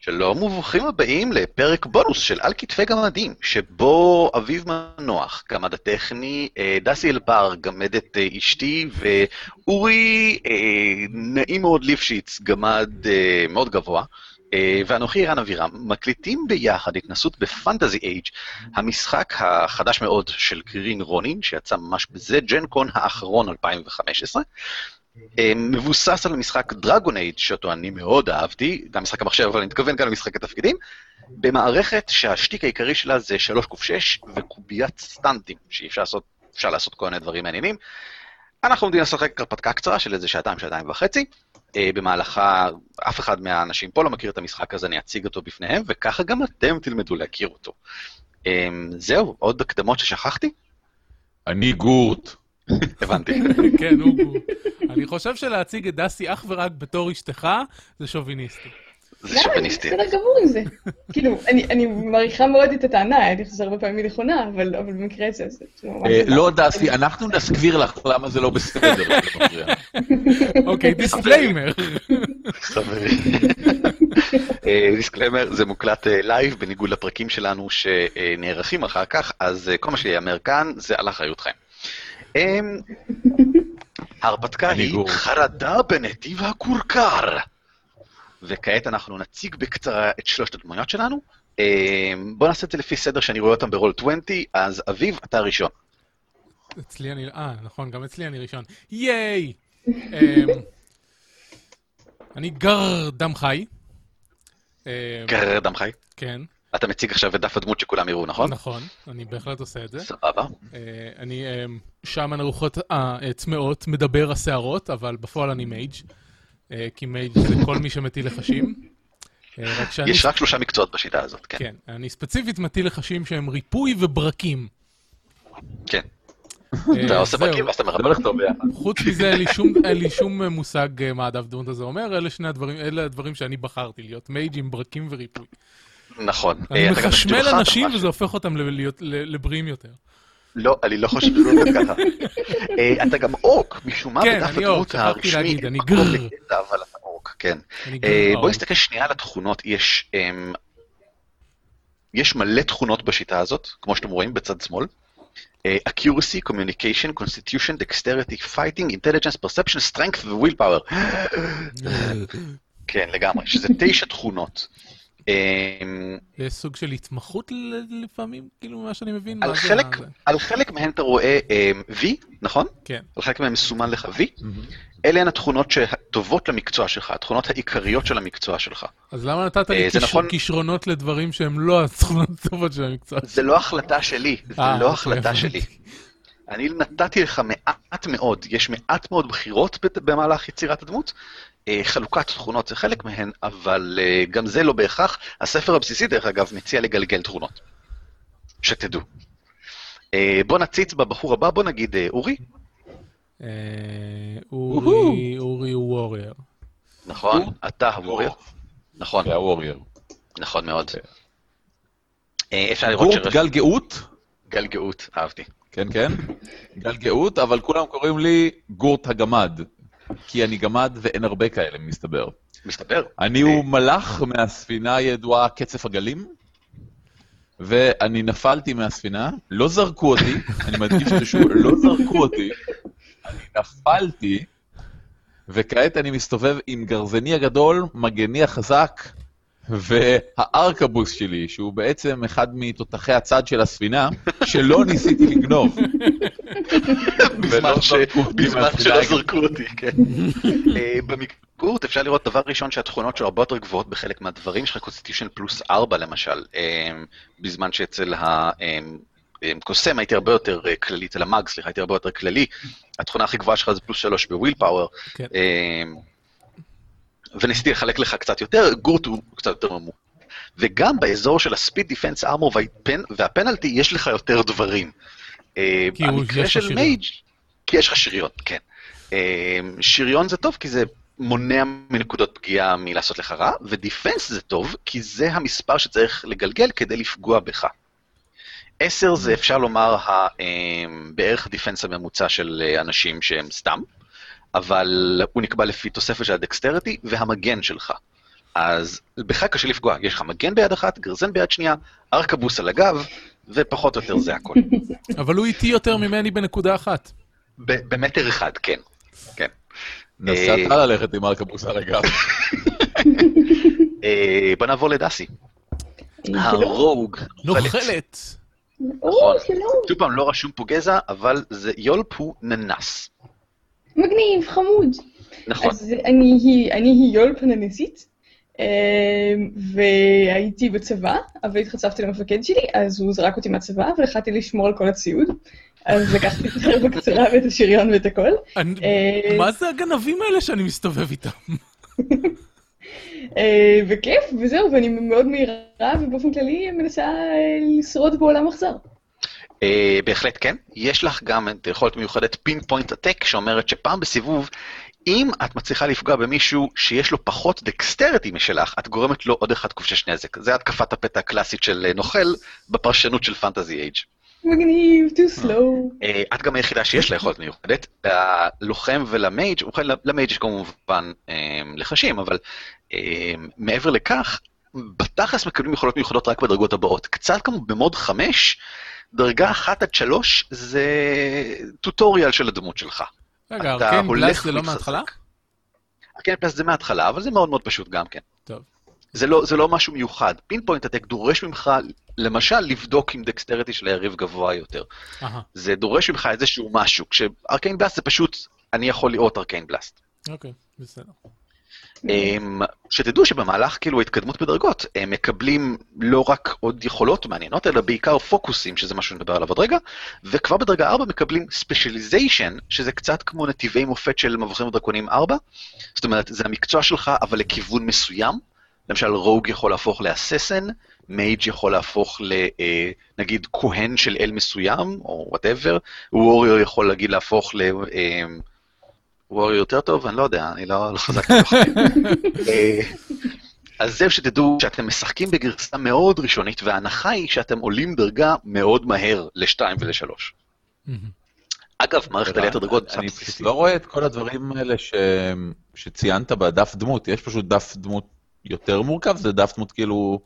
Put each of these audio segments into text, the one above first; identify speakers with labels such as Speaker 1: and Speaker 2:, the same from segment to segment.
Speaker 1: שלום וברוכים הבאים לפרק בונוס של על כתפי גמדים, שבו אביב מנוח, גמד הטכני, אה, דסי אלבר, גמדת אה, אשתי, ואורי, אה, נעים מאוד ליפשיץ, גמד אה, מאוד גבוה, אה, ואנוכי רן אבירם, מקליטים ביחד התנסות בפנטזי אייג', המשחק החדש מאוד של גרין רונין, שיצא ממש בזה, ג'נקון האחרון 2015. אה, מבוסס על המשחק דרגון אייד, שאותו אני מאוד אהבתי, גם משחק המחשב, אבל אני מתכוון גם למשחק התפקידים, במערכת שהשטיק העיקרי שלה זה 3 קוף 6 וקוביית סטנטים, שאפשר לעשות, אפשר לעשות כל מיני דברים מעניינים. אנחנו עומדים לשחק הרפתקה קצרה של איזה שעתיים, שעתיים וחצי. אה, במהלכה, אף אחד מהאנשים פה לא מכיר את המשחק, אז אני אציג אותו בפניהם, וככה גם אתם תלמדו להכיר אותו. אה, זהו, עוד הקדמות ששכחתי?
Speaker 2: אני גורט.
Speaker 1: הבנתי.
Speaker 3: כן, אוגו. אני חושב שלהציג את דסי אך ורק בתור אשתך, זה שוביניסטי.
Speaker 1: זה שוביניסטי.
Speaker 4: למה? אני בסדר גמור עם זה. כאילו, אני- אני מעריכה מאוד את הטענה, אני חושבת שהרבה פעמים היא נכונה, אבל אבל במקרה הזה זה... זה ממש
Speaker 2: אה,
Speaker 4: לא.
Speaker 2: לא, דסי, אנחנו נסביר לך למה זה לא בסדר. זה לא מפריע.
Speaker 3: אוקיי, דיסקליימר.
Speaker 1: חברים. אה, דיסקלמר, זה מוקלט אה, לייב, בניגוד לפרקים שלנו שנערכים אחר כך, אז אה, כל מה שיאמר כאן זה על אחריותכם. אה, ההרפתקה
Speaker 2: אני
Speaker 1: היא
Speaker 2: גור.
Speaker 1: חרדה בנתיב הכורכר. וכעת אנחנו נציג בקצרה את שלושת הדמויות שלנו. אה, בואו נעשה את זה לפי סדר שאני רואה אותם ברול 20, אז אביב, אתה ראשון.
Speaker 3: אצלי אני... אה, נכון, גם אצלי אני ראשון. ייי! אמ, אני גר דם חי. אמ,
Speaker 1: גרר דם חי.
Speaker 3: כן,
Speaker 1: אתה מציג עכשיו את דף הדמות שכולם יראו, נכון?
Speaker 3: נכון, אני בהחלט עושה את זה.
Speaker 1: סבבה.
Speaker 3: אה, אני אמ, שמן הרוחות הצמאות, מדבר הסערות, אבל בפועל אני מייג'. אה, כי מייג' זה כל מי שמטיל לחשים. אה, רק שאני
Speaker 1: יש רק שלושה מקצועות בשיטה הזאת, כן.
Speaker 3: כן, אני ספציפית מטיל לחשים שהם ריפוי וברקים.
Speaker 1: כן.
Speaker 3: אה,
Speaker 1: אתה עושה
Speaker 3: זהו.
Speaker 1: פרקים ואז אתה
Speaker 2: זה
Speaker 1: מרבה.
Speaker 2: הולך טוב ביחד.
Speaker 3: חוץ מזה, אין לי שום- אין לי שום אה, מושג אה, מה הדף דמות הזה אומר, אלה שני הדברים, אלה הדברים שאני בחרתי, להיות מייג' עם ברקים וריפוי.
Speaker 1: נכון.
Speaker 3: אני
Speaker 1: אה, אתה גם
Speaker 3: מחשמל
Speaker 1: בשולחן,
Speaker 3: אנשים
Speaker 1: אתה
Speaker 3: וזה הופך אותם ל- להיות- ל- לבריאים יותר.
Speaker 1: לא, אני לא חושב שזה עובד ככה. אה, אתה גם אורק, משום מה,
Speaker 3: כן,
Speaker 1: בדף
Speaker 3: אני אורק,
Speaker 1: הדמות
Speaker 3: שכחתי
Speaker 1: הרשמי,
Speaker 3: להגיד,
Speaker 1: אין
Speaker 3: אני
Speaker 1: מקום
Speaker 3: גרר.
Speaker 1: לקטע, אבל אתה אורק, כן.
Speaker 3: אני גם
Speaker 1: אה, בוא
Speaker 3: אור.
Speaker 1: נסתכל שנייה על התכונות. יש אמ, יש מלא תכונות בשיטה הזאת, כמו שאתם רואים בצד שמאל. אה, accuracy, communication, constitution, dexterity, fighting, intelligence, perception, strength ו-will power.
Speaker 3: אה,
Speaker 1: כן, לגמרי, שזה תשע תכונות. אמ,
Speaker 3: יש סוג של התמחות ל- לפעמים, כאילו, מה שאני מבין. מה
Speaker 1: על
Speaker 3: זה
Speaker 1: חלק,
Speaker 3: ה- זה.
Speaker 1: על חלק מהן אתה רואה אמ, V, נכון?
Speaker 3: כן,
Speaker 1: על חלק מהן מסומן לך V. אלה הן התכונות שטובות למקצוע שלך, התכונות העיקריות של המקצוע שלך.
Speaker 3: אז למה נתת לי
Speaker 1: אה, זה
Speaker 3: כיש-
Speaker 1: נכון.
Speaker 3: כישרונות לדברים שהם לא התכונות הטובות של המקצוע?
Speaker 1: זה לא החלטה שלי, זה
Speaker 3: אה,
Speaker 1: לא
Speaker 3: אוקיי,
Speaker 1: החלטה
Speaker 3: הבנתי.
Speaker 1: שלי. אני נתתי לך מעט מאוד, יש מעט מאוד בחירות בת- במהלך יצירת הדמות. אה, חלוקת תכונות זה חלק מהן, אבל אה, גם זה לא בהכרח. הספר הבסיסי, דרך אגב, מציע לגלגל תכונות. שתדעו. אה, בוא נציץ בבחור הבא, בוא נגיד אה, אורי,
Speaker 3: אה, אורי אורי הוא וורייר.
Speaker 1: נכון? אתה הוורייר. נכון,
Speaker 2: זה הוורייר.
Speaker 1: נכון מאוד.
Speaker 2: כן.
Speaker 1: אה, אפשר לראות
Speaker 2: גורט
Speaker 1: שגל
Speaker 2: גל גאות?
Speaker 1: גאות, אהבתי.
Speaker 2: כן, כן. גל גאות, אבל כולם קוראים לי גורט הגמד. כי אני גמד ואין הרבה כאלה, מסתבר.
Speaker 1: מסתבר.
Speaker 2: אני הוא מלאך מהספינה הידועה קצף הגלים, ואני נפלתי מהספינה, לא זרקו אותי, אני מדגיש את זה שוב, לא זרקו אותי, אני נפלתי, וכעת אני מסתובב עם גרזני הגדול, מגני החזק, והארקבוס שלי, שהוא בעצם אחד מתותחי הצד של הספינה, שלא ניסיתי לגנוב.
Speaker 1: בזמן
Speaker 2: ולא
Speaker 1: ש-
Speaker 2: זרקו אותי
Speaker 1: בזמן
Speaker 2: מהספינה.
Speaker 1: שלא זרקו אותי, כן. אה, במיקורט אפשר לראות דבר ראשון שהתכונות שלו הרבה יותר גבוהות בחלק מהדברים, יש לך קונסטיטיושן פלוס 4 למשל, אה, בזמן שאצל ה... אה, אה, קוסם הייתי הרבה יותר אה, כללי, אצל המאג, סליחה, הייתי הרבה יותר כללי. התכונה הכי גבוהה שלך זה פלוס 3 בוויל פאוור. אמ,
Speaker 3: כן.
Speaker 1: וניסיתי לחלק לך קצת יותר, גורט הוא קצת יותר ממוקד. וגם באזור של הספיד דיפנס ארמור והפנלטי, יש לך יותר דברים. אה,
Speaker 3: כי הוא-
Speaker 1: במקרה
Speaker 3: יש לך
Speaker 1: של
Speaker 3: שריון.
Speaker 1: מייג' כי יש לך שריון, כן. אה, שריון זה טוב כי זה מונע מנקודות פגיעה מלעשות לך רע, ודיפנס זה טוב כי זה המספר שצריך לגלגל כדי לפגוע בך. 10 זה אפשר לומר ה, אה, בערך דיפנס הממוצע של אה, אנשים שהם סתם, אבל הוא נקבע לפי תוספת של הדקסטריטי והמגן שלך. אז בך קשה לפגוע, יש לך מגן ביד אחת, גרזן ביד שנייה, ארכבוס על הגב, ופחות או יותר זה הכל.
Speaker 3: אבל הוא איטי יותר ממני בנקודה אחת.
Speaker 1: ב- במטר אחד, כן. כן.
Speaker 2: נסעת ללכת עם ארכבוס על הגב.
Speaker 1: אה, בוא נעבור לדסי.
Speaker 4: כאילו,
Speaker 1: הרוג.
Speaker 3: נוכלת.
Speaker 4: או, שלום,
Speaker 1: שוב פעם, לא רשום פה גזע, אבל זה יולפ הוא ננס.
Speaker 4: מגניב, חמוד.
Speaker 1: נכון.
Speaker 4: אז אני היא- אני היא יול פננסית, אמ, והייתי בצבא, אבל התחצפתי למפקד שלי, אז הוא זרק אותי מהצבא, והחלטתי לשמור על כל הציוד. אז לקחתי את החרב הקצרה ואת השריון ואת הכל.
Speaker 3: אני-
Speaker 4: אה,
Speaker 3: מה זה הגנבים האלה שאני מסתובב איתם?
Speaker 4: אה, וכיף, וזהו, ואני מאוד מהירה, ובאופן כללי מנסה אה, לשרוד בעולם אכזר.
Speaker 1: אה, בהחלט כן. יש לך גם את היכולת מיוחדת פין פוינט הטק, שאומרת שפעם בסיבוב, אם את מצליחה לפגוע במישהו שיש לו פחות דקסטריטי משלך, את גורמת לו עוד אחד כובשש נזק. זה התקפת הפתע הקלאסית של אה, נוכל בפרשנות של פנטזי אייג'.
Speaker 4: מגניב, too slow.
Speaker 1: אה, את גם היחידה שיש לה יכולת מיוחדת, ללוחם ולמייג', ובכן למייג' יש כמובן אה, לחשים, אבל אה, מעבר לכך, בתכלס מקבלים יכולות מיוחדות רק בדרגות הבאות. קצת כמו במוד 5, דרגה 1 עד 3 זה טוטוריאל של הדמות שלך.
Speaker 3: רגע,
Speaker 1: אתה
Speaker 3: ארקיין
Speaker 1: הולך
Speaker 3: בלאס זה לא
Speaker 1: מתחזק.
Speaker 3: מההתחלה?
Speaker 1: כן, פלס זה מההתחלה, אבל זה מאוד מאוד פשוט גם כן.
Speaker 3: טוב.
Speaker 1: זה לא, זה לא משהו מיוחד. פינפוינט הטק דורש ממך, למשל, לבדוק אם דקסטריטי של היריב גבוה יותר.
Speaker 3: אהה,
Speaker 1: זה דורש ממך איזשהו משהו. כשארקיין בלאסט זה פשוט, אני יכול לראות ארקיין בלאסט.
Speaker 3: אוקיי, בסדר.
Speaker 1: אמ, שתדעו שבמהלך כאילו ההתקדמות בדרגות, הם מקבלים לא רק עוד יכולות מעניינות, אלא בעיקר פוקוסים, שזה מה שנדבר עליו עוד רגע, וכבר בדרגה 4 מקבלים ספיישליזיישן, שזה קצת כמו נתיבי מופת של מבוכים ודרקונים 4, זאת אומרת, זה המקצוע שלך, אבל לכיוון מסוים. למשל, רוג יכול להפוך לאססן, מייג' יכול להפוך ל... אה, נגיד כהן של אל מסוים, או וואטאבר, ווריור יכול להגיד להפוך ל... אה, ווריור יותר טוב? אני לא יודע, אני לא, לא חזק בתוך זה. אה, אז זהו שתדעו שאתם משחקים בגרסה מאוד ראשונית, וההנחה היא שאתם עולים דרגה מאוד מהר לשתיים ולשלוש. אגב, מערכת עליית הדרגות...
Speaker 2: אני פשוט לא רואה את כל הדברים האלה ש... שציינת בדף דמות, יש פשוט דף דמות יותר מורכב, זה דף דמות כאילו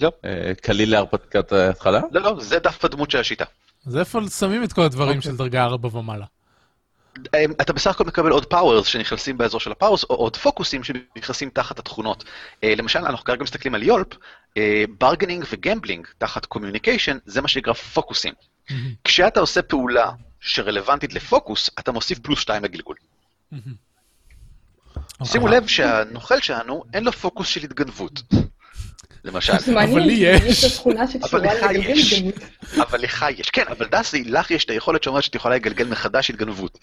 Speaker 1: לא.
Speaker 2: אה, קליל להרפתקת ההתחלה?
Speaker 1: לא, לא, זה דף הדמות של השיטה.
Speaker 3: אז איפה שמים את כל הדברים של דרגה 4 ומעלה?
Speaker 1: אמ, אתה בסך הכל מקבל עוד פאוורס שנכנסים באזור של הפאוורס, או עוד פוקוסים שנכנסים תחת התכונות. אה, למשל, אנחנו כרגע מסתכלים על יולפ, ברגנינג וגמבלינג תחת קומיוניקיישן, זה מה שנקרא פוקוסים.
Speaker 3: מהמם.
Speaker 1: כשאתה עושה פעולה שרלוונטית לפוקוס, אתה מוסיף פלוס 2 לגלגול. שימו
Speaker 3: אוקיי.
Speaker 1: לב שהנוכל שלנו, אין לו פוקוס של התגנבות. למשל,
Speaker 4: זה מעניין,
Speaker 3: לי
Speaker 4: כי
Speaker 3: יש.
Speaker 4: יש לו תכונה שקשורה
Speaker 1: לך
Speaker 4: לגלגל
Speaker 1: יש.
Speaker 4: התגלגלות.
Speaker 1: אבל לך יש, כן, אבל דסי, לך יש את היכולת שאומרת שאת יכולה לגלגל מחדש התגנבות.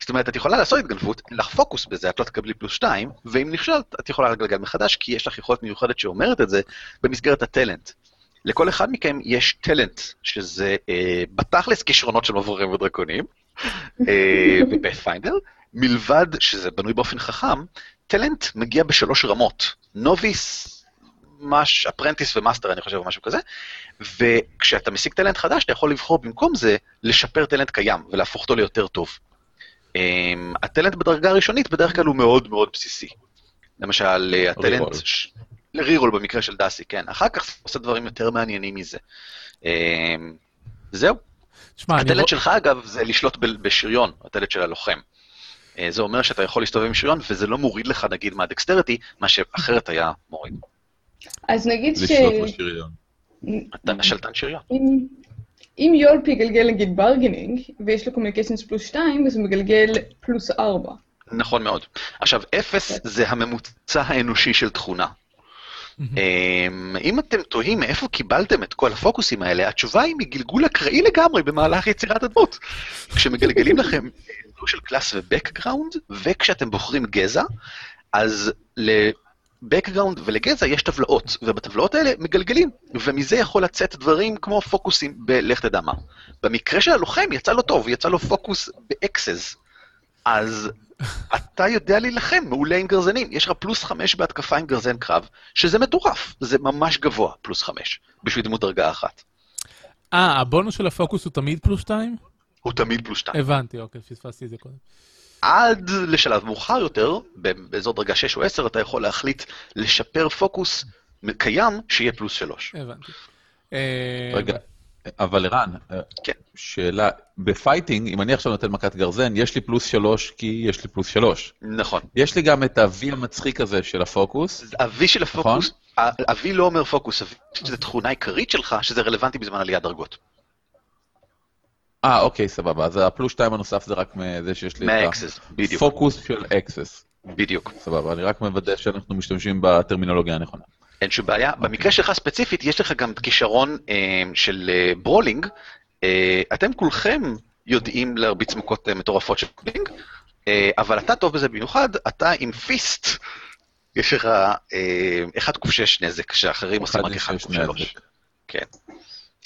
Speaker 1: זאת אומרת, את יכולה לעשות התגנבות, אין לך פוקוס בזה, את לא תקבלי פלוס 2, ואם נכשלת, את יכולה לגלגל מחדש, כי יש לך יכולת מיוחדת שאומרת את זה במסגרת הטלנט. לכל אחד מכם יש טלנט, שזה אה, בתכלס כישרונות של מבורים ודרקונים, אה, בפיינדר, מלבד שזה בנוי באופן חכם, טלנט מגיע בשלוש רמות, נוביס, מש, אפרנטיס ומאסטר, אני חושב, או משהו כזה, וכשאתה משיג טלנט חדש, אתה יכול לבחור במקום זה לשפר טלנט קיים ולהפוך אותו ליותר טוב. אמ, הטלנט בדרגה הראשונית בדרך כלל הוא מאוד מאוד בסיסי. למשל, אה, הטלנט...
Speaker 2: רירול.
Speaker 1: ש- לרירול במקרה של דסי, כן. אחר כך זה עושה דברים יותר מעניינים מזה. אמ, זהו.
Speaker 3: שמע, אני לא-
Speaker 1: הטלנט
Speaker 3: רוא-
Speaker 1: שלך, אגב, זה לשלוט ב- בשריון, הטלנט של הלוחם. אה, זה אומר שאתה יכול להסתובב עם שריון, וזה לא מוריד לך, נגיד, מהדקסטריטי, מה שאחרת היה מוריד.
Speaker 4: אז נגיד ש...
Speaker 2: לשלוט בשריון.
Speaker 3: אוקיי.
Speaker 1: אתה שלטן שריון.
Speaker 4: אם- אם יולפ יגלגל נגיד ברגנינג, ויש לו קומיוניקיישנס פלוס 2, אז הוא מגלגל פלוס 4.
Speaker 1: נכון מאוד. עכשיו, אפס זה הממוצע האנושי של תכונה.
Speaker 3: מהמם.
Speaker 1: אמ, אם אתם תוהים מאיפה קיבלתם את כל הפוקוסים האלה, התשובה היא מגלגול אקראי לגמרי במהלך יצירת הדמות. כשמגלגלים לכם דו של קלאס ובקגראונד, וכשאתם בוחרים גזע, אז לבקגראונד ולגזע יש טבלאות, ובטבלאות האלה מגלגלים, ומזה יכול לצאת דברים כמו פוקוסים בלך תדע מה. במקרה של הלוחם יצא לו טוב, יצא לו פוקוס באקסס. אז אתה יודע להילחם מעולה עם גרזנים. יש לך פלוס חמש בהתקפה עם גרזן קרב, שזה מטורף, זה ממש גבוה, פלוס חמש, בשביל דמות דרגה אחת.
Speaker 3: אה, הבונוס של הפוקוס הוא תמיד פלוס 2?
Speaker 1: הוא תמיד פלוס שתיים.
Speaker 3: הבנתי, אוקיי, פספסתי את זה קודם.
Speaker 1: עד לשלב מאוחר יותר, ב- באזור דרגה 6 או 10, אתה יכול להחליט לשפר פוקוס קיים, שיהיה פלוס 3.
Speaker 3: הבנתי. אה,
Speaker 2: רגע, אבל ערן, אה,
Speaker 1: כן.
Speaker 2: שאלה, בפייטינג, אם אני עכשיו נותן מכת גרזן, יש לי פלוס שלוש כי יש לי פלוס שלוש.
Speaker 1: נכון.
Speaker 2: יש לי גם את ה-V המצחיק הזה של הפוקוס.
Speaker 1: ה-V של הפוקוס, ה-V לא אומר פוקוס, ה-V זה תכונה עיקרית שלך, שזה רלוונטי בזמן עליית דרגות.
Speaker 2: אה, אוקיי, סבבה. אז הפלוס שתיים הנוסף זה רק מזה שיש לי את
Speaker 1: מהאקסס, בדיוק,
Speaker 2: הפוקוס של אקסס.
Speaker 1: בדיוק.
Speaker 2: סבבה, אני רק מוודא שאנחנו משתמשים בטרמינולוגיה הנכונה.
Speaker 1: אין שום בעיה. במקרה שלך ספציפית, יש לך גם כישרון אה, של אה, ברולינג. אה, אתם כולכם יודעים להרביץ מכות אה, מטורפות של ברולינג, אה, אבל אתה טוב בזה במיוחד, אתה עם פיסט, יש לך אה, 1 קוף 6 נזק, שאחרים עושים רק 1
Speaker 2: אחד
Speaker 1: קוף
Speaker 2: לשש
Speaker 1: 3.
Speaker 2: נזק.
Speaker 1: כן.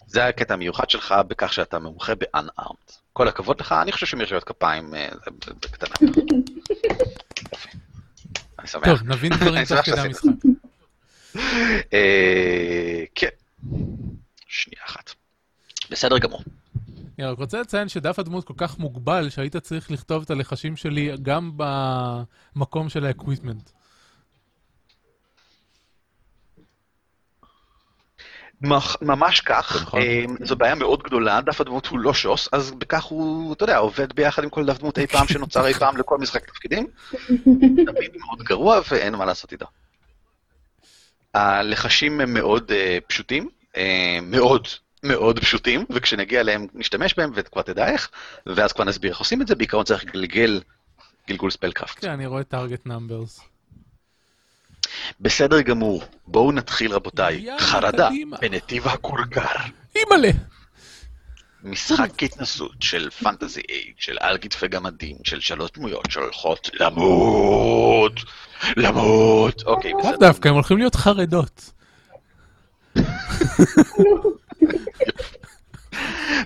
Speaker 1: זה הקטע המיוחד שלך בכך שאתה מומחה ב-unarmed. כל הכבוד לך, אני חושב שמרשימת כפיים אה, זה- זה- זה קטנה. יופי. אני שמח.
Speaker 3: טוב, נבין דברים
Speaker 1: אני
Speaker 3: תוך
Speaker 1: שמח
Speaker 3: כדי
Speaker 1: שעשית.
Speaker 3: המשחק.
Speaker 1: אה, כן. שנייה אחת. בסדר גמור.
Speaker 3: אני רק רוצה לציין שדף הדמות כל כך מוגבל, שהיית צריך לכתוב את הלחשים שלי גם במקום של האקוויפמנט.
Speaker 1: מח- ממש
Speaker 2: זה
Speaker 1: כך,
Speaker 2: נכון.
Speaker 1: אה, זו בעיה מאוד גדולה, דף הדמות הוא לא שוס, אז בכך הוא, אתה יודע, עובד ביחד עם כל דף דמות אי פעם שנוצר אי פעם לכל משחק תפקידים. תמיד מאוד גרוע ואין מה לעשות איתו. הלחשים הם מאוד אה, פשוטים, אה, מאוד מאוד פשוטים, וכשנגיע אליהם נשתמש בהם וכבר תדע איך, ואז כבר נסביר איך עושים את זה, בעיקרון צריך לגלגל גלגול ספלקראפט.
Speaker 3: כן, אני רואה טארגט נאמברס.
Speaker 1: בסדר גמור, בואו נתחיל רבותיי.
Speaker 3: יאללה,
Speaker 1: חרדה
Speaker 3: קדימה.
Speaker 1: בנתיב הכורכר.
Speaker 3: אימא'לה!
Speaker 1: משחק התנסות של פנטזי אייד, של על כתפי גמדים, של שלוש דמויות שהולכות למות, למות. אוקיי,
Speaker 3: לאו
Speaker 1: בסדר.
Speaker 3: דווקא, הם הולכים להיות חרדות.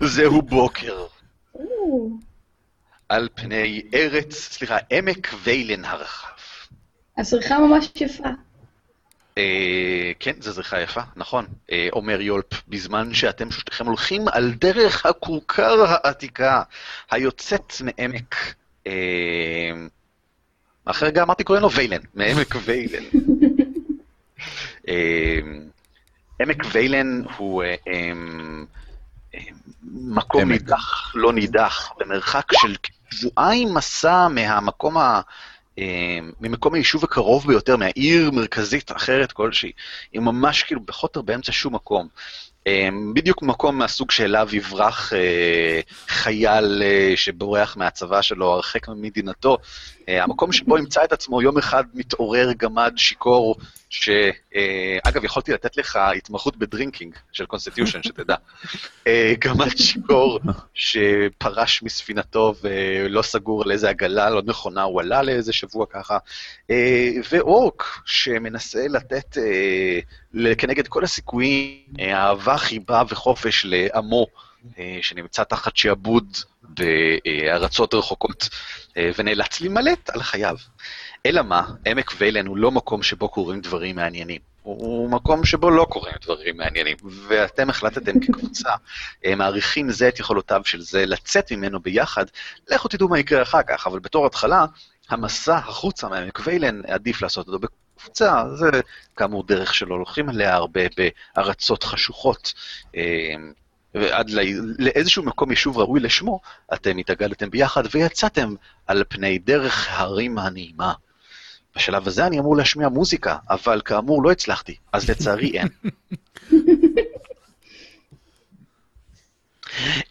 Speaker 1: זהו בוקר. על פני ארץ, סליחה, עמק ויילן הרחב.
Speaker 4: הזריחה ממש יפה.
Speaker 1: אה, כן, זו זריחה יפה, נכון. אה, אומר יולפ, בזמן שאתם שלושתכם הולכים על דרך הכורכר העתיקה, היוצאת מעמק... אה, אחרי גם אמרתי קוראים לו ויילן, מעמק ויילן. אה, עמק ויילן הוא אה, אה, אה, מקום
Speaker 2: עמק.
Speaker 1: נידח, לא נידח, במרחק של שבועיים מסע מהמקום ה... אה, ממקום היישוב הקרוב ביותר, מהעיר מרכזית אחרת כלשהי. היא ממש כאילו בחוטר באמצע שום מקום. אה, בדיוק מקום מהסוג שאליו יברח אה, חייל אה, שבורח מהצבא שלו הרחק ממדינתו. אה, המקום שבו ימצא את עצמו יום אחד מתעורר גמד שיכור, שאגב, יכולתי לתת לך התמחות בדרינקינג של קונסטיטיושן, שתדע. אה, גמד שיכור שפרש מספינתו ולא סגור על איזה עגלה לא נכונה הוא עלה לאיזה שבוע ככה, אה, ואורק שמנסה לתת אה, ל- כנגד כל הסיכויים אה, אהבה, חיבה וחופש לעמו אה, שנמצא תחת שעבוד בארצות רחוקות אה, ונאלץ להימלט על חייו. אלא מה, עמק ויילן הוא לא מקום שבו קורים דברים מעניינים. הוא- הוא מקום שבו לא קורים דברים מעניינים, ואתם החלטתם כקבוצה, אה, מעריכים זה את יכולותיו של זה, לצאת ממנו ביחד, לכו תדעו מה יקרה אחר כך, אבל בתור התחלה, המסע החוצה מעמק ויילן, עדיף לעשות אותו בקבוצה, זה כאמור דרך שלא הולכים עליה הרבה בארצות חשוכות, אה, ועד לא, לאיזשהו מקום יישוב ראוי לשמו, אתם התאגדתם ביחד ויצאתם על פני דרך ההרים הנעימה. בשלב הזה אני אמור להשמיע מוזיקה, אבל כאמור לא הצלחתי, אז לצערי אין.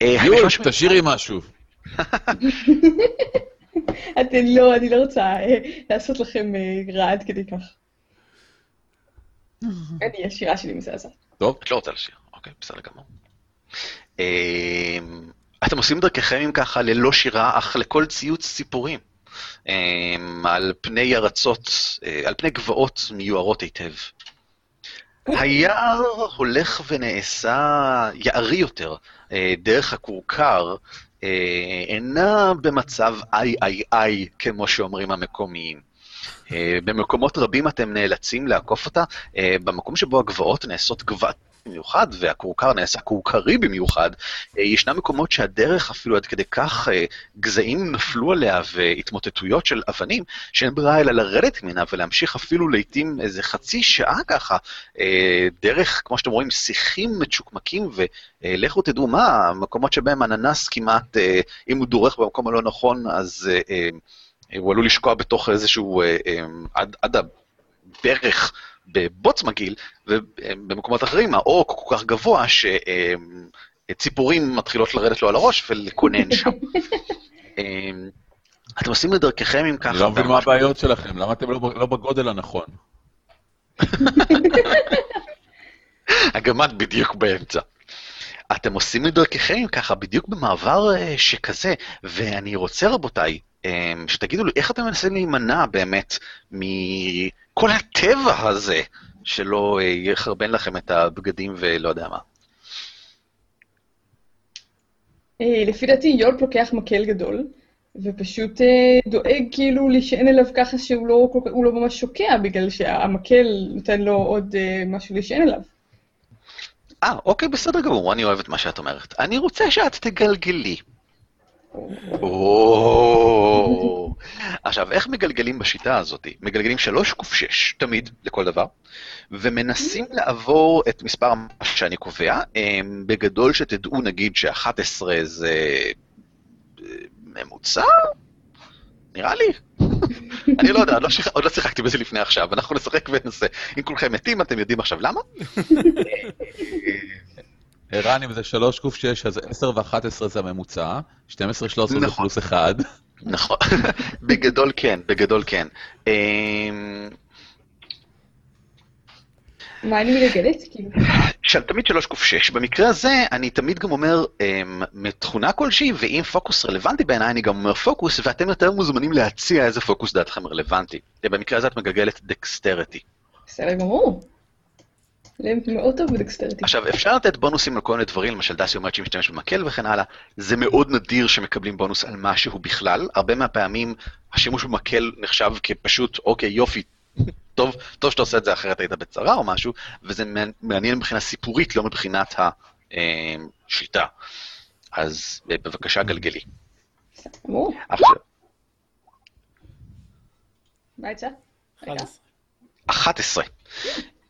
Speaker 1: אה, האם יש
Speaker 2: יול,
Speaker 1: משהו-
Speaker 2: תשאירי משהו.
Speaker 4: אתן לא, אני לא רוצה אה, לעשות לכם אה, רע עד כדי כך. אני, השירה שלי מזעזעת.
Speaker 2: טוב,
Speaker 1: את לא רוצה לשיר, אוקיי, בסדר גמור. אמ, אתם עושים דרככם אם ככה ללא שירה, אך לכל ציוץ סיפורים. אמ, על פני ארצות, אה, על פני גבעות מיוערות היטב. היער הולך ונעשה יערי יותר, אה, דרך הכורכר אה, אינה במצב איי איי איי, כמו שאומרים המקומיים. אה, במקומות רבים אתם נאלצים לעקוף אותה, אה, במקום שבו הגבעות נעשות גבעת במיוחד, והכורכר נעשה כורכרי במיוחד, אה, ישנם מקומות שהדרך אפילו עד כדי כך אה, גזעים נפלו עליה והתמוטטויות של אבנים, שאין ברירה אלא לרדת ממנה ולהמשיך אפילו לעיתים איזה חצי שעה ככה, אה, דרך, כמו שאתם רואים, שיחים מצ'וקמקים, ולכו תדעו מה, מקומות שבהם אננס כמעט, אה, אם הוא דורך במקום הלא נכון, אז אה, אה, הוא עלול לשקוע בתוך איזשהו, אה, אה, עד, עד הברך בבוץ מגעיל, ובמקומות אחרים האור כל כך גבוה שציפורים מתחילות לרדת לו על הראש ולקונן שם. אה, אתם עושים את דרככם אם ככה...
Speaker 2: אני לא מבין מה
Speaker 1: ממש-
Speaker 2: הבעיות שלכם, למה אתם לא ב- לא בגודל הנכון?
Speaker 1: הגמד בדיוק באמצע. אתם עושים את דרככם ככה בדיוק במעבר אה, שכזה, ואני רוצה, רבותיי, אה, שתגידו לי איך אתם מנסים להימנע באמת מכל הטבע הזה, שלא אה, יחרבן לכם את הבגדים ולא יודע מה.
Speaker 4: אה, לפי דעתי יולפ לוקח מקל גדול, ופשוט אה, דואג כאילו להישען אליו ככה שהוא לא, כל כך- הוא לא ממש שוקע, בגלל שהמקל נותן לו עוד אה, משהו להישען אליו.
Speaker 1: אה, אוקיי, בסדר גמור, אני אוהב את מה שאת אומרת. אני רוצה שאת תגלגלי. או. עכשיו, איך מגלגלים בשיטה הזאת? מגלגלים 3 קוף 6, תמיד, לכל דבר, ומנסים לעבור את מספר שאני קובע. אמ, בגדול שתדעו, נגיד ש-11 זה אה, ממוצע? נראה לי. אני לא יודע, עוד לא שיח- עוד לא שיחקתי בזה לפני עכשיו, אנחנו נשחק וננסה. אם כולכם מתים, אתם יודעים עכשיו למה?
Speaker 2: ערן, אם זה 3 קוף 6, אז 10 ו-11 זה הממוצע, 12, 13 זה
Speaker 1: נכון.
Speaker 2: פלוס 1.
Speaker 1: נכון, בגדול כן, בגדול כן. אמ,
Speaker 4: מה אני מגלגלת? כאילו,
Speaker 1: של תמיד שלוש קוף שש. במקרה הזה, אני תמיד גם אומר אמ, מתכונה כלשהי, ואם פוקוס רלוונטי בעיניי, אני גם אומר פוקוס, ואתם יותר מוזמנים להציע איזה פוקוס דעתכם רלוונטי. במקרה הזה את מגלגלת דקסטריטי.
Speaker 4: בסדר גמור. לב מאוד טוב בדקסטרטי.
Speaker 1: עכשיו, אפשר לתת בונוסים על כל מיני דברים, למשל דסי אומרת שהיא משתמשת במקל וכן הלאה. זה מאוד נדיר שמקבלים בונוס על משהו בכלל. הרבה מהפעמים השימוש במקל נחשב כפשוט, אוקיי, יופי, טוב, טוב שאתה עושה את זה אחרת היית בצרה או משהו, וזה מעניין- מעניין מבחינה סיפורית, לא מבחינת השיטה. אז אה, בבקשה, גלגלי.
Speaker 4: בסדר גמור.
Speaker 1: עכשיו,
Speaker 4: מה יצא? רגע.
Speaker 1: 11.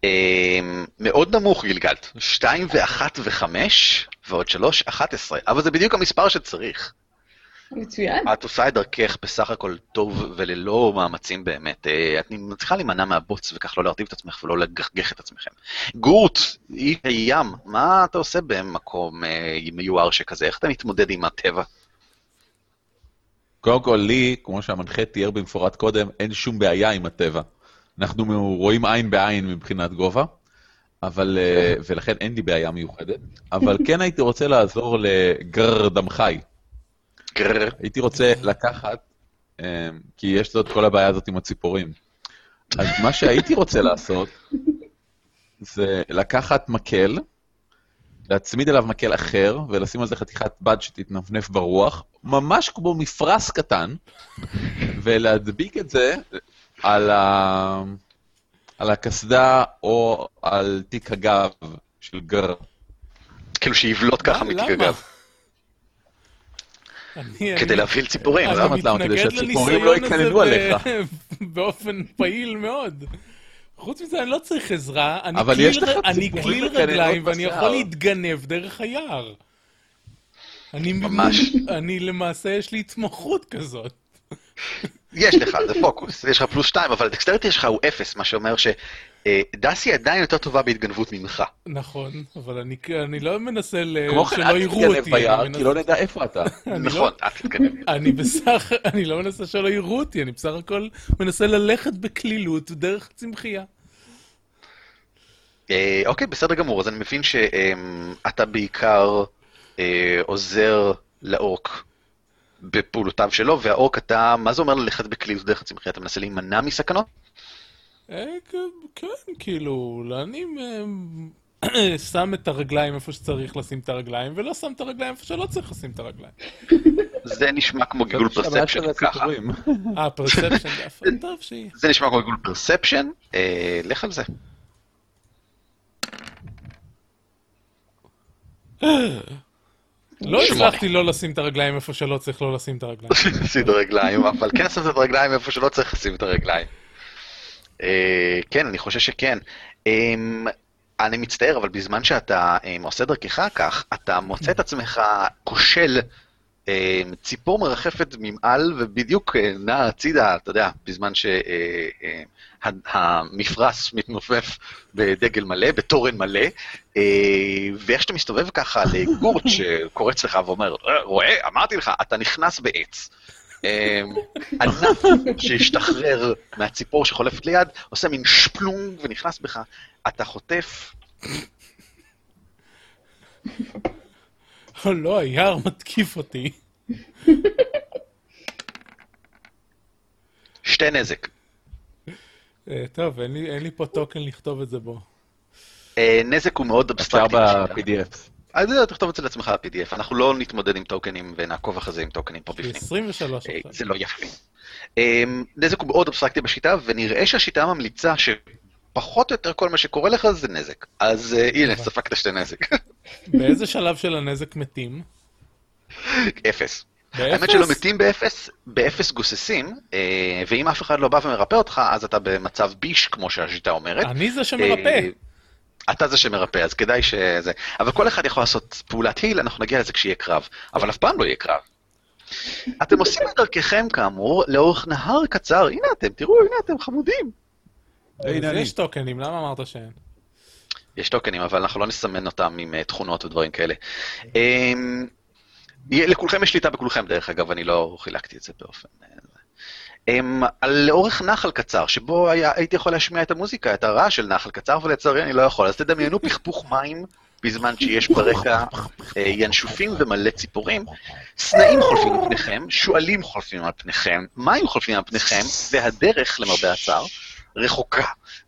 Speaker 1: אמ, מאוד נמוך גלגלת, 2 ו-1 ו-5 ועוד 3, 11, אבל זה בדיוק המספר שצריך.
Speaker 4: מצוין.
Speaker 1: את עושה את דרכך בסך הכל טוב וללא מאמצים באמת. אה, את מצליחה להימנע מהבוץ וכך לא להרטיב את עצמך ולא לגחגח את עצמכם. גורט, אי הים, מה אתה עושה במקום אה, מיואר שכזה? איך אתה מתמודד עם הטבע?
Speaker 2: קודם כל, לי, כמו שהמנחה תיאר במפורט קודם, אין שום בעיה עם הטבע. אנחנו רואים עין בעין מבחינת גובה, אבל, אה, ולכן אין לי בעיה מיוחדת, אבל כן הייתי רוצה לעזור לגרר דמחי.
Speaker 1: גרר.
Speaker 2: הייתי רוצה לקחת, אה, כי יש לו את כל הבעיה הזאת עם הציפורים. אז מה שהייתי רוצה לעשות, זה לקחת מקל, להצמיד אליו מקל אחר, ולשים על זה חתיכת בד שתתנפנף ברוח, ממש כמו מפרש קטן, ולהדביק את זה על, ה... על הקסדה או על תיק הגב של גר.
Speaker 1: כאילו שיבלוט ככה
Speaker 3: למה?
Speaker 1: מתיק הגב,
Speaker 3: אני-
Speaker 1: כדי
Speaker 3: אני-
Speaker 1: להפעיל ציפורים.
Speaker 3: אני
Speaker 1: למה?
Speaker 2: כן, לא למה? כדי
Speaker 3: מתנגד
Speaker 2: שהציפורים
Speaker 3: לניסיון
Speaker 2: לא
Speaker 3: הזה
Speaker 2: יקננו
Speaker 3: ב-
Speaker 2: עליך.
Speaker 3: באופן פעיל מאוד. חוץ מזה, אני לא צריך עזרה, אני
Speaker 2: אבל
Speaker 3: כליל
Speaker 2: יש לך
Speaker 3: ר- אני
Speaker 2: ציפורים
Speaker 3: כליל
Speaker 2: מקננות
Speaker 3: רגליים ואני
Speaker 2: בשיער.
Speaker 3: יכול להתגנב דרך היער. אני
Speaker 1: ממש.
Speaker 3: אני למעשה, יש לי התמחות כזאת.
Speaker 1: יש לך, זה פוקוס, יש לך פלוס 2, אבל הדקסטריטי שלך הוא 0, מה שאומר שדסי עדיין יותר טובה בהתגנבות ממך.
Speaker 3: נכון, אבל אני כ- אני לא מנסה ל-
Speaker 2: כמו כן,
Speaker 3: שלא
Speaker 2: אל
Speaker 3: יראו
Speaker 2: תתגנב
Speaker 3: אותי. אני
Speaker 2: ביער,
Speaker 3: מנס-
Speaker 2: כי לא נדע איפה אתה.
Speaker 3: אני לא-
Speaker 1: נכון, את תתגנב.
Speaker 3: אני בסך, אני לא מנסה שלא יראו אותי, אני בסך הכל מנסה ללכת בקלילות דרך צמחייה.
Speaker 1: אה, אוקיי, בסדר גמור, אז אני מבין שאתה בעיקר אה, עוזר לאורק בפעולותיו שלו, והאורק אתה, מה זה אומר ללכת בכלילות דרך הצמחייה? אתה מנסה להימנע מסכנות?
Speaker 3: אה, כ- כן, כאילו, אני אה, שם את הרגליים איפה שצריך לשים את הרגליים, ולא שם את הרגליים איפה שלא צריך לשים את הרגליים.
Speaker 1: זה נשמע כמו גיגול
Speaker 2: זה הבעיה של
Speaker 1: פרספשן ככה.
Speaker 2: הציפורים.
Speaker 3: אה, פרספשן זה אף טוב שיהיה.
Speaker 1: זה נשמע כמו גיגול פרספשן, אה, לך על זה.
Speaker 3: לא
Speaker 1: שמונה.
Speaker 3: הצלחתי לא לשים את הרגליים איפה שלא צריך לא לשים את הרגליים.
Speaker 1: לשים את הרגליים, אבל כן לשים את הרגליים איפה שלא צריך לשים את הרגליים. אה, כן, אני חושב שכן. אמ, אני מצטער, אבל בזמן שאתה אמ, עושה דרכך כך, אתה מוצא את עצמך כושל אמ, ציפור מרחפת ממעל ובדיוק אה, נעה הצידה, אתה יודע, בזמן אה, שהמפרש מתנופף בדגל מלא, בתורן מלא, אה, ואיך שאתה מסתובב ככה אה, לגורט שקורץ לך ואומר, "אה, רואה, אמרתי לך, אתה נכנס בעץ. אה, ענף שהשתחרר מהציפור שחולפת ליד, עושה מין שפלונג ונכנס בך, אתה חוטף,
Speaker 3: או לא, היער מתקיף אותי.
Speaker 1: שתי נזק.
Speaker 3: אה, טוב, אין לי- אין לי פה טוקן לכתוב את זה בו.
Speaker 1: אה, נזק הוא מאוד
Speaker 2: אפשר
Speaker 1: אבסטרקטי.
Speaker 2: ב-PDF.
Speaker 1: אז אה, תכתוב את זה לעצמך ב-PDF, אנחנו לא נתמודד עם טוקנים ונעקוב אחרי זה עם טוקנים פה בפנים.
Speaker 3: 23
Speaker 1: אה,
Speaker 3: עכשיו.
Speaker 1: זה לא יפה. אה, נזק הוא מאוד אבסטרקטי בשיטה, ונראה שהשיטה ממליצה שפחות או יותר כל מה שקורה לך זה נזק. אז אה, הנה,
Speaker 3: טוב.
Speaker 1: ספגת שתי נזק.
Speaker 3: באיזה שלב של הנזק מתים?
Speaker 1: אה, אפס.
Speaker 3: באפס?
Speaker 1: האמת שלא מתים באפס, באפס גוססים, אה, ואם אף אחד לא בא ומרפא אותך, אז אתה במצב ביש, כמו שהשיטה אומרת.
Speaker 3: אני זה שמרפא.
Speaker 1: אה, אתה זה שמרפא, אז כדאי שזה... אבל כל אחד יכול לעשות פעולת היל, אנחנו נגיע לזה כשיהיה קרב. אבל אף פעם לא יהיה קרב. אתם עושים את דרככם, כאמור, לאורך נהר קצר. הנה אתם, תראו, הנה אתם חמודים. אה,
Speaker 3: אז
Speaker 2: הנה אני.
Speaker 3: יש טוקנים, למה אמרת שאין?
Speaker 1: יש טוקנים, אבל אנחנו לא נסמן אותם עם אה, תכונות ודברים כאלה. אמ, יה- לכולכם יש שליטה בכולכם, דרך אגב, אני לא חילקתי את זה באופן... אה, זה. אמ, על- לאורך נחל קצר, שבו היה, הייתי יכול להשמיע את המוזיקה, את הרעש של נחל קצר, ולצערי אני לא יכול. אז תדמיינו פכפוך מים בזמן שיש ברקע אה, ינשופים ומלא ציפורים. סנאים חולפים על פניכם, שועלים חולפים על פניכם, מים חולפים על פניכם, והדרך, למרבה הצער, רחוקה.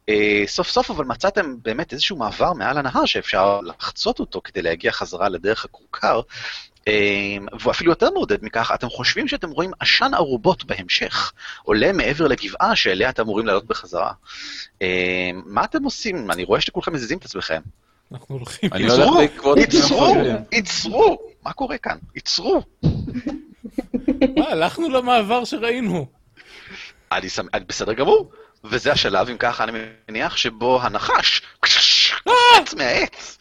Speaker 1: אה, סוף סוף אבל מצאתם באמת איזשהו מעבר מעל הנהר שאפשר לחצות אותו כדי להגיע חזרה לדרך הכורכר, אה, ואפילו יותר מעודד מכך, אתם חושבים שאתם רואים עשן ערובות בהמשך, עולה מעבר לגבעה שאליה אתם אמורים לעלות בחזרה. אה, מה אתם עושים? אני רואה שכולכם מזיזים את עצמכם.
Speaker 3: אנחנו הולכים.
Speaker 2: אני לא הולך בעקבות...
Speaker 1: עצרו, עצרו, מה קורה כאן? עצרו. לא-
Speaker 3: מה, הלכנו למעבר שראינו.
Speaker 1: אני שמח, בסדר גמור. וזה השלב, אם ככה, אני מניח, שבו הנחש קפץ מהעץ.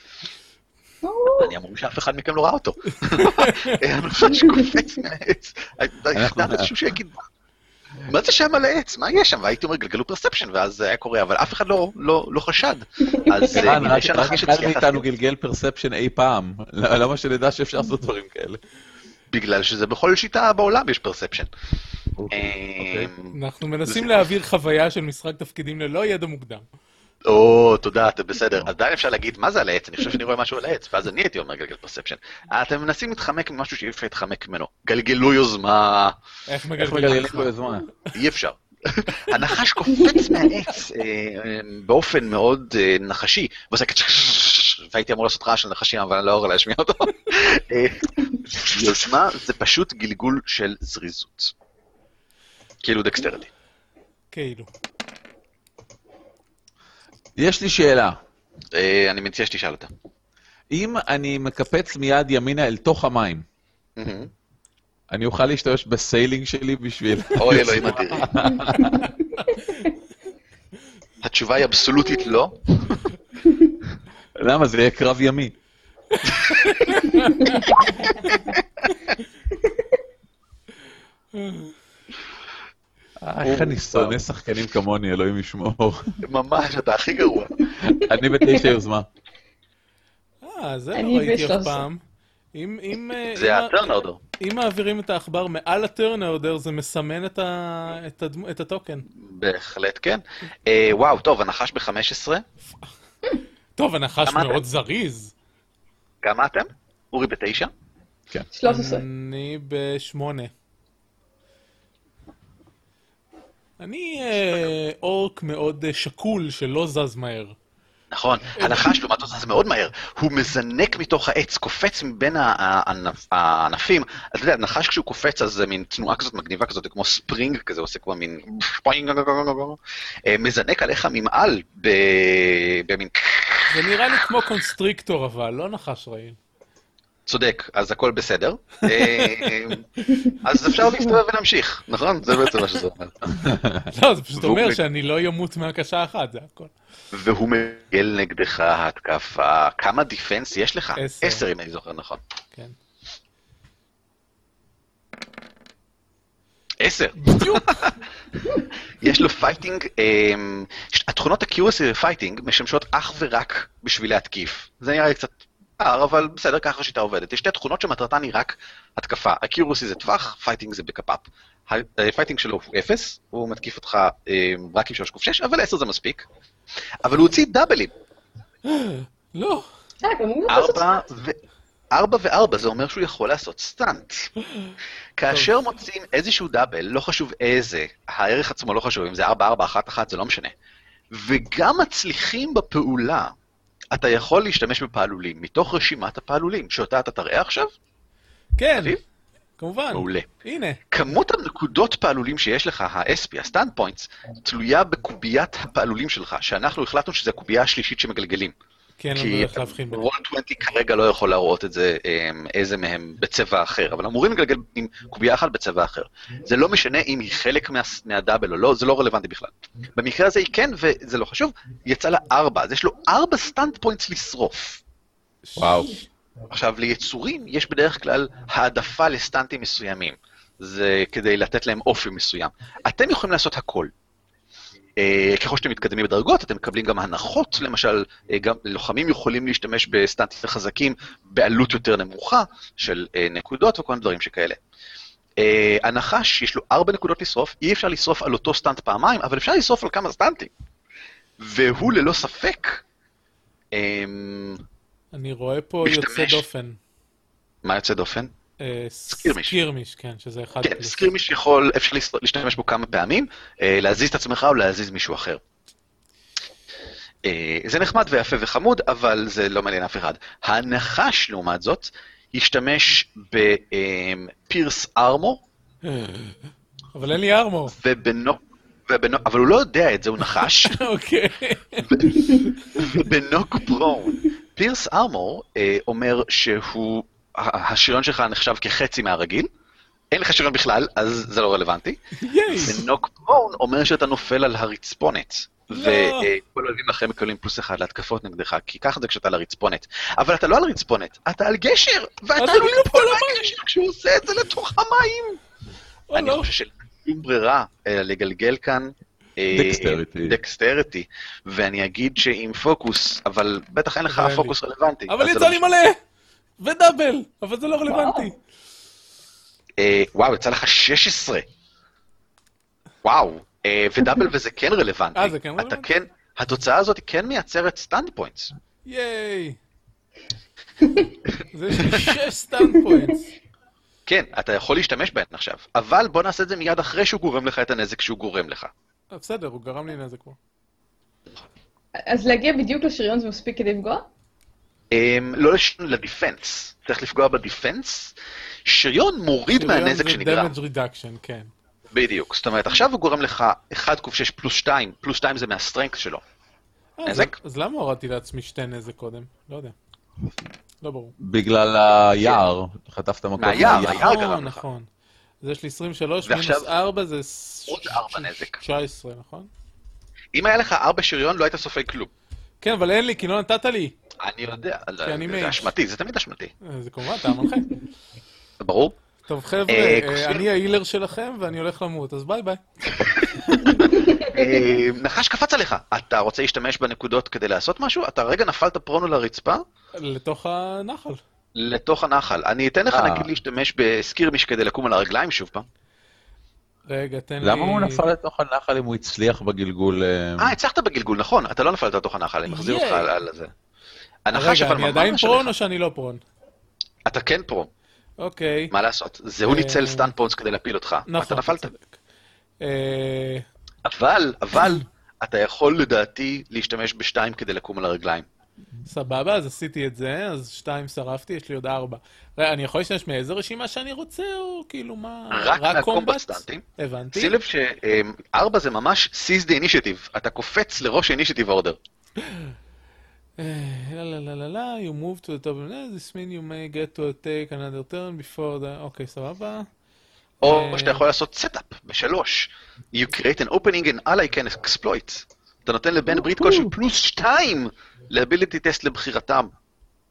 Speaker 2: אה,
Speaker 1: אני אמור שאף אחד מכם לא ראה אותו. הנחש קופץ מהעץ.
Speaker 2: אנחנו-
Speaker 1: ידעת שהוא יגיד, מה זה שם על העץ? מה יש שם? והייתי אומר, גלגלו פרספשן, ואז זה היה קורה, אבל אף אחד לא- לא לא חשד. אז אה,
Speaker 2: ערן,
Speaker 1: נראה
Speaker 2: רק רק
Speaker 1: שהנחש
Speaker 2: אחד
Speaker 1: הצליח
Speaker 2: מאיתנו
Speaker 1: להסתיר,
Speaker 2: גלגל פרספשן אי פעם. ל- למה שנדע שאפשר לעשות דברים כאלה?
Speaker 1: בגלל שזה בכל שיטה בעולם יש פרספשן. אמ,
Speaker 2: אוקיי.
Speaker 3: אנחנו מנסים להעביר חוויה של משחק תפקידים ללא ידע מוקדם.
Speaker 1: או, תודה, אתה בסדר. עדיין אפשר להגיד, מה זה על העץ? אני חושב שאני רואה משהו על העץ, ואז אני הייתי אומר גלגל פרספשן. אתם מנסים להתחמק ממשהו שאי אפשר להתחמק ממנו. גלגלו יוזמה,
Speaker 3: איך
Speaker 2: איך מגלגלים
Speaker 3: מגלגלים?
Speaker 2: פה יוזמה?
Speaker 1: אי אפשר. הנחש קופץ מהעץ אה, אה, באופן מאוד אה, נחשי, ועושה כזה, והייתי אמור לעשות רעש של נחשים, אבל אני לא יכול להשמיע אותו. אה, יוזמה זה פשוט גלגול של זריזות. כאילו דקסטרלי.
Speaker 3: כאילו.
Speaker 2: יש לי שאלה.
Speaker 1: אה, אני מציע שתשאל אותה.
Speaker 2: אם אני מקפץ מיד ימינה אל תוך המים,
Speaker 1: מהמם.
Speaker 2: אני אוכל להשתמש בסיילינג שלי בשביל...
Speaker 1: אוי אלוהים אדירים. התשובה היא אבסולוטית לא.
Speaker 2: למה? זה יהיה קרב ימי. אה, איך אני שונא שחקנים כמוני, אלוהים ישמור.
Speaker 1: ממש, אתה הכי גרוע.
Speaker 2: אני בתשע יוזמה.
Speaker 3: אה, זה
Speaker 4: אני
Speaker 3: לא ראיתי אף
Speaker 4: ב-13.
Speaker 3: פעם. אם, אם, אה, אם
Speaker 1: זה
Speaker 3: ה-
Speaker 1: הטרנרדו.
Speaker 3: אם מעבירים את העכבר מעל הטרנאודר, זה מסמן את, ה, את, הדמו, את הטוקן.
Speaker 1: בהחלט כן. אה, וואו, טוב, הנחש ב-15.
Speaker 3: טוב, הנחש
Speaker 1: אמרת.
Speaker 3: מאוד זריז.
Speaker 1: כמה אתם? אורי בתשע?
Speaker 4: 13.
Speaker 2: אמ,
Speaker 3: אני בשמונה. אני אה, אורק מאוד אה, שקול שלא זז מהר.
Speaker 1: נכון, הנחש לעומת זאת זז מאוד מהר, הוא מזנק מתוך העץ, קופץ מבין ה- ה- הענפ- הענפים. אתה יודע, נחש כשהוא קופץ אז זה מין תנועה כזאת מגניבה כזאת, כמו ספרינג כזה, עושה כמו מין... אה, מזנק עליך ממעל ב- במין...
Speaker 3: זה נראה לי כמו קונסטריקטור, אבל לא נחש רעיל.
Speaker 1: צודק, אז הכל בסדר. אה, אז אפשר להסתובב ולהמשיך, נכון? זה בעצם מה שזה אומר.
Speaker 3: לא, זה פשוט
Speaker 1: והוא
Speaker 3: אומר
Speaker 1: מג-
Speaker 3: שאני לא ימות מהקשה אחת, זה הכל.
Speaker 1: והוא מגל נגדך התקפה, כמה דיפנס יש לך?
Speaker 3: עשר.
Speaker 1: עשר, אם אני זוכר נכון.
Speaker 3: כן.
Speaker 1: עשר.
Speaker 3: בדיוק.
Speaker 1: יש לו פייטינג, אמ, ש- התכונות הקיורסי לפייטינג משמשות אך ורק בשביל להתקיף. זה נראה לי קצת פער, אבל בסדר, ככה השיטה עובדת. יש שתי תכונות שמטרתן היא רק התקפה. הקיורסי זה טווח, פייטינג זה בקפאפ. הפייטינג שלו הוא אפס, הוא מתקיף אותך אמ, רק עם 3 קוף 6, אבל 10 זה מספיק. אבל הוא הוציא דאבלים,
Speaker 3: לא.
Speaker 4: אה, גם הוא יכול לעשות
Speaker 1: 4 ו... ארבע וארבע, זה אומר שהוא יכול לעשות סטאנט. כאשר מוצאים איזשהו דאבל, לא חשוב איזה, הערך עצמו לא חשוב, אם זה ארבע, ארבע, אחת, אחת, זה לא משנה. וגם מצליחים בפעולה, אתה יכול להשתמש בפעלולים, מתוך רשימת הפעלולים, שאותה אתה תראה עכשיו,
Speaker 3: כן,
Speaker 1: אביב?
Speaker 3: כמובן.
Speaker 1: מעולה.
Speaker 3: הנה.
Speaker 1: כמות הנקודות פעלולים שיש לך, ה-SP, ה-Stand Points, תלויה בקוביית הפעלולים שלך, שאנחנו החלטנו שזו הקובייה השלישית שמגלגלים.
Speaker 3: כי אין לנו
Speaker 1: כי
Speaker 3: דרך כן, להבחין ביניהם.
Speaker 1: רול 20 כרגע לא יכול להראות את זה, אמ, איזה מהם בצבע אחר, אבל אמורים לגלגל עם קובייה אחת בצבע אחר. זה לא משנה אם היא חלק מה, מהדאבל או לא, זה לא רלוונטי בכלל. במקרה הזה היא כן, וזה לא חשוב, יצא לה ארבע, אז יש לו ארבע סטנד פוינטס לשרוף.
Speaker 2: וואו.
Speaker 1: עכשיו, ליצורים יש בדרך כלל העדפה לסטנטים מסוימים. זה כדי לתת להם אופי מסוים. אתם יכולים לעשות הכל. אה, ככל שאתם מתקדמים בדרגות, אתם מקבלים גם הנחות, למשל, אה, גם לוחמים יכולים להשתמש בסטנטים חזקים בעלות יותר נמוכה של אה, נקודות וכל מיני דברים שכאלה. אה, הנחש, יש לו ארבע נקודות לשרוף, אי אפשר לשרוף על אותו סטנט פעמיים, אבל אפשר לשרוף על כמה סטנטים. והוא ללא ספק, אמ,
Speaker 3: אני רואה פה
Speaker 1: משתמש.
Speaker 3: יוצא דופן.
Speaker 1: מה יוצא דופן?
Speaker 3: אה,
Speaker 1: סקירמיש.
Speaker 3: סקירמיש, כן, שזה אחד
Speaker 1: כן,
Speaker 3: פלוס.
Speaker 1: סקרימיש יכול, אפשר להס- להשתמש בו כמה פעמים, אה, להזיז את עצמך או להזיז מישהו אחר. אה, זה נחמד ויפה וחמוד, אבל זה לא מעניין אף אחד. הנחש, לעומת זאת, ישתמש בפירס ארמור,
Speaker 3: אבל אין לי ארמור.
Speaker 1: ובנו... ובנו... אבל הוא לא יודע את זה, הוא נחש.
Speaker 3: אוקיי.
Speaker 1: בנוק פרון. פירס ארמור אה, אומר שהוא, ה- השריון שלך נחשב כחצי מהרגיל, אין לך שריון בכלל, אז זה לא רלוונטי.
Speaker 3: ייי.
Speaker 1: ונוק פרון אומר שאתה נופל על הרצפונת.
Speaker 3: לא.
Speaker 1: וכל האוהבים לכם מקבלים פלוס אחד להתקפות נגדך, כי ככה זה כשאתה על הרצפונת. אבל אתה לא על הרצפונת, אתה על גשר, ואתה
Speaker 3: אתה
Speaker 1: עלול
Speaker 3: ליפול
Speaker 1: ליפול
Speaker 3: למים.
Speaker 1: מהגשר כשהוא עושה את זה לתוך המים.
Speaker 3: או
Speaker 1: אני
Speaker 3: לא.
Speaker 1: חושב שאין שום ברירה אלא לגלגל כאן. אה,
Speaker 2: Dexterity.
Speaker 1: דקסטריטי, ואני אגיד שעם פוקוס, אבל בטח אין לך
Speaker 3: אבל אין לי.
Speaker 1: פוקוס רלוונטי.
Speaker 3: אבל
Speaker 1: אז זה
Speaker 3: יצא
Speaker 1: לא
Speaker 3: לי
Speaker 1: משנה.
Speaker 3: מלא! ודאבל! אבל זה לא רלוונטי.
Speaker 1: אה, וואו, יצא לך 16. וואו, אה, ודאבל וזה כן רלוונטי.
Speaker 3: אה, זה כן
Speaker 1: אתה
Speaker 3: רלוונטי?
Speaker 1: כן, התוצאה הזאת כן מייצרת סטנד פוינטס.
Speaker 3: ייי. זה יש לי שש סטאנד פוינטס.
Speaker 1: כן, אתה יכול להשתמש בהן עכשיו, אבל בוא נעשה את זה מיד אחרי שהוא גורם לך את הנזק שהוא גורם לך.
Speaker 3: אה, בסדר, הוא גרם לי נזק פה.
Speaker 4: אז להגיע בדיוק לשריון זה מספיק כדי לפגוע?
Speaker 1: אמ, לא לש- לדיפנס, צריך לפגוע בדיפנס. שריון מוריד מהנזק שנגרם.
Speaker 3: כאילו, זה damage reduction, כן.
Speaker 1: בדיוק, זאת אומרת, עכשיו הוא גורם לך 1 קוף 6 פלוס 2, פלוס 2 זה מהסטרנקס שלו.
Speaker 3: אה, אז-
Speaker 1: נזק?
Speaker 3: אז למה הורדתי לעצמי שתי נזק קודם? לא יודע. לא ברור.
Speaker 2: בגלל היער, חטפת מכות
Speaker 1: מהיער,
Speaker 2: מהיער.
Speaker 1: היער גרם
Speaker 3: נכון,
Speaker 1: לך.
Speaker 3: נכון. אז יש לי 23,
Speaker 1: ועכשיו-
Speaker 3: מינוס 4 זה... ש-
Speaker 1: עוד ארבע נזק.
Speaker 3: 19, נכון?
Speaker 1: אם היה לך 4 שריון, לא היית סופג כלום.
Speaker 3: כן, אבל אין לי, כי לא נתת לי.
Speaker 1: אני יודע, לא,
Speaker 3: אני מייט.
Speaker 1: זה אשמתי, זה תמיד אשמתי,
Speaker 3: אה, זה כמובן, אתה המנחה.
Speaker 1: זה ברור?
Speaker 3: טוב, חבר'ה,
Speaker 1: אה,
Speaker 3: אה,
Speaker 1: כפיר.
Speaker 3: אני ההילר שלכם ואני הולך למות, אז ביי ביי.
Speaker 1: אה, נחש קפץ עליך, אתה רוצה להשתמש בנקודות כדי לעשות משהו? אתה רגע נפלת פרונו לרצפה,
Speaker 3: לתוך הנחל.
Speaker 1: לתוך הנחל. אני אתן לך
Speaker 2: אה.
Speaker 1: נגיד להשתמש בסקירמיש כדי לקום על הרגליים שוב פעם.
Speaker 3: רגע, תן לי...
Speaker 2: למה הוא נפל לתוך הנחל אם הוא הצליח בגלגול? אה,
Speaker 3: אמ.
Speaker 1: אה, הצלחת בגלגול, נכון, אתה לא נפלת לתוך הנחל, אני מחזיר אותך
Speaker 3: ייי.
Speaker 1: על על זה. הנחש
Speaker 3: רגע,
Speaker 1: אבל
Speaker 3: אני עדיין
Speaker 1: ממש
Speaker 3: פרון
Speaker 1: עליך.
Speaker 3: או שאני לא פרון?
Speaker 1: אתה כן פרון,
Speaker 3: אוקיי.
Speaker 1: מה לעשות? זה הוא
Speaker 3: אה,
Speaker 1: ניצל סטן פונס כדי להפיל אותך.
Speaker 3: נכון.
Speaker 1: אתה נפלת.
Speaker 3: צודק. אה,
Speaker 1: אבל, אבל, אתה יכול לדעתי להשתמש בשתיים כדי לקום על הרגליים.
Speaker 3: סבבה, אז עשיתי את זה, אז שתיים שרפתי, יש לי עוד ארבע. רגע, אני יכול להשתמש מאיזה רשימה שאני רוצה, או כאילו מה...
Speaker 1: רק מהקומבט סטנטים.
Speaker 3: הבנתי.
Speaker 1: שים לב שארבע זה ממש seize the initiative, אתה קופץ לראש initiative order.
Speaker 3: אה, לה לה לה לה לה, you move to the top of the net, this means you may get to take another turn before the... אוקיי, סבבה. אה.
Speaker 1: או שאתה יכול לעשות סטאפ בשלוש. You create an opening and ally can exploit. אתה נותן לבן ברית כלשהו פלוס שתיים לאביליטי טסט לבחירתם.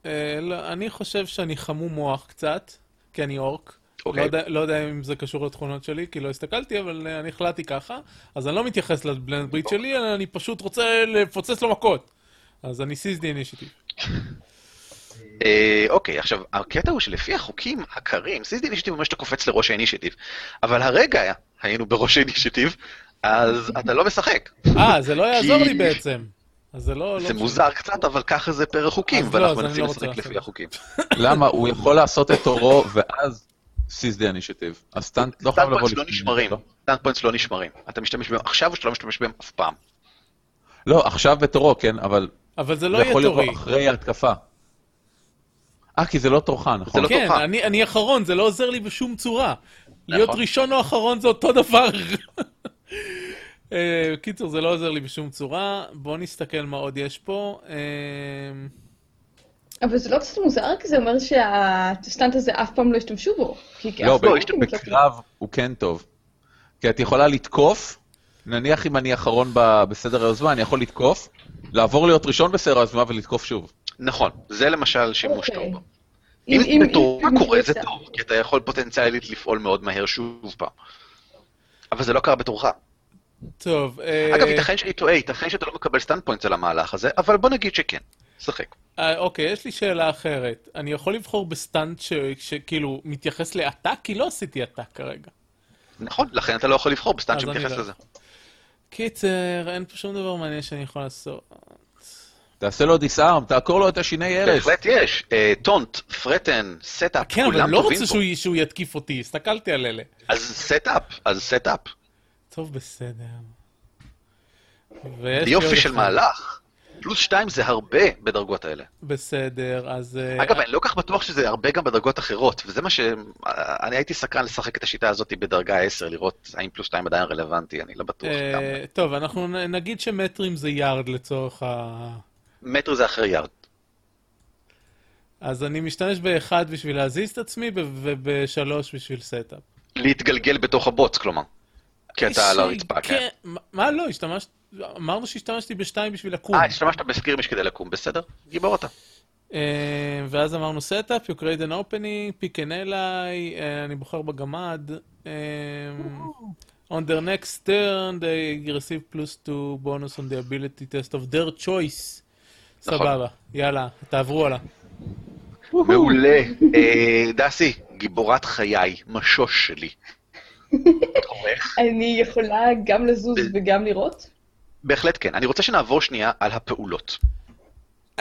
Speaker 3: אה, לא, אני חושב שאני חמום מוח קצת, כי אני אורק. לא
Speaker 1: אוקיי.
Speaker 3: יודע- לא יודע אם זה קשור לתכונות שלי, כי לא הסתכלתי, אבל אה, אני החלטתי ככה. אז אני לא מתייחס לבלנד
Speaker 1: לא.
Speaker 3: ברית שלי, אלא אני פשוט רוצה לפוצץ לו מכות. אז אני סיז די אינשיטיב.
Speaker 1: אה, אוקיי, עכשיו, הקטע הוא שלפי החוקים הקרים, סיסטי אינישיטיב אומר שאתה קופץ לראש האינישיטיב, אבל הרגע היינו בראש האינישיטיב, אז אתה לא משחק.
Speaker 3: אה, זה לא יעזור
Speaker 1: כי-
Speaker 3: לי בעצם. אז זה לא... לא
Speaker 1: זה
Speaker 3: משנה.
Speaker 1: מוזר קצת, אבל ככה זה פר החוקים,
Speaker 3: אז לא, אז
Speaker 1: ואנחנו
Speaker 3: אני
Speaker 1: מנסים
Speaker 3: לא רוצה
Speaker 1: לשחק לפי
Speaker 3: לעשות.
Speaker 1: החוקים.
Speaker 2: למה? הוא יכול לעשות את תורו, ואז סיס דה אנישטיב. הסטנט לא חייב
Speaker 1: טאנק
Speaker 2: לבוא
Speaker 1: פוינטס לא
Speaker 2: לפני.
Speaker 1: נשמרים, טאנק פוינטס לא נשמרים. אתה משתמש בהם עכשיו או שאתה לא משתמש בהם אף פעם.
Speaker 2: לא, עכשיו בתורו, כן, אבל
Speaker 3: אבל זה
Speaker 2: זה
Speaker 3: לא יהיה
Speaker 2: יכול לבוא
Speaker 3: תורי.
Speaker 2: אחרי ההתקפה. אה, כי זה לא תורך, נכון?
Speaker 1: לא
Speaker 3: כן,
Speaker 1: תורך.
Speaker 3: אני, אני אחרון, זה לא עוזר לי בשום צורה. להיות
Speaker 1: נכון.
Speaker 3: ראשון או אחרון זה אותו דבר. אה, קיצור, זה לא עוזר לי בשום צורה. בואו נסתכל מה עוד יש פה. אה,
Speaker 4: אבל זה לא קצת מוזר, כי זה אומר שהטסטנט הזה אף פעם לא השתמשו בו. כי כי
Speaker 2: לא,
Speaker 4: אף פעם
Speaker 1: לא,
Speaker 2: ב-
Speaker 1: יש-
Speaker 4: לא השתמשו בו.
Speaker 2: בקרב הוא כן טוב. כי את יכולה לתקוף, נניח אם אני אחרון ב- בסדר היוזמה, אני יכול לתקוף, לעבור להיות ראשון בסדר היוזמה ולתקוף שוב.
Speaker 1: נכון, זה למשל שימוש
Speaker 4: אוקיי.
Speaker 1: טוב. אם בתור
Speaker 4: אם-
Speaker 1: קורה זה
Speaker 4: אם-
Speaker 1: טוב, כי אתה יכול פוטנציאלית לפעול מאוד מהר שוב פעם. אבל זה לא קרה בתורך.
Speaker 3: אה. טוב, אה,
Speaker 1: אגב, ייתכן שאני טועה, ייתכן שאתה לא מקבל סטן פוינטס על המהלך הזה, אבל בוא נגיד שכן. שחק.
Speaker 3: אה, אוקיי, יש לי שאלה אחרת. אני יכול לבחור בסטנט ש- שכאילו מתייחס לעתק? כי לא עשיתי עתק כרגע.
Speaker 1: נכון, לכן אתה לא יכול לבחור בסטן
Speaker 3: אז אני
Speaker 1: שמתייחס
Speaker 3: לא.
Speaker 1: לזה.
Speaker 3: קיצר, אין פה שום דבר מעניין שאני יכול לעשות.
Speaker 2: תעשה לו דיסארם, תעקור לו את השיני ארץ.
Speaker 1: בהחלט יש. אה, טונט, פרטן, סטאפ,
Speaker 3: כן, אבל אני
Speaker 1: כולם
Speaker 3: לא
Speaker 1: טובים
Speaker 3: רוצה
Speaker 1: פה.
Speaker 3: שהוא י- שהוא יתקיף אותי, הסתכלתי על אלה.
Speaker 1: אז סטאפ, אז סטאפ.
Speaker 3: טוב, בסדר. ויש לי עוד
Speaker 1: יופי של
Speaker 3: אחד.
Speaker 1: מהלך. פלוס שתיים זה הרבה בדרגות האלה.
Speaker 3: בסדר, אז... אה,
Speaker 1: אגב, אני לא כל כך בטוח שזה הרבה גם בדרגות אחרות, וזה מה ש... אני הייתי סקרן לשחק את השיטה הזאת בדרגה 10, לראות האם פלוס 2 עדיין רלוונטי, אני לא בטוח.
Speaker 3: אה,
Speaker 1: גם.
Speaker 3: טוב, אנחנו נ- נגיד שמטרים זה יארד לצורך ה...
Speaker 1: מטר זה אחרי יארד.
Speaker 3: אז אני משתמש באחד בשביל להזיז את עצמי ב- ובשלוש בשביל סטאפ.
Speaker 1: להתגלגל בתוך הבוץ, כלומר. כי אתה על הרצפה, כן.
Speaker 3: כן. מה- מה לא, השתמשת... אמרנו שהשתמשתי בשתיים בשביל לקום.
Speaker 1: אה, השתמשת בסקירמיש כדי לקום, בסדר? גיבור אתה.
Speaker 3: אה, ואז אמרנו סטאפ, you create an opening, pick an ally, אה, אני בוחר בגמד. אה, On their next turn, they receive plus two bonus on the ability test of their choice.
Speaker 1: נכון.
Speaker 3: סבבה, יאללה, תעברו עליו.
Speaker 1: מעולה. אה, דסי, גיבורת חיי, משוש שלי. הולך?
Speaker 4: אני יכולה גם לזוז וגם לראות?
Speaker 1: בהחלט כן. אני רוצה שנעבור שנייה על הפעולות.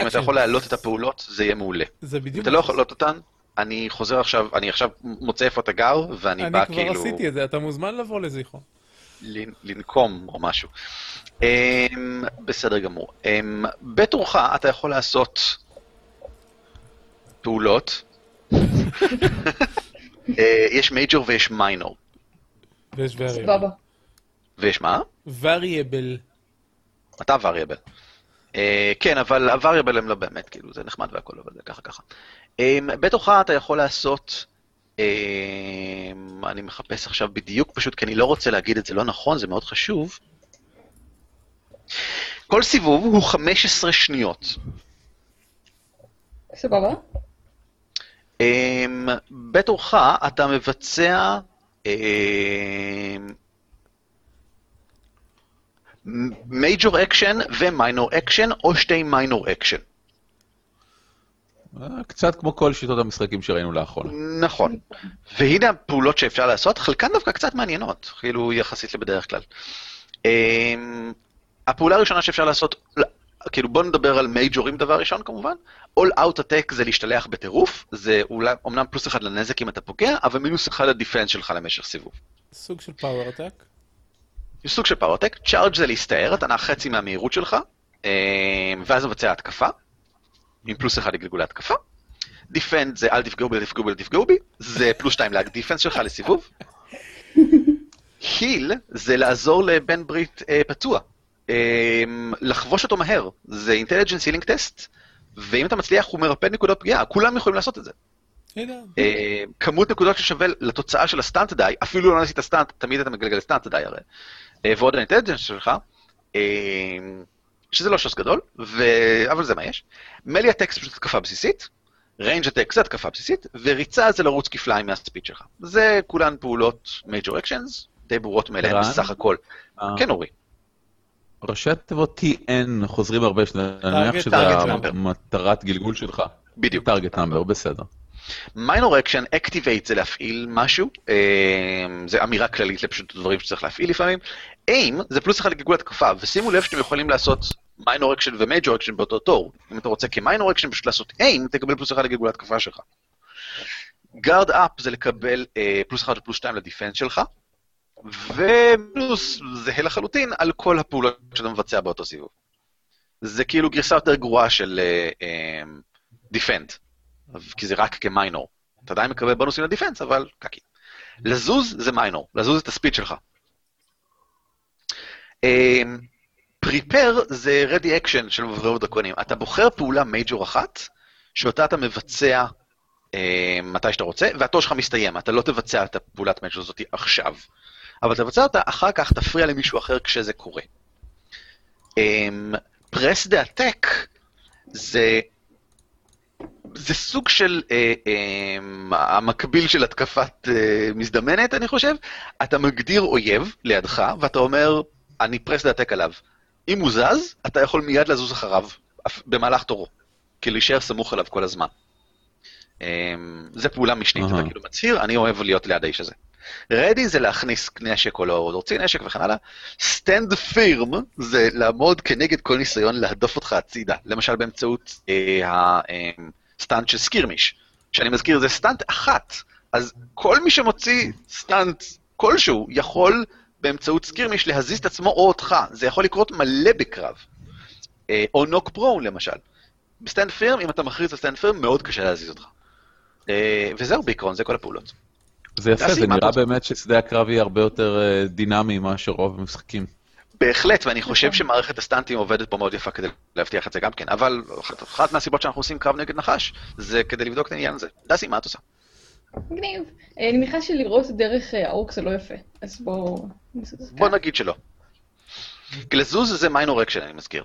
Speaker 1: אם אתה יכול להעלות את הפעולות, זה יהיה מעולה.
Speaker 3: זה בדיוק...
Speaker 1: אם אתה לא יכול להעלות אותן, אני חוזר עכשיו, אני עכשיו מוצא איפה אתה גר, ואני
Speaker 3: אני
Speaker 1: בא
Speaker 3: כבר
Speaker 1: כאילו
Speaker 3: עשיתי את זה, אתה מוזמן לבוא לזיכרון.
Speaker 1: לנ- לנקום או משהו. אמ, בסדר גמור. אמ, בתורך אתה יכול לעשות פעולות. אה, יש מייג'ור ויש מיינור.
Speaker 3: ויש
Speaker 4: סבבה.
Speaker 3: וריאבל.
Speaker 1: ויש מה?
Speaker 3: וריאבל.
Speaker 1: אתה וריאבל. אה, כן, אבל הווריאבל הם לא באמת, כאילו, זה נחמד והכל, אבל זה ככה ככה. אה, בתוכך אתה יכול לעשות, אה, אני מחפש עכשיו בדיוק, פשוט כי אני לא רוצה להגיד את זה לא נכון, זה מאוד חשוב. כל סיבוב הוא 15 שניות.
Speaker 4: סבבה.
Speaker 1: אה, בתורך אתה מבצע... אה, מייג'ור אקשן ומיינור אקשן, או שתי מיינור אקשן.
Speaker 2: אה, קצת כמו כל שיטות המשחקים שראינו לאחרונה.
Speaker 1: נכון. והנה הפעולות שאפשר לעשות, חלקן דווקא קצת מעניינות, כאילו יחסית לבדרך כלל. אמ, הפעולה הראשונה שאפשר לעשות, כאילו בואו נדבר על מייג'ורים דבר ראשון כמובן, All Out Attack זה להשתלח בטירוף, זה אולי, אמנם פלוס אחד לנזק אם אתה פוגע, אבל מינוס אחד לדיפנס שלך למשך סיבוב.
Speaker 3: סוג של פאוור אטאק.
Speaker 1: יש סוג של פאורטק, צ'ארג' זה להסתער, אתה נע חצי מהמהירות שלך, אמ, ואז מבצע התקפה, עם פלוס אחד לגלגול ההתקפה. דיפנד זה אל תפגעו בי, אל תפגעו בי, אל תפגעו בי, זה פלוס שתיים לדיפנס שלך לסיבוב. היל זה לעזור אה, לבן ברית אה, פצוע, אמ, לחבוש אותו מהר, זה אינטליג'נס הילינג טסט, ואם אתה מצליח, הוא מרפא נקודות פגיעה, כולם יכולים לעשות את זה.
Speaker 3: הנה.
Speaker 1: אה, כמות נקודות ששווה לתוצאה של הסטאנט די, אפילו לא עשית סטאנט, תמיד אתה מגלגל סטאנט די הרי. אה, ועוד האינטליג'נס שלך, אה, שזה לא שוס גדול, ו... אבל זה מה יש. מלי הטקס פשוט התקפה בסיסית, ריינג' הטקס זה התקפה בסיסית, וריצה זה לרוץ כפליים מהספיד שלך. זה כולן פעולות מייג'ור אקשנס, די ברורות מאליהן
Speaker 2: רן? אה.
Speaker 1: בסך הכל. כן, אורי.
Speaker 2: ראשי התיבות TN חוזרים הרבה, שאני מניח שזה
Speaker 1: target number.
Speaker 2: המטרת גלגול שלך.
Speaker 1: בדיוק.
Speaker 2: טרגט נאמבר, בסדר.
Speaker 1: מיינור אקשן, אקטיבייט זה להפעיל משהו, אה, זה אמירה כללית לפשוט דברים שצריך להפעיל לפעמים. איים זה פלוס אחד לגלגול התקפה, ושימו לב שאתם יכולים לעשות מיינור אקשן ומייג'ור אקשן באותו תור. אם אתה רוצה כמיינור אקשן פשוט לעשות איים, תקבל פלוס אחד לגלגול התקפה שלך. גארד אפ זה לקבל אה, פלוס אחד ופלוס שתיים לדיפנס שלך, ופלוס זהה לחלוטין על כל הפעולות שאתה מבצע באותו סיבוב. זה כאילו גרסה יותר גרועה של אה, אמ, דיפנד. כי זה רק כמיינור. אתה עדיין מקבל בונוסים לדיפנס, אבל קקי. לזוז זה מיינור, לזוז את הספיד שלך. אמ, פריפר זה רדי אקשן של מבריאו דרקונים. אתה בוחר פעולה מייג'ור אחת, שאותה אתה מבצע אה, מתי שאתה רוצה, והתור שלך מסתיים, אתה לא תבצע את הפעולת מייג'ור הזאת עכשיו. אבל תבצע אותה אחר כך, תפריע למישהו אחר כשזה קורה. אמ, פרס דה הטק זה זה סוג של אה, אה, המקביל של התקפת אה, מזדמנת, אני חושב. אתה מגדיר אויב לידך, ואתה אומר, אני פרס דעתק עליו. אם הוא זז, אתה יכול מיד לזוז אחריו, אף- במהלך תורו. כאילו, להישאר סמוך אליו כל הזמן. אה, זה פעולה משנית,
Speaker 2: אהה.
Speaker 1: אתה כאילו מצהיר, אני אוהב להיות ליד האיש הזה. רדי זה להכניס נשק או לא להוציא נשק וכן הלאה. סטנד פירם זה לעמוד כנגד כל ניסיון להדוף אותך הצידה, למשל באמצעות אה, הסטנט של סקירמיש. שאני מזכיר, זה סטנט אחת, אז כל מי שמוציא סטנט כלשהו יכול באמצעות סקירמיש להזיז את עצמו או אותך, זה יכול לקרות מלא בקרב. אה, או נוק פרון למשל. בסטנד פירם, אם אתה מכריז על סטנד פירם, מאוד קשה להזיז אותך. אה, וזהו בעיקרון, זה כל הפעולות.
Speaker 2: זה יפה,
Speaker 1: דסי,
Speaker 2: זה
Speaker 1: מה אתה
Speaker 2: נראה
Speaker 1: רוצה?
Speaker 2: באמת ששדה הקרב יהיה הרבה יותר אה, דינמי מאשר רוב המשחקים.
Speaker 1: בהחלט, ואני
Speaker 3: נכון.
Speaker 1: חושב שמערכת הסטנטים עובדת פה מאוד יפה כדי להבטיח את זה גם כן, אבל אחת- אחת מהסיבות שאנחנו עושים קרב נגד נחש, זה כדי לבדוק את העניין הזה. דסי, מה את עושה?
Speaker 3: כן.
Speaker 4: מגניב. אה, אני מניחה שלראות דרך אה, האורק זה לא יפה, אז בואו נעשה את זה
Speaker 1: בוא
Speaker 4: ככה.
Speaker 1: נגיד שלא. כי לזוז זה מיינור אקשן, אני מזכיר.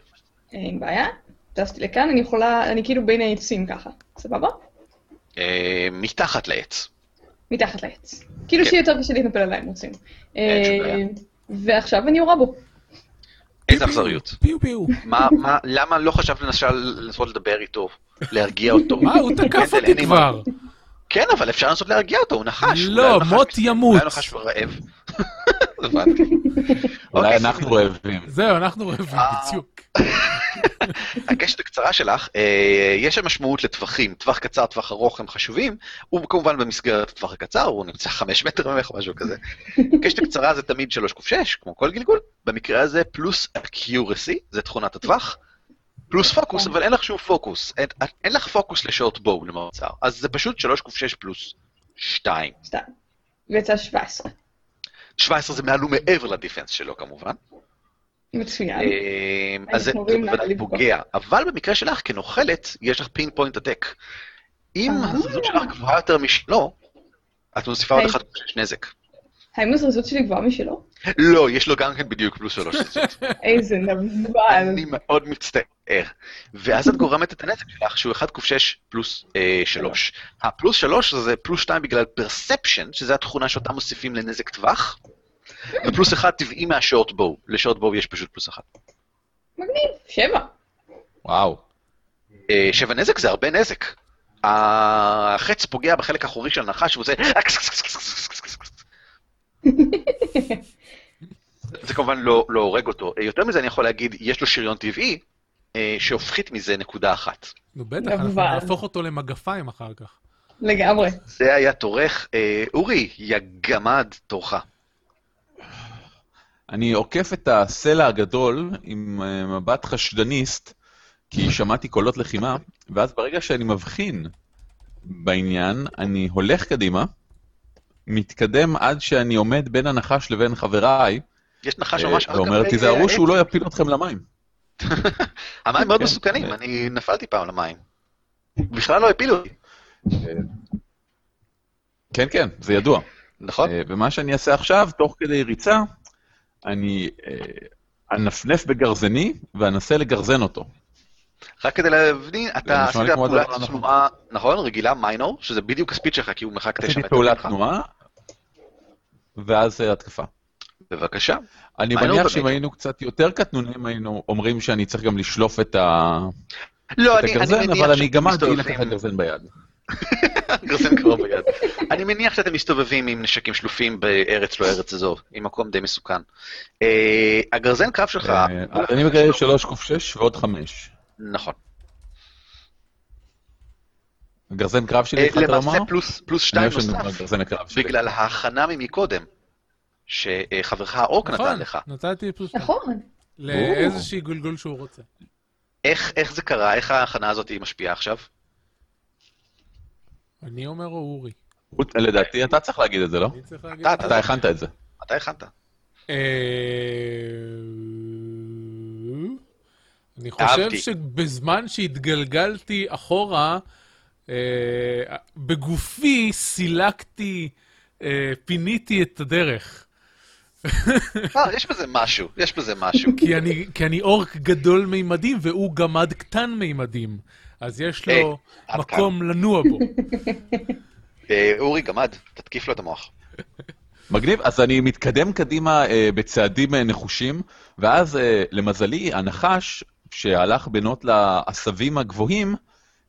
Speaker 4: אין אה, בעיה. טסתי לכאן, אני יכולה, אני כאילו בין העצים ככה, סבבה?
Speaker 1: אה, מתחת לעץ.
Speaker 4: מתחת לעץ. כאילו
Speaker 1: כן.
Speaker 4: שיהיה יותר קשה להתנפל עליי אם רוצים.
Speaker 1: אין שום בעיה.
Speaker 4: אה, ועכשיו אני יורה בו.
Speaker 1: איזה אכזריות.
Speaker 3: פיו פיו.
Speaker 1: מה, מה, למה לא חשבת למשל לנסות לדבר איתו, להרגיע אותו?
Speaker 3: מה, הוא תקף
Speaker 1: כן,
Speaker 3: אותי
Speaker 1: אני-
Speaker 3: כבר.
Speaker 1: כן, אבל אפשר לנסות להרגיע אותו, הוא נחש.
Speaker 3: לא,
Speaker 1: אולי הוא נחש-
Speaker 3: מוט ימות.
Speaker 1: אולי הוא נחש ורעב. הבנתי.
Speaker 2: אולי
Speaker 1: אוקיי, שימי
Speaker 2: אנחנו
Speaker 1: לב.
Speaker 2: רעבים.
Speaker 3: זהו, אנחנו רעבים
Speaker 1: אה.
Speaker 3: בדיוק.
Speaker 1: הקשת הקצרה שלך, אה, יש שם משמעות לטווחים, טווח קצר, טווח ארוך הם חשובים, הוא כמובן במסגרת הטווח הקצר, הוא נמצא חמש מטר ממך או משהו כזה. הקשת הקצרה זה תמיד שלוש קוף שש, כמו כל גלגול, במקרה הזה פלוס accuracy, זה תכונת הטווח, פלוס פוקוס, אבל אין לך שום פוקוס, אין, אין לך פוקוס לשורט בואו למעצר, אז זה פשוט שלוש קוף שש פלוס שתיים.
Speaker 4: שתיים. ויצא 17.
Speaker 1: 17 זה מעל ומעבר לדיפנס שלו כמובן.
Speaker 4: מצוין.
Speaker 1: אה, אז זה
Speaker 4: אנחנו אומרים לה
Speaker 1: בוודאי
Speaker 4: לבדוק.
Speaker 1: פוגע, אבל במקרה שלך, כנוכלת, יש לך פין פוינט הטק. אם
Speaker 4: אה.
Speaker 1: הזדמנות שלך גבוהה יותר משלו, את מוסיפה עוד
Speaker 4: היי.
Speaker 1: אחד שיש נזק.
Speaker 4: האם הזריזות שלי גבוהה משלו?
Speaker 1: לא, יש לו גם כן בדיוק פלוס שלוש.
Speaker 4: איזה נבל.
Speaker 1: אני מאוד מצטער. ואז את גורמת את הנזק שלך, שהוא 1 קוף 6 פלוס 3. הפלוס 3 זה פלוס 2 בגלל פרספשן, שזו התכונה שאותה מוסיפים לנזק טווח, ופלוס 1 טבעי מהשורט בואו. לשורט בואו יש פשוט פלוס 1.
Speaker 4: מגניב. שבע.
Speaker 2: וואו.
Speaker 1: אה, שבע נזק זה הרבה נזק. החץ פוגע בחלק האחורי של הנחש, והוא עושה... אה, זה כמובן לא, לא הורג אותו. אה, יותר מזה אני יכול להגיד, יש לו שריון טבעי, אה, שהופחית מזה נקודה אחת.
Speaker 3: נו בטח, אנחנו
Speaker 4: נבל.
Speaker 3: נהפוך אותו למגפיים אחר כך.
Speaker 4: לגמרי.
Speaker 1: זה היה תורך. אה, אורי, יא גמד, תורך.
Speaker 2: אני עוקף את הסלע הגדול עם אה, מבט חשדניסט, כי שמעתי קולות לחימה, ואז ברגע שאני מבחין בעניין, אני הולך קדימה, מתקדם עד שאני עומד בין הנחש לבין חבריי,
Speaker 1: יש נחש
Speaker 2: אה,
Speaker 1: ממש... על
Speaker 2: ואומר,
Speaker 1: גבי
Speaker 2: תיזהרו
Speaker 1: העץ."
Speaker 2: שהוא לא יפיל אתכם למים.
Speaker 1: המים מאוד
Speaker 3: כן.
Speaker 1: מסוכנים, אני נפלתי פעם למים. בכלל לא הפילו אותי,
Speaker 2: כן, כן, זה ידוע.
Speaker 1: נכון?
Speaker 2: אה, ומה שאני אעשה עכשיו, תוך כדי ריצה, אני אה, אנפנף בגרזני ואנסה לגרזן אותו.
Speaker 1: רק כדי להבין, אתה
Speaker 2: נשמע
Speaker 1: עשית
Speaker 2: לי כמו לא
Speaker 1: פעולת
Speaker 2: הדבר הנכון.
Speaker 1: תנועה, נכון? רגילה, מיינור, שזה בדיוק הספיד שלך, כי הוא מרחק תשע
Speaker 2: עשיתי
Speaker 1: מטר
Speaker 2: פעולת
Speaker 1: ממך.
Speaker 2: תנועה, ואז אה, התקפה.
Speaker 1: בבקשה.
Speaker 2: אני
Speaker 1: מה היינו
Speaker 2: מניח
Speaker 1: בנגב?
Speaker 2: שאם היינו קצת יותר קטנונים, היינו אומרים שאני צריך גם לשלוף את ה-
Speaker 1: לא,
Speaker 2: את
Speaker 1: אני אני
Speaker 2: הגרזן, אבל
Speaker 1: מניח
Speaker 2: אני גמרתי
Speaker 1: שאתם
Speaker 2: לקחת את
Speaker 1: מסתובבים-
Speaker 2: הגרזן ביד.
Speaker 1: גרזן קרוב ביד. אני מניח שאתם מסתובבים עם נשקים שלופים בארץ לא ארץ זו, עם מקום די מסוכן. אה, הגרזן קרב שלך...
Speaker 2: אה, אז אני מגלה 3 קוף 6 ועוד 5.
Speaker 1: נכון.
Speaker 2: הגרזן קרב שלי,
Speaker 1: אה,
Speaker 2: התחלת לומר?
Speaker 1: למעשה פלוס- פלוס
Speaker 2: אני
Speaker 1: שתיים
Speaker 2: אוהב שאני אומר
Speaker 1: נוסף,
Speaker 2: גרזן הקרב שלי.
Speaker 1: בגלל ההכנה ממקודם, שחברך האורק נתן
Speaker 3: נכון,
Speaker 1: לך.
Speaker 3: נתתי פלוס שתיים.
Speaker 4: נכון.
Speaker 3: לאיזשהי גולגול שהוא רוצה.
Speaker 1: איך איך זה קרה? איך ההכנה הזאת היא משפיעה עכשיו?
Speaker 3: אני אומר או אורי?
Speaker 2: הוא- אה, לדעתי אתה צריך להגיד את זה, לא?
Speaker 3: אני צריך להגיד.
Speaker 1: אתה-
Speaker 3: לך.
Speaker 2: אתה הכנת את זה.
Speaker 1: אתה הכנת.
Speaker 3: אה, אני חושב
Speaker 1: אהבתי.
Speaker 3: שבזמן שהתגלגלתי אחורה, אה, בגופי סילקתי, אה, פיניתי את הדרך.
Speaker 1: אה, יש בזה משהו, יש בזה משהו.
Speaker 3: כי אני, כי אני אורק גדול מימדים והוא גמד קטן מימדים. אז יש
Speaker 1: היי,
Speaker 3: לו
Speaker 1: אה, עד
Speaker 3: מקום לנוע בו.
Speaker 1: אה, אורי גמד, תתקיף לו את המוח.
Speaker 2: מגניב, אז אני מתקדם קדימה אה, בצעדים אה, נחושים, ואז אה, למזלי, הנחש שהלך בינות לעשבים הגבוהים,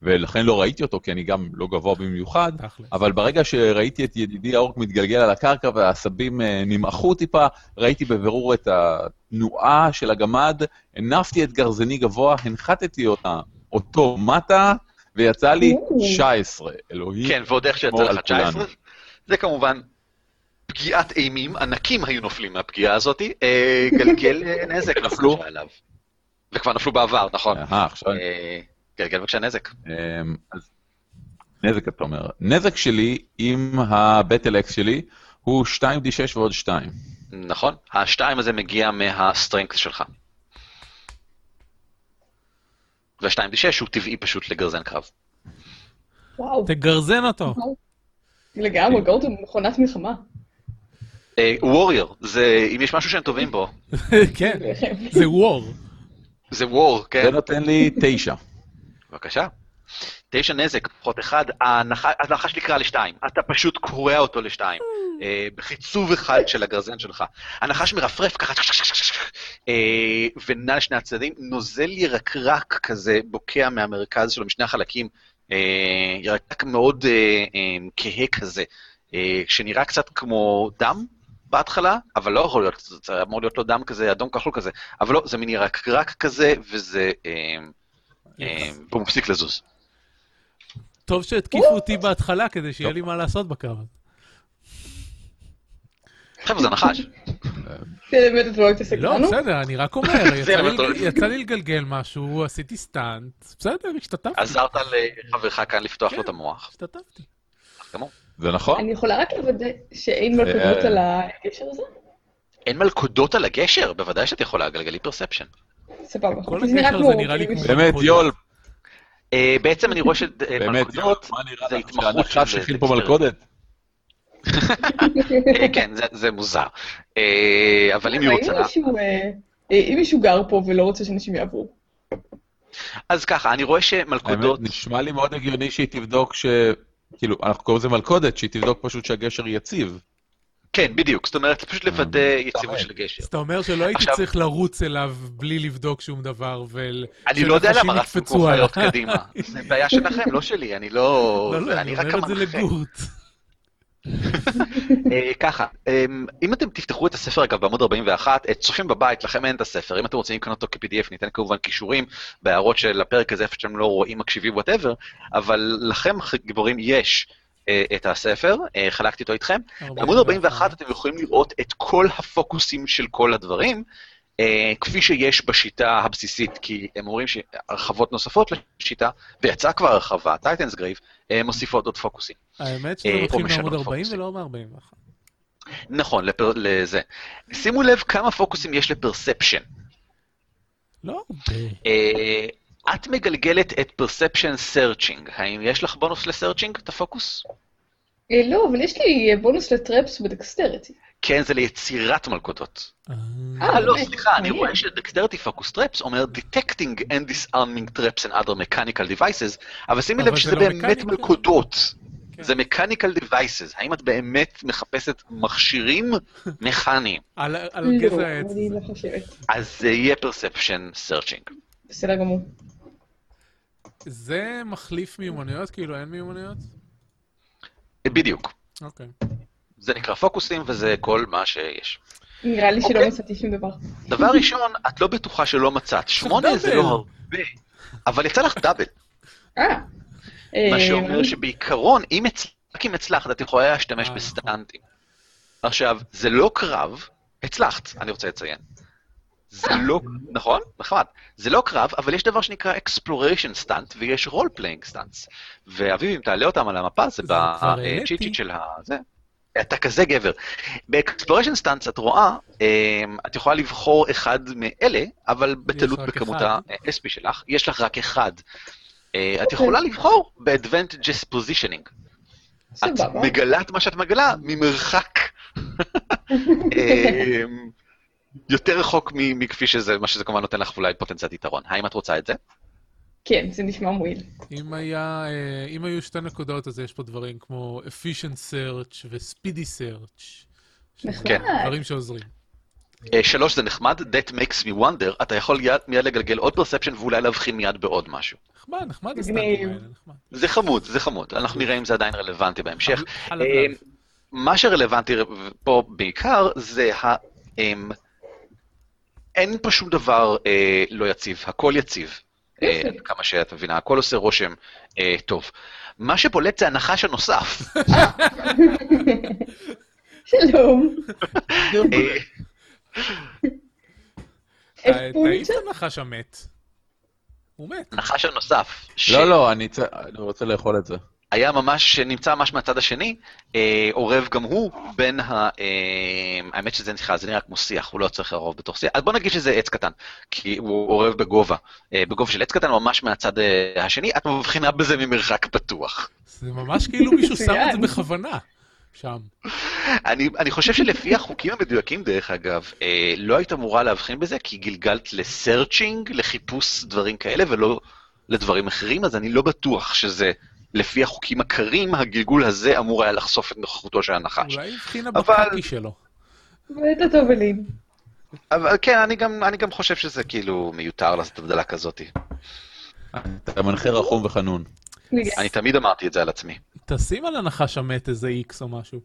Speaker 2: ולכן לא ראיתי אותו, כי אני גם לא גבוה במיוחד,
Speaker 3: תכל'ס.
Speaker 2: אבל ברגע שראיתי את ידידי האורק מתגלגל על הקרקע והעשבים אה, נמעכו טיפה, ראיתי בבירור את התנועה של הגמד, הנפתי את גרזני גבוה, הנחתתי אותה, אותו מטה, ויצא לי
Speaker 4: או.
Speaker 2: 19, אלוהים.
Speaker 1: כן, ועוד איך שיצא
Speaker 2: לשמור
Speaker 1: לך
Speaker 2: על כולנו.
Speaker 1: 19. זה כמובן פגיעת אימים, ענקים היו נופלים מהפגיעה הזאת, אה, גלגל אה, נזק
Speaker 2: נפלו. כן.
Speaker 1: בבקשה עליו. וכבר נפלו בעבר, נכון.
Speaker 2: אהה, עכשיו אני
Speaker 1: אה, גלגל בבקשה נזק.
Speaker 2: אמ, אז נזק אתה אומר. נזק שלי עם הבטל אקס שלי הוא 2d6 ועוד 2.
Speaker 1: נכון. השתיים הזה מגיע מהסטרנקט שלך. והשתיים די שש הוא טבעי פשוט לגרזן קרב.
Speaker 4: וואו.
Speaker 3: תגרזן אותו.
Speaker 4: לגמרי, גורטון, מכונת מלחמה.
Speaker 1: אה, ווריור, זה, אם יש משהו שהם טובים בו,
Speaker 3: כן, זה וור.
Speaker 1: זה וור,
Speaker 2: זה
Speaker 1: כן.
Speaker 2: נותן לי 9.
Speaker 1: בבקשה. תשע נזק, פחות אחד, ההנחה- הנחש נקרא לשתיים, אתה פשוט קורע אותו לשתיים, אה, בחיצוב אחד של הגרזן שלך. הנחש מרפרף ככה, אה, ונע לשני הצדדים, נוזל ירקרק כזה בוקע מהמרכז שלו, משני החלקים, אה, ירקרק מאוד אה, אה, כהה כזה, אה, שנראה קצת כמו דם בהתחלה, אבל לא יכול להיות, זה אמור להיות לו דם כזה, אדום כחול כזה, אבל לא, זה מין ירקרק כזה, וזה... אה, אה, והוא מפסיק לזוז.
Speaker 3: טוב שהתקיפו אותי בהתחלה כדי שיהיה לי מה לעשות בקרב.
Speaker 1: חבר'ה, זה נחש.
Speaker 4: זה באמת אתה לא התעסק
Speaker 3: לא,
Speaker 4: בנו.
Speaker 3: בסדר, אני רק אומר, יצא
Speaker 1: אבל
Speaker 3: לי-
Speaker 1: אתה לא-
Speaker 3: יצא לי לגלגל משהו, עשיתי סטאנט, בסדר, השתתפתי.
Speaker 1: עזרת לחברך כאן לפתוח
Speaker 3: כן.
Speaker 1: לו את המוח.
Speaker 3: השתתפתי.
Speaker 1: גמור.
Speaker 2: זה נכון?
Speaker 4: אני יכולה רק לוודא שאין מלכודות
Speaker 2: אה.
Speaker 4: על הגשר הזה?
Speaker 1: אין מלכודות על הגשר? בוודאי שאת יכולה, גלגלי פרספשן.
Speaker 4: סבבה.
Speaker 3: כל
Speaker 4: זה נראה
Speaker 3: הגשר
Speaker 4: כמו- אוקיי,
Speaker 3: זה נראה לי כמו-
Speaker 2: באמת,
Speaker 3: מלכודות.
Speaker 2: יול,
Speaker 1: אה, בעצם אני רואה שמלכודות...
Speaker 2: באמת, יול, מה נראה
Speaker 1: זה
Speaker 2: לך
Speaker 1: התמחות של
Speaker 2: שהנחש
Speaker 1: זה,
Speaker 2: הכין
Speaker 1: זה
Speaker 2: פה
Speaker 1: היסטריה.
Speaker 2: מלכודת?
Speaker 1: כן, זה- זה מוזר. אה, אבל אם היא
Speaker 4: האם
Speaker 1: רוצה...
Speaker 4: מישהו, אה, אה, אם מישהו גר פה ולא רוצה שאנשים יעברו.
Speaker 1: אז ככה, אני רואה שמלכודות...
Speaker 2: האמת, נשמע לי מאוד הגיוני שהיא תבדוק ש... כאילו, אנחנו קוראים לזה מלכודת, שהיא תבדוק פשוט שהגשר יציב.
Speaker 1: כן, בדיוק. זאת אומרת, פשוט לוודא יציבות
Speaker 3: אה,
Speaker 2: מתאמן.
Speaker 1: של הגשר.
Speaker 3: אז אתה אומר שלא הייתי
Speaker 1: עכשיו-
Speaker 3: צריך לרוץ אליו בלי לבדוק שום דבר ול...
Speaker 1: אני לא יודע
Speaker 3: שנחשים
Speaker 1: למה רצנו
Speaker 3: יקפצו
Speaker 1: כמו
Speaker 3: עליי.
Speaker 1: חיות קדימה. זה בעיה שלכם, לא שלי. אני לא...
Speaker 3: לא, לא, אני
Speaker 1: רק
Speaker 3: אומר את זה
Speaker 1: המנחה.
Speaker 3: לגורט.
Speaker 1: אה, ככה, אמ, אם אתם תפתחו את הספר, אגב, בעמוד 41, אה, צופים בבית, לכם אין את הספר, אם אתם רוצים לקנות אותו כ-PDF, ניתן כמובן קישורים בהערות של הפרק הזה, איפה שאתם לא רואים, מקשיבים, וואטאבר, אבל לכם, ח- גיבורים, יש אה, את הספר, אה, חלקתי אותו איתכם. בעמוד 41 אתם יכולים לראות את כל הפוקוסים של כל הדברים, אה, כפי שיש בשיטה הבסיסית, כי הם אומרים שהרחבות נוספות לשיטה, ויצאה כבר הרחבה, טייטנס גרייב, מוסיפות עוד פוקוסים.
Speaker 3: האמת שזה
Speaker 1: אה, או
Speaker 3: מתחיל
Speaker 1: משנות
Speaker 3: מעמוד 40
Speaker 1: פוקוסים.
Speaker 3: ולא מ-41.
Speaker 1: נכון, לפר... לזה. שימו לב כמה פוקוסים יש לפרספשן.
Speaker 3: לא,
Speaker 1: אה, את מגלגלת את Perception Searching. האם יש לך בונוס לסרצ'ינג? את הפוקוס?
Speaker 4: אה, לא, אבל יש לי אה, בונוס לטרפס בדקסטריטי.
Speaker 1: כן, זה ליצירת מלכודות.
Speaker 3: אה,
Speaker 1: אה, לא,
Speaker 4: באמת?
Speaker 1: סליחה, אני
Speaker 4: מעניין.
Speaker 1: רואה שדקסטרטי פוקוס טרפס אומר Detecting and disarming traps and other mechanical devices, אבל שימי
Speaker 3: אבל
Speaker 1: לב
Speaker 3: זה
Speaker 1: שזה
Speaker 3: לא
Speaker 1: באמת
Speaker 3: mechanical.
Speaker 1: מלכודות.
Speaker 3: כן.
Speaker 1: זה mechanical devices. האם את באמת מחפשת מכשירים מכניים?
Speaker 3: על על
Speaker 4: לא,
Speaker 3: גזע עץ.
Speaker 4: אני לא חושבת.
Speaker 1: אז זה יהיה Perception Searching.
Speaker 4: בסדר גמור.
Speaker 3: זה מחליף מיומנויות? כאילו אין מיומנויות?
Speaker 1: בדיוק.
Speaker 3: אוקיי.
Speaker 1: זה נקרא פוקוסים וזה כל מה שיש.
Speaker 4: נראה לי שלא
Speaker 1: אוקיי.
Speaker 4: מצאתי שום דבר.
Speaker 1: דבר ראשון, את לא בטוחה שלא מצאת. שמונה זה
Speaker 3: דאבל.
Speaker 1: לא הרבה, אבל יצא לך דאבל.
Speaker 4: אה.
Speaker 1: מה
Speaker 4: אה,
Speaker 1: שאומר שבעיקרון, אם הצ- רק אם הצלחת, את יכולה להשתמש
Speaker 3: אה, נכון.
Speaker 1: בסטנטים. עכשיו, זה לא קרב, הצלחת, אני רוצה לציין. זה לא, נכון? נחמד. זה לא קרב, אבל יש דבר שנקרא exploration סטאנט, ויש role playing סטאנטס. ואביב, אם תעלה אותם על המפה, זה
Speaker 3: זה כבר העליתי.
Speaker 1: בצ'יט של ה... זה. אתה כזה גבר. באקספלוריישן סטאנס את רואה, אמ, את יכולה לבחור אחד מאלה, אבל בטלות
Speaker 3: רק
Speaker 1: בכמות
Speaker 3: אחד.
Speaker 1: ה-SP שלך, יש לך רק אחד. אה, את יכולה לבחור ב-advantages positioning. את
Speaker 4: סבבה.
Speaker 1: מגלה את מה שאת מגלה ממרחק. אמ, יותר רחוק מ- מכפי שזה, מה שזה כמובן נותן לך אולי פוטנציאל יתרון. האם את רוצה את זה?
Speaker 4: כן, זה נשמע מועיל.
Speaker 3: אם היה, אה, אם היו שתי נקודות, אז יש פה דברים כמו efficient search ו-speedy search. שזה
Speaker 1: כן.
Speaker 3: דברים שעוזרים.
Speaker 1: אה, שלוש זה נחמד, that makes me wonder, אתה יכול מיד- מיד לגלגל עוד perception ואולי להבחין מיד בעוד משהו.
Speaker 3: נחמד, נחמד הסטנטים האלה, נחמד.
Speaker 1: זה חמוד, זה חמוד. אנחנו
Speaker 3: אוקיי.
Speaker 1: נראה אם זה עדיין רלוונטי בהמשך.
Speaker 3: על
Speaker 4: אה,
Speaker 3: הדף.
Speaker 1: אמ, מה שרלוונטי פה בעיקר זה ה... אמ, אין פה שום דבר אה, לא יציב, הכל יציב. אה,
Speaker 4: יופי.
Speaker 1: כמה שאת מבינה, הכל עושה רושם אה, טוב. מה שבולט זה הנחש הנוסף.
Speaker 4: שלום.
Speaker 1: אה,
Speaker 4: איך
Speaker 3: ת- תעיף
Speaker 4: פונצ'ה?
Speaker 3: את הנחש המת. הוא מת.
Speaker 1: הנחש הנוסף.
Speaker 2: לא, לא, אני צ- אני רוצה לאכול את זה.
Speaker 1: היה ממש, שנמצא ממש מהצד השני, אה, עורב גם הוא בין ה... אה, האמת שזה נראה, זה נראה כמו שיח, הוא לא צריך לערוב בתוך שיח. אז בוא נגיד שזה עץ קטן, כי הוא עורב בגובה. אה, בגובה של עץ קטן, ממש מהצד אה, השני, את מבחינה בזה ממרחק פתוח.
Speaker 3: זה ממש כאילו מישהו שם את
Speaker 4: מצוין.
Speaker 3: זה בכוונה. שם.
Speaker 1: אני, אני חושב שלפי החוקים המדויקים, דרך אגב, אה, לא היית אמורה להבחין בזה, כי גלגלת לסרצ'ינג, לחיפוש דברים כאלה, ולא לדברים אחרים, אז אני לא בטוח שזה... לפי החוקים הקרים, הגלגול הזה אמור היה לחשוף את נוכחותו של
Speaker 4: אה,
Speaker 1: הנחש.
Speaker 3: אולי הבחינה
Speaker 1: אבל-
Speaker 3: בקקי שלו.
Speaker 4: ואתה טוב אלין.
Speaker 1: אבל כן, אני גם, אני גם חושב שזה כאילו מיותר לעשות הבדלה כזאת.
Speaker 2: אתה מנחה רחום וחנון.
Speaker 1: אה, אני תמיד אמרתי את זה על עצמי,
Speaker 3: תשים על הנחש המת איזה איקס או משהו.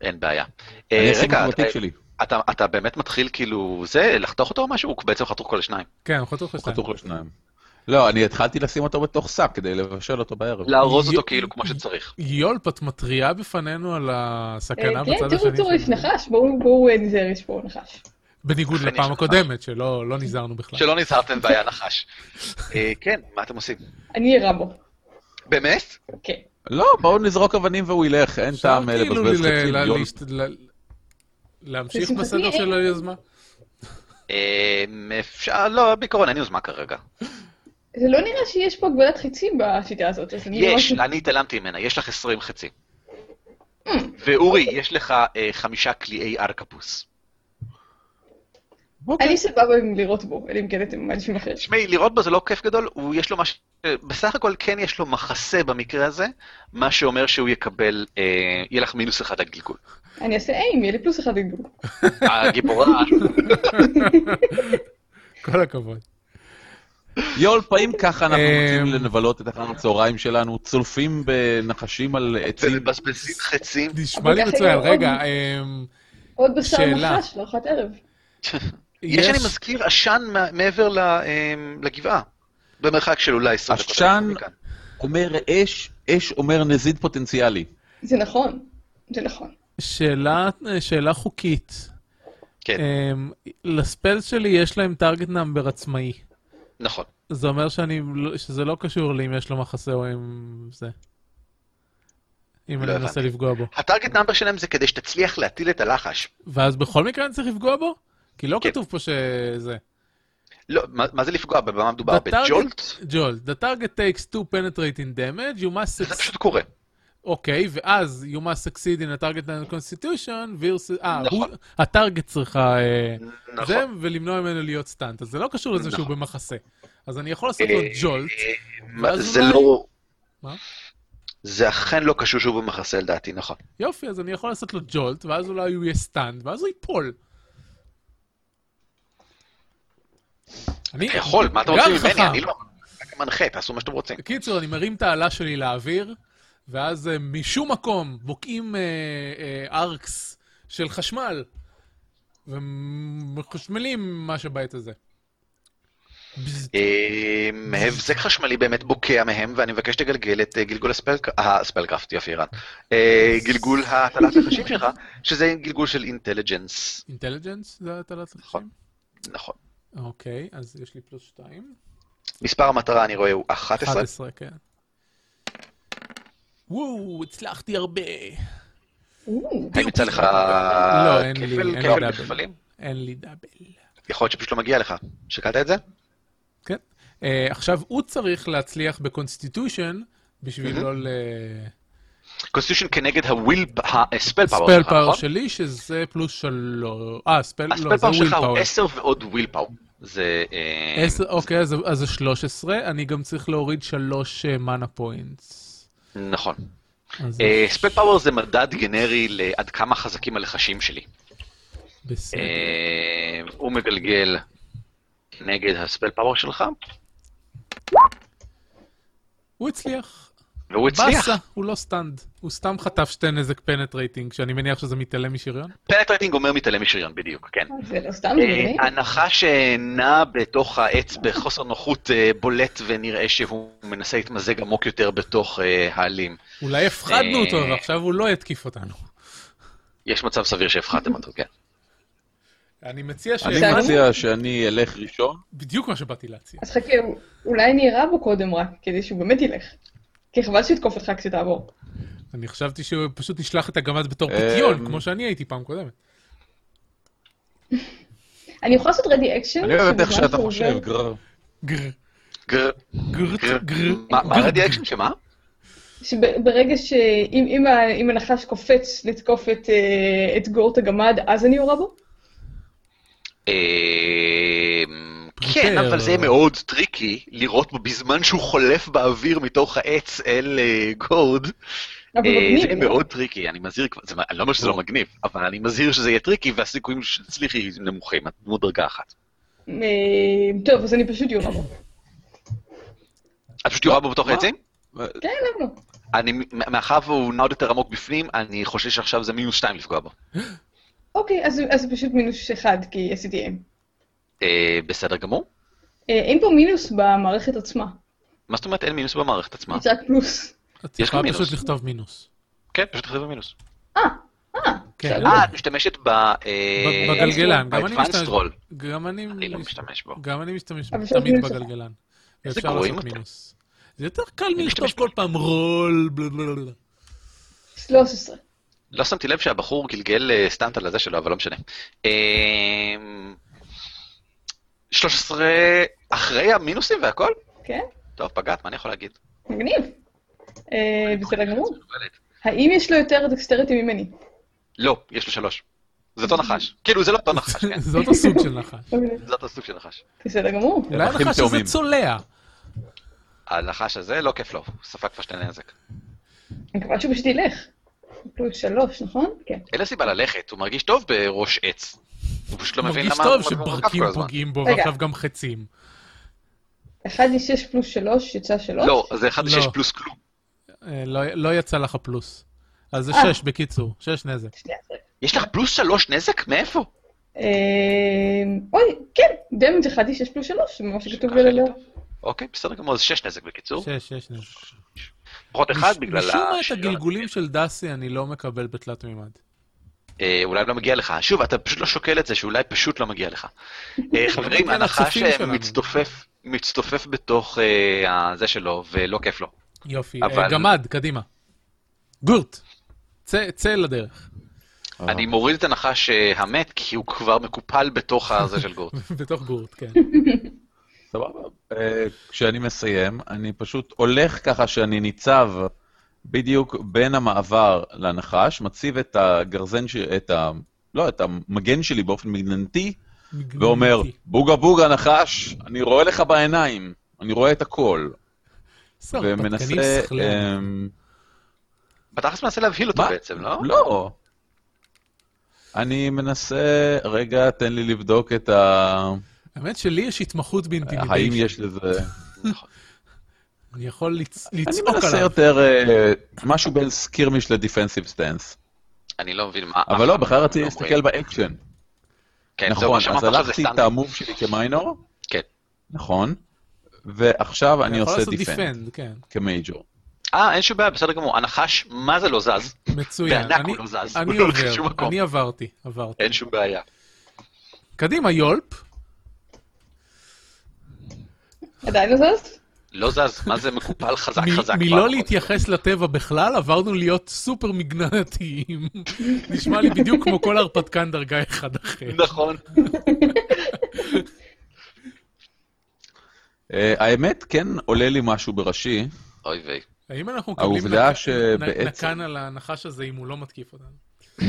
Speaker 1: אין בעיה.
Speaker 2: אני
Speaker 1: אה,
Speaker 2: אשים
Speaker 1: רגע,
Speaker 2: בבתיק
Speaker 1: אתה-
Speaker 2: שלי.
Speaker 1: אתה, אתה באמת מתחיל כאילו, זה, לחתוך אותו או משהו? הוא בעצם חתוך כל השניים.
Speaker 3: כן, אנחנו חתוך
Speaker 2: הוא
Speaker 3: לשתיים.
Speaker 2: חתוך לשניים. לא, אני התחלתי לשים אותו בתוך שק כדי לבשל אותו בערב.
Speaker 1: לארוז אותו
Speaker 3: י-
Speaker 1: כאילו כמו שצריך.
Speaker 3: יולפ, את מתריעה בפנינו על הסכנה
Speaker 4: כן,
Speaker 3: בצד
Speaker 4: תראו,
Speaker 3: השני.
Speaker 4: תראו, יש
Speaker 3: שלנו.
Speaker 4: נחש, בואו בואו, אה, ניזהר, יש פה נחש.
Speaker 3: בניגוד
Speaker 1: אכן יש
Speaker 3: לפעם
Speaker 1: נחש.
Speaker 3: הקודמת, שלא לא נזהרנו בכלל.
Speaker 1: שלא נזהרתם והיה נחש. אה, כן, מה אתם עושים?
Speaker 4: אני אהיה רמבו.
Speaker 1: באמת?
Speaker 4: כן.
Speaker 2: לא, בואו נזרוק אבנים והוא ילך, אין
Speaker 3: אפשר
Speaker 2: טעם אה,
Speaker 3: כאילו
Speaker 2: לבזבז
Speaker 3: ל-
Speaker 2: חצי
Speaker 3: ל-
Speaker 2: מיליון.
Speaker 3: להשת- ל- להמשיך
Speaker 4: לשמחתי,
Speaker 3: בסדר של
Speaker 4: אין.
Speaker 3: היוזמה.
Speaker 1: אה, אפשר, לא, בעיקרון אין יוזמה כרגע.
Speaker 4: זה לא נראה שיש פה הגבלת חיצים בשיטה הזאת, אז אני... לא
Speaker 1: יש,
Speaker 4: ממש-
Speaker 1: אני התעלמתי ממנה, יש לך 20 חצי. ואורי, יש לך אה, חמישה קליעי ארקפוס.
Speaker 4: אני סבבה עם לירות בו, אלא אם כן אתם מאנשים אחרים.
Speaker 1: תשמעי, לראות בו זה לא כיף גדול, הוא יש לו מה ש... בסך הכל כן יש לו מחסה במקרה הזה, מה שאומר שהוא יקבל, אה, יהיה לך מינוס אחד לגלגול.
Speaker 4: אני אעשה איים, יהיה לי פלוס אחד לגבול.
Speaker 1: הגיבורה,
Speaker 3: כל הכבוד.
Speaker 2: יול, פעמים ככה אנחנו
Speaker 3: אמ,
Speaker 2: רוצים לנבלות את אחר הצהריים שלנו, צולפים בנחשים על עצים.
Speaker 1: מבזבזים חצים.
Speaker 3: נשמע
Speaker 4: אבל
Speaker 3: לי
Speaker 4: ככה
Speaker 3: מצוין.
Speaker 4: יהיה עוד-
Speaker 3: רגע, אמ,
Speaker 4: עוד בשר
Speaker 3: שאלה.
Speaker 4: נחש לארוחת ערב.
Speaker 1: יש, אני מזכיר, עשן מה- מעבר ל- אה, לגבעה, במרחק של אולי 20 דקות.
Speaker 2: עשן-
Speaker 1: מכאן.
Speaker 2: אומר אש, אש אומר נזיד פוטנציאלי.
Speaker 4: זה נכון, זה נכון.
Speaker 3: שאלה, שאלה חוקית.
Speaker 1: כן,
Speaker 3: אמ, לספלס שלי יש להם טארגט נאמבר עצמאי.
Speaker 1: נכון.
Speaker 3: זה אומר שאני, לא- שזה לא קשור לי אם יש לו מחסה או אם זה. אם
Speaker 1: לא
Speaker 3: אני מנסה
Speaker 1: הבנתי.
Speaker 3: לפגוע בו.
Speaker 1: הטארגט נאמבר שלהם זה כדי שתצליח להטיל את הלחש.
Speaker 3: ואז בכל מקרה אני צריך לפגוע בו? כי לא
Speaker 1: כן.
Speaker 3: כתוב פה שזה.
Speaker 1: לא, מה מה זה לפגוע? במה מדובר?
Speaker 3: The target-
Speaker 1: בג'ולט?
Speaker 3: ג'ול, the target takes two penetrating damage, you must
Speaker 1: זה
Speaker 3: succeed,
Speaker 1: פשוט קורה.
Speaker 3: אוקיי, ואז you must succeed in a target land constitution, versus- אה,
Speaker 1: נכון.
Speaker 3: הוא- הטארגט צריכה, אה, זה,
Speaker 1: נכון.
Speaker 3: ולמנוע ממנו להיות סטאנט, אז זה לא קשור לזה שהוא
Speaker 1: נכון.
Speaker 3: במחסה. אז אני יכול לעשות לו
Speaker 1: אה,
Speaker 3: ג'ולט,
Speaker 1: מה-
Speaker 3: ואז
Speaker 1: זה
Speaker 3: אולי-
Speaker 1: לא...
Speaker 3: מה?
Speaker 1: זה אכן לא קשור שהוא במחסה לדעתי, נכון.
Speaker 3: יופי, אז אני יכול לעשות לו ג'ולט, ואז אולי הוא יהיה סטאנד, ואז הוא ייפול. אני
Speaker 1: אתה יכול, מה אתם רוצים
Speaker 3: גם
Speaker 1: ממני?
Speaker 3: חכם.
Speaker 1: אני לא... רק מנחה, תעשו מה שאתם רוצים.
Speaker 3: בקיצור, אני מרים את האלה שלי לאוויר, ואז אה, משום מקום בוקעים אה, אה, ארקס של חשמל, ומחשמלים מה שבעת הזה. בז-
Speaker 1: אמ, הבזק חשמלי באמת בוקע מהם, ואני מבקש שתגלגל את אה, גלגול הספלק- אה, הספלקראפט, יופי, ערן. אה, גלגול הטלת נחשים שלך, שזה גלגול של אינטליג'נס,
Speaker 3: אינטליג'נס זה הטלת
Speaker 1: נכון.
Speaker 3: נחשים?
Speaker 1: נכון.
Speaker 3: אוקיי, אז יש לי פלוס 2.
Speaker 1: מספר המטרה, אני רואה, הוא 11.
Speaker 3: 11, כן. וואו, הצלחתי הרבה.
Speaker 4: או,
Speaker 1: האם יצא לך
Speaker 3: לא, אין לי- אין
Speaker 1: כפל
Speaker 3: לי
Speaker 1: כפל
Speaker 3: דאבל.
Speaker 1: בכפלים?
Speaker 3: אין לי דאבל.
Speaker 1: יכול להיות שפשוט לא מגיע לך. שקלת את זה?
Speaker 3: כן. אה, עכשיו, הוא צריך להצליח בקונסטיטושן בשביל
Speaker 1: מהמם.
Speaker 3: לא ל...
Speaker 1: קונסטיטושן כנגד הוויל, הספל פאוור
Speaker 3: ספל
Speaker 1: אה, שלך,
Speaker 3: פאוור
Speaker 1: נכון?
Speaker 3: שלי, שזה פלוס שלוש... אה, ספל... לא,
Speaker 1: הספל
Speaker 3: זה
Speaker 1: פאוור
Speaker 3: וויל
Speaker 1: שלך הוא
Speaker 3: פאוור.
Speaker 1: 10 ועוד וויל פאוור. זה... אה,
Speaker 3: עשר, אוקיי, אז אז זה 13, אני גם צריך להוריד 3 מנה פוינטס.
Speaker 1: נכון.
Speaker 3: אז זה
Speaker 1: ספל פאוור אה, זה מדד גנרי לעד כמה חזקים הלחשים שלי.
Speaker 3: בסדר.
Speaker 1: אה, הוא מגלגל נגד הספל פאוור שלך,
Speaker 3: הוא הצליח.
Speaker 1: והוא הצליח.
Speaker 3: באסה, הוא לא סטנד. הוא סתם חטף שתי נזק פנטרייטינג, שאני מניח שזה מתעלם משריון.
Speaker 1: פנטרטינג אומר מתעלם משריון, בדיוק, כן.
Speaker 4: זה לא סתם,
Speaker 1: אה,
Speaker 4: באמת.
Speaker 1: הנחה שנעה בתוך העץ בחוסר נוחות אה, בולט ונראה שהוא מנסה להתמזג עמוק יותר בתוך אה, העלים.
Speaker 3: אולי הפחדנו אותו,
Speaker 1: אה.
Speaker 3: ועכשיו הוא לא יתקיף אותנו.
Speaker 1: יש מצב סביר שהפחדתם אותו, כן.
Speaker 3: אני מציע ש...
Speaker 2: אני
Speaker 4: בסדר.
Speaker 2: מציע שאני אלך ראשון.
Speaker 3: בדיוק מה שבאתי להציע.
Speaker 4: אז חכה, אולי אני אירה בו קודם רק, כדי שהוא באמת ילך. כי חבל שיתקוף אותך כשתעבור.
Speaker 3: אני חשבתי שהוא פשוט נשלח את הגמד בתור
Speaker 1: אה,
Speaker 2: אמ.
Speaker 3: פיתיון, כמו שאני הייתי פעם קודמת.
Speaker 4: אני יכולה לעשות רדי אקשן?
Speaker 2: אני אוהב את איך שאתה חושב, גרר.
Speaker 3: גר,
Speaker 1: גר,
Speaker 3: גר,
Speaker 1: גר.
Speaker 3: גר.
Speaker 1: מה- מה רדי אקשן שמה?
Speaker 4: שברגע ש... אם, אם, ה- אם הנחש קופץ לתקוף את, אה, את גורט הגמד, אז אני יורה בו?
Speaker 1: אמ, כן,
Speaker 3: פריפר.
Speaker 1: אבל זה
Speaker 4: לא.
Speaker 1: יהיה מאוד טריקי לראות בו בזמן שהוא חולף באוויר מתוך העץ אל אה, גורד.
Speaker 4: אבל
Speaker 1: אה,
Speaker 4: מגניב,
Speaker 1: זה יהיה
Speaker 4: לא?
Speaker 1: מאוד טריקי, אני מזהיר כבר, זה מה- אני לא אומר שזה לא מגניב, אבל אני מזהיר שזה יהיה טריקי והסיכויים שתצליחי נמוכים, את דמות דרגה אחת.
Speaker 4: אה, טוב, אז אני פשוט יורה בו.
Speaker 1: את פשוט יורה בו בתוך
Speaker 2: מה?
Speaker 1: העצים?
Speaker 4: כן, למה לא?
Speaker 1: אני, מאחר והוא נע עוד יותר עמוק בפנים, אני חושב שעכשיו זה מינוס שתיים לפגוע בו.
Speaker 4: אוקיי, אז אז זה פשוט מינוס אחד, כי עשיתי אם.
Speaker 1: אה, בסדר גמור?
Speaker 4: אה, אין פה מינוס במערכת עצמה,
Speaker 1: מה זאת אומרת אין מינוס במערכת עצמה?
Speaker 4: יש רק פלוס.
Speaker 3: את
Speaker 1: יש
Speaker 3: יכולה
Speaker 1: לי מינוס.
Speaker 3: פשוט לכתוב מינוס.
Speaker 1: כן, פשוט תכתבי מינוס.
Speaker 4: אה, אה,
Speaker 3: כן.
Speaker 4: בסדר.
Speaker 1: אה, את משתמשת ב... אה,
Speaker 3: ב- בגלגלן, גם אני
Speaker 1: ב-Advanced
Speaker 3: משתמש-
Speaker 1: Roll.
Speaker 3: גם אני...
Speaker 1: אני לא משתמש בו.
Speaker 3: גם אני משתמש
Speaker 4: אבל יש עוד
Speaker 3: תמיד
Speaker 4: מינוס אחד.
Speaker 3: בגלגלן.
Speaker 1: איזה
Speaker 3: ואפשר
Speaker 1: גרועים
Speaker 3: לעשות
Speaker 1: אתם.
Speaker 3: מינוס. זה יותר קל
Speaker 1: אני
Speaker 3: מלכתוב
Speaker 1: משתמש
Speaker 3: כל פעם רול, בלה בלה בלה. בלה.
Speaker 4: 13.
Speaker 1: לא שמתי לב שהבחור גלגל אה, סטנט על הזה שלו, אבל לא משנה. אה, 13 אחרי המינוסים והכל?
Speaker 4: כן,
Speaker 1: טוב, פגעת, מה אני יכול להגיד?
Speaker 4: מגניב. אה, בסדר גמור.
Speaker 1: מקובלת.
Speaker 4: האם יש לו יותר דקסטריטי ממני?
Speaker 1: לא, יש לו שלוש. זה אותו נחש. כאילו, זה לא אותו נחש, כן.
Speaker 3: זה אותו סוג של נחש.
Speaker 1: זה לא אותו סוג של נחש.
Speaker 4: בסדר גמור.
Speaker 3: אולי
Speaker 2: אחים
Speaker 3: הנחש הזה
Speaker 2: תאומים.
Speaker 3: צולע.
Speaker 1: הנחש הזה, לא כיף לו, הוא ספג כבר שתי נזק.
Speaker 4: אני מקווה שהוא פשוט ילך. פלוס שלוש, נכון? כן.
Speaker 1: אין לו סיבה ללכת, הוא מרגיש טוב בראש עץ. הוא פשוט לא מבין
Speaker 3: מרגיש
Speaker 1: למה
Speaker 3: טוב
Speaker 1: הוא מרוקף
Speaker 3: שברקים
Speaker 1: כל הזמן.
Speaker 3: פוגעים בו
Speaker 4: רגע.
Speaker 3: ועכשיו גם חצים.
Speaker 4: אחד משש פלוס שלוש, יצא שלוש?
Speaker 1: לא, זה אחד
Speaker 3: לא.
Speaker 1: לשש פלוס כלום.
Speaker 3: אה, לא- לא יצא לך פלוס. אז זה
Speaker 4: אה.
Speaker 3: שש, בקיצור. שש נזק.
Speaker 4: שנייה, רגע.
Speaker 1: יש לך פלוס שלוש נזק? מאיפה?
Speaker 4: אה, אוי, כן, דמג' אחד משש פלוס שלוש, זה מה שכתוב לי לדעת.
Speaker 1: אוקיי, בסדר גמור, אז שש נזק בקיצור.
Speaker 3: שש, שש נזק.
Speaker 1: פחות אחד
Speaker 3: מש-
Speaker 1: בגלל
Speaker 3: משום מה את
Speaker 1: השריון.
Speaker 3: הגלגולים של דסי אני לא מקבל בתלת מימד.
Speaker 1: אה, אולי לא מגיע לך. שוב, אתה פשוט לא שוקל את זה, שאולי פשוט לא מגיע לך. אה, חברים,
Speaker 3: כן,
Speaker 1: הנחש
Speaker 3: הצופים
Speaker 1: אה,
Speaker 3: שלנו.
Speaker 1: מצטופף, מצטופף בתוך אה, הזה שלו, ולא כיף לו.
Speaker 2: אה.
Speaker 3: יופי.
Speaker 1: אבל-
Speaker 3: אה, גמד, קדימה. גורט. צא- צא לדרך.
Speaker 1: אני מוריד את הנחש אה, המת, כי הוא כבר מקופל בתוך הזה של גורט.
Speaker 3: בתוך גורט, כן.
Speaker 2: סבבה. אה, כשאני מסיים, אני פשוט הולך ככה שאני ניצב בדיוק בין המעבר לנחש, מציב את הגרזן, ש... את ה... לא, את המגן שלי באופן מגננתי, ואומר, בוגה בוגה נחש, אני רואה לך בעיניים, אני רואה את הכל. ומנסה... אמ,
Speaker 1: בתכלס מנסה להבהיל אותו
Speaker 2: מה?
Speaker 1: בעצם, לא?
Speaker 2: לא. אני מנסה, רגע, תן לי לבדוק את ה...
Speaker 3: האמת שלי יש התמחות
Speaker 2: האם
Speaker 3: באינטימידיישן.
Speaker 2: יש לזה...
Speaker 1: נכון.
Speaker 3: אני יכול לצ-
Speaker 2: אני
Speaker 3: לצעוק
Speaker 2: מנסה
Speaker 3: עליו.
Speaker 2: יותר אה, משהו בין סקירמיש לדיפנסיב סטנס.
Speaker 1: אני לא מבין מה...
Speaker 2: אבל לא, בכלל רציתי
Speaker 1: לא
Speaker 2: להסתכל
Speaker 1: אומרים.
Speaker 2: באקשן.
Speaker 1: כן, זהו,
Speaker 2: נכון,
Speaker 1: מה שאמרת
Speaker 2: אז
Speaker 1: עכשיו זה
Speaker 2: הלכתי את
Speaker 1: סטנדרט.
Speaker 2: המוב שלי כמיינור,
Speaker 1: כן.
Speaker 2: נכון, ועכשיו אני עושה דיפנד
Speaker 3: דיפנד, כן.
Speaker 2: כמייג'ור.
Speaker 1: אה, אין שום בעיה, בסדר גמור. הנחש, מה זה לא זז?
Speaker 3: מצוין.
Speaker 1: בענק
Speaker 3: אני-
Speaker 1: הוא לא זז, הוא
Speaker 3: אני
Speaker 1: לא הולך לשום
Speaker 3: עובר,
Speaker 1: מקום. אה.
Speaker 3: אני עברתי, עברתי.
Speaker 1: אין שום בעיה.
Speaker 3: קדימה, יולפ.
Speaker 4: עדיין לא זזת?
Speaker 1: לא זז, מה זה מקופל חזק
Speaker 3: מ-
Speaker 1: חזק? כבר,
Speaker 3: מלא
Speaker 1: נכון?
Speaker 3: להתייחס לטבע בכלל, עברנו להיות סופר מגננתיים. נשמע לי בדיוק כמו כל הרפתקן דרגה אחד אחר.
Speaker 1: נכון.
Speaker 2: אה, האמת, כן עולה לי משהו בראשי,
Speaker 1: אוי ויי.
Speaker 3: האם אנחנו מקבלים
Speaker 2: העובדה
Speaker 3: נק- נ-
Speaker 2: שבעצם...
Speaker 3: נקן על הנחש הזה אם הוא לא מתקיף אותנו?
Speaker 1: אה.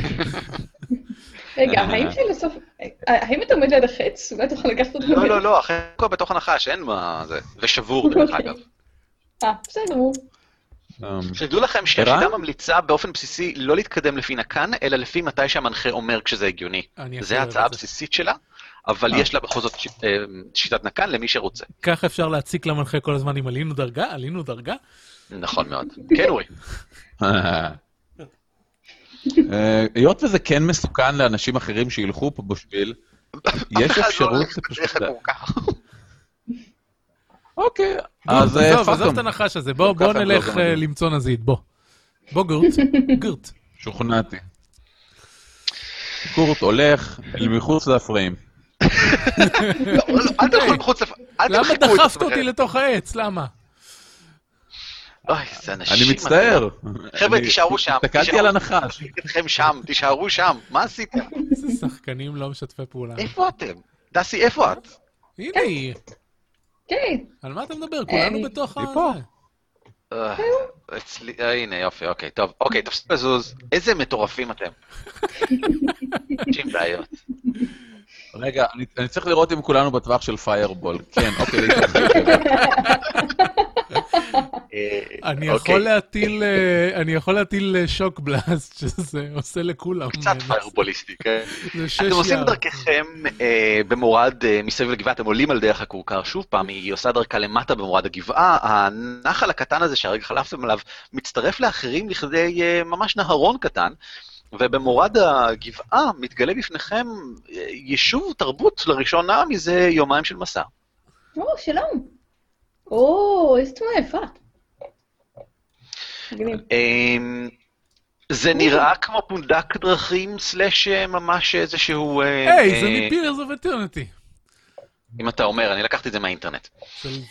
Speaker 4: רגע, האם זה לסוף... אה, האם אתה עומד ליד החץ? אולי תוכל לקחת אותו?
Speaker 1: לא, לא, לא, אחרי הכל בתוך הנחש, אין מה זה. ושבור, דרך אגב.
Speaker 4: אה, בסדר, הוא...
Speaker 2: אמ,
Speaker 1: שתדעו לכם שהיחידה
Speaker 2: ערן?
Speaker 1: ממליצה באופן בסיסי לא להתקדם לפי נקן, אלא לפי מתי שהמנחה אומר כשזה הגיוני.
Speaker 3: אני הכי
Speaker 1: זו
Speaker 3: אוהב
Speaker 1: ההצעה
Speaker 3: את זה.
Speaker 1: הבסיסית שלה, אבל יש לה בכל זאת ש- אה, שיטת נקן למי שרוצה.
Speaker 3: ככה אפשר להציק למנחה כל הזמן אם עלינו דרגה, עלינו דרגה.
Speaker 1: נכון מאוד. כן, אורי.
Speaker 2: אה, היות וזה כן מסוכן לאנשים אחרים שילכו פה בשביל, יש
Speaker 1: לא,
Speaker 2: אפשרות פשוט... לה- אוקיי, אז
Speaker 3: גורט,
Speaker 2: אה,
Speaker 3: לא, עזוב, עזוב את
Speaker 2: פאקום,
Speaker 3: הנחש הזה,
Speaker 2: גם
Speaker 3: בוא
Speaker 2: ככה
Speaker 3: בוא
Speaker 2: הם לא
Speaker 3: נלך
Speaker 2: גמדים.
Speaker 3: אה, למצוא נזיד, בוא. בוא גורט, גורט.
Speaker 2: שוכנעתי. קורט הולך אל מחוץ לפריים.
Speaker 1: לא, אל תלכו מחוץ לפ... אל
Speaker 3: למה
Speaker 1: תרחיקו את
Speaker 3: דחפת אותי
Speaker 1: עצמכם.
Speaker 3: לתוך העץ? למה?
Speaker 1: אוי, זה אנשים...
Speaker 2: אני מצטער.
Speaker 1: חבר'ה,
Speaker 2: אני-
Speaker 1: תישארו שם,
Speaker 2: הסתכלתי
Speaker 1: תישארו
Speaker 2: על
Speaker 1: שם.
Speaker 2: הנחש.
Speaker 1: אתכם שם, תישארו שם, מה עשיתם?
Speaker 3: איזה שחקנים לא משתפי פעולה.
Speaker 1: איפה אתם? דסי, איפה את?
Speaker 3: הנה
Speaker 1: אה.
Speaker 3: היא,
Speaker 4: כן,
Speaker 3: על מה אתה מדבר? כולנו
Speaker 4: אה,
Speaker 3: בתוך ה...
Speaker 2: היא פה.
Speaker 1: אה, אצלי, אה, הנה, יופי, אוקיי, טוב. אוקיי, תפסיקו לזוז. איזה מטורפים אתם. אנשים בעיות.
Speaker 2: רגע, אני- אני צריך לראות אם כולנו בטווח של פיירבול. כן, אוקיי, להתרחק.
Speaker 1: אה,
Speaker 3: אני
Speaker 1: אוקיי,
Speaker 3: יכול להטיל, אה, אני יכול להטיל אה, שוק בלאסט, שזה עושה לכולם.
Speaker 1: קצת
Speaker 3: אה,
Speaker 1: פיירבוליסטי, כן.
Speaker 3: זה שש
Speaker 1: אתם עושים
Speaker 3: יער.
Speaker 1: דרככם אה, במורד אה, מסביב לגבעה, אתם עולים על דרך הכורכר שוב פעם, היא עושה דרכה למטה במורד הגבעה, הנחל הקטן הזה שהרגע חלפתם עליו מצטרף לאחרים לכדי אה, ממש נהרון קטן, ובמורד הגבעה מתגלה בפניכם אה, יישוב תרבות לראשונה מזה יומיים של מסע.
Speaker 4: או, שלום. או, איזה תמונה יפה. מגניב.
Speaker 1: אמ, זה נראה כמו פונדק דרכים, סלאש אה, ממש איזשהו... אה,
Speaker 3: היי, זה
Speaker 1: אה,
Speaker 3: מפירס אוף אטרנטי.
Speaker 1: אם אתה אומר, אני לקחתי את זה מהאינטרנט.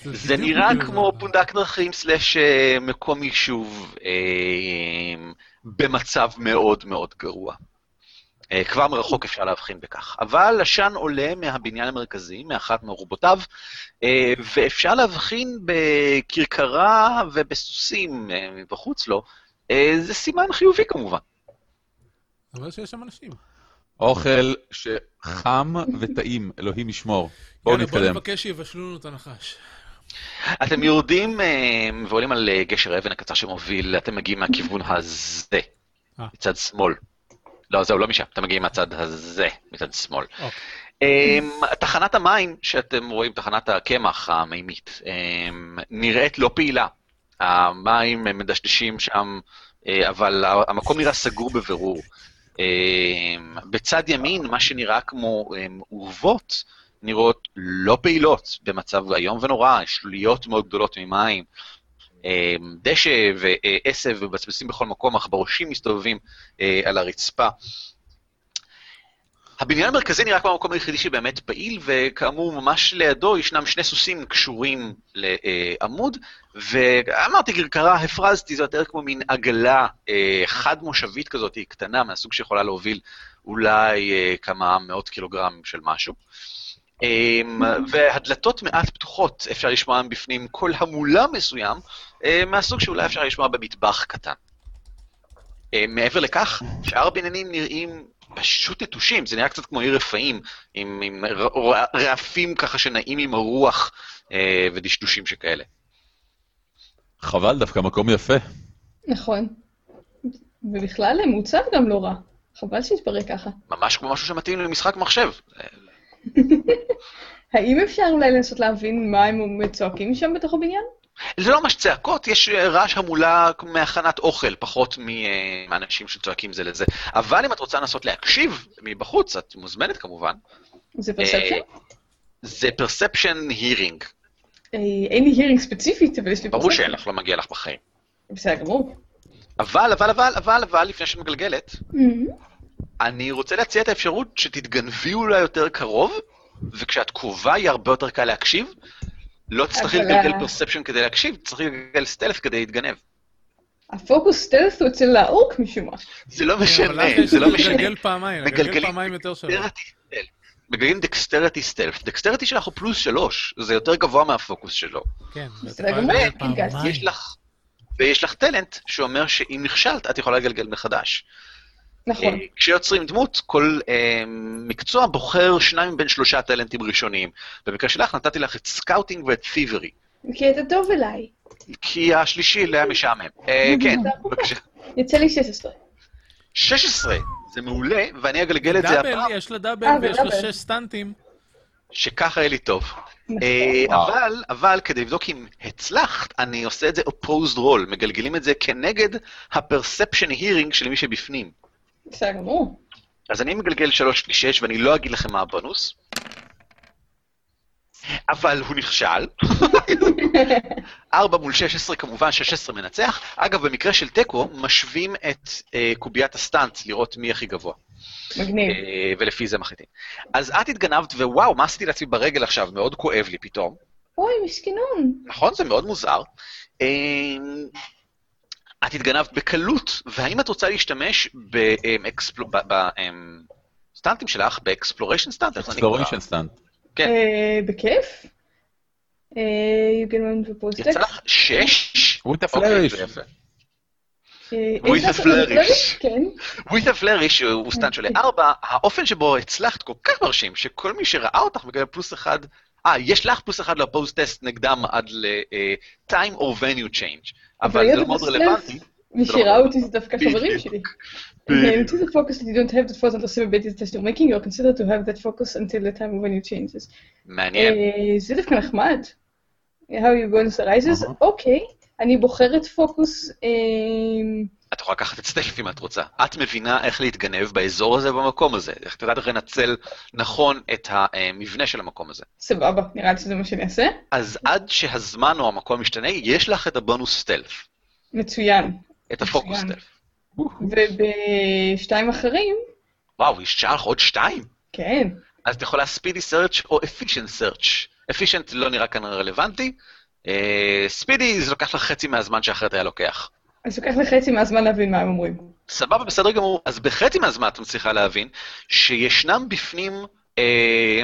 Speaker 1: זה נראה כמו פונדק דרכים סלאש אה, מקום יישוב אה, במצב מאוד מאוד גרוע. אה, כבר מרחוק אפשר להבחין בכך. אבל עשן עולה מהבניין המרכזי, מאחת מרובותיו, אה, ואפשר להבחין בכרכרה ובסוסים אה, מבחוץ לו. אה, זה סימן חיובי כמובן.
Speaker 3: אבל שיש שם אנשים.
Speaker 2: אוכל שחם וטעים, אלוהים ישמור. בואו
Speaker 3: יאללה, בוא
Speaker 2: נתקדם.
Speaker 3: נבקש שיבשלו לנו את הנחש. כן,
Speaker 1: אתם יורדים אה, ועולים על אה, גשר אבן הקצר שמוביל, אתם מגיעים מהכיוון הזה,
Speaker 3: אה.
Speaker 1: מצד שמאל. לא, זהו, לא משם, אתם מגיעים מהצד הזה, מצד שמאל.
Speaker 3: אוקיי.
Speaker 1: אה, תחנת המים שאתם רואים, תחנת הקמח המימית, אה, נראית לא פעילה. המים אה, מדשדשים שם, אה, אבל ה- המקום נראה סגור בבירור. אה, בצד ימין, מה שנראה כמו אה, אורוות, נראות לא פעילות במצב איום ונורא, שלוליות מאוד גדולות ממים, אה, דשא ועשב ובצבצים בכל מקום, עכברושים מסתובבים אה, על הרצפה. הבניין המרכזי נראה כמו המקום היחידי שבאמת פעיל, וכאמור, ממש לידו ישנם שני סוסים קשורים לעמוד, ואמרתי, כרכרה, הפרזתי, זה יותר כמו מין עגלה אה, חד-מושבית כזאת, היא קטנה, מהסוג שיכולה להוביל אולי אה, כמה מאות קילוגרם של משהו. אמ, והדלתות מעט פתוחות, אפשר לשמוע מבפנים קול המולה מסוים, אה, מהסוג שאולי אפשר לשמוע במטבח קטן. אה, מעבר לכך, שאר הבניינים נראים פשוט נטושים, זה נראה קצת כמו עיר רפאים, עם, עם רע- רעפים ככה שנעים עם הרוח אה, ודשדושים שכאלה.
Speaker 2: חבל, דווקא מקום יפה.
Speaker 4: נכון. ובכלל מעוצב גם לא רע. חבל שהתפרק ככה.
Speaker 1: ממש כמו משהו שמתאים למשחק מחשב. אה,
Speaker 4: האם אפשר אולי לנסות להבין מה הם צועקים שם בתוך הבניין?
Speaker 1: זה לא ממש צעקות, יש אה, רעש המולה מהכנת אוכל, פחות מ- אה, מהאנשים שצועקים זה לזה. אבל אם את רוצה לנסות להקשיב מבחוץ, את מוזמנת כמובן.
Speaker 4: זה
Speaker 1: אה,
Speaker 4: פרספציה?
Speaker 1: זה perception hearing.
Speaker 4: אה, אין לי הירינג ספציפית, אבל יש לי
Speaker 1: ברור
Speaker 4: perception.
Speaker 1: שאין לך, לא מגיע לך בחיים.
Speaker 4: בסדר גמור.
Speaker 1: אבל, אבל, אבל, אבל, אבל, לפני שאת מגלגלת,
Speaker 4: Mm-hmm.
Speaker 1: אני רוצה להציע את האפשרות שתתגנבי אולי יותר קרוב, וכשאת קרובה יהיה הרבה יותר קל להקשיב. לא תצטרכי
Speaker 4: אבל
Speaker 1: לגלגל
Speaker 3: אה,
Speaker 4: ה-
Speaker 1: perception כדי להקשיב, תצטרכי לגלגל סטלף כדי להתגנב.
Speaker 4: הפוקוס סטלס הוא אצל האורק משום מה.
Speaker 1: זה לא
Speaker 3: כן, אבל
Speaker 1: משנה,
Speaker 3: למה יש
Speaker 1: זה לא
Speaker 3: לנו
Speaker 1: משנה.
Speaker 3: לגלגל פעמיים, לגלגל
Speaker 1: מגלגלים-
Speaker 3: פעמיים יותר שלוש.
Speaker 1: דקסטרטי סטלף. מגלגלים דקסטרטי סטלף. דקסטרטי שלך הוא פלוס שלוש, זה יותר גבוה מהפוקוס שלו.
Speaker 3: כן, ואתה
Speaker 4: בסדר
Speaker 3: יכול
Speaker 4: גמור,
Speaker 3: לגלגל
Speaker 4: הגעתי.
Speaker 3: פעמיים.
Speaker 1: יש לך, ויש לך טלנט שאומר שאם נכשלת, את יכולה לגלגל מחדש.
Speaker 4: נכון.
Speaker 1: אה, כשיוצרים דמות, כל אה, מקצוע בוחר שניים מבין שלושה טלנטים ראשוניים. במקרה שלך נתתי לך את סקאוטינג ואת פיברי,
Speaker 4: כי אתה טוב אליי.
Speaker 1: כי השלישי לא היה משעמם. אה, כן, בבקשה.
Speaker 4: יצא לי 16.
Speaker 1: 16, זה מעולה, ואני אגלגל את זה
Speaker 3: דאבל,
Speaker 1: הפעם,
Speaker 3: יש לה דאבל
Speaker 4: אה,
Speaker 3: ויש
Speaker 4: ודאבל.
Speaker 3: לה שש סטנטים.
Speaker 1: שככה יהיה לי טוב.
Speaker 4: נכון.
Speaker 1: אה,
Speaker 2: וואו.
Speaker 1: אבל, אבל כדי לבדוק אם הצלחת, אני עושה את זה opposed roll, מגלגלים את זה כנגד ה-perception hearing של מי שבפנים.
Speaker 4: בסדר גמור.
Speaker 1: אז אני מגלגל 3 ל-6, ואני לא אגיד לכם מה הבונוס, אבל הוא נכשל. 4 מול 16, כמובן 16 מנצח. אגב, במקרה של תיקו, משווים את אה, קוביית הסטאנט, לראות מי הכי גבוה.
Speaker 4: מגניב.
Speaker 1: אה, ולפי זה מחליטים. אז את התגנבת, ווואו, מה עשיתי לעצמי ברגל עכשיו? מאוד כואב לי פתאום.
Speaker 4: אוי, משכנון.
Speaker 1: נכון, זה מאוד מוזר. אמ, את התגנבת בקלות, והאם את רוצה להשתמש בסטנטים אמ, שלך, באקספלוריישן סטנט? איך זה נקרא?
Speaker 2: אקספלוריישן סטאנט.
Speaker 1: כן.
Speaker 4: אה, בכיף. אה, You can run for post
Speaker 1: יצא לך שש?
Speaker 2: וויט
Speaker 1: אוקיי,
Speaker 2: הפלאריש.
Speaker 1: זה יפה.
Speaker 4: אה,
Speaker 1: with
Speaker 4: אה,
Speaker 1: a flourish.
Speaker 4: כן.
Speaker 1: וויטה פלריש אה, הוא סטנט של ארבע, האופן שבו הצלחת כל כך מרשים, שכל מי שראה אותך מקבל פלוס אחד, אה, יש לך פלוס אחד לפוסט טסט נגדם עד ל-time or venue change, אבל
Speaker 4: היות
Speaker 1: זה לא מאוד
Speaker 4: ובסלאש-
Speaker 1: רלוונטי.
Speaker 4: מי שראה אותי זה דווקא חברים
Speaker 1: בדיוק.
Speaker 4: שלי.
Speaker 1: בדיוק.
Speaker 4: And to the focus that you don't have that focus on the stability that you're making, you're considered to have that focus until the time when you change this.
Speaker 3: כן.
Speaker 1: מעניין.
Speaker 4: אה, זה דווקא נחמד. How you going to rises? אוקיי, אני בוחרת פוקוס, אמ,
Speaker 1: את יכולה לקחת את סטלף אם את רוצה. את מבינה איך להתגנב באזור הזה, במקום הזה. איך את יודעת איך לנצל נכון את המבנה של המקום הזה.
Speaker 4: סבבה, נראה לי שזה מה שאני אעשה.
Speaker 1: אז עד שהזמן או המקום משתנה, יש לך את הבונוס סטלף,
Speaker 4: מצוין.
Speaker 1: את הפוקוס
Speaker 4: מצוין.
Speaker 1: סטלף.
Speaker 4: ובשתיים אחרים,
Speaker 1: וואו, השעה לך עוד שתיים?
Speaker 4: כן,
Speaker 1: אז אתה יכולה ספידי סרצ' או אפישנט סרצ'. אפישנט לא נראה כאן רלוונטי. אה, ספידי זה לוקח לך חצי מהזמן שאחרת היה לוקח.
Speaker 4: אז לוקח לחצי מהזמן להבין מה הם אומרים.
Speaker 1: סבבה, בסדר גמור. אז בחצי מהזמן את מצליחה להבין שישנם בפנים, אה,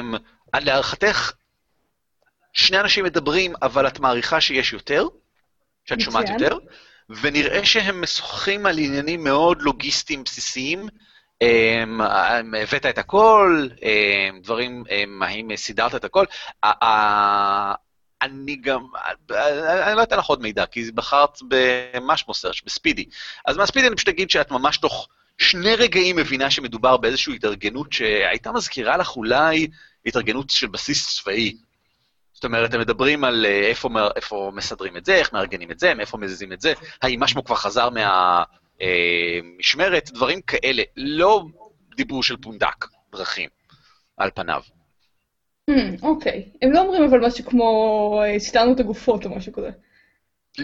Speaker 1: להערכתך, שני אנשים מדברים, אבל את מעריכה שיש יותר, שאת שומעת
Speaker 4: מצוין.
Speaker 1: יותר, ונראה שהם משוחחים על עניינים מאוד לוגיסטיים בסיסיים. אמ, אמ, הבאת את הכל, אמ, דברים, אמ, האם סידרת את הכל. ה- ה- אני גם, אני לא אתן לך עוד מידע, כי בחרת במשמו סרצ' בספידי. אז מהספידי אני פשוט אגיד שאת ממש תוך שני רגעים מבינה שמדובר באיזושהי התארגנות שהייתה מזכירה לך אולי התארגנות של בסיס צבאי. זאת אומרת, הם מדברים על אה, איפה, מ- איפה מסדרים את זה, איך מארגנים את זה, מאיפה מזיזים את זה, האם משמו כבר חזר מהמשמרת, דברים כאלה. לא דיבור של פונדק דרכים, על פניו.
Speaker 4: Hmm, אוקיי, הם לא אומרים אבל משהו כמו אה, סתרנו את הגופות או משהו כזה.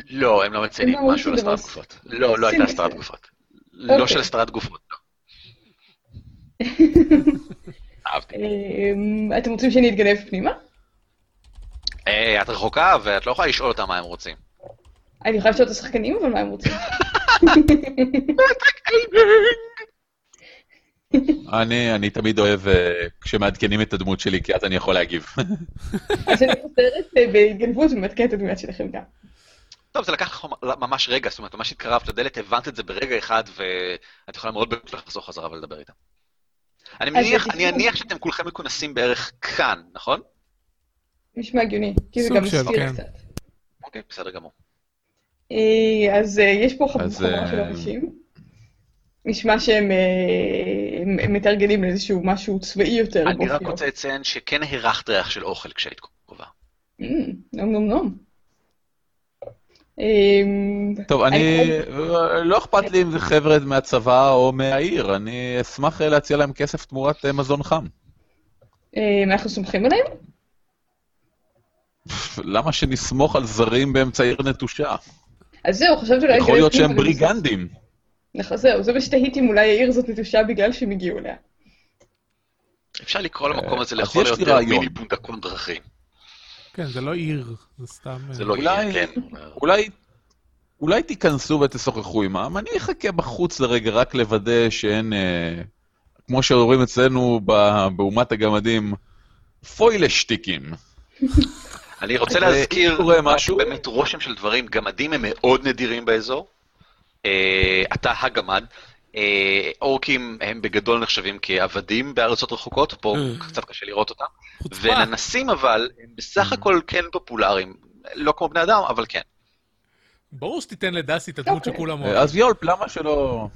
Speaker 1: לא, הם לא מציינים
Speaker 4: הם לא
Speaker 1: משהו על
Speaker 4: רוצים
Speaker 1: הסתרת
Speaker 4: דבר.
Speaker 1: גופות. לא, לא הייתה
Speaker 4: עושים
Speaker 1: הסתרת
Speaker 4: אוקיי. את זה.
Speaker 1: גופות. לא
Speaker 4: אוקיי.
Speaker 1: של הסתרת גופות. אהבתי.
Speaker 4: אמ, אה, אתם רוצים שאני אתגנב פנימה?
Speaker 1: אה, את רחוקה ואת לא יכולה לשאול אותם מה הם רוצים.
Speaker 4: אני יכולה לשאול את השחקנים, אבל מה הם רוצים?
Speaker 2: אני, אני תמיד אוהב אה, כשמעדכנים את הדמות שלי, כי אז אני יכול להגיב.
Speaker 4: אז אני חוזרת אה, בהתגנבות ומעדכנת את הדמויות שלכם גם.
Speaker 1: טוב, זה לקח לך ממש רגע, זאת אומרת, ממש התקרבת לדלת, הבנת את זה ברגע אחד, ואת יכולה מאוד בקלות לחזור חזרה ולדבר איתם. אני
Speaker 4: אז
Speaker 1: מניח,
Speaker 4: זה
Speaker 1: אני
Speaker 4: תכנון.
Speaker 1: אניח שאתם כולכם מכונסים בערך כאן, נכון?
Speaker 4: נשמע הגיוני, כי זה
Speaker 3: סוג
Speaker 4: גם
Speaker 3: של,
Speaker 4: מסתיר
Speaker 3: כן.
Speaker 4: קצת.
Speaker 1: אוקיי, בסדר גמור.
Speaker 4: אה, אז אה, יש פה חב-
Speaker 2: אז,
Speaker 4: חבורה של
Speaker 2: אה,
Speaker 4: אנשים. נשמע שהם אה, הם- הם מתארגנים לאיזשהו משהו צבאי יותר.
Speaker 1: אני רק
Speaker 4: באופיו.
Speaker 1: רוצה לציין שכן הרחת ריח של אוכל כשהיית קרובה.
Speaker 4: אמ, נום נום נום. אמ,
Speaker 2: טוב, אני...
Speaker 4: אני-
Speaker 2: אה, לא אכפת לי אם זה חבר'ה מהצבא או מהעיר, אני אשמח אה, להציע להם כסף תמורת אה, מזון חם.
Speaker 4: אמ, אנחנו סומכים עליהם?
Speaker 2: פפ, למה שנסמוך על זרים באמצע עיר נטושה?
Speaker 4: אז זהו, חשבתי אולי...
Speaker 2: יכול להיות
Speaker 4: נתנו
Speaker 2: שהם
Speaker 4: אותם לזה.
Speaker 2: בריגנדים.
Speaker 4: נכון, זהו, זה מה שתהיתי אם אולי העיר הזאת נטושה בגלל שהם הגיעו אליה.
Speaker 1: אפשר לקרוא למקום הזה
Speaker 2: אה, אז
Speaker 1: לכל
Speaker 2: יש לי
Speaker 1: היותר
Speaker 2: רעיון.
Speaker 1: מיני פונדקון דרכים.
Speaker 3: כן, זה לא עיר, זה סתם... אה,
Speaker 1: זה לא
Speaker 2: אולי-
Speaker 1: יהיה, כן.
Speaker 2: אולי, אולי תיכנסו ותשוחחו עימם, אני אחכה בחוץ לרגע רק לוודא שאין, אה, כמו שאומרים אצלנו ב- באומת הגמדים, פוילשטיקים.
Speaker 1: אני רוצה
Speaker 2: אה,
Speaker 1: להזכיר
Speaker 2: קורה משהו?
Speaker 1: באמת רושם של דברים, גמדים הם מאוד נדירים באזור. אה, אתה הגמד. אה, אורקים הם בגדול נחשבים כעבדים בארצות רחוקות, פה
Speaker 3: אה.
Speaker 1: קצת קשה לראות אותם.
Speaker 3: חוצפה.
Speaker 1: וננסים אבל, הם
Speaker 2: אה.
Speaker 1: בסך הכל כן פופולריים. לא כמו בני אדם, אבל כן.
Speaker 3: ברור שתיתן לדסי את הדמות
Speaker 4: אוקיי.
Speaker 3: שכולם
Speaker 2: אה,
Speaker 3: אוהבים.
Speaker 2: אז יולפ, למה שלא...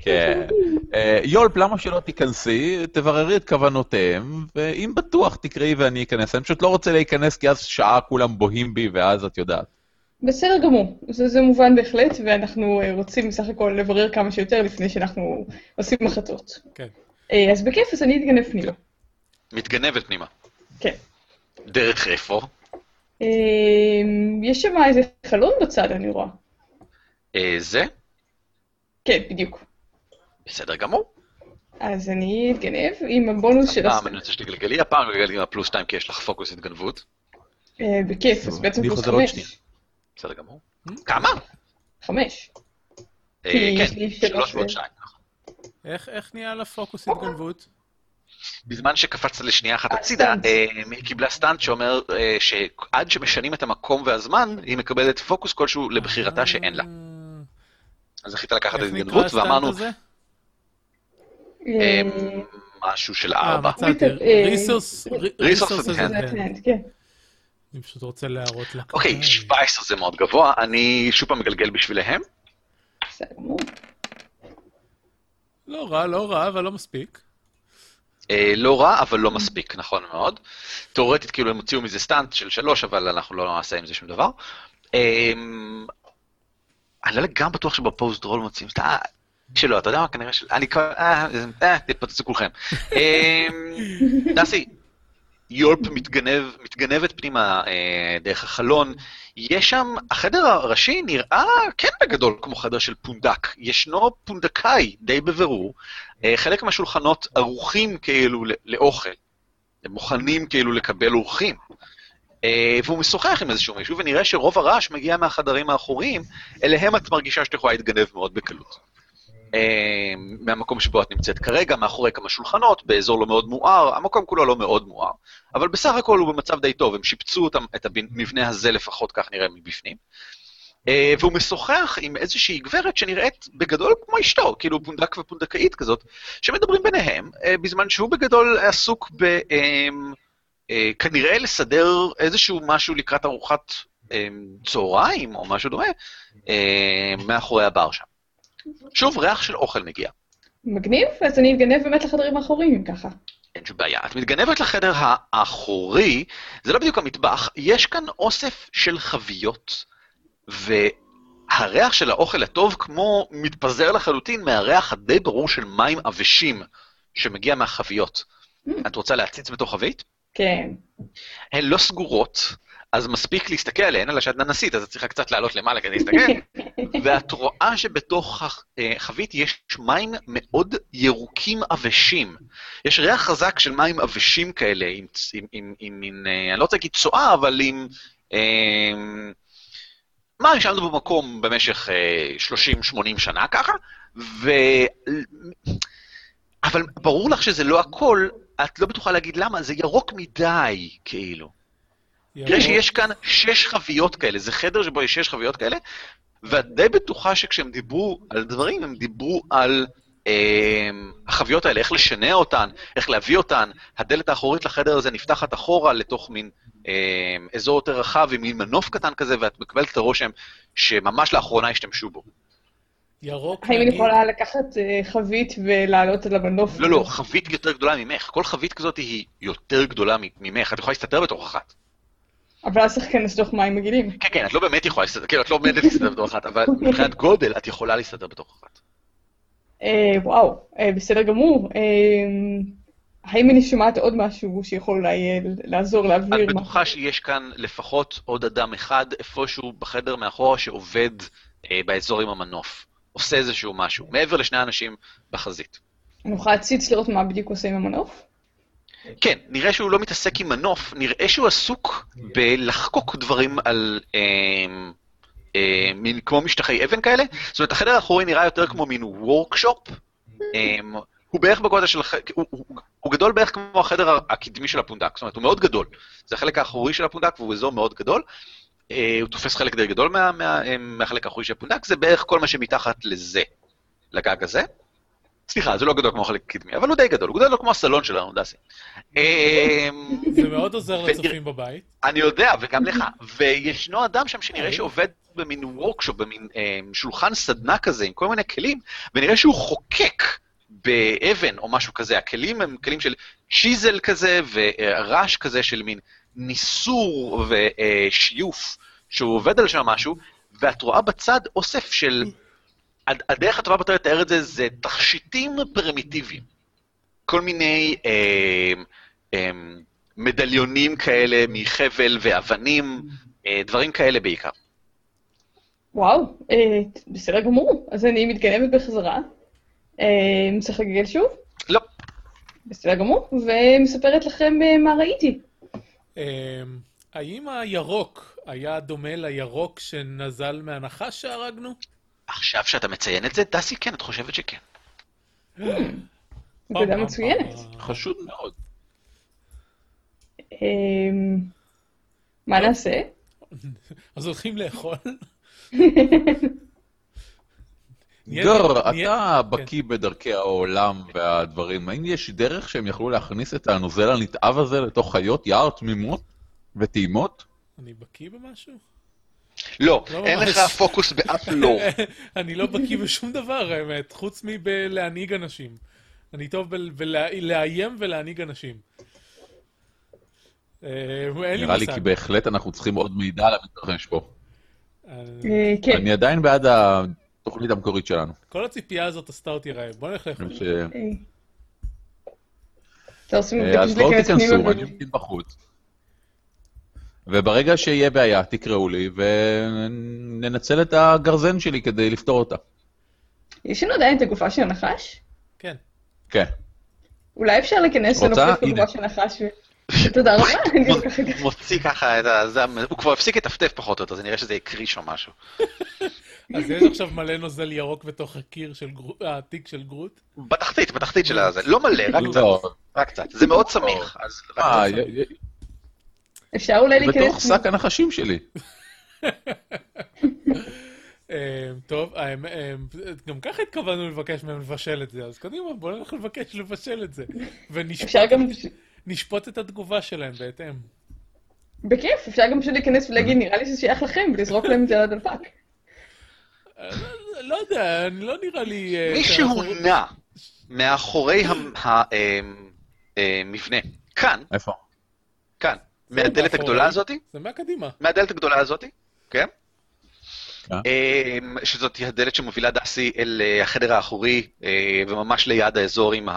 Speaker 2: כן. אה, יולפ, למה שלא תיכנסי, תבררי את כוונותיהם, ואם בטוח תקראי ואני אכנס. אני פשוט לא רוצה להיכנס, כי אז שעה כולם בוהים בי, ואז את יודעת.
Speaker 4: בסדר גמור, זה, זה מובן בהחלט, ואנחנו אה, רוצים בסך הכל לברר כמה שיותר לפני שאנחנו עושים החלטות.
Speaker 3: כן.
Speaker 4: אה, אז בכיף, אז אני אתגנב פנימה.
Speaker 1: מתגנבת פנימה.
Speaker 4: כן.
Speaker 1: דרך איפה?
Speaker 4: אה, יש שם איזה חלון בצד, אני רואה.
Speaker 1: אה, זה?
Speaker 4: כן, בדיוק.
Speaker 1: בסדר גמור.
Speaker 4: אז אני אתגנב עם הבונוס של
Speaker 1: הפעם
Speaker 4: הסטאפ.
Speaker 1: אני רוצה שתגלגלי, הפעם גלגלי עם הפלוס 2 כי יש לך פוקוס התגנבות.
Speaker 4: אה, בכיף, אז בעצם
Speaker 2: אני
Speaker 4: פלוס
Speaker 2: חוזר עוד
Speaker 4: חמש.
Speaker 2: שנייה.
Speaker 1: בסדר גמור. כמה?
Speaker 4: חמש.
Speaker 1: אה,
Speaker 4: אה. כי יש לי
Speaker 1: כן,
Speaker 4: שלוש
Speaker 1: שלוש
Speaker 4: ו-
Speaker 1: ועוד שתיים. נכון.
Speaker 3: איך איך נהיה לה פוקוס התגנבות?
Speaker 1: בזמן שקפצת לשנייה אחת
Speaker 4: אה,
Speaker 1: הצידה,
Speaker 4: סטאנט.
Speaker 1: אה, היא קיבלה סטאנט שאומר אה, שעד שמשנים את המקום והזמן, היא מקבלת פוקוס כלשהו לבחירתה שאין לה.
Speaker 3: אה,
Speaker 1: אז החליטה לקחת את
Speaker 3: איך נקרא
Speaker 1: ההתגנבות,
Speaker 3: הסטנט
Speaker 1: ואמרנו
Speaker 3: הזה?
Speaker 1: אה,
Speaker 4: אה,
Speaker 1: משהו של
Speaker 3: אה,
Speaker 1: ארבע.
Speaker 3: מצאתי.
Speaker 4: אה,
Speaker 3: ריסורס...
Speaker 1: ריסורס
Speaker 3: ריסורס
Speaker 1: and hand.
Speaker 4: זה
Speaker 3: and hand.
Speaker 4: הטלנט, כן.
Speaker 3: אני פשוט רוצה להראות לה.
Speaker 1: אוקיי,
Speaker 3: אה,
Speaker 1: 17 זה מאוד גבוה, אני שוב פעם מגלגל בשבילהם.
Speaker 4: בסדר גמור.
Speaker 3: לא רע, לא רע, אבל לא מספיק.
Speaker 1: אה, לא רע, אבל לא מספיק, נכון מאוד. תאורטית, כאילו, הם הוציאו מזה סטאנט של שלוש, אבל אנחנו לא נעשה עם זה שום דבר. אמ, אני לא לגמרי בטוח שבפוסט רול מוצאים סטאנט. אה, שלא, אתה יודע מה, כנראה של... אני כבר... אה, אה, תתפוצצו כולכם. אמ, דסי, יולפ מתגנב, מתגנבת פנימה אה, דרך החלון. יש שם, החדר הראשי נראה כן בגדול כמו חדר של פונדק. ישנו פונדקאי די בבירור. אה, חלק מהשולחנות ערוכים כאילו ל- לאוכל. הם מוכנים כאילו לקבל אורחים. אה, והוא משוחח עם איזשהו מישהו, ונראה שרוב הרעש מגיע מהחדרים האחוריים, אליהם את מרגישה שאת יכולה להתגנב מאוד בקלות. אה, מהמקום שבו את נמצאת כרגע, מאחורי כמה שולחנות, באזור לא מאוד מואר, המקום כולו לא מאוד מואר, אבל בסך הכל הוא במצב די טוב, הם שיפצו אותם, את המבנה הזה לפחות, כך נראה מבפנים. אה, והוא משוחח עם איזושהי גברת שנראית בגדול כמו אשתו, כאילו פונדק ופונדקאית כזאת, שמדברים ביניהם, אה, בזמן שהוא בגדול עסוק ב... אה, אה, כנראה לסדר איזשהו משהו לקראת ארוחת אה, צהריים או משהו דומה אה, מאחורי הבר שם. שוב, ריח של אוכל מגיע.
Speaker 4: מגניב, אז אני אתגנב באמת לחדרים האחוריים אם ככה.
Speaker 1: אין שום בעיה. את מתגנבת לחדר האחורי, זה לא בדיוק המטבח, יש כאן אוסף של חביות, והריח של האוכל הטוב כמו מתפזר לחלוטין מהריח הדי ברור של מים עבשים שמגיע מהחביות. את רוצה להציץ בתוך חבית?
Speaker 4: כן.
Speaker 1: הן לא סגורות, אז מספיק להסתכל עליהן, אלא שאת ננסית, אז את צריכה קצת לעלות למעלה כדי להסתכל, ואת רואה שבתוך הח- אה, החבית יש מים מאוד ירוקים עבשים. יש ריח חזק של מים עבשים כאלה, עם, צ- עם, עם, עם מין, אה, אני לא רוצה להגיד צואה, אבל עם... אה, מה נשארנו במקום במשך אה, 30-80 שנה ככה, ו... אבל ברור לך שזה לא הכל, את לא בטוחה להגיד למה, זה ירוק מדי, כאילו. תראה שיש כאן שש חביות כאלה, זה חדר שבו יש שש חביות כאלה, ואת די בטוחה שכשהם דיברו על דברים, הם דיברו על אה, החביות האלה, איך לשנע אותן, איך להביא אותן. הדלת האחורית לחדר הזה נפתחת אחורה לתוך מין אה, אזור יותר רחב עם מין מנוף קטן כזה, ואת מקבלת את הרושם שממש לאחרונה השתמשו בו.
Speaker 3: ירוק,
Speaker 4: האם אני
Speaker 3: נגיד,
Speaker 4: יכולה לקחת אה, חבית ולעלות על המנוף?
Speaker 1: לא, לא, חבית יותר גדולה ממך. כל חבית כזאת היא יותר גדולה ממך, את יכולה להסתתר בתוך אחת.
Speaker 4: אבל אז צריך להיכנס לתוך מים מגעילים.
Speaker 1: כן, כן, את לא באמת יכולה להסתדר, כאילו, את לא עומדת להסתדר בתוך אחת, אבל מבחינת גודל, את יכולה להסתדר בתוך אחת.
Speaker 4: אה, וואו, אה, בסדר גמור. אה, האם אני שומעת עוד משהו שיכול אולי אה, לעזור
Speaker 1: את
Speaker 4: להבהיר מה?
Speaker 1: בטוחה שיש כאן לפחות עוד אדם אחד איפשהו בחדר מאחורה שעובד אה, באזור עם המנוף. עושה איזשהו משהו, מעבר לשני האנשים בחזית.
Speaker 4: אני יכולה להציץ לראות מה בדיוק עושה עם המנוף?
Speaker 1: כן, נראה שהוא לא מתעסק עם מנוף, נראה שהוא עסוק בלחקוק דברים על... אה, אה, מין כמו משטחי אבן כאלה. זאת אומרת, החדר האחורי נראה יותר כמו מין וורקשופ. אה, הוא בערך בגודל של... הח- הוא, הוא, הוא גדול בערך כמו החדר ה- הקדמי של הפונדק, זאת אומרת, הוא מאוד גדול. זה החלק האחורי של הפונדק והוא אזור מאוד גדול. אה, הוא תופס חלק די גדול מה, מה, אה, מהחלק האחורי של הפונדק, זה בערך כל מה שמתחת לזה, לגג הזה. סליחה, זה לא גדול כמו החלק הקדמי, אבל הוא די גדול, הוא גדול כמו הסלון שלנו, דסי. אה,
Speaker 3: זה מאוד עוזר
Speaker 1: ונראה-
Speaker 3: לצופים בבית.
Speaker 1: אני יודע, וגם לך. וישנו אדם שם שנראה שעובד במין וורקשופ, במין אה, שולחן סדנה כזה, עם כל מיני כלים, ונראה שהוא חוקק באבן או משהו כזה. הכלים הם כלים של צ'יזל כזה, ורעש כזה של מין ניסור ושיוף, שהוא עובד על שם משהו, ואת רואה בצד אוסף של... הד- הדרך הטובה ביותר לתאר את זה, זה תכשיטים פרימיטיביים. כל מיני... אה, אה, מדליונים כאלה מחבל ואבנים, אה, דברים כאלה בעיקר.
Speaker 4: וואו, אה, בסדר גמור. אז אני מתגנבת בחזרה. אה, צריך לגגל שוב?
Speaker 1: לא.
Speaker 4: בסדר גמור. ומספרת לכם אה, מה ראיתי.
Speaker 3: אמ, האם הירוק היה דומה לירוק שנזל מהנחש שהרגנו?
Speaker 1: עכשיו שאתה מציין את זה, דסי, כן, את חושבת שכן.
Speaker 4: נקודה מצוינת.
Speaker 2: חשוד מאוד.
Speaker 4: אה, מה
Speaker 2: לא.
Speaker 4: נעשה?
Speaker 3: אז הולכים לאכול? נהיה-
Speaker 2: גר,
Speaker 3: נהיה-
Speaker 2: אתה בקיא בדרכי העולם והדברים. האם יש דרך שהם יכלו להכניס את הנוזל הנתעב הזה לתוך חיות יער תמימות וטעימות?
Speaker 3: אני בקיא במשהו?
Speaker 1: לא,
Speaker 3: לא
Speaker 1: אין
Speaker 3: ממש.
Speaker 1: לך פוקוס באף לור.
Speaker 3: אני לא בקיא בשום דבר, האמת, חוץ מבלהנהיג אנשים. אני טוב בל- בלה- לאיים ולהנהיג אנשים. אה, אין לי
Speaker 2: נראה לי
Speaker 3: מושג.
Speaker 2: כי בהחלט אנחנו צריכים עוד מידע על המתרחש פה.
Speaker 3: אה,
Speaker 4: אה, כן.
Speaker 2: אני עדיין בעד התוכנית המקורית שלנו.
Speaker 3: כל הציפייה הזאת עשתה אותי רעב. בוא נלך לאכול.
Speaker 2: ש-
Speaker 4: אה. אתה עושה
Speaker 2: אה, אז
Speaker 4: מבדקת
Speaker 2: בואו
Speaker 4: להיכנס
Speaker 2: תיכנסו,
Speaker 4: פנימה
Speaker 2: אני אמתין בחוץ. וברגע שיהיה בעיה, תקראו לי, וננצל את הגרזן שלי כדי לפתור אותה.
Speaker 4: יש לנו עדיין את הגופה של הנחש?
Speaker 3: כן.
Speaker 2: כן.
Speaker 4: אולי אפשר להיכנס
Speaker 2: רוצה?
Speaker 4: לנופף
Speaker 2: הנה.
Speaker 4: בגופה של הנחש ו... תודה
Speaker 3: לא
Speaker 4: רבה, אני גם ככה...
Speaker 1: מוציא ככה את ה... זה המ- הוא כבר הפסיק לטפטף פחות או יותר, זה נראה שזה הקריש או משהו.
Speaker 3: אז יש עכשיו מלא נוזל ירוק בתוך הקיר של גרוט, התיק של גרוט.
Speaker 1: בתחתית, בתחתית של הזה. לא מלא, רק קצת.
Speaker 2: לא,
Speaker 1: רק קצת. זה מאוד סמיך. אז רק
Speaker 2: אה,
Speaker 1: קצת.
Speaker 2: י- י-
Speaker 4: אפשר אולי להיכנס...
Speaker 2: בתוך שק הנחשים שלי.
Speaker 3: אה, טוב, אה, אה, גם ככה התכוונו לבקש מהם לבשל את זה, אז קדימה, בואו נלך לבקש לבשל את זה.
Speaker 4: אפשר גם...
Speaker 3: ונשפוט את התגובה שלהם בהתאם.
Speaker 4: בכיף, אפשר גם פשוט להיכנס ולהגיד, נראה לי שזה שייך לכם, ולזרוק להם את זה על הדלפק.
Speaker 3: אה, לא- לא יודע, אני- לא נראה לי... אה,
Speaker 1: מישהו
Speaker 3: שאנחנו-
Speaker 1: נע מאחורי המבנה. אה, כאן,
Speaker 2: איפה?
Speaker 1: כאן. מהדלת
Speaker 3: מאחורי.
Speaker 1: הגדולה הזאתי.
Speaker 3: זה מהקדימה.
Speaker 1: מהדלת הגדולה הזאת, כן?
Speaker 2: אה.
Speaker 1: אמ, שזאת הדלת שמובילה דסי אל אה, החדר האחורי אה, וממש ליד האזור עם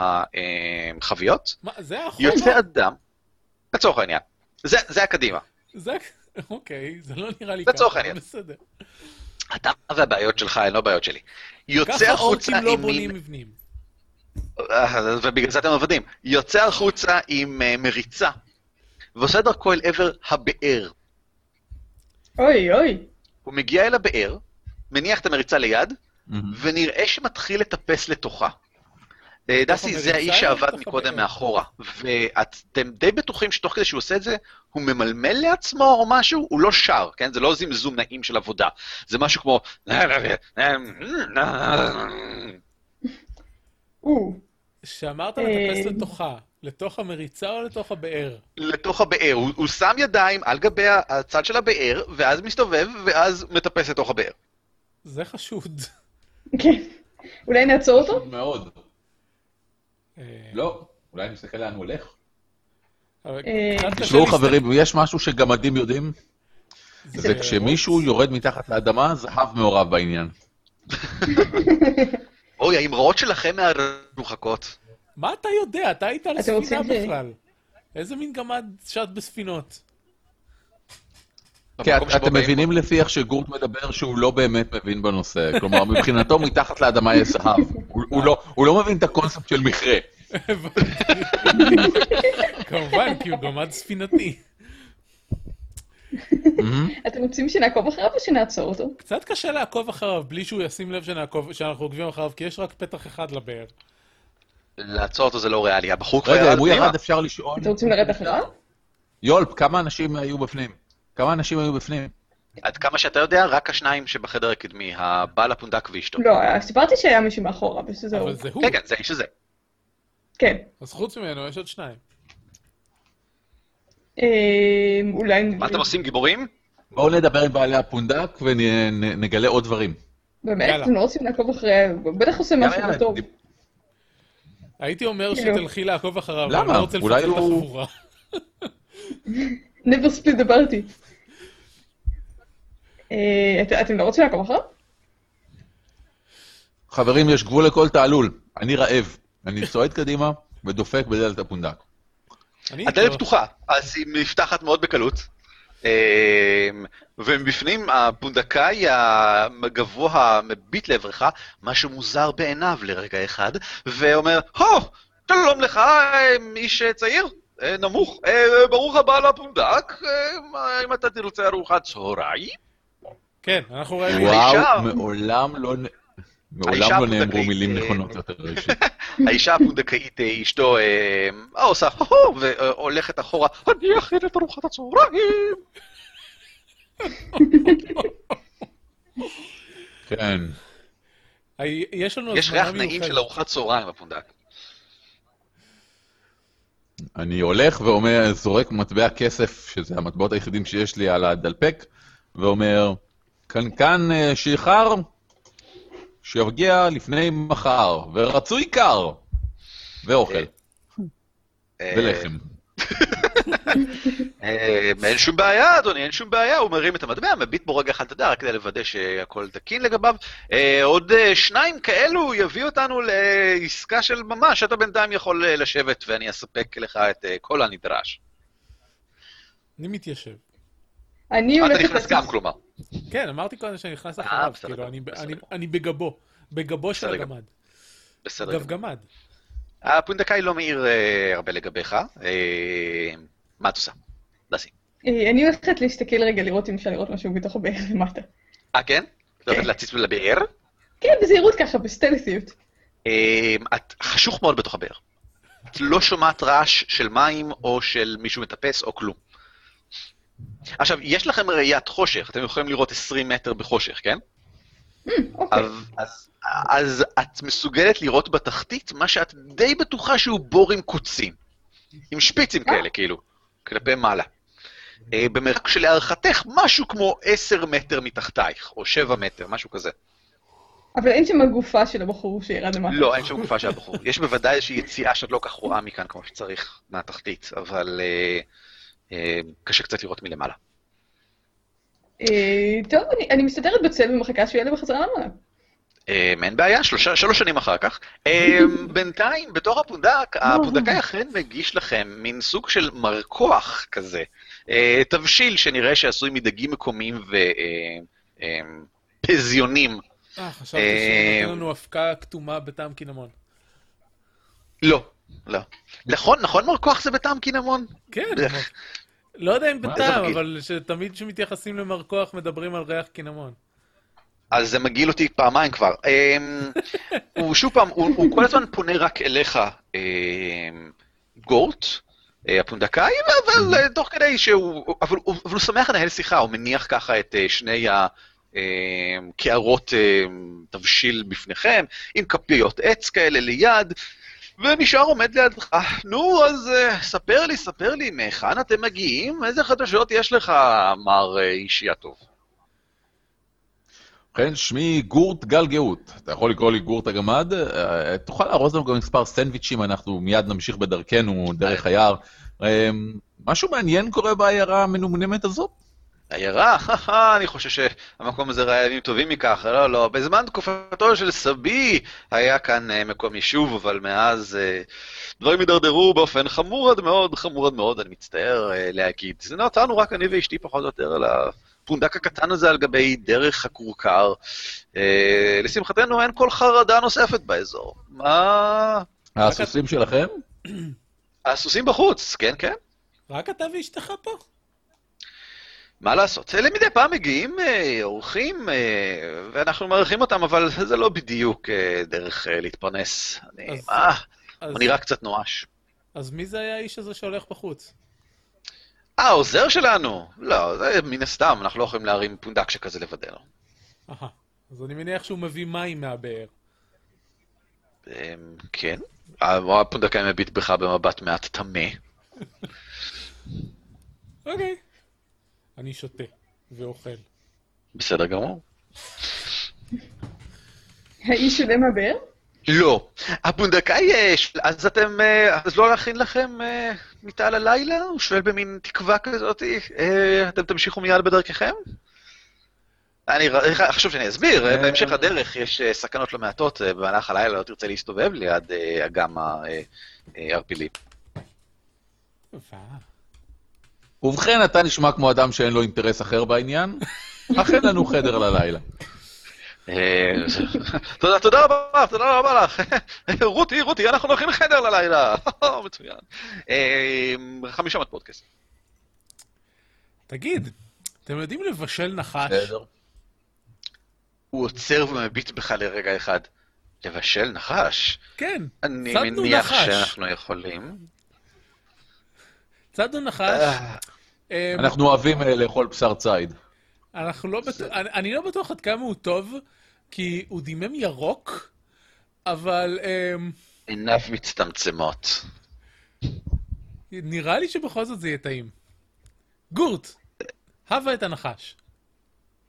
Speaker 1: החביות.
Speaker 3: מה, זה האחורה?
Speaker 1: יוצא אדם, לצורך העניין, זה זה הקדימה.
Speaker 3: זה- אוקיי, זה לא נראה לי
Speaker 1: לצורך
Speaker 3: אבל
Speaker 1: העניין.
Speaker 3: בסדר.
Speaker 1: אתה והבעיות שלך הן לא בעיות שלי. יוצא
Speaker 3: ככה אורקים
Speaker 1: החוצה
Speaker 3: לא
Speaker 1: עם מין...
Speaker 3: בונים מבנים.
Speaker 1: אה, ובגלל זה אתם עבדים. יוצא החוצה עם אה, מריצה, ועושה דרכו אל עבר הבאר.
Speaker 4: אוי, אוי.
Speaker 1: הוא מגיע אל הבאר, מניח את המריצה ליד, ונראה שמתחיל לטפס לתוכה. אה, דסי
Speaker 3: המריצה
Speaker 1: זה האיש
Speaker 3: או
Speaker 1: שעבד
Speaker 3: בתוך
Speaker 1: מקודם
Speaker 3: הבאר?
Speaker 1: מאחורה, ואתם די בטוחים שתוך כדי שהוא עושה את זה, הוא ממלמל לעצמו או משהו, הוא לא שר, כן? זה לא זמזום נעים של עבודה. זה משהו כמו...
Speaker 4: או.
Speaker 3: שאמרת
Speaker 4: אה.
Speaker 3: לטפס לתוכה, לתוך המריצה או לתוך הבאר?
Speaker 1: לתוך הבאר, הוא, הוא שם ידיים על גבי הצד של הבאר, ואז מסתובב, ואז מטפס לתוך הבאר.
Speaker 3: זה חשוד.
Speaker 4: כן. אולי נעצור אותו?
Speaker 2: מאוד.
Speaker 3: אה,
Speaker 2: לא, אולי נסתכל לאן הוא הולך.
Speaker 3: אבל
Speaker 4: אה.
Speaker 3: קצת קשה
Speaker 2: תשמעו
Speaker 3: להסתכל-
Speaker 2: חברים, יש משהו שגמדים יודעים,
Speaker 3: כן.
Speaker 2: זה כשמישהו יורד מתחת לאדמה, זהב מעורב בעניין.
Speaker 1: אוי, האמרות שלכם מהרוחקות.
Speaker 3: מה אתה יודע? אתה היית על
Speaker 4: אתם
Speaker 3: הספינה
Speaker 4: רוצים ש-
Speaker 3: בכלל. איזה מין גמד שט בספינות?
Speaker 2: כן, אתם מבינים לפי איך שגורט מדבר שהוא לא באמת מבין בנושא. כלומר, מבחינתו מתחת לאדמה יש זהב. הוא- הוא לא- הוא לא מבין את הקונספט של מכרה.
Speaker 3: כמובן, כי הוא גמד ספינתי.
Speaker 2: מהמם.
Speaker 4: אתם רוצים שנעקוב אחריו או שנעצור אותו?
Speaker 3: קצת קשה לעקוב אחריו בלי שהוא ישים לב שנעקוב- שאנחנו עוקבים אחריו, כי יש רק פתח אחד לבאר.
Speaker 1: לעצור אותו זה לא ריאלי, הבחור כבר
Speaker 2: רגע,
Speaker 1: ירד
Speaker 2: אם הוא
Speaker 1: פנימה.
Speaker 2: ירד אפשר לשאול.
Speaker 4: אתם רוצים לרדת אחריו?
Speaker 2: יולפ, כמה אנשים היו בפנים? כמה אנשים היו בפנים?
Speaker 1: עד כמה שאתה יודע, רק השניים שבחדר הקדמי, הבעל הפונדק ואשתו.
Speaker 4: לא, סיפרתי שהיה מישהו מאחורה, פשוט זהו.
Speaker 3: אבל זה הוא.
Speaker 1: כן, כן, זה האיש הזה.
Speaker 4: כן.
Speaker 3: אז חוץ ממנו יש עוד שניים.
Speaker 4: אה, אולי...
Speaker 1: מה
Speaker 3: לא.
Speaker 1: אתם עושים, גיבורים?
Speaker 2: בואו נדבר עם בעלי הפונדק ונגלה עוד דברים.
Speaker 4: באמת?
Speaker 3: יאללה.
Speaker 4: אתם לא רוצים לעקוב אחרי... הוא בטח עושה
Speaker 2: יאללה,
Speaker 4: משהו
Speaker 2: יאללה,
Speaker 4: טוב.
Speaker 2: דיב-
Speaker 3: הייתי אומר
Speaker 4: כאילו.
Speaker 3: שתלכי לעקוב אחריו, אבל
Speaker 2: למה?
Speaker 3: אני לא רוצה
Speaker 2: אולי
Speaker 3: לפצל את
Speaker 2: הוא-
Speaker 3: החבורה.
Speaker 4: never split the party. אה, את- אתם לא רוצים לעקוב אחריו?
Speaker 2: חברים, יש גבול לכל תעלול. אני רעב. אני צועד קדימה ודופק בדלת הפונדק.
Speaker 3: אני
Speaker 1: הדלת
Speaker 3: לא-
Speaker 1: פתוחה, אז היא נפתחת מאוד בקלות. אמ, ומבפנים הפונדקאי הגבוה מביט לעברך, משהו מוזר בעיניו לרגע אחד, ואומר, הו, שלום לך, אמ, איש אה, צעיר, אה, נמוך, אה, ברוך הבא לפונדק, אה, אם אתה תרצה ארוחת צהריים.
Speaker 3: כן, אנחנו רעבים.
Speaker 2: וואו,
Speaker 1: האישה-
Speaker 2: מעולם לא נ-
Speaker 1: האישה
Speaker 2: מעולם לא נאמרו
Speaker 1: הפונדקאית,
Speaker 2: מילים
Speaker 1: אה,
Speaker 2: נכונות יותר ראשית.
Speaker 1: האישה הפונדקאית, אה, אשתו, אה, אה, עושה הו-הו, והולכת אחורה, אני אכין את ארוחת הצהריים.
Speaker 2: כן.
Speaker 3: ה- יש לנו
Speaker 1: יש ריח
Speaker 3: הזמנה
Speaker 1: נעים של
Speaker 3: מיוחדת.
Speaker 1: ארוחת צהריים בפונדק.
Speaker 2: אני הולך ואומר, זורק מטבע כסף, שזה המטבעות היחידים שיש לי על הדלפק, ואומר, קנקן אה, שיכר, שיגיע לפני מחר, ורצוי קר, ואוכל,
Speaker 1: אה,
Speaker 2: ולחם.
Speaker 1: אה, אין שום בעיה, אדוני, אין שום בעיה. הוא מרים את המטבע, מביט בו רגע אחד, אתה יודע, רק כדי לוודא שהכל תקין לגביו. אה, עוד אה, שניים כאלו יביאו אותנו לעסקה של ממש. אתה בינתיים יכול אה, לשבת ואני אספק לך את אה, כל הנדרש.
Speaker 3: אני מתיישב.
Speaker 4: אני
Speaker 1: אתה
Speaker 4: הולכת...
Speaker 1: נכנס גם, כלומר.
Speaker 3: כן, אמרתי קודם שאני נכנס
Speaker 1: אה,
Speaker 3: אחריו,
Speaker 1: בסדר
Speaker 3: כאילו,
Speaker 1: גמור,
Speaker 3: אני ב-
Speaker 1: בסדר
Speaker 3: אני-
Speaker 1: גמור.
Speaker 3: אני בגבו. בגבו של
Speaker 1: בסדר גמור.
Speaker 3: הגמד.
Speaker 1: בסדר
Speaker 3: גב
Speaker 1: גמור.
Speaker 3: גמד.
Speaker 1: הפונדקאי לא מעיר אה, הרבה לגביך. אה, מה את עושה? דסי.
Speaker 4: אה, אני הולכת להסתכל רגע, לראות אם אפשר לראות משהו בתוך הבאר למטה.
Speaker 1: אה, כן? את הולכת להציץ לבאר?
Speaker 4: כן, בזהירות ככה, בסטלסיות.
Speaker 1: אה, את חשוך מאוד בתוך הבאר. את לא שומעת רעש של מים או של מישהו מטפס או כלום. עכשיו, יש לכם ראיית חושך, אתם יכולים לראות 20 מטר בחושך, כן?
Speaker 4: אוקיי.
Speaker 1: אז, אז, אז את מסוגלת לראות בתחתית מה שאת די בטוחה שהוא בור עם קוצים. עם שפיצים כאלה, כאילו, כלפי מעלה. אה, במרחק שלהערכתך, משהו כמו 10 מטר מתחתייך, או 7 מטר, משהו כזה.
Speaker 4: אבל אין שם הגופה של הבחור שירד למטה.
Speaker 1: לא, אין שום גופה של הבחור. יש בוודאי איזושהי יציאה שאת לא כך רואה מכאן כמו שצריך, מהתחתית, אבל אה, אה, קשה קצת לראות מלמעלה.
Speaker 4: אה, טוב, אני- אני מסתדרת בצל ומחכה שהוא יעלה בחזרה למעלה.
Speaker 1: אה, אין בעיה, שלושה- שלוש שנים אחר כך. אה, בינתיים, בתור הפונדק, הפונדקאי אכן מגיש לכם מין סוג של מרקוח כזה, אה, תבשיל שנראה שעשוי מדגים מקומיים אה, ופזיונים.
Speaker 3: אה, חשבתי שנותן לנו אבקה כתומה בטעם קינמון.
Speaker 1: לא, לא. נכון, נכון מרקוח זה בטעם קינמון?
Speaker 3: כן, לא יודע אם
Speaker 2: מה?
Speaker 3: בטעם,
Speaker 1: איזה-
Speaker 3: אבל שתמיד כשמתייחסים למרקוח מדברים על ריח קינמון.
Speaker 1: אז זה מגעיל אותי פעמיים כבר. אמ, הוא שוב פעם, הוא, הוא כל הזמן פונה רק אליך, אמ, גורט, אה, הפונדקאי, אבל אה, תוך כדי שהוא, אבל הוא, אבל הוא שמח לנהל שיחה, הוא מניח ככה את אה, שני ה... אמ, קערות אמ, תבשיל בפניכם, עם כפיות עץ כאלה ליד, ונשאר עומד לידך. נו, אז אה, ספר לי, ספר לי, מהיכן אתם מגיעים? איזה חדשות יש לך, מר אה, אישי הטוב?
Speaker 2: ובכן, שמי גורט גל גאות. אתה יכול לקרוא לי גורט הגמד. אה, תוכל לארוז לנו גם מספר סנדוויצ'ים, אנחנו מיד נמשיך בדרכנו, דרך היער. אה, משהו מעניין קורה בעיירה המנומנמת הזאת?
Speaker 1: עיירה, הא, אני חושב שהמקום הזה ראה ימים טובים מכך, לא, לא. בזמן תקופתו של סבי היה כאן אה, מקום יישוב, אבל מאז אה, דברים הידרדרו באופן חמור עד מאוד, חמור עד מאוד, אני מצטער אה, להגיד. זה נותרנו רק אני ואשתי פחות או יותר על הפונדק הקטן הזה על גבי דרך הכורכר. אה, לשמחתנו אין כל חרדה נוספת באזור. מה...
Speaker 2: הסוסים שלכם?
Speaker 1: הסוסים בחוץ, כן, כן.
Speaker 3: רק אתה ואשתך פה?
Speaker 1: מה לעשות? אלה מדי פעם מגיעים אה, אורחים, אה, ואנחנו מארחים אותם, אבל זה לא בדיוק אה, דרך אה, להתפרנס. אני,
Speaker 3: אז-
Speaker 1: מה?
Speaker 3: אז-
Speaker 1: הוא נראה קצת נואש.
Speaker 3: אז מי זה היה האיש הזה שהולך בחוץ?
Speaker 1: אה, העוזר שלנו? לא, זה מן הסתם, אנחנו לא יכולים להרים פונדק שכזה לבדנו.
Speaker 3: אהה. אז אני מניח שהוא מביא מים מהבאר.
Speaker 1: אה, כן? הפונדקאי מביט בך במבט מעט טמא.
Speaker 3: אוקיי. אני שותה ואוכל.
Speaker 1: בסדר גמור.
Speaker 4: האיש עולה מהבאר?
Speaker 1: לא. הפונדקאי, אה, ש- אז אתם, אה, אז לא להכין לכם אה, מיטה ללילה? הוא שואל במין תקווה כזאת, אה, אתם תמשיכו מיד בדרככם? אני ר- חשוב שאני אסביר, אה, בהמשך הדרך יש אה, סכנות לא מעטות, אה, במהלך הלילה לא תרצה להסתובב ליד אה, אגם הערפילי.
Speaker 3: וואו.
Speaker 2: ובכן, אתה נשמע כמו אדם שאין לו אינטרס אחר בעניין. אכן לנו חדר ללילה.
Speaker 1: אה, תודה, תודה רבה, תודה רבה לך. רותי, רותי, אנחנו נכין חדר ללילה. מצוין. אה, חמישה מטפות כסף.
Speaker 3: תגיד, אתם יודעים לבשל נחש?
Speaker 1: הוא עוצר ומביט בך לרגע אחד. לבשל נחש?
Speaker 3: כן,
Speaker 1: אני
Speaker 3: צדנו
Speaker 1: מניח
Speaker 3: נחש.
Speaker 1: שאנחנו יכולים.
Speaker 3: צדנו
Speaker 1: אה,
Speaker 3: נחש. אמ,
Speaker 2: אנחנו אוהבים אה, לאכול בשר ציד.
Speaker 3: אנחנו לא בטוח, אני, אני לא בטוח עד כמה הוא טוב, כי הוא דימם ירוק, אבל אמ,
Speaker 1: עיניו מצטמצמות.
Speaker 3: נראה לי שבכל זאת זה יהיה טעים. גורט, הבה את הנחש.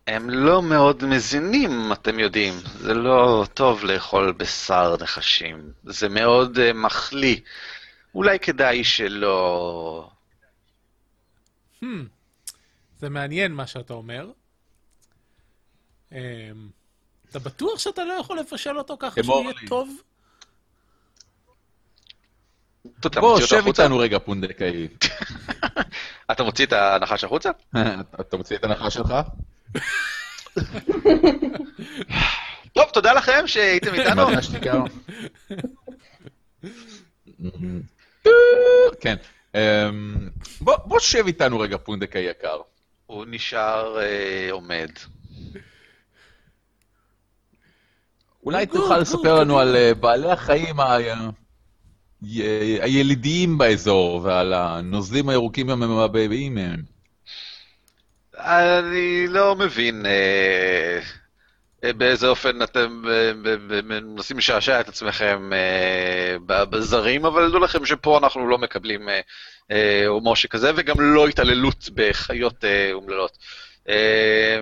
Speaker 1: הם לא מאוד מזינים, אתם יודעים. זה לא טוב לאכול בשר נחשים. זה מאוד אה, מחליא. אולי כדאי שלא...
Speaker 3: Hmm, זה מעניין מה שאתה אומר. אמ, אתה בטוח שאתה לא יכול לבשל אותו ככה שהוא
Speaker 2: אמור
Speaker 3: יהיה
Speaker 2: לי.
Speaker 3: טוב?
Speaker 1: אתה מוציא
Speaker 2: בוא,
Speaker 1: אותו
Speaker 2: שב
Speaker 1: החוצה?
Speaker 2: איתנו רגע, פונדקאי.
Speaker 1: אתה מוציא את הנחש החוצה?
Speaker 2: אתה מוציא את הנחה שלך?
Speaker 1: טוב, תודה לכם שהייתם איתנו.
Speaker 2: מה השתיקה? כן. אמ, בוא בוא שב איתנו רגע, פונדקאי יקר.
Speaker 1: הוא נשאר אה, עומד.
Speaker 2: אולי
Speaker 3: גור,
Speaker 2: תוכל
Speaker 3: גור,
Speaker 2: לספר לנו
Speaker 3: קדימה.
Speaker 2: על אה, בעלי החיים ה- י- הילידיים באזור ועל הנוזלים הירוקים והמבעבעים מהם.
Speaker 1: אני לא מבין אה, אה, באיזה אופן אתם אה, ב- ב- מנסים לשעשע את עצמכם אה, ב- בזרים, אבל דעו לכם שפה אנחנו לא מקבלים אה, אה, הומור שכזה, וגם לא התעללות בחיות אה, אומללות. אה,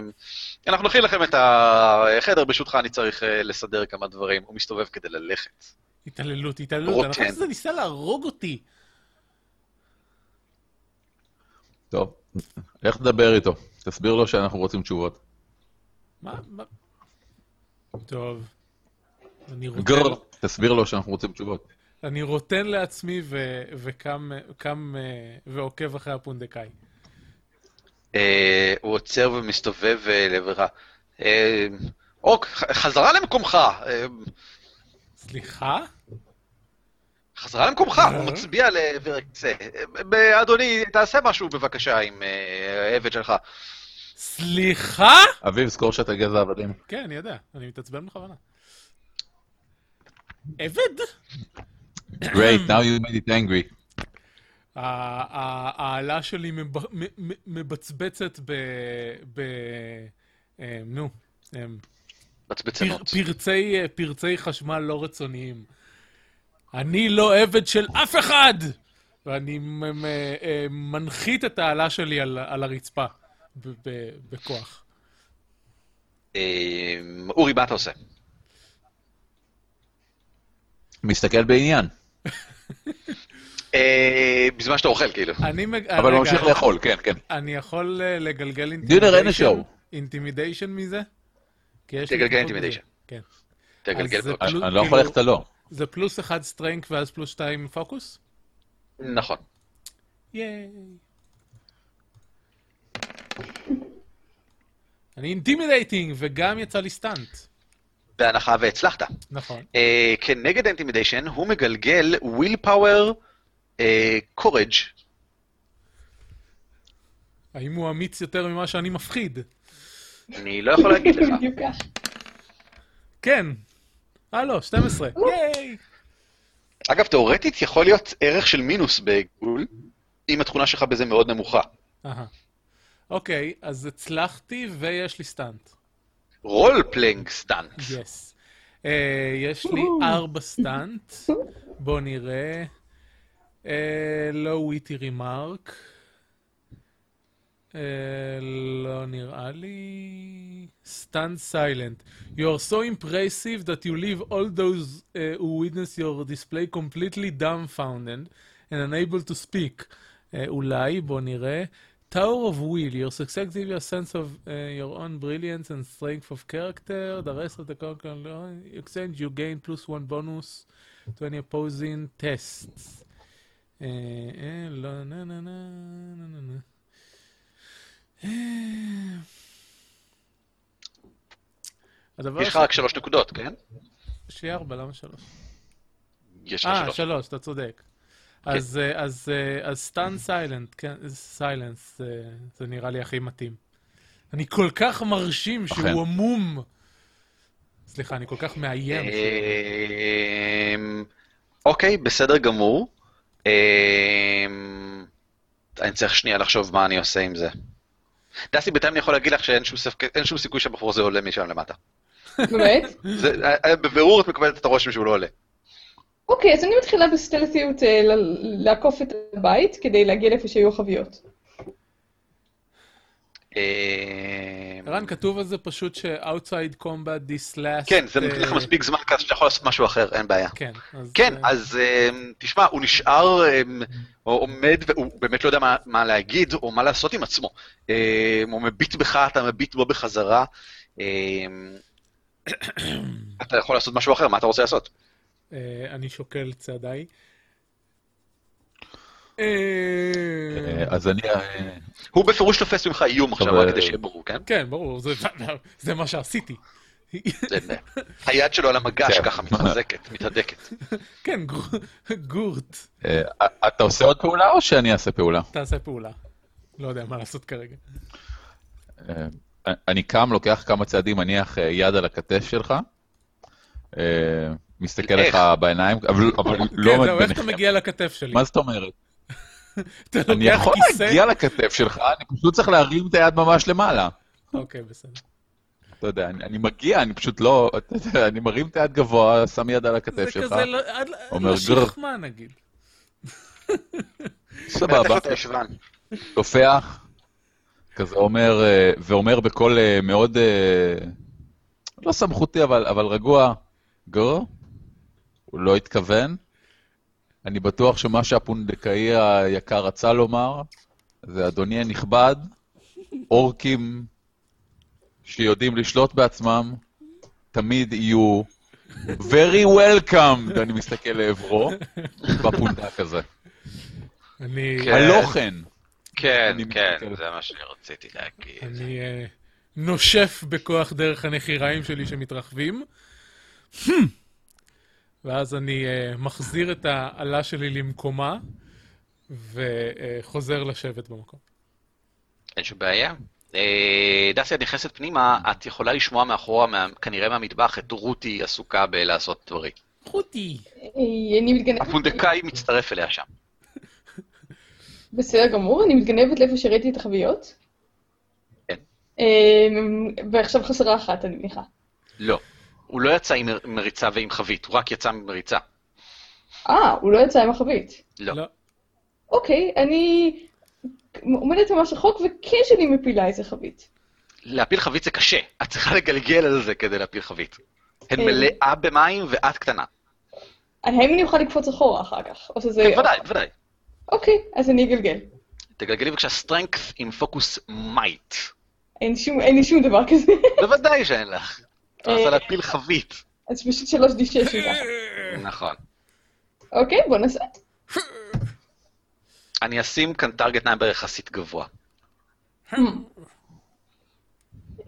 Speaker 1: אנחנו נכין לכם את החדר, ברשותך אני צריך אה, לסדר כמה דברים. הוא מסתובב כדי ללכת.
Speaker 3: התעללות, התעללות.
Speaker 1: רוטן.
Speaker 3: הנחש הזה ניסה להרוג אותי.
Speaker 2: טוב, לך תדבר איתו. תסביר לו שאנחנו רוצים תשובות.
Speaker 3: מה? מה? טוב. אני
Speaker 1: אוקיי.
Speaker 3: רוצה...
Speaker 2: גר, תסביר לו שאנחנו רוצים תשובות.
Speaker 3: אני רוטן לעצמי ו- וקם קם, אה, ועוקב אחרי הפונדקאי.
Speaker 1: אה, הוא עוצר ומסתובב אה, לעברה. אה, אוק, ח- חזרה למקומך! אה,
Speaker 3: סליחה?
Speaker 1: חזרה למקומך,
Speaker 3: אה.
Speaker 1: הוא מצביע לעבר הקצה. אה, ב- אדוני, תעשה משהו בבקשה עם אה, העבד שלך.
Speaker 3: סליחה?
Speaker 2: אביב, זכור שאתה גזע עבדים.
Speaker 3: כן, אני יודע, אני מתעצבן בכוונה. עבד?
Speaker 2: Great, now you made it angry.
Speaker 3: ה- ה- האלה שלי מב- מ- מ- מבצבצת ב... ב... אה, נו, אה, פר-
Speaker 1: בצבצנות.
Speaker 3: פרצי אה, פרצי חשמל לא רצוניים. אני לא עבד של אף אחד! ואני מ- מ- אה, מנחית את האלה שלי על על הרצפה ב- ב- בכוח.
Speaker 1: אה, אורי, מה אתה עושה?
Speaker 2: מסתכל בעניין,
Speaker 1: אה, בזמן שאתה אוכל, כאילו.
Speaker 3: אני... מג-
Speaker 2: אבל
Speaker 3: רגע,
Speaker 2: ממשיך לאכול, כן, כן.
Speaker 3: אני יכול אה, לגלגל
Speaker 2: דיונר, אין השואו.
Speaker 3: אינטימידיישן מזה? כי יש לי
Speaker 1: תגלגל
Speaker 3: פחות
Speaker 1: intimidation.
Speaker 3: מזה. כן.
Speaker 1: תגלגל
Speaker 3: אז זה
Speaker 1: בבקשה.
Speaker 2: אני
Speaker 3: כאילו-
Speaker 2: אני לא יכול ללכת הלא.
Speaker 3: זה פלוס אחד סטרנק ואז פלוס שתיים פוקוס?
Speaker 1: נכון.
Speaker 3: ייי. אני אינטימידייטינג, וגם יצא לי סטאנט.
Speaker 1: בהנחה והצלחת.
Speaker 3: נכון.
Speaker 1: אה, כנגד אינטימידיישן, הוא מגלגל וויל פאוור אה, קורג'.
Speaker 3: האם הוא אמיץ יותר ממה שאני מפחיד?
Speaker 1: אני לא יכול להגיד לך.
Speaker 4: בדיוק כך.
Speaker 3: כן. אה, לא, 12. ייי!
Speaker 1: אגב, תאורטית יכול להיות ערך של מינוס בגול, אם התכונה שלך בזה מאוד נמוכה.
Speaker 3: אהה. אוקיי, אז הצלחתי ויש לי סטאנט.
Speaker 1: רול פליינג סטאנט.
Speaker 3: יס. אה, יש לי ארבע סטאנט. בואו נראה. לא וויטי רימארק. לא נראה לי. סטאנט סיילנט. You are so impressive that you leave all those uh, who witness your display completely dumbfounded and unable to speak. אה, אולי, בואו נראה. Tower of Will, your success gives you a sense of uh, your own brilliance and strength of character. The rest of the conqueror exchange, you gain plus one bonus to any opposing tests. אה, אה, לא, נה, נה, נה, נה, נה, נה. אה. הדבר
Speaker 1: יש לך
Speaker 3: ש-
Speaker 1: רק שלוש נקודות, כן?
Speaker 3: יש לי ארבע, למה שלוש?
Speaker 1: יש לך
Speaker 3: אה,
Speaker 1: שלוש. כן.
Speaker 3: שלוש, אתה צודק. אז, אה, אז, אה, אז סטן סיילנט, כן, סיילנס, זה נראה לי הכי מתאים. אני כל כך מרשים
Speaker 2: אכן.
Speaker 3: שהוא עמום. סליחה, אני כל כך מאיים.
Speaker 1: אה. אמ, אוקיי, בסדר גמור. אמ, אני צריך שנייה לחשוב מה אני עושה עם זה. דסי, בינתיים אני יכול להגיד לך שאין שום ספק- אין שום סיכוי שהבחור הזה עולה משם למטה.
Speaker 4: באמת?
Speaker 1: זה- אה, בבירור את מקבלת את הרושם שהוא לא עולה.
Speaker 4: אוקיי, אז אני מתחילה בסטלתיות אה, ל- לעקוף את הבית כדי להגיע לאיפה שיהיו החביות.
Speaker 1: אמ,
Speaker 3: ערן, כתוב על זה פשוט ש-outside combat this last...
Speaker 1: כן, זה
Speaker 3: אה,
Speaker 1: נותן לך מספיק זמן כזה שאתה יכול לעשות משהו אחר, אין בעיה.
Speaker 3: כן, אז...
Speaker 1: כן,
Speaker 3: אה,
Speaker 1: אז אמ, תשמע, הוא נשאר, אמ, הוא עומד, והוא באמת לא יודע מה- מה להגיד או מה לעשות עם עצמו. אמ, הוא מביט בך, אתה מביט בו בחזרה. אמ, אתה יכול לעשות משהו אחר, מה אתה רוצה לעשות?
Speaker 3: אה, אני שוקל את צעדיי.
Speaker 2: אה,
Speaker 3: אה,
Speaker 2: אז אני... אה,
Speaker 1: הוא בפירוש תופס ממך איום עכשיו,
Speaker 2: אבל-
Speaker 1: רק כדי שיהיה ברור, כן?
Speaker 3: כן, ברור, זה- זה מה שעשיתי.
Speaker 1: זה- זה- היד שלו על המגש
Speaker 2: כן.
Speaker 1: ככה מתחזקת, מתהדקת.
Speaker 3: כן, גור- גורט.
Speaker 2: אה, אתה עושה עוד פעולה או שאני אעשה פעולה?
Speaker 3: תעשה פעולה. לא יודע מה לעשות כרגע.
Speaker 2: אה, אני קם, לוקח כמה צעדים, מניח אה, יד על הכתף שלך, אה, מסתכל
Speaker 1: איך?
Speaker 2: לך בעיניים, אבל אבל לא
Speaker 3: כן, זהו, איך אתה
Speaker 2: ביניכם.
Speaker 3: מגיע לכתף שלי?
Speaker 2: מה זאת אומרת?
Speaker 3: אתה
Speaker 2: אני
Speaker 3: לוקח
Speaker 2: יכול
Speaker 3: כיסא?
Speaker 2: להגיע לכתף שלך, אני פשוט צריך להרים את היד ממש למעלה.
Speaker 3: אוקיי, בסדר.
Speaker 2: אתה יודע, אני, אני מגיע, אני פשוט לא, אתה יודע, אני מרים את היד גבוה, שם יד על הכתף
Speaker 3: זה
Speaker 2: שלך,
Speaker 3: כזה לא- עד ל-
Speaker 2: אומר
Speaker 3: לשכמה נגיד.
Speaker 2: סבבה,
Speaker 1: אתה ישבן.
Speaker 2: טופח, כזה אומר, אה, ואומר בקול אה, מאוד, אה, לא סמכותי, אבל, אבל רגוע, גו, הוא לא התכוון. אני בטוח שמה שהפונדקאי היקר רצה לומר, זה אדוני הנכבד, אורקים שיודעים לשלוט בעצמם, תמיד יהיו very welcomed, אני מסתכל לעברו, בפונדק הזה.
Speaker 3: אני...
Speaker 1: כן.
Speaker 2: הלא כן.
Speaker 1: כן,
Speaker 2: אני
Speaker 1: כן,
Speaker 2: מתנצל.
Speaker 1: זה מה שרציתי להגיד.
Speaker 3: אני אה, נושף בכוח דרך הנחיריים שלי שמתרחבים. ואז אני אה, מחזיר את האלה שלי למקומה, וחוזר לשבת במקום.
Speaker 1: אין שום בעיה. אה, דסי, את נכנסת פנימה, את יכולה לשמוע מאחורה, מה- כנראה מהמטבח, את רותי עסוקה בלעשות דברים.
Speaker 3: חוטי!
Speaker 4: אה, אני מתגנבת...
Speaker 1: הפונדקאי מצטרף אליה שם.
Speaker 4: בסדר גמור, אני מתגנבת לאיפה שראיתי את החביות.
Speaker 1: כן.
Speaker 4: אה, ועכשיו חסרה אחת, אני מניחה.
Speaker 1: לא. הוא לא יצא עם מר- מריצה ועם חבית, הוא רק יצא ממריצה.
Speaker 4: אה, הוא לא יצא עם החבית.
Speaker 1: לא.
Speaker 4: אוקיי, אני עומדת ממש רחוק, וכן שאני מפילה איזה חבית.
Speaker 1: להפיל חבית זה קשה, את צריכה לגלגל על זה כדי להפיל חבית. הן
Speaker 4: כן.
Speaker 1: מלאה במים ואת קטנה.
Speaker 4: האם אני אוכל לקפוץ אחורה אחר כך? או שזה...
Speaker 1: כן, ודאי, ודאי.
Speaker 4: אוקיי, אז אני אגלגל.
Speaker 1: תגלגלי בבקשה strength עם פוקוס מייט.
Speaker 4: אין שום- אין לי שום דבר כזה.
Speaker 1: בוודאי שאין לך. את
Speaker 4: אה.
Speaker 1: רוצה להפיל חבית.
Speaker 4: אז פשוט שלוש די שש ככה.
Speaker 1: נכון.
Speaker 4: אוקיי, בוא נעשה.
Speaker 1: אני אשים כאן target number יחסית גבוה.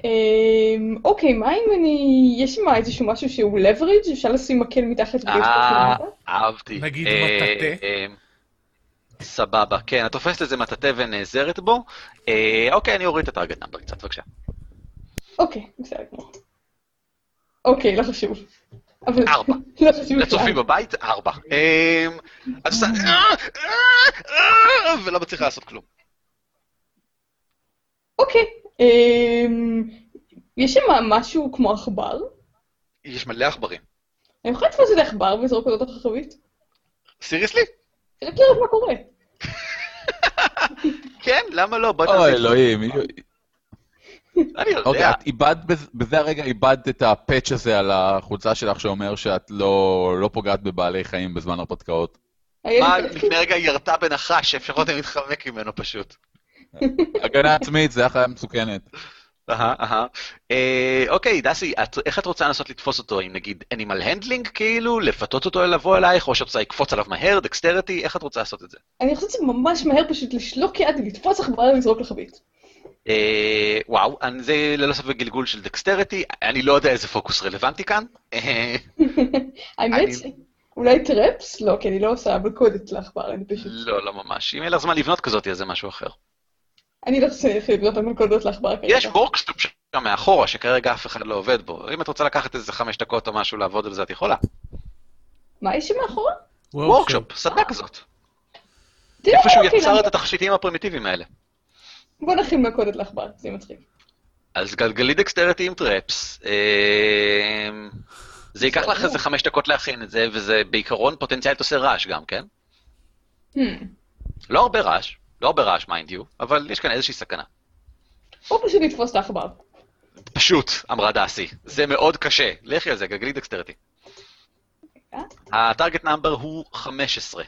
Speaker 4: אמ, אוקיי, מה אם אני... יש שם איזשהו משהו שהוא leverage? אפשר לשים מקל מתחת ולשפוך
Speaker 1: אה,
Speaker 4: למטה?
Speaker 1: אהבתי.
Speaker 3: נגיד
Speaker 1: אה,
Speaker 3: מטאטא.
Speaker 1: אה, סבבה, כן, את תופסת איזה מטאטא ונעזרת בו. אה, אוקיי, אני אוריד את הטרגט נאמבר קצת, בבקשה.
Speaker 4: אוקיי, בסדר גמור. אוקיי, לא חשוב. אבל-
Speaker 1: ארבע.
Speaker 4: לא חשוב.
Speaker 1: לצופים
Speaker 4: בכלל.
Speaker 1: בבית, ארבע. אה, אז עושה... אה, אה, אה, ולא מצליחה לעשות כלום.
Speaker 4: אוקיי. אמ, יש שם משהו כמו עכבר?
Speaker 1: יש מלא עכברים.
Speaker 4: אני יכולה לתפוס את העכבר ולזרוק אותו לתוך החבית?
Speaker 1: סיריוסלי?
Speaker 4: רק לראות מה קורה.
Speaker 1: כן, למה לא? בואי
Speaker 2: אוי,
Speaker 1: נעשה...
Speaker 2: אלוהים.
Speaker 1: אני
Speaker 2: אוקיי,
Speaker 1: יודע.
Speaker 2: את איבדת, בז- בזה הרגע איבדת את הפאץ' הזה על החולצה שלך שאומר שאת לא לא פוגעת בבעלי חיים בזמן הרפתקאות.
Speaker 1: מה,
Speaker 4: הילד-
Speaker 1: לפני רגע היא ירתה בנחש, שאפשר אותם להתחמק ממנו פשוט.
Speaker 2: הגנה עצמית, זה היה חיה מסוכנת.
Speaker 1: אהה, אהה. אה, אוקיי, דסי, את- איך את רוצה לנסות לתפוס אותו? אם נגיד אנימל הנדלינג כאילו, לפתות אותו לבוא אלייך, או שאת רוצה לקפוץ עליו מהר, דקסטריטי, איך את רוצה לעשות את זה?
Speaker 4: אני חושבת שממש מהר פשוט לשלוק יד, לתפוס עכבר ולזרוק לחבית.
Speaker 1: אה, וואו, אני- זה ללא ספק גלגול של דקסטריטי, אני לא יודע איזה פוקוס רלוונטי כאן. אה,
Speaker 4: האמת,
Speaker 1: אני-
Speaker 4: ש- אולי טרפס? לא, כי אני לא עושה מלכודת לעכבר, אני פשוט...
Speaker 1: לא, לא ממש. אם אין לך זמן לבנות כזאת, אז זה משהו אחר.
Speaker 4: אני לא חושבת שאני הולכת לבנות על מלכודות לעכבר כרגע.
Speaker 1: יש וורקסטופ שם מאחורה, שכרגע אף אחד לא עובד בו. אם את רוצה לקחת איזה חמש דקות או משהו לעבוד על זה, את יכולה.
Speaker 4: מה יש שם מאחורה?
Speaker 1: וורקשופ, סדנה כזאת.
Speaker 4: תראה,
Speaker 1: איפה שהוא
Speaker 4: אוקיי,
Speaker 1: יצר
Speaker 4: למה-
Speaker 1: את התכשיטים הפרימיטיביים האלה.
Speaker 4: בוא נכין מלכודת לעכבר, זה מצחיק.
Speaker 1: אז גלגלי דקסטריטי עם טרפס. אמ, זה ייקח לך איזה חמש דקות להכין את זה, וזה בעיקרון פוטנציאלית עושה רעש גם, כן?
Speaker 4: Hmm.
Speaker 1: לא הרבה רעש, לא הרבה רעש מיינד יו, אבל יש כאן איזושהי סכנה.
Speaker 4: או פשוט לתפוס את העכבר.
Speaker 1: פשוט, אמרה דסי, זה מאוד קשה. לכי על זה, גלגלי דקסטריטי.
Speaker 4: אה?
Speaker 1: הטארגט נאמבר הוא 15.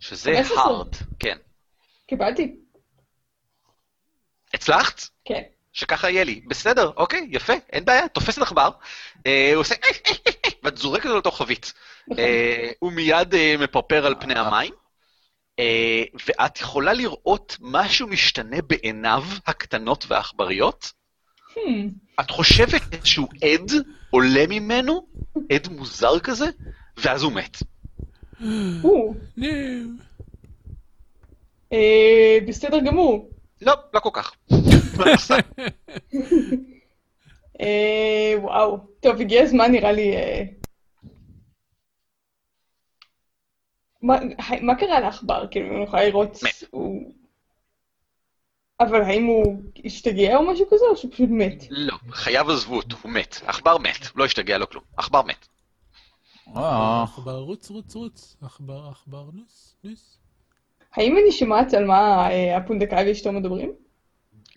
Speaker 1: שזה
Speaker 4: 15?
Speaker 1: הארד, כן.
Speaker 4: קיבלתי?
Speaker 1: הצלחת?
Speaker 4: כן.
Speaker 1: שככה יהיה לי. בסדר, אוקיי, יפה, אין בעיה, תופס את עכבר, אה, הוא עושה... ואת זורקת אותו לתוך חבית.
Speaker 4: נכון.
Speaker 1: אה, הוא מיד אה, מפרפר על פני המים, אה, ואת יכולה לראות משהו משתנה בעיניו הקטנות והעכבריות.
Speaker 4: Hmm.
Speaker 1: את חושבת שהוא עד עולה ממנו, עד מוזר כזה, ואז הוא מת.
Speaker 4: או,
Speaker 3: נו.
Speaker 4: אה, בסדר גמור.
Speaker 1: לא, לא כל כך. מה את עושה?
Speaker 4: אה, וואו. טוב, הגיע הזמן נראה לי... אה, מה- ה- מה קרה לעכבר? כאילו, אני יכולה לראות...
Speaker 1: מת.
Speaker 4: הוא- אבל האם הוא השתגע או משהו כזה, או שהוא פשוט מת?
Speaker 1: לא, חייו עזבו אותו, הוא מת. עכבר מת, לא השתגע, לא כלום. עכבר מת.
Speaker 2: אה,
Speaker 3: עכבר רוץ, רוץ, רוץ. עכבר, עכבר, נוס, נוס.
Speaker 4: האם אני שומעת על מה אה, הפונדקאי ואשתו מדברים?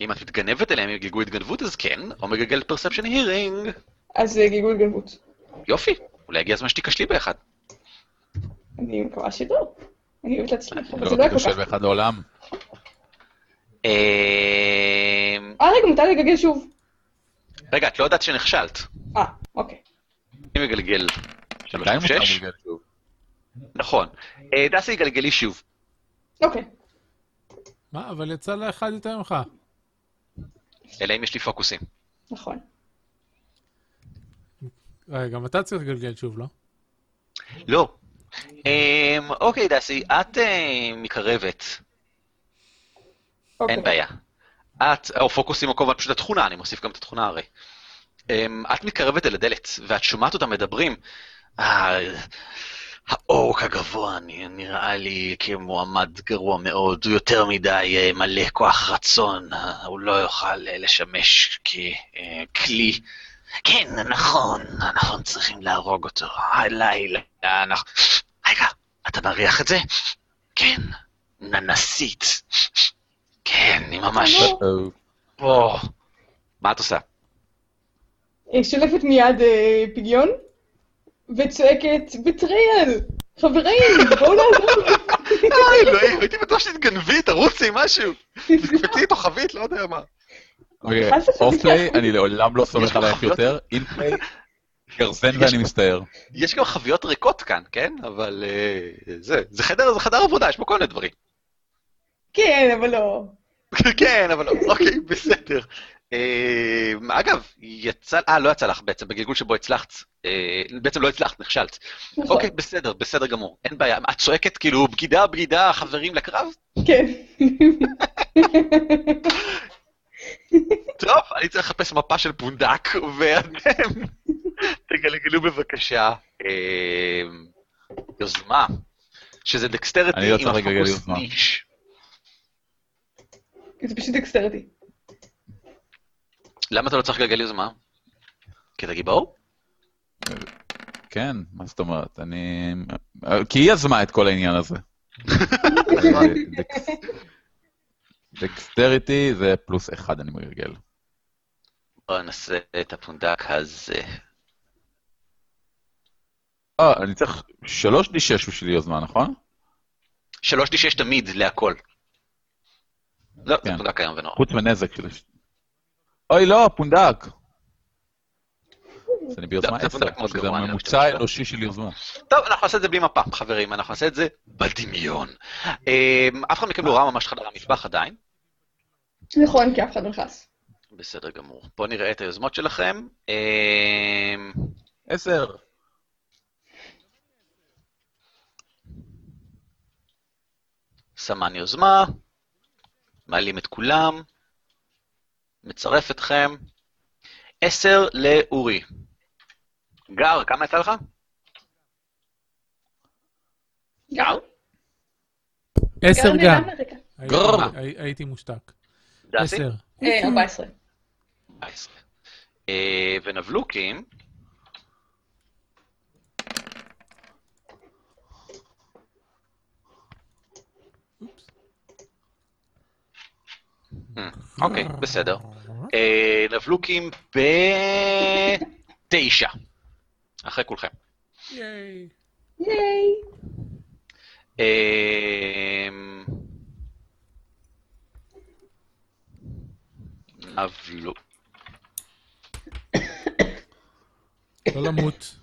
Speaker 1: אם את מתגנבת אליהם עם גלגול התגנבות, אז כן, או מגלגל פרספשן הירינג.
Speaker 4: אז אה, גלגול גנבות.
Speaker 1: יופי, אולי הגיע הזמן שתיכשלי באחד.
Speaker 4: אני מקווה שלא. אני אוהבת להצליח, אבל
Speaker 2: לא
Speaker 4: זה לא היה כל
Speaker 2: תיכשל
Speaker 4: כך.
Speaker 2: באחד לעולם.
Speaker 1: אמ,
Speaker 4: אה, רגע, מותר לגלגל שוב.
Speaker 1: רגע, את לא יודעת שנכשלת.
Speaker 4: אה, אוקיי.
Speaker 1: אני מגלגל שלוש
Speaker 2: עדיין מותר
Speaker 1: שש.
Speaker 2: לגלגל שוב.
Speaker 1: נכון. אה, דסי, גלגלי שוב.
Speaker 4: אוקיי.
Speaker 3: מה, אבל יצא לאחד יותר ממך.
Speaker 1: אלא אם יש לי פוקוסים.
Speaker 4: נכון.
Speaker 3: אה, גם אתה צריך לגלגל שוב, לא?
Speaker 1: לא. אמ, אוקיי, דסי, את אה, מקרבת,
Speaker 4: אוקיי.
Speaker 1: אין בעיה. את, או פוקוסים או כמובן, פשוט התכונה, אני מוסיף גם את התכונה הרי. אמ, את מתקרבת אל הדלת, ואת שומעת אותם מדברים. "אה, האורק הגבוה נ- נראה לי כמועמד גרוע מאוד, הוא יותר מדי אה, מלא כוח רצון, אה, הוא לא יוכל אה, לשמש אה, ככלי. כן, נכון, אנחנו צריכים להרוג אותו. הלילה, אנחנו... רגע, אתה מריח את זה? כן, ננסית. כן, אני ממש...
Speaker 4: לא.
Speaker 1: פה. מה את עושה?
Speaker 4: אה, שולפת מיד אה, פיגיון, וצועקת, בטרייל! חברים, בואו לעזור! לי."
Speaker 1: אה, אלוהים, הייתי בטוח שתתגנבי, תרוצי, משהו. תקפצי איתו חבית, לא יודע מה.
Speaker 2: אוקיי,
Speaker 4: חס וחלילה.
Speaker 2: אופליי, אני לעולם לא סומך
Speaker 1: יש לך
Speaker 2: עלייך
Speaker 1: חוויות?
Speaker 2: יותר, אינפליי, גרזן
Speaker 1: יש-
Speaker 2: ואני מסתער.
Speaker 1: יש גם חביות ריקות כאן, כן? אבל אה, זה, זה חדר, זה חדר עבודה, יש פה כל מיני דברים.
Speaker 4: כן, אבל לא.
Speaker 1: כן, אבל אוקיי, בסדר. אה, אגב, יצא, אה, לא יצא לך בעצם, בגלגול שבו הצלחת, אה, בעצם לא הצלחת, נכשלת.
Speaker 4: נכון.
Speaker 1: אוקיי, בסדר, בסדר גמור, אין בעיה. את צועקת כאילו, בגידה, בגידה, חברים לקרב?
Speaker 4: כן.
Speaker 1: טוב, אני צריך לחפש מפה של פונדק, ואתם תגלגלו בבקשה אה, יוזמה, שזה דקסטרטי
Speaker 2: אני לא צריך
Speaker 1: עם
Speaker 2: לגלגל
Speaker 1: הפוקוס
Speaker 2: יוזמה.
Speaker 1: ניש.
Speaker 4: זה פשוט דקסטרטי.
Speaker 1: למה אתה לא צריך לגלגל יוזמה? כי אתה גיבור?
Speaker 2: כן, מה זאת אומרת? אני... כי היא יזמה את כל העניין הזה. דקסטריטי זה פלוס אחד אני מגלגל.
Speaker 1: בוא נעשה את הפונדק הזה.
Speaker 2: אה, אני צריך שלוש D6 בשביל יוזמה, נכון?
Speaker 1: שלוש די שש תמיד להכל. לא, זה
Speaker 2: כן.
Speaker 1: פונדק היום ונורא.
Speaker 2: חוץ מנזק של... אוי, לא, פונדק. אז אני ביוזמה
Speaker 1: זה פונדק
Speaker 2: עשר,
Speaker 1: מאוד
Speaker 2: שזה
Speaker 1: גרוע, אני לא
Speaker 2: הממוצע
Speaker 1: משתמש בו.
Speaker 2: האנושי של יוזמה.
Speaker 1: טוב, אנחנו נעשה את זה בלי מפה, חברים, אנחנו נעשה את זה בדמיון. אה, אף אחד מכם לא ראה ממש חדר המטבח עדיין.
Speaker 4: נכון, כי אף אחד לא נכנס.
Speaker 1: בסדר גמור. בואו נראה את היוזמות שלכם. אמ,
Speaker 2: עשר.
Speaker 1: סמן יוזמה, מעלים את כולם, מצרף אתכם. עשר לאורי. גר, כמה יצא לך?
Speaker 4: גם?
Speaker 3: עשר גם.
Speaker 4: מאמריקה.
Speaker 3: הייתי-
Speaker 1: גרר.
Speaker 3: הי- הייתי מושתק.
Speaker 1: דסי?
Speaker 3: עשר.
Speaker 4: אה, 14.
Speaker 1: 14. אה, ונבלוקים, אה, אוקיי, בסדר. אה, נבלוקים בתשע, אחרי כולכם.
Speaker 3: ייי.
Speaker 4: ייי!
Speaker 1: אמ, נבלוק.
Speaker 3: לא למות.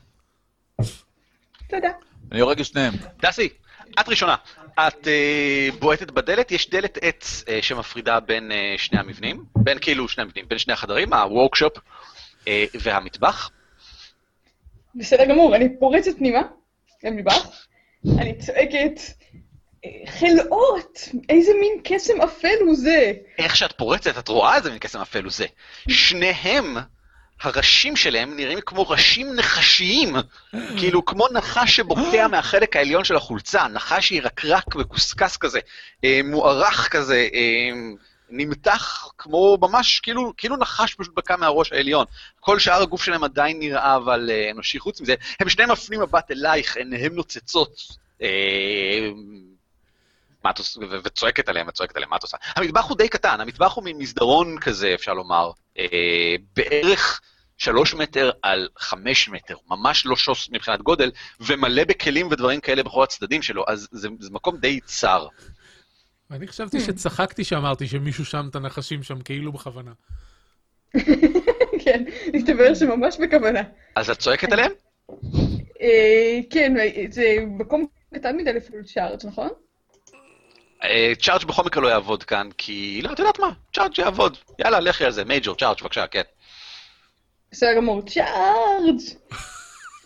Speaker 4: תודה.
Speaker 2: אני הורג את שניהם.
Speaker 1: דסי, את ראשונה. את אה, בועטת בדלת, יש דלת עץ אה, שמפרידה בין אה, שני המבנים, בין כאילו שני המבנים, בין שני החדרים, הוורקשופ אה, והמטבח.
Speaker 4: בסדר גמור, אני פורצת פנימה, למטבח, אני צועקת, "אה, חלאות! איזה מין קסם אפל הוא זה!
Speaker 1: איך שאת פורצת, את רואה איזה מין קסם אפל הוא זה. שניהם, הראשים שלהם נראים כמו ראשים נחשיים, כאילו כמו נחש שבוקע מהחלק העליון של החולצה, נחש ירקרק מקוסקס כזה, אה, מוארך כזה, אה, נמתח כמו ממש, כאילו, כאילו נחש פשוט בקע מהראש העליון. כל שאר הגוף שלהם עדיין נראה אבל אה, אנושי. חוץ מזה, הם שניהם מפנים מבט אלייך, עיניהם נוצצות. אה, מה את עושה, ו- וצועקת עליהם, וצועקת עליהם, מה את עושה? המטבח הוא די קטן, המטבח הוא מין מסדרון כזה, אפשר לומר, אה, בערך שלוש מטר על חמש מטר, ממש לא שוס מבחינת גודל, ומלא בכלים ודברים כאלה בכל הצדדים שלו, אז זה, זה מקום די צר.
Speaker 3: אני חשבתי שצחקתי שאמרתי שמישהו שם את הנחשים שם, כאילו בכוונה.
Speaker 4: כן, מסתבר שממש בכוונה.
Speaker 1: אז את צועקת עליהם?
Speaker 4: אה, כן, זה מקום קטן מדי לפול צ'ארג', נכון?
Speaker 1: אה, צ'ארג' בכל מקרה לא יעבוד כאן, כי לא, את יודעת מה, צ'ארג' יעבוד. יאללה, לכי על זה, מייג'ור, צ'ארג', בבקשה, כן.
Speaker 4: בסדר גמור, צ'ארג'!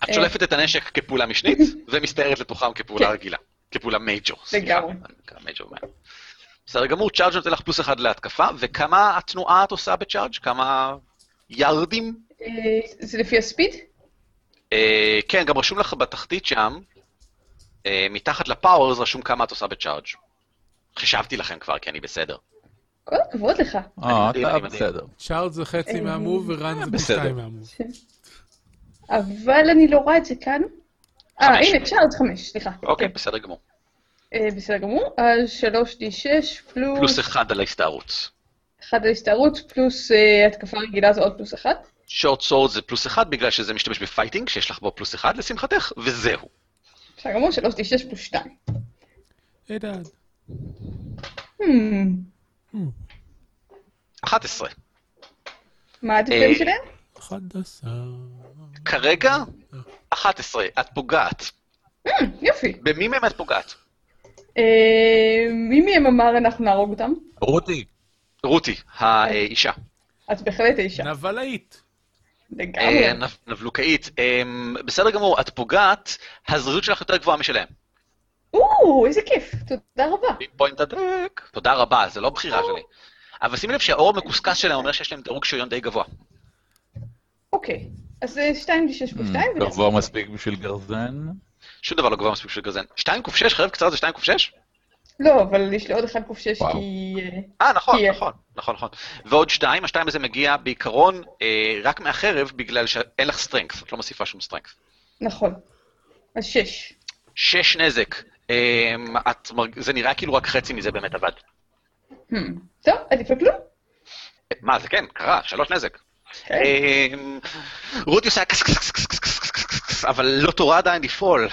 Speaker 1: את שולפת את הנשק כפעולה משנית, ומסתערת לתוכם כפעולה
Speaker 4: אה, כן.
Speaker 1: רגילה. כפעולה מייג'ור.
Speaker 4: לגמרי.
Speaker 1: סליחה, מייג'ור, מה? בסדר גמור, צ'ארג' נותן לך פלוס אחד להתקפה, וכמה התנועה את עושה בצ'ארג'? כמה יארדים?
Speaker 4: אה, זה לפי הספיד?
Speaker 1: אה, כן, גם רשום לך בתחתית שם, אה, מתחת לפאוורס רשום כמה את עושה בצ'ארג'. חישבתי לכם כבר, כי אני בסדר. אוקיי,
Speaker 4: כל הכבוד לך.
Speaker 2: אה,
Speaker 1: מדהים,
Speaker 2: אתה
Speaker 1: אני מדהים.
Speaker 2: בסדר.
Speaker 3: שאול זה חצי
Speaker 4: אה,
Speaker 3: מהמוב ורן זה פי
Speaker 2: בסדר.
Speaker 3: שתיים מהמוב.
Speaker 4: אבל אני לא רואה את זה כאן. אה,
Speaker 1: חמש.
Speaker 4: הנה, צ'ארג' חמש, סליחה.
Speaker 1: אוקיי,
Speaker 4: כן.
Speaker 1: בסדר גמור.
Speaker 4: אה, בסדר גמור. אז 3D6
Speaker 1: פלוס
Speaker 4: פלוס
Speaker 1: אחד על ההסתערות.
Speaker 4: 1 להסתערות, פלוס אה, התקפה רגילה זה עוד פלוס 1.
Speaker 1: שורט סורד זה פלוס אחד, בגלל שזה משתמש בפייטינג, שיש לך בו פלוס אחד, לשמחתך, וזהו.
Speaker 4: בסדר גמור, 3D6 פלוס 2.
Speaker 3: אלעד.
Speaker 1: 11.
Speaker 4: מה הדיפים
Speaker 1: אה,
Speaker 4: שלהם?
Speaker 3: 11.
Speaker 1: כרגע, 11. את פוגעת.
Speaker 4: אה, יופי.
Speaker 1: במי מהם את פוגעת?
Speaker 4: אה, מי מהם אמר אנחנו נהרוג אותם?
Speaker 2: רותי,
Speaker 1: רותי, האישה.
Speaker 4: את בהחלט האישה.
Speaker 3: נבלאית.
Speaker 4: לגמרי.
Speaker 1: אה, נב- נבלוקאית. אה, בסדר גמור, את פוגעת, הזריזות שלך יותר גבוהה משלהם.
Speaker 4: או, איזה כיף, תודה רבה.
Speaker 1: פוינט הדק. תודה רבה, זה לא בחירה שלי. אבל שימי לב שהאור המקוסקס שלהם אומר שיש להם דירוג שריון די גבוה.
Speaker 4: אוקיי, אז 2D6
Speaker 1: Mm,
Speaker 4: פלוס 2.
Speaker 2: Hmm, גבוה מספיק בשביל גרזן.
Speaker 1: שום דבר לא גבוה מספיק של גרזן. 2 קוף 6, חרב קצרה זה 2 קוף 6?
Speaker 4: לא, אבל יש לי עוד 1 קוף 6
Speaker 2: וואו.
Speaker 4: כי... אה,
Speaker 1: אה, נכון,
Speaker 4: תהיה.
Speaker 1: נכון, נכון, נכון. ועוד שתיים, השתיים הזה מגיע בעיקרון אה, רק מהחרב, בגלל שאין לך סטרנקס, את לא מוסיפה שום סטרנקס.
Speaker 4: נכון. אז 6.
Speaker 1: שש נזק. אה, את, מרג- זה נראה כאילו רק חצי מזה באמת עבד.
Speaker 4: טוב, עדיף על כלום.
Speaker 1: אה, מה, זה כן, קרה, שלוש נזק.
Speaker 4: כן.
Speaker 1: אה, רותי עושה קס קס קס קס קס קס קס קס קס, אבל לא תורה עדיין לפעול.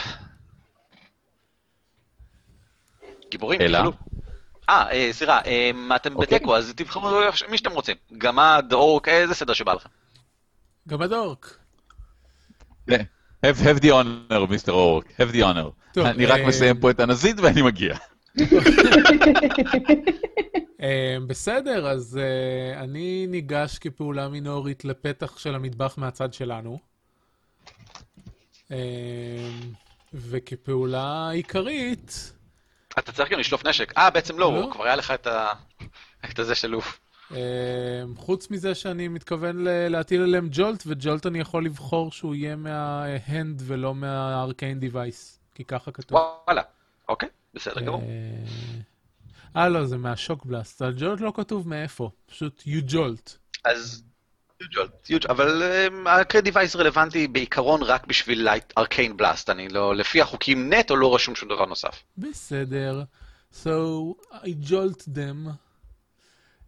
Speaker 1: גיבורים,
Speaker 2: אלה?
Speaker 1: תפעלו. אה, אה, סליחה, אה, אתם
Speaker 2: אוקיי.
Speaker 1: בתיקו, אז תבחרו לא מי שאתם רוצים. גמד, אורק, איזה סדר שבא לכם.
Speaker 3: גם הדורק.
Speaker 2: Have have the honor, מיסטר אורק, have the honor.
Speaker 3: טוב,
Speaker 2: אני רק
Speaker 3: אה,
Speaker 2: מסיים פה את הנזיד ואני מגיע.
Speaker 3: אה, בסדר, אז אה, אני ניגש כפעולה מינורית לפתח של המטבח מהצד שלנו. אה, וכפעולה עיקרית,
Speaker 1: אתה צריך גם לשלוף נשק. אה, בעצם לא,
Speaker 3: לא.
Speaker 1: הוא כבר היה לך את ה... את הזה של לוף.
Speaker 3: אה, חוץ מזה שאני מתכוון ל- להטיל עליהם ג'ולט, וג'ולט אני יכול לבחור שהוא יהיה מההנד ולא מהארקיין דיווייס, כי ככה כתוב. אמ,
Speaker 1: וואלה. אוקיי, בסדר גמור.
Speaker 3: אה, אה, לא, זה מהשוק בלאסט. על ג'ולט לא כתוב מאיפה, פשוט you jolt.
Speaker 1: אז... usual, usual, אבל הקרדיט דיווייס רלוונטי בעיקרון רק בשביל ארקיין בלאסט, אני לא, לפי החוקים נטו לא רשום שום דבר נוסף.
Speaker 3: Mm-hmm. בסדר. So, I jolt them.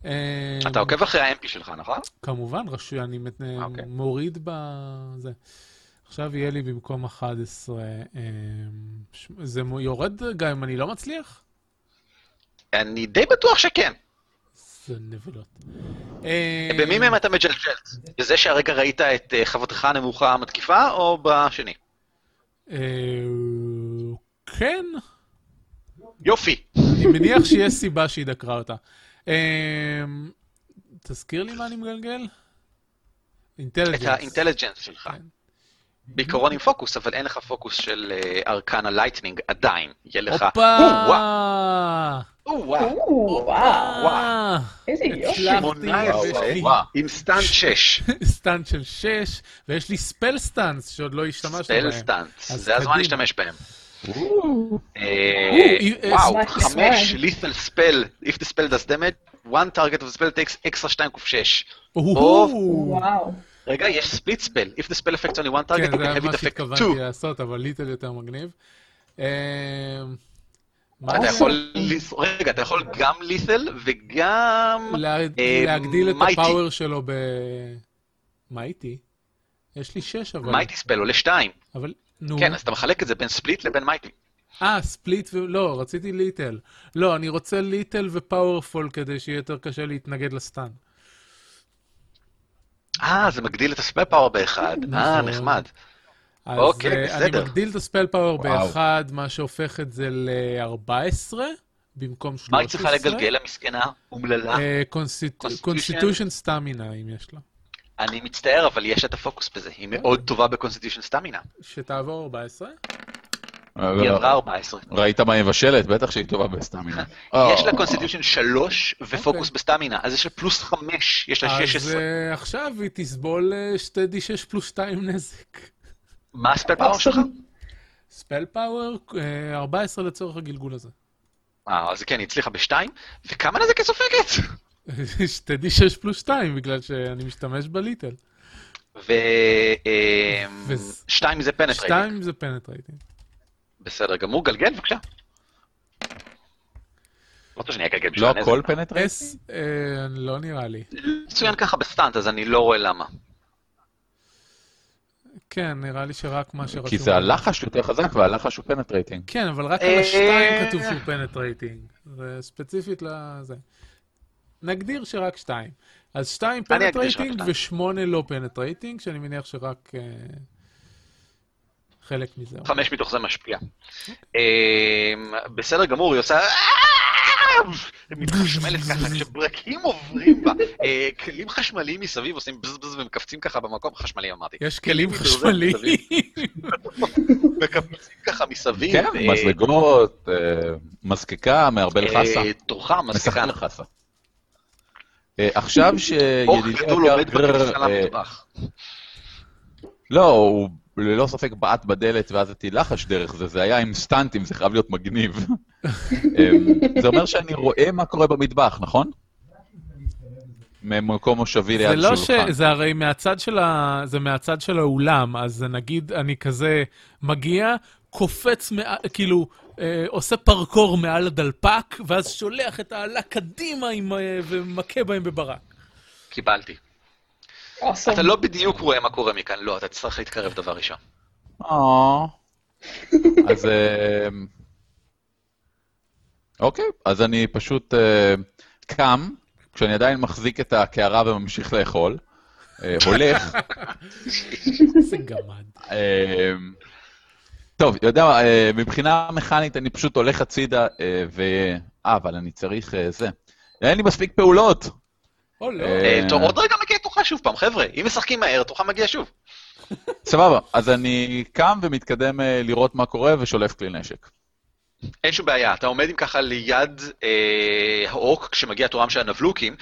Speaker 3: אה,
Speaker 1: אתה עוקב אחרי ה-MP שלך, נכון?
Speaker 3: כמובן, רשוי, אני מת-
Speaker 1: אוקיי.
Speaker 3: מוריד בזה. עכשיו יהיה לי במקום 11. אה, ש- זה מ- יורד גם אם אני לא מצליח?
Speaker 1: אני די בטוח שכן.
Speaker 3: Mm-hmm. זה נבלות. אה,
Speaker 1: במי מהם אתה מג'לג'לט? בזה שהרגע ראית את אה, חברתך הנמוכה המתקיפה, או בשני?
Speaker 3: אה, כן,
Speaker 1: יופי.
Speaker 3: אני מניח שיש סיבה שהיא דקרה אותה. אה, תזכיר לי מה אני מגלגל?
Speaker 1: את
Speaker 3: אינטליג'נס.
Speaker 1: האינטליג'נס שלך.
Speaker 3: כן.
Speaker 1: בעיקרון עם פוקוס, אבל אין לך פוקוס של אה, ארקנה לייטנינג עדיין. יהיה לך... או-אה,
Speaker 3: הופה!
Speaker 1: או-אה,
Speaker 4: או, וואו,
Speaker 3: וואו.
Speaker 4: איזה יופי.
Speaker 3: הצלחתי,
Speaker 1: שמונה
Speaker 3: וואו,
Speaker 1: עשרה.
Speaker 3: וואו.
Speaker 2: וואו.
Speaker 1: אינסטנט 6.
Speaker 3: סטאנס של 6, ויש לי ספל סטאנס שעוד לא השתמשנו
Speaker 1: סטל
Speaker 3: בהם.
Speaker 1: סטאנס.
Speaker 3: אז
Speaker 1: זה הזמן
Speaker 3: קדימה.
Speaker 1: להשתמש בהם.
Speaker 3: אי-
Speaker 1: אה,
Speaker 3: אה,
Speaker 1: וואו,
Speaker 4: סמארט
Speaker 1: חמש,
Speaker 4: ישראל.
Speaker 1: לית'ל ספל, If the spell does damage, one target of the spell takes extra 2 קוף 6.
Speaker 3: אוהו.
Speaker 4: וואו.
Speaker 1: רגע, יש ספליט ספל. If the spell affects only one target,
Speaker 3: כן,
Speaker 1: you
Speaker 3: זה
Speaker 1: can
Speaker 3: היה
Speaker 1: have
Speaker 3: מה
Speaker 1: it affect
Speaker 3: שהתכוונתי
Speaker 1: 2.
Speaker 3: לעשות, אבל ליטל יותר מגניב. אה, מה
Speaker 1: אתה
Speaker 3: זה?
Speaker 1: יכול, ל- רגע, אתה יכול גם לית'ל וגם...
Speaker 3: לה-
Speaker 1: אה,
Speaker 3: להגדיל את
Speaker 1: mighty.
Speaker 3: הפאוור שלו ב... מה איתי? יש לי 6 אבל.
Speaker 1: מייטי ספל עולה 2.
Speaker 3: אבל, נו.
Speaker 1: כן, אז אתה מחלק את זה בין ספליט לבין מייטי.
Speaker 3: אה, ספליט ו... לא, רציתי ליטל. לא, אני רוצה ליטל ופאוורפול כדי שיהיה יותר קשה להתנגד לסטן.
Speaker 1: אה, זה מגדיל את הספל פאוור באחד. אה,
Speaker 3: נכון.
Speaker 1: נחמד.
Speaker 3: אז
Speaker 1: אוקיי,
Speaker 3: אה, אני
Speaker 1: בסדר.
Speaker 3: מגדיל את הספל פאוור
Speaker 2: וואו.
Speaker 3: באחד, מה שהופך את זה ל-14, במקום 13.
Speaker 1: מה היא צריכה לגלגל, המסכנה, אומללה?
Speaker 3: אה, קונסטיטושן סטמינה, אם יש לה.
Speaker 1: אני מצטער, אבל יש את הפוקוס בזה. היא
Speaker 3: אוקיי.
Speaker 1: מאוד טובה בקונסטיטיושן סטמינה.
Speaker 3: שתעבור 14?
Speaker 1: היא עברה 14.
Speaker 2: ראית מה היא מבשלת? בטח שהיא טובה בסטמינה. אה,
Speaker 1: יש לה קונסטיטיושן 3 ופוקוס בסטמינה, אז יש לה פלוס 5, יש לה
Speaker 3: אוקיי. אז
Speaker 1: 16.
Speaker 3: אה, עכשיו היא תסבול אה, שתי D6 פלוס 2 נזק.
Speaker 1: מה
Speaker 2: אה,
Speaker 1: הספל פאוור שלך?
Speaker 3: ספל פאוור, 14 אה, לצורך הגלגול הזה.
Speaker 1: אה, אז כן, היא הצליחה בשתיים, וכמה נזק היא סופגת?
Speaker 3: שתי D6 פלוס 2, בגלל שאני משתמש בליטל.
Speaker 1: ו... אמ,
Speaker 3: וס-
Speaker 1: שתיים זה פנטרייטינג.
Speaker 3: 2 זה פנטרייטינג.
Speaker 1: בסדר גמור, גלגל בבקשה. לא רוצה שאני אגלגל בשביל
Speaker 2: לא
Speaker 1: הנזק.
Speaker 2: הכל פנטרייט?
Speaker 3: S, אה, לא נראה לי.
Speaker 1: מצוין ככה בסטאנט, אז אני לא רואה למה.
Speaker 3: כן, נראה לי שרק מה שרשום.
Speaker 2: כי זה הלחש יותר חזק והלחש הוא פנטרייטינג.
Speaker 3: כן, אבל רק על
Speaker 1: אה,
Speaker 3: השתיים כתוב שהוא פנטרייטינג. זה ספציפית לזה. נגדיר שרק שתיים. אז שתיים
Speaker 1: אני אגדיר שרק
Speaker 3: פנטרייטינג
Speaker 1: שתיים.
Speaker 3: ושמונה לא פנטרייטינג, שאני מניח שרק אה, חלק מזה.
Speaker 1: חמש מתוך זה משפיע. אמ, בסדר גמור, היא עושה... "אה!" מתחשמלת ככה כשברקים עוברים בה. אה, כלים חשמליים מסביב עושים בז בז ומקפצים ככה במקום, חשמליים אמרתי.
Speaker 3: יש כלים
Speaker 1: זה-
Speaker 3: חשמליים.
Speaker 1: מקפצים ככה מסביב.
Speaker 2: כן,
Speaker 1: אה,
Speaker 2: מזלגות, אה, מזקקה, מערבל
Speaker 1: אה,
Speaker 2: חסה.
Speaker 1: תורך, מסכה.
Speaker 2: מסכן חסה. אה, עכשיו
Speaker 1: אור
Speaker 2: שידידי
Speaker 1: גדול אוקיי, עומד בכניסה
Speaker 2: אה,
Speaker 1: למטבח.
Speaker 2: לא, הוא ללא ספק בעט בדלת ואז הטיל לחש דרך זה, זה היה עם סטנטים, זה חייב להיות מגניב. אמ, זה אומר שאני רואה מה קורה במטבח, נכון? ממקום מושבי
Speaker 3: זה
Speaker 2: ליד
Speaker 3: לא ש...
Speaker 2: שולחן.
Speaker 3: זה הרי מהצד של, ה... זה מהצד של האולם, אז זה נגיד אני כזה מגיע, קופץ, מע... כאילו, אה, עושה פרקור מעל הדלפק, ואז שולח את העלה קדימה עם... אה, ומכה בהם בברק.
Speaker 1: קיבלתי.
Speaker 4: אוסום.
Speaker 1: אתה לא בדיוק רואה מה קורה מכאן, לא, אתה תצטרך להתקרב דבר ראשון.
Speaker 2: אה. אז... אמ, אוקיי, אז אני פשוט אה, קם, כשאני עדיין מחזיק את הקערה וממשיך לאכול, אה, הולך,
Speaker 3: איזה גמד.
Speaker 2: אה, טוב, אתה יודע, מה, אה, מבחינה מכנית אני פשוט הולך הצידה, אה, ו... אה, אבל אני צריך אה, זה. אין לי מספיק פעולות.
Speaker 3: או לא.
Speaker 2: אה,
Speaker 1: אה, טוב, עוד רגע מגיע תורך שוב פעם, חבר'ה, אם משחקים מהר, תורך מגיע שוב.
Speaker 2: סבבה, אז אני קם ומתקדם אה, לראות מה קורה ושולף כלי נשק.
Speaker 1: אין שום בעיה, אתה עומד אם ככה ליד אה, האוק כשמגיע תורם של הנבלוקים.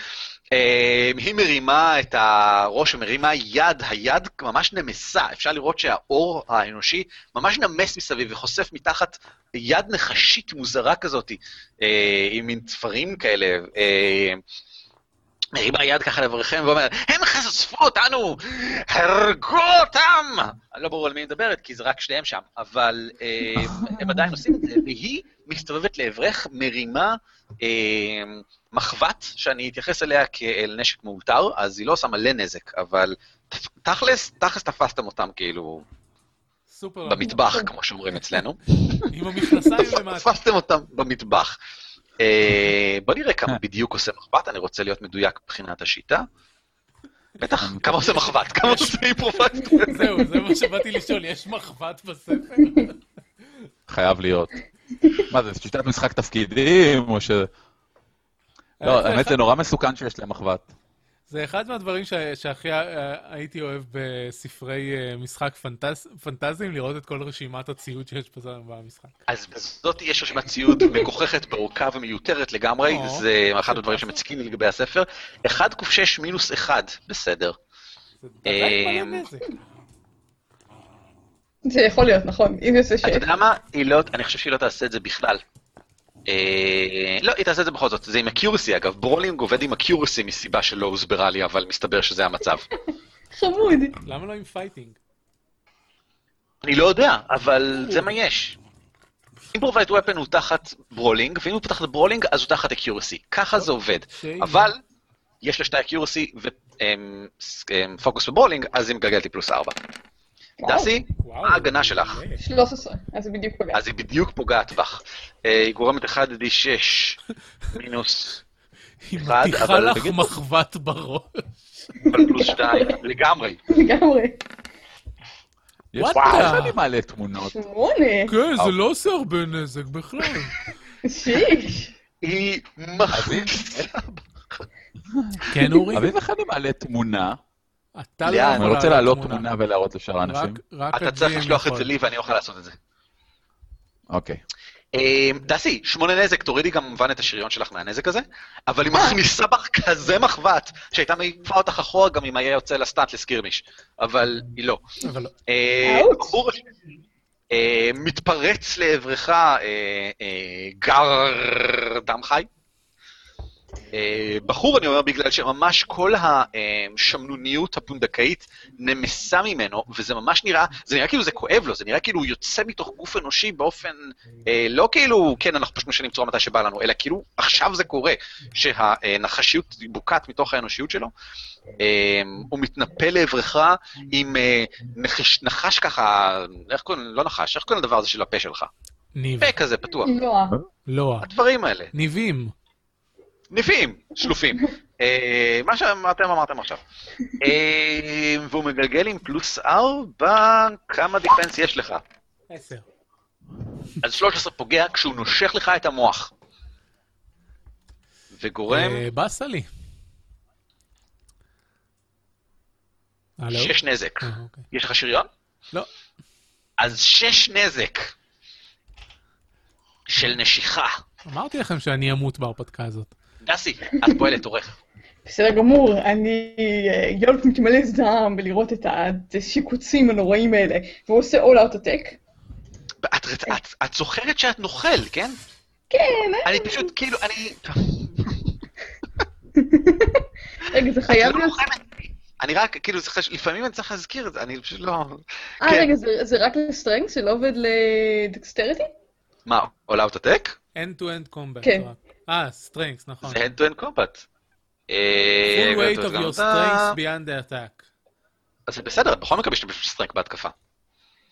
Speaker 1: אה, היא מרימה את הראש ומרימה יד, היד ממש נמסה, אפשר לראות שהאור האנושי ממש נמס מסביב וחושף מתחת יד נחשית מוזרה כזאת, אה, עם מין תפרים כאלה. אה, מרימה יד ככה לברכם ואומרת, הם חשפו אותנו, הרגו אותם! לא ברור על מי היא מדברת, כי זה רק שניהם שם, אבל אה, הם עדיין עושים את זה, והיא מסתובבת לעברך, מרימה אה, מחבת, שאני אתייחס אליה כאל נשק מאולתר, אז היא לא עושה מלא נזק, אבל ת- תכלס, תכלס תפסתם אותם כאילו
Speaker 3: סופר.
Speaker 1: במטבח, כמו שאומרים אצלנו.
Speaker 3: עם המכנסיים למטה.
Speaker 1: תפסתם אותם במטבח. אה, בוא נראה כמה בדיוק עושה מחבת, אני רוצה להיות מדויק מבחינת
Speaker 3: אה,
Speaker 1: השיטה. בטח, כמה עושה מחבת, כמה עושה אימפרובקט.
Speaker 3: זהו, זה מה שבאתי לשאול, יש מחבת בספר?
Speaker 2: חייב להיות. מה זה, שיטת משחק תפקידים, או ש... לא, האמת זה נורא מסוכן שיש להם אחוות.
Speaker 3: זה אחד מהדברים ש... שהכי אה, הייתי אוהב בספרי אה, משחק פנטז... פנטזיים, לראות את כל רשימת הציוד שיש בזה- במשחק.
Speaker 1: אז בזאת יש רשימת ציוד מגוחכת, באורכה ומיותרת לגמרי,
Speaker 3: או.
Speaker 1: זה אחד הדברים שמציקים לי לגבי הספר. 1 קש מינוס 1, בסדר.
Speaker 3: זה עדיין מלא
Speaker 1: אמ,
Speaker 3: נזק.
Speaker 4: זה יכול להיות, נכון. אם יוצא ש...
Speaker 1: אתה יודע מה? היא לא, אני חושב שהיא לא תעשה את זה בכלל. אה, לא, היא תעשה את זה בכל זאת, זה עם אקיורסי אגב, ברולינג עובד עם אקיורסי מסיבה שלא הוסברה לי, אבל מסתבר שזה המצב.
Speaker 4: חמוד.
Speaker 3: למה לא עם פייטינג?
Speaker 1: אני לא יודע, אבל זה מה יש. אימפרובייט ופן הוא תחת ברולינג, ואם הוא פתח את ברולינג, אז הוא תחת אקיורסי. ככה זה עובד.
Speaker 3: שאי-
Speaker 1: אבל יש לה שתי אקיורסי ופוקוס בברולינג, אז היא מגלגלת לי פלוס ארבע.
Speaker 4: וואו.
Speaker 1: דסי,
Speaker 3: וואו, אה,
Speaker 1: מה ההגנה
Speaker 3: מעולה.
Speaker 1: שלך?
Speaker 4: 13, אז זה בדיוק פוגע.
Speaker 1: אז היא בדיוק פוגעת בך. אה, היא גורמת 1d6 מינוס
Speaker 3: היא
Speaker 1: אחד,
Speaker 3: מתיחה
Speaker 1: אבל
Speaker 3: לך
Speaker 1: תגיד-
Speaker 3: מחבת בראש.
Speaker 1: אבל פלוס 2, לגמרי.
Speaker 4: לגמרי.
Speaker 2: יש
Speaker 3: What
Speaker 2: וואו,
Speaker 3: the-
Speaker 2: איך אני מעלה תמונות.
Speaker 4: שמונה.
Speaker 3: כן, זה לא עושה הרבה נזק בכלל.
Speaker 4: שיש.
Speaker 1: היא
Speaker 2: אביב,
Speaker 1: מחליטה.
Speaker 3: כן, אורי?
Speaker 2: אביב אחד אני מעלה תמונה,
Speaker 3: אתה לא
Speaker 1: לאן?
Speaker 3: יכול
Speaker 2: אני רוצה להעלות תמונה ולהראות לשאר האנשים.
Speaker 3: רק- רק
Speaker 1: אתה צריך
Speaker 3: הג'ים
Speaker 1: לשלוח את
Speaker 3: יכול.
Speaker 1: זה לי ואני אוכל לעשות את זה.
Speaker 2: אוקיי.
Speaker 1: אה, דסי, שמונה נזק, תורידי כמובן את השריון שלך מהנזק הזה, אבל היא מכניסה בך כזה מחבת, שהייתה מעיפה אותך אחורה גם אם היה יוצא לה סטאנט לסקירמיש, אבל היא לא.
Speaker 3: אבל לא.
Speaker 1: אה,
Speaker 4: אאוץ.
Speaker 1: הבחור הש- אה, מתפרץ לעברך אה, אה, גר דם חי. אה, בחור, אני אומר, בגלל שממש כל השמנוניות הפונדקאית נמסה ממנו, וזה ממש נראה, זה נראה כאילו זה כואב לו, זה נראה כאילו הוא יוצא מתוך גוף אנושי באופן, אה, לא כאילו, כן, אנחנו פשוט משנים צורה מתי שבא לנו, אלא כאילו עכשיו זה קורה, שהנחשיות בוקעת מתוך האנושיות שלו, אה, הוא מתנפל לעברך עם אה, נחש, נחש ככה, איך קוראים, לא נחש, איך קוראים לדבר הזה של הפה שלך?
Speaker 3: ניב.
Speaker 1: פה כזה פתוח,
Speaker 4: לא.
Speaker 3: לא.
Speaker 1: הדברים האלה,
Speaker 3: ניבים.
Speaker 1: ניפים, שלופים. אה, מה שאתם אמרתם עכשיו. אה, והוא מגלגל עם פלוס 4, כמה דיפנס יש לך?
Speaker 3: עשר.
Speaker 1: אז 13 פוגע כשהוא נושך לך את המוח. וגורם
Speaker 3: אה, באסה לי. הלו?
Speaker 1: שש נזק.
Speaker 3: אה, אוקיי.
Speaker 1: יש לך שריון?
Speaker 3: לא.
Speaker 1: אז שש נזק של נשיכה.
Speaker 3: אמרתי לכם שאני אמות בהרפתקה הזאת.
Speaker 1: דסי, את פועלת עורך.
Speaker 4: בסדר גמור, אני אה, יולט מתמלא זעם בלראות את ה- את השיקוצים הנוראים האלה, והוא עושה all out attack.
Speaker 1: את, רצ- את, את זוכרת שאת נוכל, כן?
Speaker 4: כן,
Speaker 1: אני פשוט, כאילו, אני...
Speaker 3: כן.
Speaker 4: רגע, זה
Speaker 1: את
Speaker 4: חייב
Speaker 1: לא
Speaker 4: להיות...
Speaker 1: לוחמת. אני רק, כאילו, זה חש... לפעמים אני צריך להזכיר את זה, אני פשוט לא...
Speaker 4: אה,
Speaker 1: כן.
Speaker 4: רגע, זה- זה רק לסטרנג? זה לא עובד לדקסטריטי?
Speaker 1: מה, עולה אוטוטק?
Speaker 3: end to end combat.
Speaker 4: כן.
Speaker 3: רק. אה, strengths, נכון.
Speaker 1: זה end to end combat. אה,
Speaker 3: full weight of
Speaker 1: גם
Speaker 3: your
Speaker 1: אתה-
Speaker 3: strengths beyond the attack.
Speaker 1: אז זה בסדר, בכל מקרה משתמש בסטרנק בהתקפה.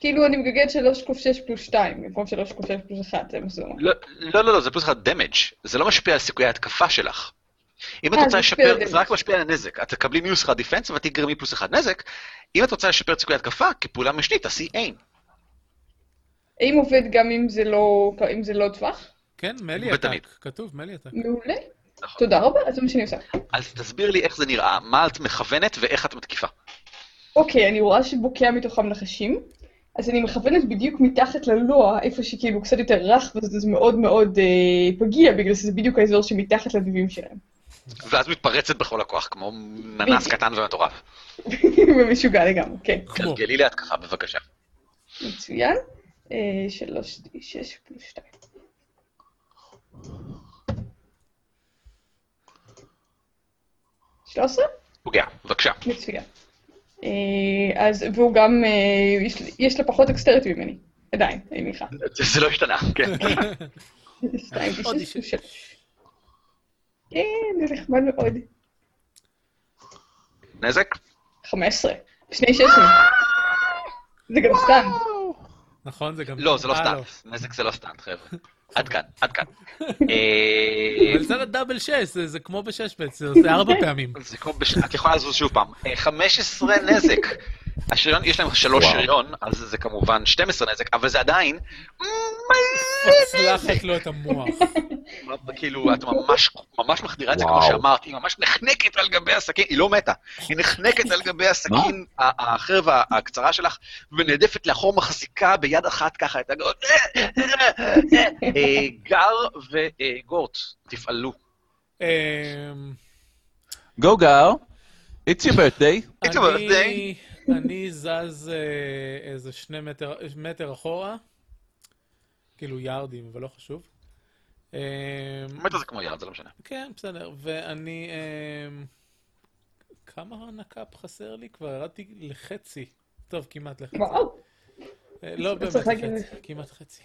Speaker 4: כאילו, אני מגגד 3 קוף 6 פלוס 2, במקום 3 קוף 6 פלוס 1, זה מה שזה אומר.
Speaker 1: לא, לא, לא, לא, זה פלוס אחד דמג', זה לא משפיע על סיכויי ההתקפה שלך. אם את
Speaker 4: אה,
Speaker 1: רוצה
Speaker 4: זה משפיע על
Speaker 1: לשפר, זה
Speaker 4: damage.
Speaker 1: רק משפיע על הנזק. את תקבלי מינוס אחד דיפנס ואת תגרמי פלוס אחד נזק. אם את רוצה לשפר את סיכויי ההתקפה, כפעולה משנית, תעשי אין.
Speaker 4: האם עובד גם אם זה לא, אם זה לא טווח?
Speaker 3: כן, מלי
Speaker 1: ותמיד.
Speaker 3: attack. כתוב מלי attack.
Speaker 4: מעולה.
Speaker 1: נכון.
Speaker 4: תודה רבה, אז זה מה שאני עושה.
Speaker 1: אז תסביר לי איך זה נראה, מה את מכוונת ואיך את מתקיפה.
Speaker 4: אוקיי, אני רואה שבוקע מתוכם נחשים, אז אני מכוונת בדיוק מתחת ללוע, איפה שכאילו קצת יותר רך, וזה זה מאוד מאוד אה, פגיע, בגלל שזה בדיוק האזור שמתחת לדבים שלהם.
Speaker 1: ואז מתפרצת בכל הכוח, כמו ננס
Speaker 4: בדיוק.
Speaker 1: קטן ומטורף.
Speaker 4: ומשוגע לגמרי, כן.
Speaker 3: כמו.
Speaker 1: גלגלי להתקפה, בבקשה.
Speaker 4: מצוין. אה, שלוש, שש פלוס שתיים. שלוש עשרה?
Speaker 1: פוגע, בבקשה.
Speaker 4: מצוין. אה, אז, והוא גם, אה, יש, יש לה פחות אקסטריטי ממני, עדיין, אני מניחה.
Speaker 1: זה זה לא השתנה, כן.
Speaker 4: שתיים,
Speaker 3: עוד
Speaker 4: שש,
Speaker 3: אישית.
Speaker 4: שלוש. כן, זה נחמד מאוד.
Speaker 1: נזק?
Speaker 4: חמש עשרה. שני ששים. זה גם סתם.
Speaker 3: נכון, זה גם...
Speaker 1: לא, זה לא
Speaker 3: אה,
Speaker 1: סטאנט. נזק זה לא סטאנט, חבר'ה. עד כאן, עד כאן. אה,
Speaker 3: אבל זה דאבל שש, זה- זה כמו בשש בעצם, זה- זה ארבע פעמים.
Speaker 1: זה כמו בש... את יכולה לזוז שוב פעם. אה, 15 נזק. השריון, יש להם שלוש
Speaker 2: וואו.
Speaker 1: שריון, אז זה כמובן 12 נזק, אבל זה עדיין...
Speaker 3: הצלחת לו את המוח.
Speaker 1: כאילו, את ממש, ממש מחדירה את זה, כמו
Speaker 2: וואו.
Speaker 1: שאמרת, היא ממש נחנקת על גבי הסכין, היא לא מתה, היא נחנקת על גבי הסכין, ה- החרב ה- הקצרה שלך, ונעדפת לאחור, מחזיקה ביד אחת ככה את הגאות. אה, גר וגורט, תפעלו.
Speaker 3: אמ,
Speaker 2: גו גר, it's your birthday.
Speaker 1: It's a
Speaker 3: אני-
Speaker 1: birthday.
Speaker 3: אני זז אה, איזה שני מטר, מטר אחורה, כאילו יארדים, אבל לא חשוב. אמ,
Speaker 1: מתה זה כמו ירד, זה לא משנה.
Speaker 3: כן, בסדר, ואני... אמ, כמה הנקאפ חסר לי? כבר ירדתי לחצי. טוב, כמעט לחצי.
Speaker 4: וואו.
Speaker 3: אה, לא באמת
Speaker 4: צריך להגיד-
Speaker 3: לחצי, כמעט חצי.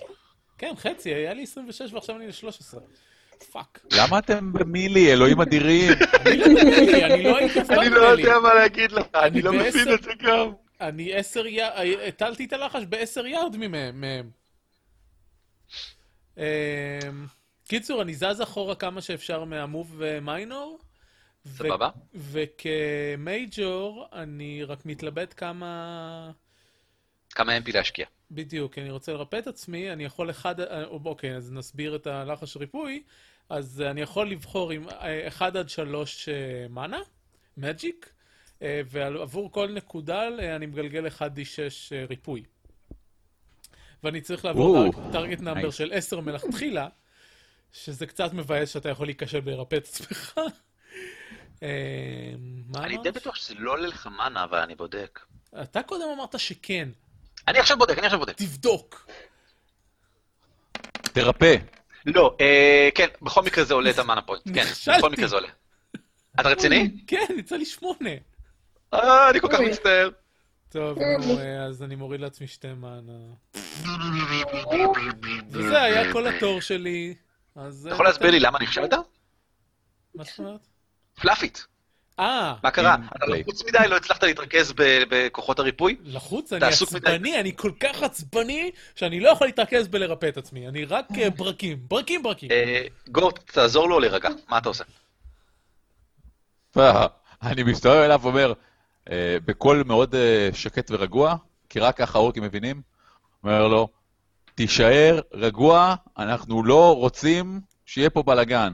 Speaker 3: כן, חצי, היה לי 26 ועכשיו אני ל-13. פאק.
Speaker 2: למה אתם במילי, אלוהים אדירים?
Speaker 3: אני לא יודע, לי, אני לא הייתי אף פעם
Speaker 1: אני לא
Speaker 3: בלי.
Speaker 1: יודע מה להגיד לך, אני לא
Speaker 3: בעשר-
Speaker 1: מבין את זה גם.
Speaker 3: אני עשר יארד, הטלתי את הלחש בעשר יארד ממהם. מהם. אמ, קיצור, אני זז אחורה כמה שאפשר מהמוב ומיינור. ו-
Speaker 1: סבבה.
Speaker 3: וכמייג'ור, אני רק מתלבט כמה...
Speaker 1: כמה MP להשקיע?
Speaker 3: בדיוק, כי אני רוצה לרפא את עצמי, אני יכול אחד... אה, אוקיי, אז נסביר את הלחש ריפוי. אז אה, אני יכול לבחור עם אה, 1 עד 3 אה, מנה, מג'יק, אה, ועבור כל נקודה אה, אני מגלגל 1d6 אה, ריפוי. ואני צריך לעבור
Speaker 2: וואו.
Speaker 3: טרגט נאמבר
Speaker 2: Nice.
Speaker 3: של 10 מלכתחילה, שזה קצת מבאס שאתה יכול להיכשל בלרפא את עצמך. אה, מה
Speaker 1: אני
Speaker 3: אמרת?
Speaker 1: די בטוח שזה לא עולה לך מנה, אבל אני בודק.
Speaker 3: אתה קודם אמרת שכן,
Speaker 1: אני עכשיו בודק, אני עכשיו בודק.
Speaker 3: תבדוק.
Speaker 2: תרפא.
Speaker 1: לא, אה, כן, בכל מקרה זה עולה את המאנה פוינט, כן,
Speaker 3: נכשלתי.
Speaker 1: בכל מקרה זה עולה. אתה רציני?
Speaker 3: כן, יצא לי שמונה.
Speaker 1: אה, אני כל כך
Speaker 4: אוי.
Speaker 1: מצטער.
Speaker 3: טוב, נו, אה, אז אני מוריד לעצמי שתי מנה. וזה היה כל התור שלי. אז...
Speaker 1: אה,
Speaker 3: אה,
Speaker 1: אתה יכול להסביר לי למה נכשלת?
Speaker 3: מה זאת אומרת?
Speaker 1: פלאפית,
Speaker 3: אה,
Speaker 1: מה קרה?
Speaker 2: אין
Speaker 1: אתה
Speaker 2: פלאי.
Speaker 1: לחוץ מדי, לא הצלחת להתרכז ב- בכוחות הריפוי?
Speaker 3: לחוץ, אני
Speaker 1: תעסוק מדי.
Speaker 3: עצבני, אני כל כך עצבני, שאני לא יכול להתרכז בלרפא את עצמי. אני רק אה, ברקים, ברקים, ברקים.
Speaker 1: אה, גורט, תעזור לו להירגע, מה אתה עושה?
Speaker 2: אה, אני מסתובב אליו ואומר, אה, בקול מאוד אה, שקט ורגוע, כי רק ככה האורקים מבינים, אומר לו, תישאר רגוע, אנחנו לא רוצים שיהיה פה בלאגן.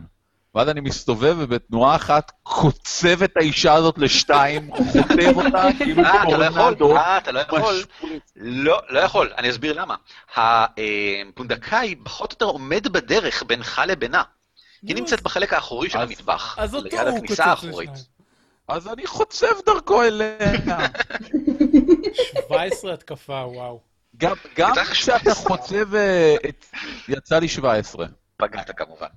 Speaker 2: ואז אני מסתובב ובתנועה אחת קוצב את האישה הזאת לשתיים, חוטב אותה, כאילו
Speaker 1: אה, אתה לא
Speaker 2: טורנדו,
Speaker 1: יכול, אה, אתה לא יכול.
Speaker 2: משפריץ.
Speaker 1: לא, לא יכול, אני אסביר למה. הפונדקאי פחות או יותר עומד בדרך בינך לבינה. היא
Speaker 3: נו,
Speaker 1: נמצאת בחלק האחורי של
Speaker 2: אז-
Speaker 1: המטבח,
Speaker 3: אז אותו
Speaker 1: ליד
Speaker 3: הוא
Speaker 1: הכניסה
Speaker 3: קוצץ
Speaker 1: האחורית.
Speaker 3: לשניים.
Speaker 2: אז אני חוצב דרכו אליה.
Speaker 3: 17 התקפה, וואו.
Speaker 2: גם גם
Speaker 1: יצא לך
Speaker 2: כשאתה
Speaker 1: 17.
Speaker 2: חוצב, אה, את- יצא לי 17.
Speaker 1: פגעת כמובן.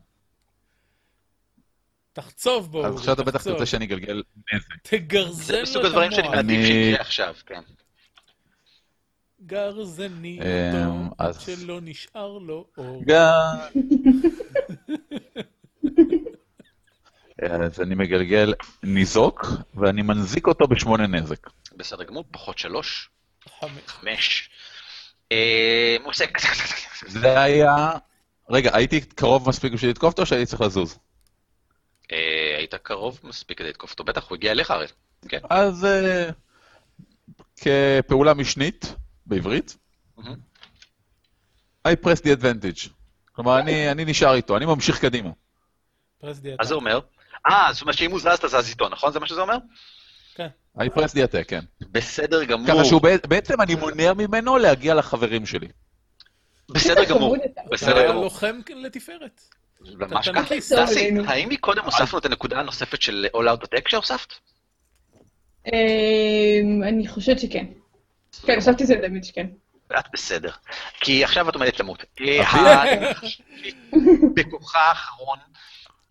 Speaker 3: תחצוב בו,
Speaker 2: אז
Speaker 3: אורי,
Speaker 2: עכשיו אתה בטח
Speaker 3: תחצוב.
Speaker 2: תרצה שאני אגלגל נזק.
Speaker 3: תגרזן
Speaker 1: זה
Speaker 3: לו
Speaker 1: מסוג
Speaker 3: את
Speaker 1: הדברים שאני
Speaker 3: המוח.
Speaker 1: מעדיף
Speaker 2: אני-
Speaker 1: שיקרה עכשיו, כן.
Speaker 3: גרזני
Speaker 2: אמ,
Speaker 3: אותו, עד
Speaker 2: אז-
Speaker 3: שלא נשאר לו אור.
Speaker 2: גם... אה, אז אני מגלגל ניזוק, ואני מנזיק אותו בשמונה נזק.
Speaker 1: בסדר גמור, פחות שלוש,
Speaker 3: חמש.
Speaker 1: חמש. אה, הוא עושה...
Speaker 2: זה היה... רגע, הייתי קרוב מספיק בשביל לתקוף אותו, או שהייתי צריך לזוז?
Speaker 1: אה, היית קרוב מספיק כדי לתקוף אותו, בטח, הוא הגיע אליך הרי. כן.
Speaker 2: אז אה, כפעולה משנית, בעברית,
Speaker 1: מהמם.
Speaker 2: I press the advantage. כלומר, אני, אני נשאר איתו, אני ממשיך קדימה.
Speaker 3: פרס דיאטה.
Speaker 1: אז זה אומר... אה, זאת אומרת שאם הוא זז, אתה זז איתו, נכון? זה מה שזה אומר?
Speaker 3: כן.
Speaker 2: I press the attack, כן.
Speaker 1: בסדר גמור.
Speaker 2: ככה שהוא בע- בעצם אני מונע ממנו להגיע לחברים שלי.
Speaker 1: בסדר גמור.
Speaker 4: חמוד אתה.
Speaker 3: אתה
Speaker 1: בסדר
Speaker 3: היה
Speaker 1: גמור.
Speaker 3: לוחם לתפארת.
Speaker 1: ממש
Speaker 3: אתה לא
Speaker 1: ככה.
Speaker 3: מכניס
Speaker 1: דסי,
Speaker 4: אלינו.
Speaker 1: האם מקודם הוספנו את הנקודה הנוספת של All Out Attack שהוספת?
Speaker 4: אמ, אני חושבת שכן. כן, הוספתי את זה לדמיג' כן.
Speaker 1: את בסדר. כי עכשיו את עומדת למות. אה,
Speaker 2: אבי.
Speaker 1: ה- בכוחה האחרון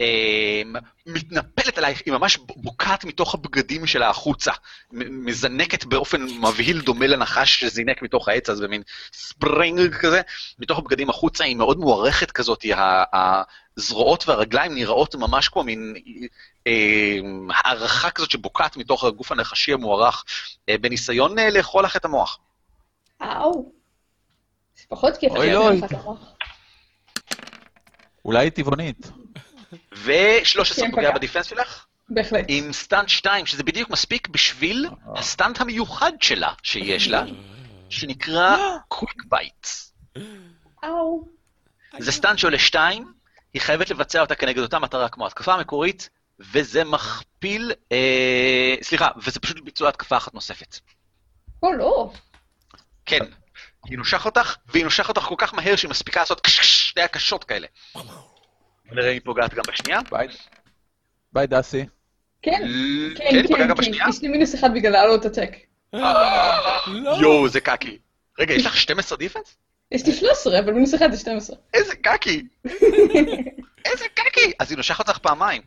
Speaker 1: אה, מתנפלת עלייך, היא ממש בוקעת מתוך הבגדים שלה החוצה. מ- מזנקת באופן מבהיל דומה לנחש שזינק מתוך העץ, אז במין ספרינג כזה. מתוך הבגדים החוצה היא מאוד מוערכת כזאת, היא ה- הזרועות והרגליים נראות ממש כמו מין אה, הערכה כזאת שבוקעת מתוך הגוף הנחשי המוערך, אה, בניסיון אה, לאכול לך את המוח.
Speaker 4: אאו. זה פחות כיף.
Speaker 2: אוי,
Speaker 4: אחרי
Speaker 2: אוי.
Speaker 4: אחת המוח.
Speaker 2: אולי היא טבעונית.
Speaker 1: ו-13
Speaker 4: כן,
Speaker 1: פוגע
Speaker 4: פגע.
Speaker 1: בדיפנס שלך,
Speaker 4: בהחלט.
Speaker 1: עם סטאנט 2, שזה בדיוק מספיק בשביל הסטאנט המיוחד שלה, שיש לה, שנקרא קוויק בייט.
Speaker 4: אאו.
Speaker 1: זה סטאנט שעולה 2, היא חייבת לבצע אותה כנגד אותה מטרה כמו ההתקפה המקורית, וזה מכפיל, אה, סליחה, וזה פשוט ביצוע התקפה אחת נוספת.
Speaker 4: או לא.
Speaker 1: כן. היא נושך אותך, והיא נושך אותך כל כך מהר שהיא מספיקה לעשות קש קש, שתי הקשות כאלה. נראה אם היא פוגעת גם בשנייה.
Speaker 2: ביי. ביי, דסי.
Speaker 4: כן. כן,
Speaker 1: כן, היא
Speaker 4: כן,
Speaker 1: פגעה גם
Speaker 4: כן.
Speaker 1: בשנייה.
Speaker 4: יש לי מינוס אחד בגלל העלות הטק.
Speaker 3: לא.
Speaker 1: יואו, זה קקי. רגע, יש לך 12 דיפנס?
Speaker 4: יש לי 13, אבל מינוס אחד זה 12.
Speaker 1: איזה קקי! איזה קקי! אז היא נושכת אותך פעמיים.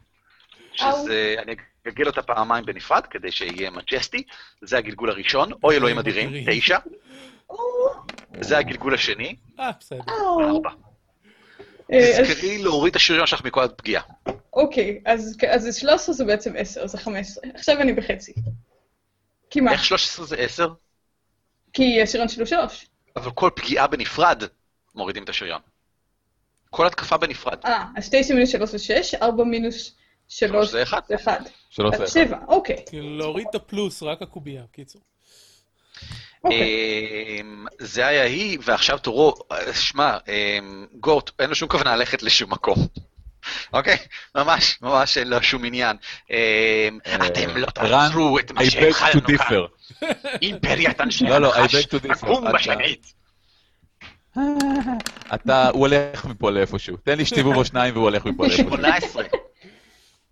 Speaker 1: שזה, אני אגלגל אותה פעמיים בנפרד, כדי שיהיה מג'סטי. זה הגלגול הראשון, אוי אלוהים אדירים, תשע. זה הגלגול השני,
Speaker 3: אה, בסדר.
Speaker 4: אאו.
Speaker 1: ארבע. כן.
Speaker 4: אה, אז-
Speaker 1: תזכרי להוריד את השריון שלך מכל הפגיעה.
Speaker 4: אוקיי, אז אז זה 13 זה בעצם 10, זה 15. עכשיו אני בחצי. כי מה?
Speaker 1: איך 13 זה 10?
Speaker 4: כי השריון שלו 3.
Speaker 1: אבל כל פגיעה בנפרד, מורידים את השריון. כל התקפה בנפרד.
Speaker 4: אה, אז 9 מינוס 3 זה 6, 4 מינוס 3
Speaker 1: שלוש אה, זה אחד.
Speaker 4: זה 1.
Speaker 2: שלא
Speaker 4: אז
Speaker 2: צריך.
Speaker 4: 7, אוקיי.
Speaker 3: כאילו, להוריד את הפלוס, רק הקובייה, קיצור.
Speaker 4: אוקיי.
Speaker 1: אמ, זה היה היא, ועכשיו תורו, אה, שמע, אמ, גורט, אין לו שום כוונה ללכת לשום מקום. אוקיי? ממש, ממש אין לו שום עניין. אה, אתם לא
Speaker 2: רן,
Speaker 1: תעשו את מה
Speaker 2: I beg to
Speaker 1: שהתחלנו כאן.
Speaker 2: differ.
Speaker 1: אימפריית אנשי
Speaker 2: לא, לא, I
Speaker 1: הנחש,
Speaker 2: beg to differ.
Speaker 1: עקום
Speaker 2: אתה-
Speaker 1: בשנית.
Speaker 2: אתה, הוא הולך מפה לאיפשהו. תן לי שתיבוב או שניים והוא הולך מפה לאיפשהו.
Speaker 1: 18.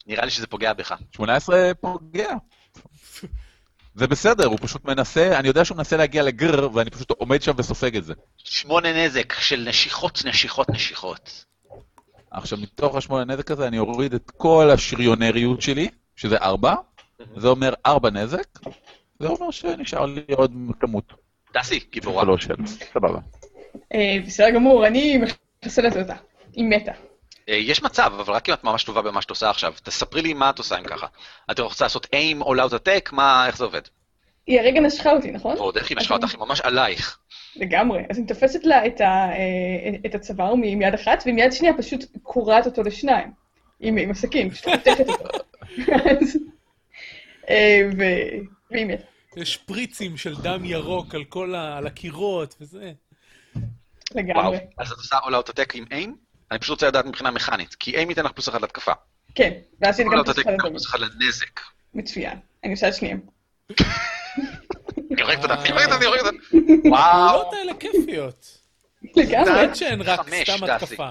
Speaker 1: נראה לי שזה פוגע בך.
Speaker 2: 18 פוגע. זה בסדר, הוא פשוט מנסה, אני יודע שהוא מנסה להגיע לגר, ואני פשוט עומד שם וסופג את זה.
Speaker 1: שמונה נזק של נשיכות, נשיכות, נשיכות.
Speaker 2: עכשיו, מתוך השמונה נזק הזה, אני אוריד את כל השריונריות שלי, שזה ארבע, זה אומר ארבע נזק, זה אומר שנשאר לי עוד כמות.
Speaker 1: דסי, גיבורה.
Speaker 2: שלוש של, סבבה.
Speaker 4: אה, בסדר גמור, אני מחסלת אותה. היא מתה.
Speaker 1: אה, יש מצב, אבל רק אם את ממש טובה במה שאת עושה עכשיו. תספרי לי מה את עושה עם ככה. את רוצה לעשות aim all out attack, מה, איך זה עובד?
Speaker 4: היא הרגע נשכה אותי, נכון?
Speaker 1: ועוד איך היא נשכה אותך, היא ממש עלייך.
Speaker 4: לגמרי. אז אני תופסת לה את, ה, אה, את הצוואר מ- מיד אחת, ומיד שנייה פשוט קורעת אותו לשניים. עם, עם הסכין, פשוט חותכת אותו. אז, אה, ו... והיא מתה.
Speaker 3: יש פריצים של דם ירוק על כל ה... על הקירות וזה.
Speaker 1: וואו.
Speaker 4: לגמרי.
Speaker 1: אז את עושה all out attack עם aim? אני פשוט רוצה לדעת מבחינה מכנית, כי aim ייתן לך פלוס אחד להתקפה.
Speaker 4: כן, ואז
Speaker 1: all
Speaker 4: היא גם
Speaker 1: out attack
Speaker 4: תוכל
Speaker 1: ייתן לך
Speaker 4: לדבר.
Speaker 1: פלוס אחד לנזק.
Speaker 4: מצוין. אני עושה את שניהם.
Speaker 1: יורק אותה,
Speaker 3: אה.
Speaker 1: יורק אותה, יורק אותה.
Speaker 3: הפעולות
Speaker 1: וואו.
Speaker 3: האלה כיפיות.
Speaker 4: לגמרי.
Speaker 3: עד שהן רק
Speaker 1: חמש,
Speaker 3: סתם
Speaker 1: דסי.
Speaker 3: התקפה.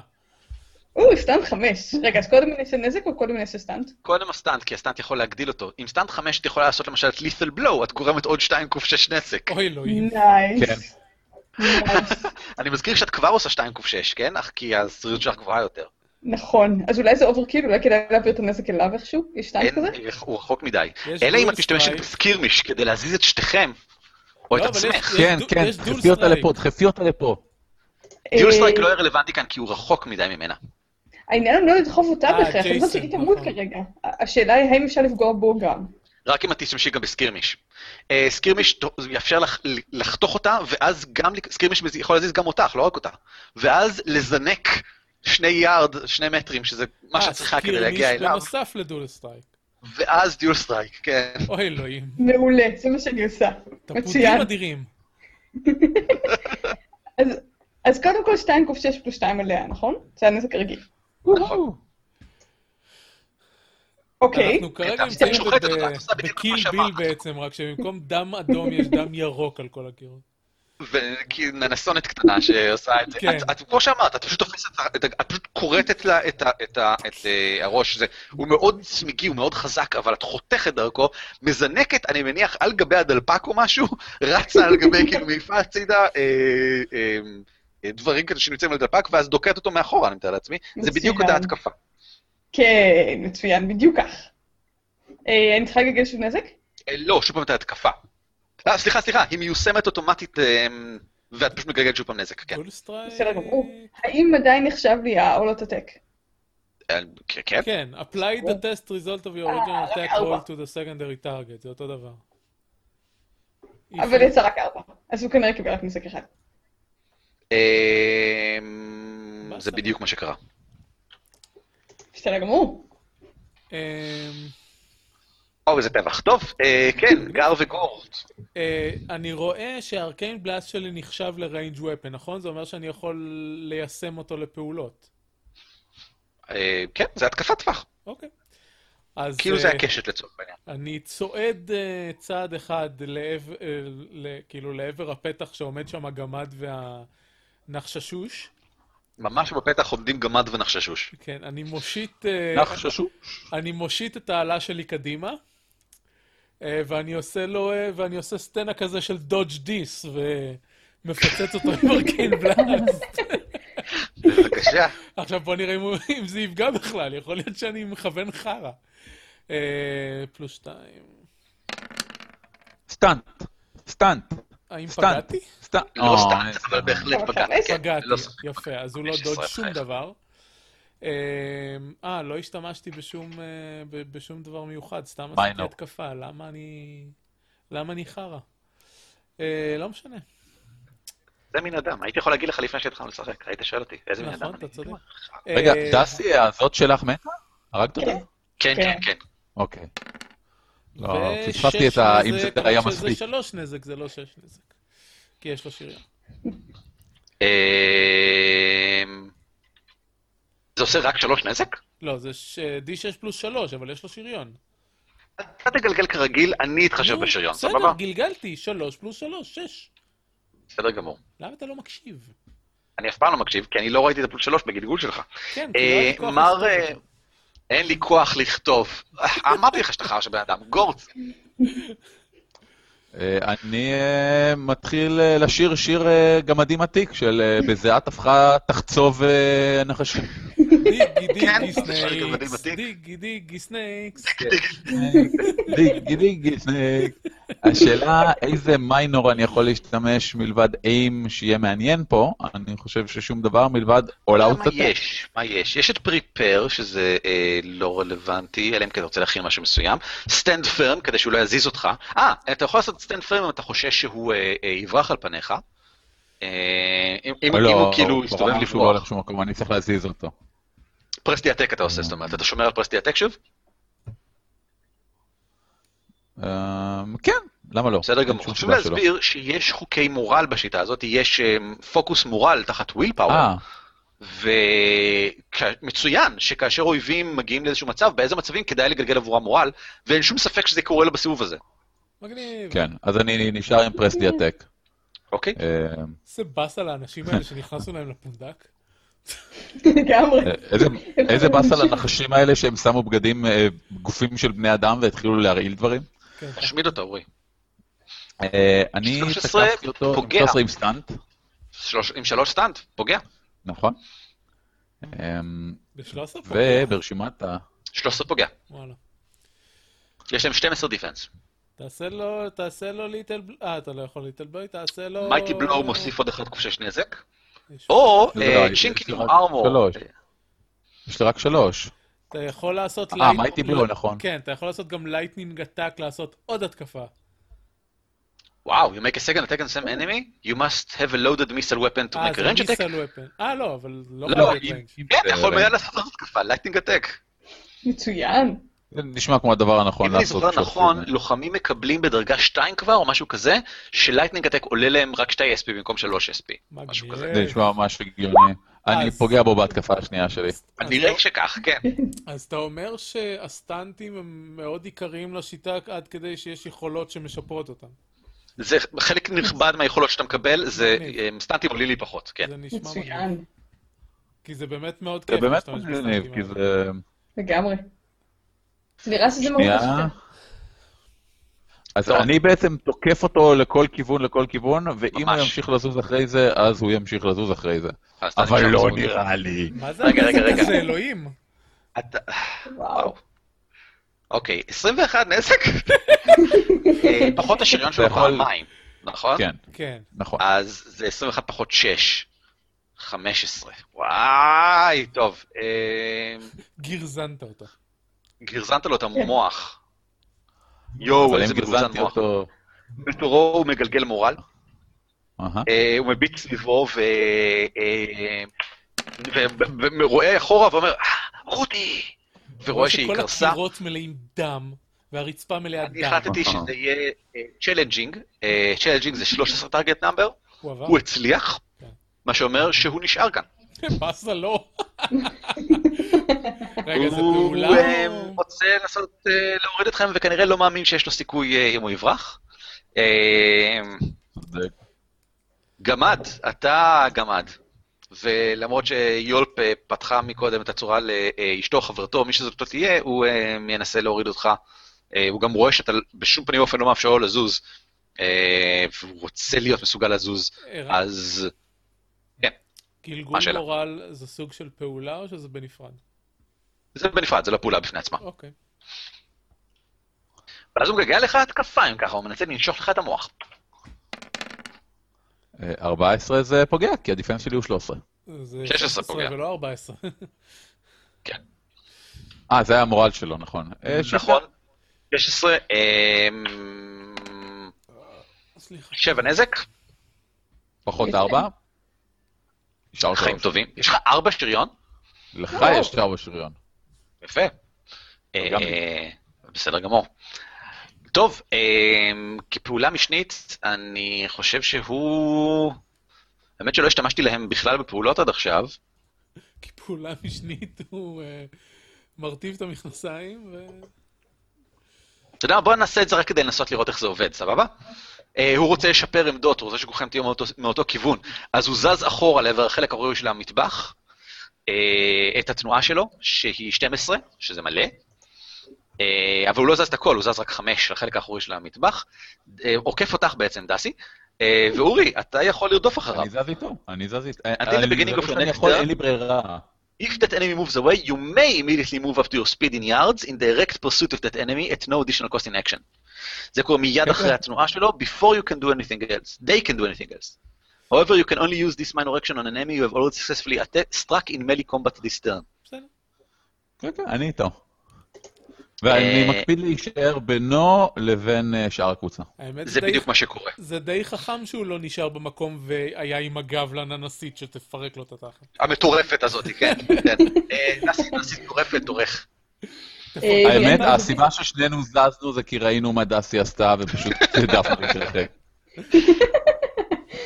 Speaker 4: או, סתם חמש. רגע, אז קודם אני אעשה נזק או קודם אני אעשה סטאנט?
Speaker 1: קודם הסטנט, כי הסטנט יכול להגדיל אותו. עם סטנט 5 את יכולה לעשות למשל את lethal blow, את גורמת עוד 2 ק6 נזק.
Speaker 3: אוי אלוהים.
Speaker 2: כן.
Speaker 4: נייס. נייס.
Speaker 1: אני מזכיר שאת כבר עושה 2 ק6, כן? אך כי הסטריות שלך גבוהה יותר.
Speaker 4: נכון. אז אולי זה אוברקיל, אולי כדאי להעביר את הנזק אליו איכשהו? יש שתיים
Speaker 1: אין, אה,
Speaker 4: כזה?
Speaker 1: הוא רחוק מדי.
Speaker 3: יש
Speaker 1: אלא אם
Speaker 3: dual
Speaker 1: את משתמשת
Speaker 3: strike.
Speaker 1: בסקירמיש כדי להזיז את שתיכם, או את
Speaker 3: לא, אבל יש-
Speaker 1: עצמך.
Speaker 2: כן,
Speaker 3: דו-
Speaker 2: כן,
Speaker 3: יש דול
Speaker 2: תחפי אותה
Speaker 3: סטרייק.
Speaker 2: לפה, תחפי אותה לפה.
Speaker 1: דיול
Speaker 4: אה,
Speaker 1: סטרייק לא יהיה רלוונטי כאן, כי הוא רחוק מדי ממנה.
Speaker 4: העניין הוא לא לדחוף אותה
Speaker 3: אה,
Speaker 4: בהכרח, אני חושבת
Speaker 3: ג'ייסון,
Speaker 4: שהיא תמות
Speaker 3: נכון.
Speaker 4: כרגע. ה- השאלה היא האם אפשר לפגוע בו גם.
Speaker 1: רק אם את תשתמשי גם בסקירמיש. אה, סקירמיש ת- זה יאפשר לך ל- לחתוך אותה, ואז גם... לק- סקירמיש מז- יכול להזיז גם אותך, לא רק אותה. ואז לזנק שני יארד, שני מטרים, שזה
Speaker 3: אה,
Speaker 1: מה שאת צריכה כדי להגיע אליו,
Speaker 3: בנוסף לדול סטרייק.
Speaker 1: ואז דיול סטרייק, כן.
Speaker 3: אוי אלוהים.
Speaker 4: מעולה, זה מה שאני עושה.
Speaker 3: תפודים
Speaker 4: מצוין.
Speaker 3: אדירים.
Speaker 4: אז- אז קודם כל 2 קוף 6 פלוס 2 עליה, נכון? זה הנזק הרגיל. אוקיי.
Speaker 3: אנחנו כרגע
Speaker 1: אתה
Speaker 3: נמצאים
Speaker 1: שוחט אותה,
Speaker 3: ב-
Speaker 1: את עושה בדיוק את מה
Speaker 3: בקיל ביל
Speaker 1: שאמרת.
Speaker 3: בעצם, רק שבמקום דם אדום יש דם ירוק על כל הקירות.
Speaker 1: ונסונת קטנה שעושה את זה.
Speaker 3: כן.
Speaker 1: את, את, כמו שאמרת, את פשוט תופסת, את, ה- את פשוט כורתת לה את, ה- את, ה- את אה, הראש. זה, הוא מאוד צמיגי, הוא מאוד חזק, אבל את חותכת דרכו, מזנקת, אני מניח, על גבי הדלפק או משהו, רצה על גבי, כאילו, מעיפה הצידה אה, אה, אה, דברים כאלה שנמצאים על דלפק, ואז דוקרת אותו מאחורה, אני מתאר לעצמי. זה
Speaker 4: מצוין.
Speaker 1: בדיוק אותה התקפה.
Speaker 4: כן, מצוין, בדיוק כך. אה, אני צריכה לגלגל שוב נזק?
Speaker 1: אה, לא, שוב פעם את ההתקפה. אה, סליחה, סליחה, היא מיושמת אוטומטית, אה, ואת פשוט מגלגלת שוב פעם נזק, כן.
Speaker 3: דול סטרייק.
Speaker 4: בסדר גמור. האם עדיין נחשב לי העולות הטק?
Speaker 1: אה, כן.
Speaker 3: כן, apply the test result of your original attack roll to the secondary target, זה אותו דבר.
Speaker 4: אבל יצא רק ארבע. אז הוא כנראה קיבל רק נזק אחד.
Speaker 1: אמ,
Speaker 3: מה
Speaker 1: זה
Speaker 3: זה?
Speaker 1: בדיוק מה שקרה.
Speaker 4: בסדר גמור.
Speaker 3: אמ,
Speaker 1: או, איזה טבח. טוב, אה, כן, גר וגורד.
Speaker 3: אה, אני רואה שהארקיין בלאסט שלי נחשב לריינג' ופן, נכון? זה אומר שאני יכול ליישם אותו לפעולות.
Speaker 1: אה, כן, זה התקפת טווח.
Speaker 3: אוקיי. אז
Speaker 1: כאילו זה
Speaker 3: אה,
Speaker 1: הקשת לצורך העניין.
Speaker 3: אני צועד אה, צעד אחד לעבר, אה, ל- כאילו לעבר הפתח שעומד שם הגמד והנחששוש.
Speaker 1: ממש בפתח עומדים גמד ונחששוש.
Speaker 3: כן, אני מושיט... אה,
Speaker 2: נחששו.
Speaker 3: אני מושיט את האלה שלי קדימה, אה, ואני עושה לו, אה, ואני עושה סצנה כזה של דודג' דיס, ומפצץ אותו עם ארקיין בלאסט. אה,
Speaker 1: בבקשה.
Speaker 3: עכשיו בוא נראה אם, הוא- אם זה יפגע בכלל, יכול להיות שאני מכוון חרא. אה, פלוס שתיים.
Speaker 2: סטאנט. סטאנט.
Speaker 3: האם
Speaker 2: סטאנט.
Speaker 3: פגעתי?
Speaker 2: סטאנט.
Speaker 1: לא
Speaker 2: אה,
Speaker 1: סתם,
Speaker 2: איזה-
Speaker 1: אבל בהחלט
Speaker 4: אבל
Speaker 1: בגד.
Speaker 4: חמש?
Speaker 1: כן,
Speaker 3: פגעתי,
Speaker 1: ללא ספק.
Speaker 3: יפה, אז הוא לא
Speaker 1: 15,
Speaker 3: דוד שום
Speaker 1: חייך.
Speaker 3: דבר. אה, אה, לא השתמשתי בשום, אה, ב- בשום דבר מיוחד, סתם
Speaker 2: Minor.
Speaker 3: עשיתי התקפה, למה אני... למה אני חרא? אה, לא משנה.
Speaker 1: זה מין אדם. הייתי יכול להגיד לך לפני שהתחלנו לשחק, היית שואל אותי, איזה מין
Speaker 3: נכון,
Speaker 1: אדם
Speaker 3: אתה
Speaker 1: אני?
Speaker 3: צודק.
Speaker 2: רגע,
Speaker 3: אה,
Speaker 2: דסי, הזאת שלך מתה? הרגת אותה?
Speaker 1: כן,
Speaker 4: כן.
Speaker 1: כן, כן.
Speaker 2: אוקיי. לא,
Speaker 3: ושש
Speaker 2: פספסתי את ה... אם
Speaker 3: נזק,
Speaker 2: זה
Speaker 3: רק
Speaker 2: היה
Speaker 3: שזה
Speaker 2: מספיק.
Speaker 3: שלוש נזק, זה לא שש נזק. כי יש לו שריון.
Speaker 1: אמ, זה עושה רק שלוש נזק?
Speaker 3: לא, זה ש- D6 פלוס 3, אבל יש לו שריון.
Speaker 1: אתה תגלגל כרגיל, אני אתחשב
Speaker 3: נו,
Speaker 1: בשריון,
Speaker 3: אה, בסדר,
Speaker 1: סבבה?
Speaker 3: גלגלתי, 3 פלוס 3, 6.
Speaker 1: בסדר גמור.
Speaker 3: למה אתה לא מקשיב?
Speaker 1: אני אף פעם לא מקשיב, כי אני לא ראיתי את הפלוס שלוש בגלגול שלך.
Speaker 3: כן, כי לא
Speaker 1: אה,
Speaker 3: היה לי כוח
Speaker 1: מר...
Speaker 3: לסתום
Speaker 1: אה,
Speaker 3: את זה.
Speaker 1: אין לי כוח לכתוב. אה, אמרתי לך שאתה חרא של בן אדם, גורץ.
Speaker 2: אה, אני אה, מתחיל אה, לשיר שיר אה, גמדים עתיק של אה, בזיעת הפכה תחצוב אה, נחשים. אה,
Speaker 3: דיגי
Speaker 2: כן.
Speaker 3: דיגי
Speaker 1: זה שיר גמדים
Speaker 3: סנייקס,
Speaker 1: עתיק.
Speaker 3: דיגי דיגי סנייקס.
Speaker 2: דיגי דיגי סנק. השאלה איזה מיינור אני יכול להשתמש מלבד איים שיהיה מעניין פה, אני חושב ששום דבר מלבד all out
Speaker 1: מה
Speaker 2: attack.
Speaker 1: יש? מה יש? יש את פריפר, שזה אה, לא רלוונטי, אלא אם כן אתה רוצה להכין משהו מסוים. סטנד פרם, כדי שהוא לא יזיז אותך. אה, אתה יכול לעשות סטנד פרם אם אתה חושש שהוא אה, אה, יברח על פניך. אה, אם אם- אם הוא כאילו
Speaker 2: הוא
Speaker 1: יסתובב
Speaker 2: אמר שהוא לא
Speaker 1: לברוח.
Speaker 2: הולך לשום מקום, אני צריך להזיז אותו.
Speaker 1: פרסטיאטק אתה עושה, זאת אומרת, אתה שומר על פרסטיאטק שוב?
Speaker 2: לא, אה, כן, למה לא?
Speaker 1: בסדר
Speaker 2: אין
Speaker 1: גמור.
Speaker 2: שום
Speaker 1: חשוב
Speaker 2: סיבה שלא.
Speaker 1: להסביר שיש חוקי מורל בשיטה הזאת, יש אמ, פוקוס מורל תחת וויל פאוור,
Speaker 2: אה,
Speaker 1: ומצוין שכאשר אויבים מגיעים לאיזשהו מצב, באיזה מצבים כדאי לגלגל עבורם מורל, ואין שום ספק שזה קורה לו בסיבוב הזה,
Speaker 3: מגניב.
Speaker 2: כן, אז אני נשאר עם פרסטי הטק.
Speaker 1: אוקיי?
Speaker 2: אה,
Speaker 3: איזה באסה לאנשים האלה שנכנסנו להם לפונדק.
Speaker 4: לגמרי.
Speaker 2: איזה- איזה באס על הנחשים האלה שהם שמו בגדים, אה, גופים של בני אדם והתחילו להרעיל דברים.
Speaker 3: כן,
Speaker 1: תשמיד אותו, אורי.
Speaker 2: אה, אני
Speaker 1: 13
Speaker 2: תקפתי אותו עם
Speaker 1: פוגע.
Speaker 2: 13 עם סטאנט,
Speaker 1: שלוש- עם שלוש סטאנט, פוגע.
Speaker 2: נכון. אמ,
Speaker 3: ב-13 פה.
Speaker 2: וברשימת ה...
Speaker 1: 13 פוגע.
Speaker 3: וואלה.
Speaker 1: יש להם 12 דיפנס.
Speaker 3: תעשה לו, תעשה לו ליטל בל... אה, אתה לא יכול ליטל בוי, תעשה לו...
Speaker 1: מייטי בלואו מוסיף עוד אחד כובשש נזק,
Speaker 3: יש-
Speaker 1: או
Speaker 2: לא, לא,
Speaker 1: צ'ינקין
Speaker 2: יש לי רק
Speaker 1: ארמור.
Speaker 2: שלוש. יש לי רק שלוש.
Speaker 3: אתה יכול לעשות...
Speaker 2: אה,
Speaker 3: לייט-
Speaker 2: מייקי בלואו, נכון.
Speaker 3: כן, אתה יכול לעשות גם לייטנינג עתק, לעשות עוד התקפה.
Speaker 1: וואו, you make a second attack on some enemy, you must have a loaded missile weapon to
Speaker 3: אה,
Speaker 1: make a
Speaker 3: זה
Speaker 1: range attack.
Speaker 3: מיסל ופן. אה, לא, אבל לא
Speaker 1: לא,
Speaker 3: חייב
Speaker 2: אם-
Speaker 3: להיות range.
Speaker 2: אם
Speaker 1: כן,
Speaker 2: זה-
Speaker 1: אתה יכול מיד לעשות עוד התקפה, לייטנינג אטק.
Speaker 4: מצוין.
Speaker 2: זה נשמע כמו הדבר הנכון
Speaker 1: אם אני
Speaker 2: לעשות.
Speaker 1: זוכר
Speaker 2: כשעושים
Speaker 1: נכון,
Speaker 2: את זה.
Speaker 1: לוחמים מקבלים בדרגה 2 כבר, או משהו כזה, שלייטנינג אטק עולה להם רק 2 SP במקום 3 SP.
Speaker 3: אה,
Speaker 1: משהו
Speaker 3: מגניב.
Speaker 1: כזה.
Speaker 2: זה נשמע ממש הגיוני. אני
Speaker 3: אז-
Speaker 2: פוגע בו בהתקפה השנייה שלי.
Speaker 3: אז- אז
Speaker 1: נראה
Speaker 3: אתה-
Speaker 1: שכך, כן.
Speaker 3: אז אתה אומר שהסטנטים הם מאוד עיקריים לשיטה עד כדי שיש יכולות שמשפרות אותם.
Speaker 1: זה חלק נכבד מהיכולות שאתה מקבל, זה
Speaker 3: מגניב.
Speaker 1: אה, סטנטים עולים לי פחות, כן.
Speaker 3: זה נשמע מגניב.
Speaker 4: מצוין.
Speaker 3: כי זה באמת מאוד
Speaker 2: זה
Speaker 3: כיף
Speaker 2: באמת
Speaker 3: להשתמש
Speaker 2: מגניב,
Speaker 3: בסטנטים
Speaker 2: כי
Speaker 3: האלה.
Speaker 2: זה...
Speaker 4: לגמרי. זה נראה שזה מאוד
Speaker 2: שנייה.
Speaker 4: חשוב.
Speaker 2: אז
Speaker 1: לא.
Speaker 2: אני בעצם תוקף אותו לכל כיוון, לכל כיוון, ואם הוא
Speaker 1: ממש.
Speaker 2: ימשיך לזוז אחרי זה, אז הוא ימשיך לזוז אחרי זה.
Speaker 1: אז אתה
Speaker 2: אבל
Speaker 1: נשאר
Speaker 2: לא
Speaker 1: בזמן.
Speaker 2: נראה לי.
Speaker 3: מה זה
Speaker 1: רגע, רגע,
Speaker 3: הנזק
Speaker 1: רגע.
Speaker 3: הזה, אלוהים?
Speaker 1: אתה-
Speaker 4: וואו.
Speaker 1: וואו. אוקיי, 21 נזק? אה, פחות השריון שלו
Speaker 2: אתה יכול-
Speaker 1: פעמיים, נכון?
Speaker 2: כן,
Speaker 3: כן.
Speaker 2: נכון.
Speaker 1: אז זה 21 פחות 6, 15. וואי, טוב. אה,
Speaker 3: גרזנת אותה.
Speaker 1: גרזנת
Speaker 3: כן.
Speaker 1: לו את המוח. יואו,
Speaker 2: אבל אם
Speaker 1: איזה מגרזן
Speaker 2: גרזנתי
Speaker 1: אוקיי, מוח.
Speaker 2: אותו...
Speaker 1: בתורו הוא מגלגל מורל,
Speaker 2: אהה.
Speaker 1: אה, הוא מביט סביבו ו- אה, ו- ו- ורואה אחורה ואומר, "אה, רותי! ורואה שהיא
Speaker 3: שכל
Speaker 1: קרסה.
Speaker 3: הקירות מלאים דם, והרצפה מלאה
Speaker 1: אני
Speaker 3: דם.
Speaker 1: החלטתי
Speaker 2: נכון.
Speaker 1: שזה יהיה אה, צ'לנג'ינג, צ'לנג'ינג זה 13 טארגט נאמבר,
Speaker 3: הוא עבר.
Speaker 1: הוא הצליח,
Speaker 3: כן.
Speaker 1: מה שאומר שהוא נשאר כאן.
Speaker 3: באסה לא. רגע, זה
Speaker 1: הוא
Speaker 3: פעולה
Speaker 1: אה,
Speaker 3: או...
Speaker 1: רוצה לנסות אה, להוריד אתכם, וכנראה לא מאמין שיש לו סיכוי אה, אם הוא יברח. אה,
Speaker 2: זה-
Speaker 1: גמד, אתה גמד. ולמרות שיולפ אה, פתחה מקודם את הצורה לאשתו, חברתו, מי שזאת לא תהיה, הוא אה, ינסה להוריד אותך. אה, הוא גם רואה שאתה בשום פנים ואופן לא מאפשר לו לזוז, אה, והוא רוצה להיות מסוגל לזוז,
Speaker 3: ערן,
Speaker 1: אז
Speaker 3: אה, גלגול
Speaker 1: מה אה, השאלה?
Speaker 3: מורל זה סוג של פעולה או שזה בנפרד?
Speaker 1: זה בנפרד, זה לא פעולה בפני עצמה.
Speaker 3: אוקיי.
Speaker 1: ואז הוא מגגע לך התקפיים ככה, הוא מנסה לנשוך לך את המוח.
Speaker 2: אה, 14 זה פוגע, כי הדיפנס שלי הוא 13.
Speaker 3: זה
Speaker 1: 16 פוגע.
Speaker 3: ולא 14.
Speaker 2: אה, זה היה המורל שלו, נכון. אה, שישה.
Speaker 1: נכון? 16, אה,
Speaker 3: סליחה.
Speaker 1: 7 נזק,
Speaker 2: פחות 4. נשאר
Speaker 1: חיים
Speaker 2: 3.
Speaker 1: טובים. יש לך 4 שריון?
Speaker 2: לך
Speaker 4: וואו.
Speaker 2: יש 4 שריון.
Speaker 1: אה. יפה.
Speaker 2: גם
Speaker 1: אה, בסדר גמור. טוב, אה, כפעולה משנית, אני חושב שהוא... האמת שלא השתמשתי להם בכלל בפעולות עד עכשיו.
Speaker 3: כי פעולה משנית הוא... אה, מרטיב את המכנסיים, ו...
Speaker 1: אתה יודע, בוא נעשה את זה רק כדי לנסות לראות איך זה עובד, סבבה? אה, הוא רוצה לשפר עמדות, הוא רוצה שכולכם תהיו מאותו, מאותו כיוון. אז הוא זז אחורה לעבר החלק הראוי של המטבח, אה, את התנועה שלו, שהיא 12, שזה מלא, אה, אבל הוא לא זז את הכל, הוא זז רק 5 לחלק האחורי של המטבח, אה, עוקף אותך בעצם, דסי, אה, ואורי, אתה יכול לרדוף אחריו.
Speaker 2: אני זז איתו, אני זז איתו.
Speaker 1: think the beginning of your next turn-
Speaker 2: אין לי ברירה.
Speaker 1: If that enemy moves away, you may immediately move up to your speed in yards in direct pursuit of that enemy at no additional cost in action. זה קורה מיד
Speaker 2: יפה.
Speaker 1: אחרי התנועה שלו, before you can do anything else. They can do anything else. However, you can only use this minor action on an enemy you have already successfully atta- struck in melee combat this turn.
Speaker 3: בסדר.
Speaker 2: כן, כן, אני איתו. ואני
Speaker 1: אה,
Speaker 2: מקפיד להישאר בינו לבין אה, שאר הקבוצה.
Speaker 3: האמת,
Speaker 1: זה
Speaker 3: די-
Speaker 1: בדיוק מה שקורה.
Speaker 3: זה די חכם שהוא לא נשאר במקום והיה עם הגב לננסית שתפרק לו את התחת.
Speaker 1: המטורפת הזאת, כן, כן. אה, נעשי, נעשי מטורפת, דורך.
Speaker 4: אה,
Speaker 2: האמת,
Speaker 4: אה,
Speaker 2: הסיבה ששנינו זזנו זה כי ראינו מה דסי עשתה ופשוט העדפנו להתרחק.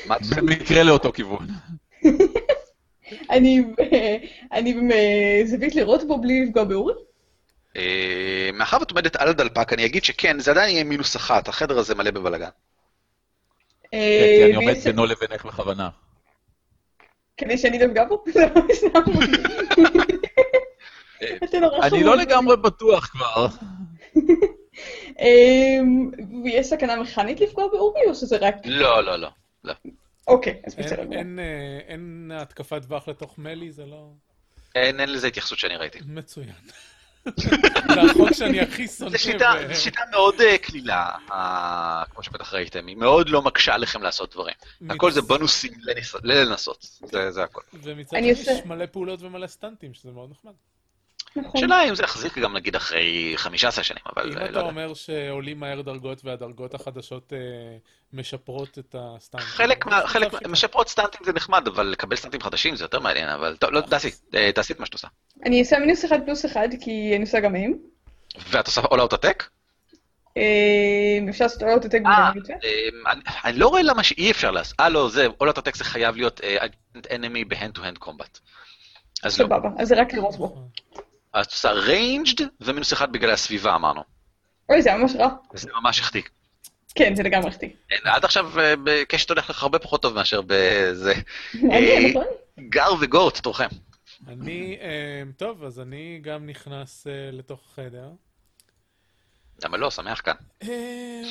Speaker 1: מה-
Speaker 2: במקרה לאותו כיוון.
Speaker 4: אני אה, אני בזווית לראות בו בלי לפגוע באורי.
Speaker 1: אה, מאחר ואת עומדת על הדלפק, אני אגיד שכן, זה עדיין יהיה מינוס אחת, החדר הזה מלא בבלאגן.
Speaker 2: כן, כי
Speaker 4: אה,
Speaker 2: אני עומד
Speaker 4: בעצם-
Speaker 2: בינו לבינך בכוונה.
Speaker 4: כדי שאני לא אפגע בו? לא, סתם. אתה נורא
Speaker 2: אני
Speaker 4: חמוד.
Speaker 2: לא לגמרי בטוח כבר.
Speaker 4: אמ, ויש סכנה מכנית לפגוע באורי, או שזה רק...
Speaker 1: לא, לא, לא.
Speaker 4: אוקיי, אז
Speaker 3: אין-
Speaker 4: בסדר. גמור.
Speaker 3: אין, אה, אין התקפת טווח לתוך מלי, זה לא...
Speaker 1: אין אין לזה התייחסות שאני ראיתי.
Speaker 3: מצוין. זה החוק שאני הכי שונא.
Speaker 1: זו שיטה,
Speaker 3: ב-
Speaker 1: זו שיטה מאוד אה, קלילה, אה, כמו שבטח ראיתם, היא מאוד לא מקשה עליכם לעשות דברים. הכל זה בונוסים לניס- ללנסות, זה זה הכל.
Speaker 3: ומצד
Speaker 4: אני
Speaker 3: שני יש
Speaker 4: עושה-
Speaker 3: מלא פעולות ומלא סטנטים, שזה מאוד נחמד.
Speaker 1: אה,
Speaker 4: נכון.
Speaker 1: השאלה אם זה יחזיק גם נגיד אחרי 15 שנים, אבל אה,
Speaker 3: אם
Speaker 1: לא
Speaker 3: אתה
Speaker 1: יודע.
Speaker 3: אומר שעולים מהר דרגות והדרגות החדשות אה, משפרות את הסטנדרט.
Speaker 1: חלק מה... חלק מה... משפרות סטנטים זה נחמד, אבל לקבל סטנטים חדשים זה יותר מעניין, אבל טוב, לא, דסי, אה, תעשי את מה שאת עושה.
Speaker 4: אני אעשה מינוס אחד פלוס אחד, כי אני עושה גם מהם.
Speaker 1: ואת עושה all out attack?
Speaker 4: אמ, אפשר לעשות עוד עותק בגלל זה?
Speaker 1: אה, אני- אני לא רואה למה שאי אפשר לעשות. אה, לא, זה, all out attack זה חייב להיות אה, enemy ב-hand to hand combat. אז לא.
Speaker 4: סבבה, אז זה רק לראות בו.
Speaker 1: אז את עושה ranged ומינוס אחד בגלל הסביבה, אמרנו.
Speaker 4: אוי, זה היה ממש רע.
Speaker 1: זה ממש החטיא.
Speaker 4: כן, זה לגמרי החטיא.
Speaker 1: אין, עד עכשיו אה, ב- קשת הולך לך הרבה פחות טוב מאשר בזה. אה.
Speaker 4: מעניין, נכון?
Speaker 1: גר וגורט, תורכם.
Speaker 3: אני, אה, טוב, אז אני גם נכנס אה, לתוך החדר.
Speaker 1: למה לא, שמח כאן.
Speaker 3: אה,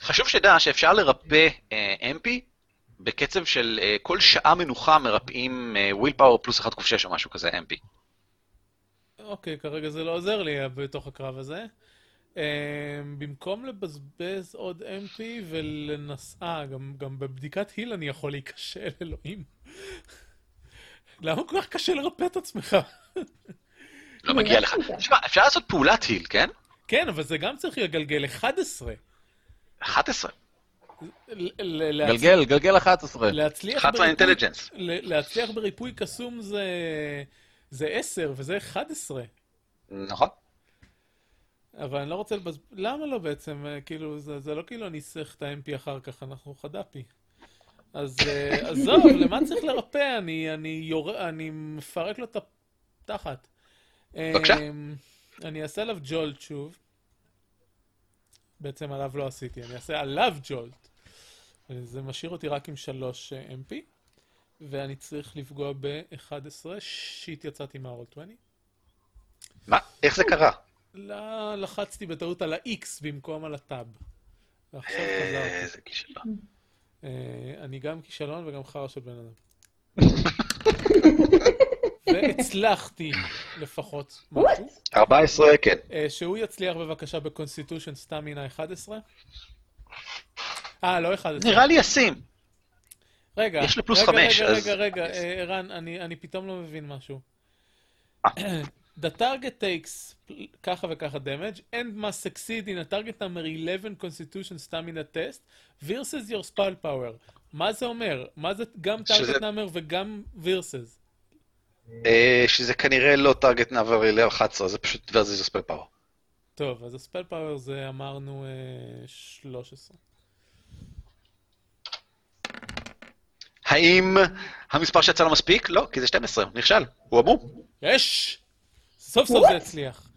Speaker 1: חשוב שתדע שאפשר לרפא אה, MP בקצב של אה, כל שעה מנוחה מרפאים וויל פאוור פלוס 1 קוף 6 או משהו כזה MP.
Speaker 3: אוקיי, כרגע זה לא עוזר לי אה, בתוך הקרב הזה. אה, במקום לבזבז עוד MP ולנס... אה, גם, גם בבדיקת היל אני יכול להיכשל, אלוהים. למה כל כך קשה לרפא את עצמך?
Speaker 1: לא
Speaker 4: נו,
Speaker 1: מגיע לך.
Speaker 4: איך זה?
Speaker 1: תשמע, אפשר לעשות פעולת היל, כן?
Speaker 3: כן, אבל זה גם צריך לגלגל 11.
Speaker 1: 11.
Speaker 3: ל- ל- להצ-
Speaker 2: גלגל, גלגל 11.
Speaker 3: להצליח
Speaker 1: 11
Speaker 3: בריפוי-
Speaker 1: אינטליג'נס.
Speaker 3: ל- להצליח בריפוי קסום זה... זה 10 וזה 11.
Speaker 1: נכון.
Speaker 3: אבל אני לא רוצה לבז... למה לא בעצם? אה, כאילו, זה, זה לא כאילו אני צריך את ה-MP אחר כך, אנחנו חד"פי. אז אה, עזוב, למה צריך לרפא? אני, אני, יור... אני מפרק לו את התחת. אה,
Speaker 1: בבקשה.
Speaker 3: אני אעשה עליו ג'ולט שוב. בעצם עליו לא עשיתי, אני אעשה עליו ג'ולט. זה משאיר אותי רק עם 3 MP, ואני צריך לפגוע ב-11, שיט יצאתי מהרול 20.
Speaker 1: מה? איך זה קרה?
Speaker 3: לא, לחצתי בטעות על ה-X במקום על הטאב. ועכשיו
Speaker 1: אה,
Speaker 3: חזרתי.
Speaker 1: איזה כישלון.
Speaker 3: אה, אני גם כישלון וגם חרא של בן אדם. והצלחתי לפחות משהו.
Speaker 1: 14, כן.
Speaker 3: אה, שהוא יצליח בבקשה בקונסטיטושן סטאמינה 11. אה, לא 11.
Speaker 1: נראה לי ישים.
Speaker 3: רגע,
Speaker 1: יש לו פלוס
Speaker 3: רגע,
Speaker 1: חמש,
Speaker 3: רגע,
Speaker 1: אז-
Speaker 3: רגע, רגע,
Speaker 1: אז-
Speaker 3: אה, ערן, אני אני פתאום לא מבין משהו.
Speaker 1: אה.
Speaker 3: The target takes ככה וככה damage and must succeed in a target number 11 constitution stamina test versus your spell power. מה זה אומר? מה זה גם
Speaker 1: שזה-
Speaker 3: target number וגם versus?
Speaker 1: אה, שזה כנראה לא טארגט נעבר ל-11, זה פשוט ורזיז ספל פאוור.
Speaker 3: טוב, אז הספל פאוור זה אמרנו אה, 13.
Speaker 1: האם המספר שיצא לו מספיק? לא, כי זה 12, נכשל, הוא אמור.
Speaker 3: יש! סוף סוף זה הצליח.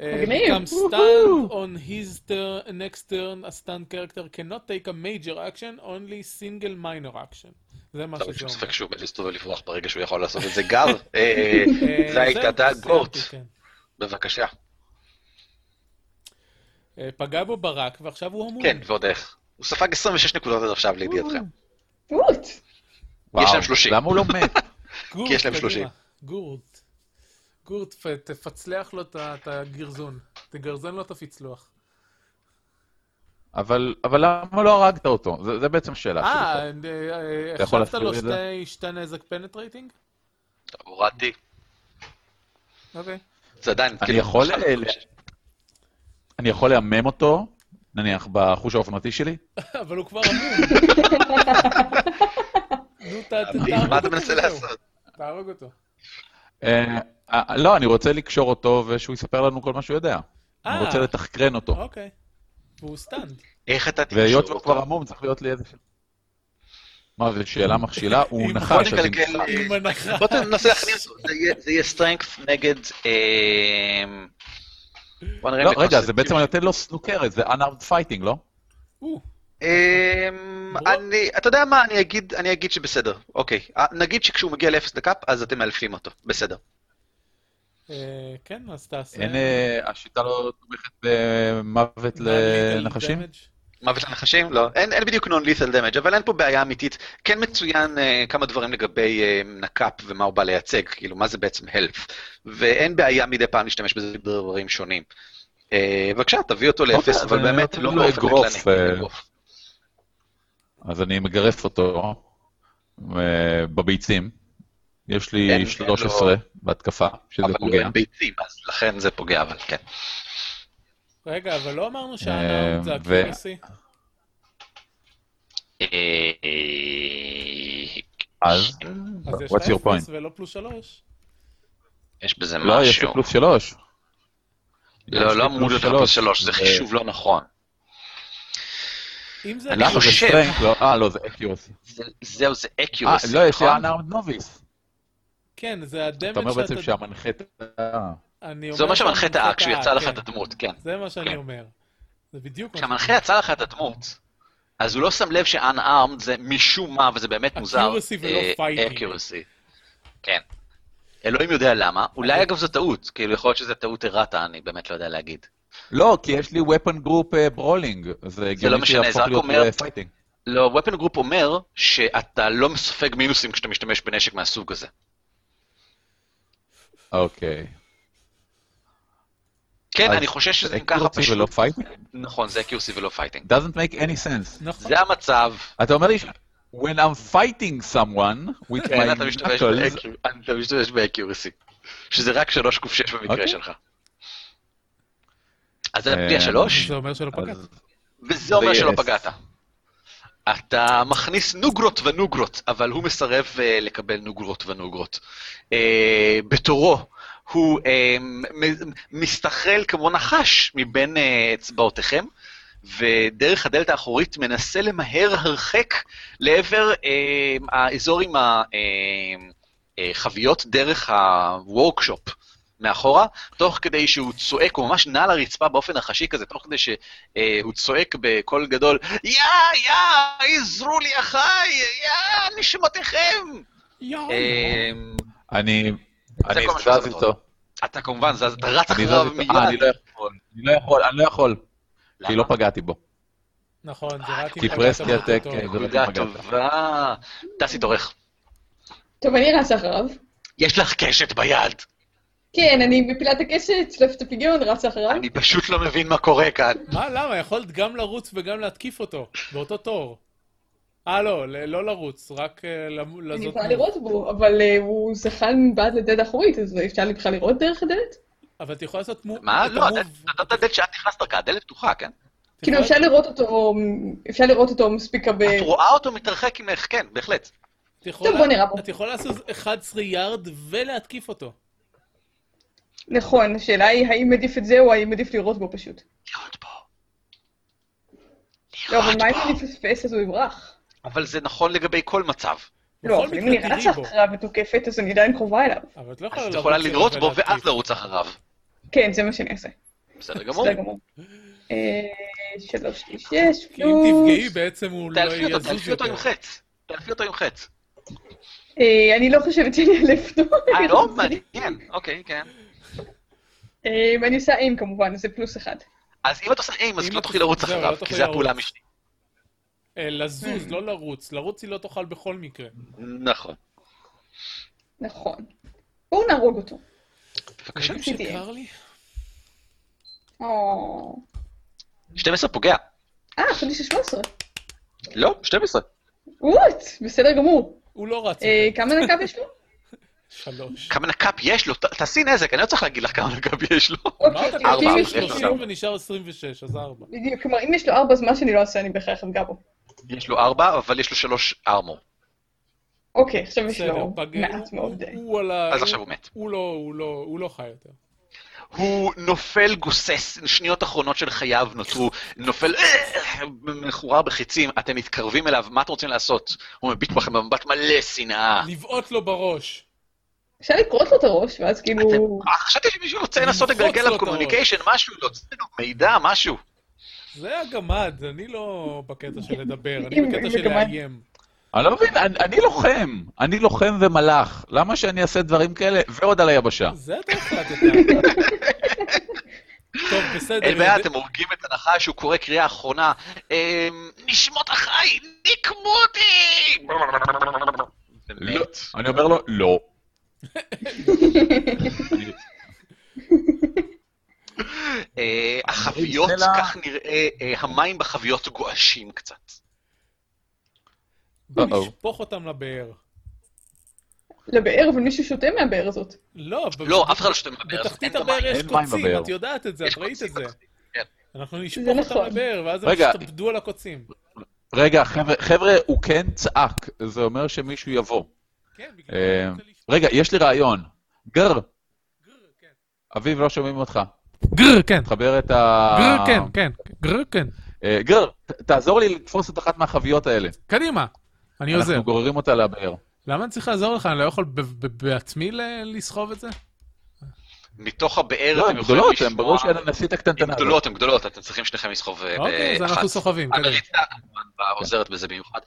Speaker 3: אה,
Speaker 4: מגניב.
Speaker 3: גם stand on his turn, next turn, a stand character cannot take a major action, only single minor action. זה מה
Speaker 1: עכשיו
Speaker 3: שזה
Speaker 1: אין שום
Speaker 3: אומר.
Speaker 1: ספק שהוא מת להסתובב לברוח ברגע שהוא יכול לעשות את זה. גב, אה, אה,
Speaker 3: אה,
Speaker 1: זה הייתה
Speaker 3: זהו,
Speaker 1: דעת
Speaker 3: סיימתי,
Speaker 1: גורט,
Speaker 3: כן.
Speaker 1: בבקשה.
Speaker 3: אה, פגע בו ברק, ועכשיו הוא המום.
Speaker 1: כן, ועוד איך. הוא ספג 26 נקודות עד עכשיו לידיעתכם.
Speaker 4: טעות.
Speaker 1: יש להם
Speaker 2: וואו,
Speaker 1: 30.
Speaker 2: למה הוא לא מת?
Speaker 3: גורט,
Speaker 1: כי יש להם
Speaker 3: קדימה.
Speaker 1: 30.
Speaker 3: גורט. גורט, ת- תפצלח לו את ה- את הגרזון. תגרזן לו את הפצלוח.
Speaker 2: אבל, אבל למה לא הרגת אותו? זה, זה בעצם השאלה שלי.
Speaker 3: אה,
Speaker 1: אוקיי,
Speaker 3: אה,
Speaker 2: אתה
Speaker 3: אה,
Speaker 2: יכול
Speaker 3: החלפת לו
Speaker 2: להסביר את זה?
Speaker 3: שתי- שתי נזק פנטרייטינג?
Speaker 1: הורדתי.
Speaker 3: אוקיי.
Speaker 1: זה עדיין...
Speaker 2: אני
Speaker 1: כאילו,
Speaker 2: יכול אה,
Speaker 1: עכשיו,
Speaker 2: ל- אני יכול להמם אותו, נניח, בחוש האופנתי שלי?
Speaker 3: אבל הוא כבר אמור. נו, ת- ת- תהרוג אותו.
Speaker 1: מה אתה מנסה
Speaker 3: וזהו.
Speaker 1: לעשות?
Speaker 3: תהרוג אותו.
Speaker 2: אה, אה, לא, אני רוצה לקשור אותו ושהוא יספר לנו כל מה שהוא יודע. אני
Speaker 3: אה.
Speaker 2: רוצה לתחקרן אותו.
Speaker 3: אוקיי. והוא סטנד.
Speaker 1: איך אתה תקשור
Speaker 2: והיות שהוא כבר
Speaker 1: אותו?
Speaker 2: עמום, צריך להיות לי איזה... שאלה. מה, זו שאלה מכשילה? הוא
Speaker 3: אם
Speaker 1: בוא
Speaker 2: נחש, אז אם...
Speaker 1: נקלקל... אה,
Speaker 3: עם הנחה.
Speaker 1: בוא תנסה להכניע אותו. זה יהיה- זה יהיה סטרנקס נגד... אה, בוא נראה...
Speaker 2: לא,
Speaker 1: אם
Speaker 2: רגע,
Speaker 1: נתפוס
Speaker 2: זה
Speaker 1: את-
Speaker 2: בעצם אני נותן לו סנוקרת, זה unarmed fighting, לא?
Speaker 3: או,
Speaker 1: אמ,
Speaker 3: ברור.
Speaker 1: אני, אתה יודע מה, אני אגיד, אני אגיד שבסדר, אוקיי. אה, נגיד שכשהוא מגיע לאפס דקאפ, אז אתם מאלפים אותו, בסדר.
Speaker 3: אה, כן, אז תעשה.
Speaker 2: אין... אה, השיטה לא תומכת במוות
Speaker 3: Non-lethal
Speaker 2: לנחשים?
Speaker 3: damage.
Speaker 1: מוות לנחשים? לא. אין, אין בדיוק non-lethal damage, אבל אין פה בעיה אמיתית. כן מצוין אה, כמה דברים לגבי אה, נקאפ ומה הוא בא לייצג, כאילו, מה זה בעצם health. ואין בעיה מדי פעם להשתמש בזה בדברים שונים. אה, בבקשה, תביא אותו
Speaker 2: אוקיי,
Speaker 1: לאפס,
Speaker 2: אז
Speaker 1: אבל
Speaker 2: אני
Speaker 1: באמת
Speaker 2: נותן
Speaker 1: לא
Speaker 2: לו
Speaker 1: באופן
Speaker 2: אגרוף,
Speaker 1: בטלני.
Speaker 2: אה,
Speaker 1: אגרוף.
Speaker 2: אז אני מגרף אותו אה, בביצים. יש
Speaker 1: אין, אין
Speaker 2: לי 13
Speaker 1: לו-
Speaker 2: בהתקפה, שזה
Speaker 1: אבל לא
Speaker 2: פוגע.
Speaker 1: אין ביצים, אז לכן זה פוגע, אבל כן.
Speaker 3: רגע, אבל לא אמרנו
Speaker 2: אה,
Speaker 3: שהאנאונד זה
Speaker 2: ו-
Speaker 3: הקורסי?
Speaker 1: אה,
Speaker 2: אז?
Speaker 3: אז יש
Speaker 2: What's
Speaker 3: לה
Speaker 2: your
Speaker 3: אפס
Speaker 2: point?
Speaker 3: ולא פלוס שלוש.
Speaker 1: יש בזה משהו.
Speaker 2: לא, יש לי פלוס 3.
Speaker 1: לא, לא אמור להיות לך פלוס שלוש, זה
Speaker 2: אה,
Speaker 1: חישוב לא נכון.
Speaker 3: אם זה...
Speaker 1: אני
Speaker 2: למה זה
Speaker 1: חושב.
Speaker 2: סטרנק? לא, אה, לא, זה אקיורסי.
Speaker 1: זה- זהו, זה
Speaker 2: אה,
Speaker 1: accuracy,
Speaker 2: לא, יש לי
Speaker 1: נכון?
Speaker 2: unarmed novice.
Speaker 3: כן, זה
Speaker 2: אתה אומר
Speaker 3: הדמג
Speaker 2: בעצם
Speaker 3: שאתה...
Speaker 2: שהמנחה... טעה.
Speaker 3: אני אומר
Speaker 1: זה אומר שהמנחה
Speaker 3: שהמנחה
Speaker 1: טעה כשהוא
Speaker 3: טעה,
Speaker 1: יצא לך
Speaker 3: כן.
Speaker 1: את הדמות, כן.
Speaker 3: זה מה שאני
Speaker 1: כן.
Speaker 3: אומר. זה בדיוק מה שאני
Speaker 1: כשהמנחה יצא לך את הדמות, אז הוא לא שם לב ש-unarmed זה משום מה, וזה באמת מוזר.
Speaker 3: Accuracy ולא
Speaker 1: אה,
Speaker 3: fighting.
Speaker 1: accuracy. כן. אלוהים יודע למה, אולי אגב זו טעות, כאילו יכול להיות שזו טעות הרעת, אני באמת לא יודע להגיד.
Speaker 2: לא, כי יש לי weapon group אה, brawling, זה
Speaker 1: לא
Speaker 2: הגיוני
Speaker 1: משנה, זה
Speaker 2: שיהפוך
Speaker 1: רק
Speaker 2: להיות
Speaker 1: אומר-
Speaker 2: אה, fighting.
Speaker 1: לא, weapon group אומר שאתה לא סופג מינוסים כשאתה משתמש בנשק מהסוג הזה.
Speaker 2: אוקיי.
Speaker 1: כן,
Speaker 2: אז
Speaker 1: אני חושש שזה אם ככה
Speaker 2: accuracy
Speaker 1: פשוט...
Speaker 2: ולא fighting?
Speaker 1: נכון, זה accuracy ולא fighting.
Speaker 2: doesn't make any sense.
Speaker 3: נכון.
Speaker 1: זה המצב.
Speaker 2: אתה אומר לי, ש- when I'm fighting someone with
Speaker 1: כן,
Speaker 2: my
Speaker 1: אתה משתמש
Speaker 2: knuckles,
Speaker 1: ב-accuracy, אתה משתמש ב-accuracy, שזה רק 3 קוף 6 במקרה
Speaker 2: אוקיי.
Speaker 1: שלך. אז זה פגיע
Speaker 2: אה,
Speaker 1: 3,
Speaker 3: זה אומר שלא פגעת.
Speaker 2: אז-
Speaker 1: וזה אומר
Speaker 2: זה
Speaker 1: שלא
Speaker 2: yes.
Speaker 1: פגעת. אתה מכניס נוגרות ונוגרות, אבל הוא מסרב אה, לקבל נוגרות ונוגרות. אה, בתורו, הוא אה, מ- מסתחל כמו נחש מבין אה, אצבעותיכם, ודרך הדלת האחורית מנסה למהר הרחק לעבר אה, האזור עם החביות דרך הוורקשופ מאחורה, תוך כדי שהוא צועק, הוא ממש נע על הרצפה באופן החשי כזה, תוך כדי שהוא אה, צועק בקול גדול, יא, יא, עזרו לי אחיי, יא, נשמותיכם!
Speaker 3: יואו.
Speaker 1: אה,
Speaker 2: אני אני
Speaker 1: כל מה
Speaker 2: זז
Speaker 1: שעושה
Speaker 2: איתו.
Speaker 1: אתה כמובן זז, אתה רץ
Speaker 2: אני זז
Speaker 1: אחריו
Speaker 2: איתו. אה, אני
Speaker 1: מיד.
Speaker 2: לא יכול. אני לא יכול, אני לא יכול. כי
Speaker 1: למה?
Speaker 2: לא פגעתי בו.
Speaker 3: נכון, זה רק אם
Speaker 2: כי
Speaker 3: פגעת
Speaker 2: פרסקי
Speaker 3: בו
Speaker 2: הטק,
Speaker 3: בטוב.
Speaker 2: כן, זה-
Speaker 1: לא, נקודה
Speaker 2: פגעת.
Speaker 1: טובה. טסי תורך.
Speaker 4: טוב, אני רצה אחריו.
Speaker 1: יש לך קשת ביד. כן,
Speaker 4: כן, אני מפילה את הקשת, שולפת את הפיגיון, רצה אחריו.
Speaker 1: אני פשוט לא מבין מה קורה כאן.
Speaker 3: מה, למה? יכולת גם לרוץ וגם להתקיף אותו, באותו תור. אה, לא, ל- לא לרוץ, רק אה, למ-
Speaker 4: אני
Speaker 3: לזאת
Speaker 4: יכולה
Speaker 3: מול.
Speaker 4: לראות בו, אבל אה, הוא זחל מבעד לדלת האחורית, אז אפשר לי בכלל לראות דרך הדלת?
Speaker 3: אבל אתה יכול לעשות מוב.
Speaker 1: מה?
Speaker 3: את
Speaker 1: לא,
Speaker 3: המוב-
Speaker 1: אתה נתת דלת שאת נכנסת דרכה, הדלת פתוחה, כן?
Speaker 3: אתה
Speaker 4: כאילו,
Speaker 3: יכול-
Speaker 4: אפשר לראות אותו, אפשר לראות אותו מספיק הרבה...
Speaker 1: את רואה אותו מתרחק ממך, כן, בהחלט.
Speaker 3: אתה יכול-
Speaker 4: טוב, בוא נראה בו.
Speaker 3: אתה יכול לעשות 11 יארד ולהתקיף אותו.
Speaker 4: נכון, השאלה היא האם עדיף את זה או האם עדיף לראות בו פשוט.
Speaker 1: לראות בו.
Speaker 4: לא, אבל
Speaker 1: לראות
Speaker 4: לא, מה אם
Speaker 1: בו.
Speaker 4: אני מפספס אז הוא יברח?
Speaker 1: אבל זה נכון לגבי כל מצב.
Speaker 4: לא,
Speaker 3: בכל
Speaker 4: אבל אם
Speaker 3: מקרה
Speaker 4: אני
Speaker 3: תיגעי
Speaker 4: רצה
Speaker 3: בו.
Speaker 4: אחריו ותוקפת, אז אני עדיין קרובה אליו.
Speaker 3: אבל את לא יכולה
Speaker 1: אז את
Speaker 3: לרוץ
Speaker 1: יכולה
Speaker 3: אליו
Speaker 1: לראות בו
Speaker 3: ולהתקיף.
Speaker 1: ואז לא- לרוץ אחריו.
Speaker 4: כן, זה מה שאני אעשה.
Speaker 1: בסדר גמור.
Speaker 4: בסדר גמור. אה, שלוש, שש, שש,
Speaker 3: כי אם תפגעי בעצם הוא לא
Speaker 1: תאלפי אותו,
Speaker 3: יזוז
Speaker 1: תאלפי אותו עם
Speaker 3: יותר.
Speaker 1: חץ. תאלפי אותו עם חץ.
Speaker 4: אה, אני לא חושבת שאני אלף אותו.
Speaker 1: אה, לא? מעניין. אוקיי, כן.
Speaker 4: אה, ואני עושה אים כמובן, אז זה פלוס אחד.
Speaker 1: אז אם את עושה איים, אז
Speaker 3: אם
Speaker 1: לא
Speaker 3: את
Speaker 1: תוכלי
Speaker 3: עושה-
Speaker 1: לרוץ
Speaker 3: זהו,
Speaker 1: אחריו,
Speaker 3: לא
Speaker 1: כי
Speaker 3: תוכלי
Speaker 1: זו הפעולה
Speaker 3: לרוץ.
Speaker 1: המשנית.
Speaker 3: אה, לזוז, לא לרוץ. לרוץ היא לא תוכל בכל מקרה.
Speaker 1: נכון.
Speaker 4: נכון. בואו נהרוג אותו.
Speaker 1: בבקשה.
Speaker 3: רגע
Speaker 4: עשיתי.
Speaker 3: שקר לי?
Speaker 4: או.
Speaker 1: 12 פוגע.
Speaker 4: אה, חשבתי ששלוש עשרה.
Speaker 1: לא, 12.
Speaker 4: וואט, בסדר גמור.
Speaker 3: הוא לא רץ.
Speaker 4: אה, כמה נקב יש לו?
Speaker 3: שלוש.
Speaker 1: כמה נק"פ יש לו? ת- תעשי נזק, אני לא צריך להגיד לך כמה נק"פ יש לו.
Speaker 4: אוקיי,
Speaker 3: אמרת
Speaker 4: כי אם
Speaker 1: ארבע,
Speaker 3: כאילו
Speaker 4: יש לו...
Speaker 1: יש לו
Speaker 3: 30 ונשאר 26, אז ארבע.
Speaker 4: בדיוק, כלומר, אם יש לו ארבע, אז מה שאני לא אעשה, אני בהכרח אפגע בו.
Speaker 1: יש לו 4, אבל יש לו 3 ארמור.
Speaker 4: אוקיי, עכשיו יש
Speaker 3: בסדר,
Speaker 4: לו
Speaker 3: פג-
Speaker 4: מעט
Speaker 3: הוא-
Speaker 4: מאוד. אה,
Speaker 3: הוא- הוא על ה...
Speaker 1: אז עכשיו הוא מת.
Speaker 3: הוא לא, הוא לא, הוא לא חי יותר.
Speaker 1: הוא נופל גוסס, שניות אחרונות של חייו נותרו, נופל אה, מחורר בחיצים, אתם מתקרבים אליו, מה אתם רוצים לעשות? הוא מביט בכם במבט מלא שנאה.
Speaker 3: לבעוט לו בראש.
Speaker 4: אפשר לקרוט לו את הראש, ואז כאילו...
Speaker 1: אתם- אה, חשבתי שמישהו רוצה לנסות
Speaker 3: ללחוץ
Speaker 1: לגלגל
Speaker 3: לו
Speaker 1: עליו
Speaker 3: את הראש.
Speaker 1: קומוניקיישן, משהו, להוציא לנו מידע, משהו.
Speaker 3: זה הגמד, אני לא בקטע של לדבר, אני
Speaker 4: אם-
Speaker 3: בקטע
Speaker 4: אם
Speaker 3: של
Speaker 4: הגמד-
Speaker 3: לאיים.
Speaker 2: אני לא מבין, אני, אני לוחם, אני לוחם ומלאך, למה שאני אעשה דברים כאלה ועוד על היבשה?
Speaker 3: זה אתה החלטת. טוב, בסדר.
Speaker 1: אין בעיה, אתם הורגים את הנחש, הוא קורא קריאה אחרונה, אמ, נשמות החי, נקמו אותי! זה
Speaker 2: לא.
Speaker 1: מת.
Speaker 2: אני אומר לו, לא.
Speaker 1: אה, החביות,
Speaker 2: סלע.
Speaker 1: כך נראה, אה, המים בחביות גועשים קצת.
Speaker 3: בוא
Speaker 2: או-או.
Speaker 3: נשפוך אותם לבאר.
Speaker 4: לבאר, אבל מישהו שותה מהבאר הזאת.
Speaker 3: לא, ב-
Speaker 1: לא, אף אחד לא שותה מהבאר. הזאת,
Speaker 3: בתחתית
Speaker 1: אין את
Speaker 3: הבאר
Speaker 1: המים.
Speaker 3: יש
Speaker 2: אין מים
Speaker 3: קוצים,
Speaker 2: בבאר.
Speaker 3: את יודעת את זה,
Speaker 1: יש
Speaker 3: את ראית
Speaker 1: קוצים,
Speaker 3: את זה.
Speaker 1: קוצים, כן.
Speaker 3: אנחנו
Speaker 4: זה
Speaker 3: נשפוך אותם
Speaker 4: נכון.
Speaker 3: לבאר, ואז הם
Speaker 2: רגע.
Speaker 3: ישתפדו על הקוצים.
Speaker 2: רגע, חבר'ה- חבר'ה, הוא כן צעק, זה אומר שמישהו יבוא.
Speaker 3: כן, בגלל
Speaker 2: אה,
Speaker 3: זה אני רוצה לשפוך.
Speaker 2: רגע, יש לי רעיון. גר,
Speaker 3: גר, כן.
Speaker 2: אביב, לא שומעים אותך.
Speaker 3: גר, כן.
Speaker 2: תחבר את ה...
Speaker 3: גר, כן, כן. גר, כן.
Speaker 2: אה, גר, ת- תעזור לי לתפוס את אחת מהחביות האלה.
Speaker 3: קדימה. אני עוזר.
Speaker 2: אנחנו גוררים אותה לבאר.
Speaker 3: למה אני צריך לעזור לך? אני לא יכול ב- ב- בעצמי ל- לסחוב את זה?
Speaker 1: אה, מתוך
Speaker 2: לא,
Speaker 1: הבאר
Speaker 2: הן
Speaker 1: אתם יכולים
Speaker 2: גדולות,
Speaker 1: לשמוע...
Speaker 2: הן ברור שהן הנשיא
Speaker 1: הן
Speaker 2: הקטנטנה. הזאת.
Speaker 1: גדולות, הן גדולות, אתם צריכים שניכם לסחוב אה,
Speaker 3: אוקיי, אז
Speaker 1: באחת.
Speaker 3: אנחנו סוחבים, קדימה.
Speaker 1: המריצה כמובן
Speaker 2: כן.
Speaker 1: עוזרת בזה במיוחד.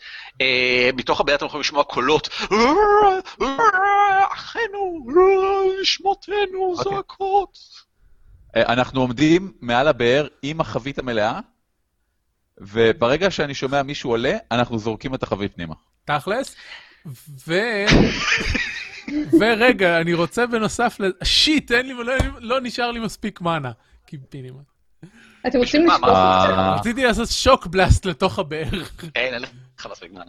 Speaker 1: אה, מתוך הבעיה אתם יכולים לשמוע קולות, אחינו, שמותינו
Speaker 2: אוקיי.
Speaker 1: זועקות.
Speaker 2: אה, אנחנו עומדים מעל הבאר עם החבית המלאה, וברגע שאני שומע מישהו עולה, אנחנו זורקים את החבית פנימה.
Speaker 3: תכלס. ו... ורגע, אני רוצה בנוסף ל... שיט, אין לי, לא, לא נשאר לי מספיק מנה. קיבינימה.
Speaker 4: אתם רוצים
Speaker 1: מה,
Speaker 4: לשפוך
Speaker 2: מה?
Speaker 4: את זה?
Speaker 2: אה.
Speaker 3: רציתי לעשות שוק בלאסט לתוך הבאר.
Speaker 1: אין, אין לך מספיק זמן.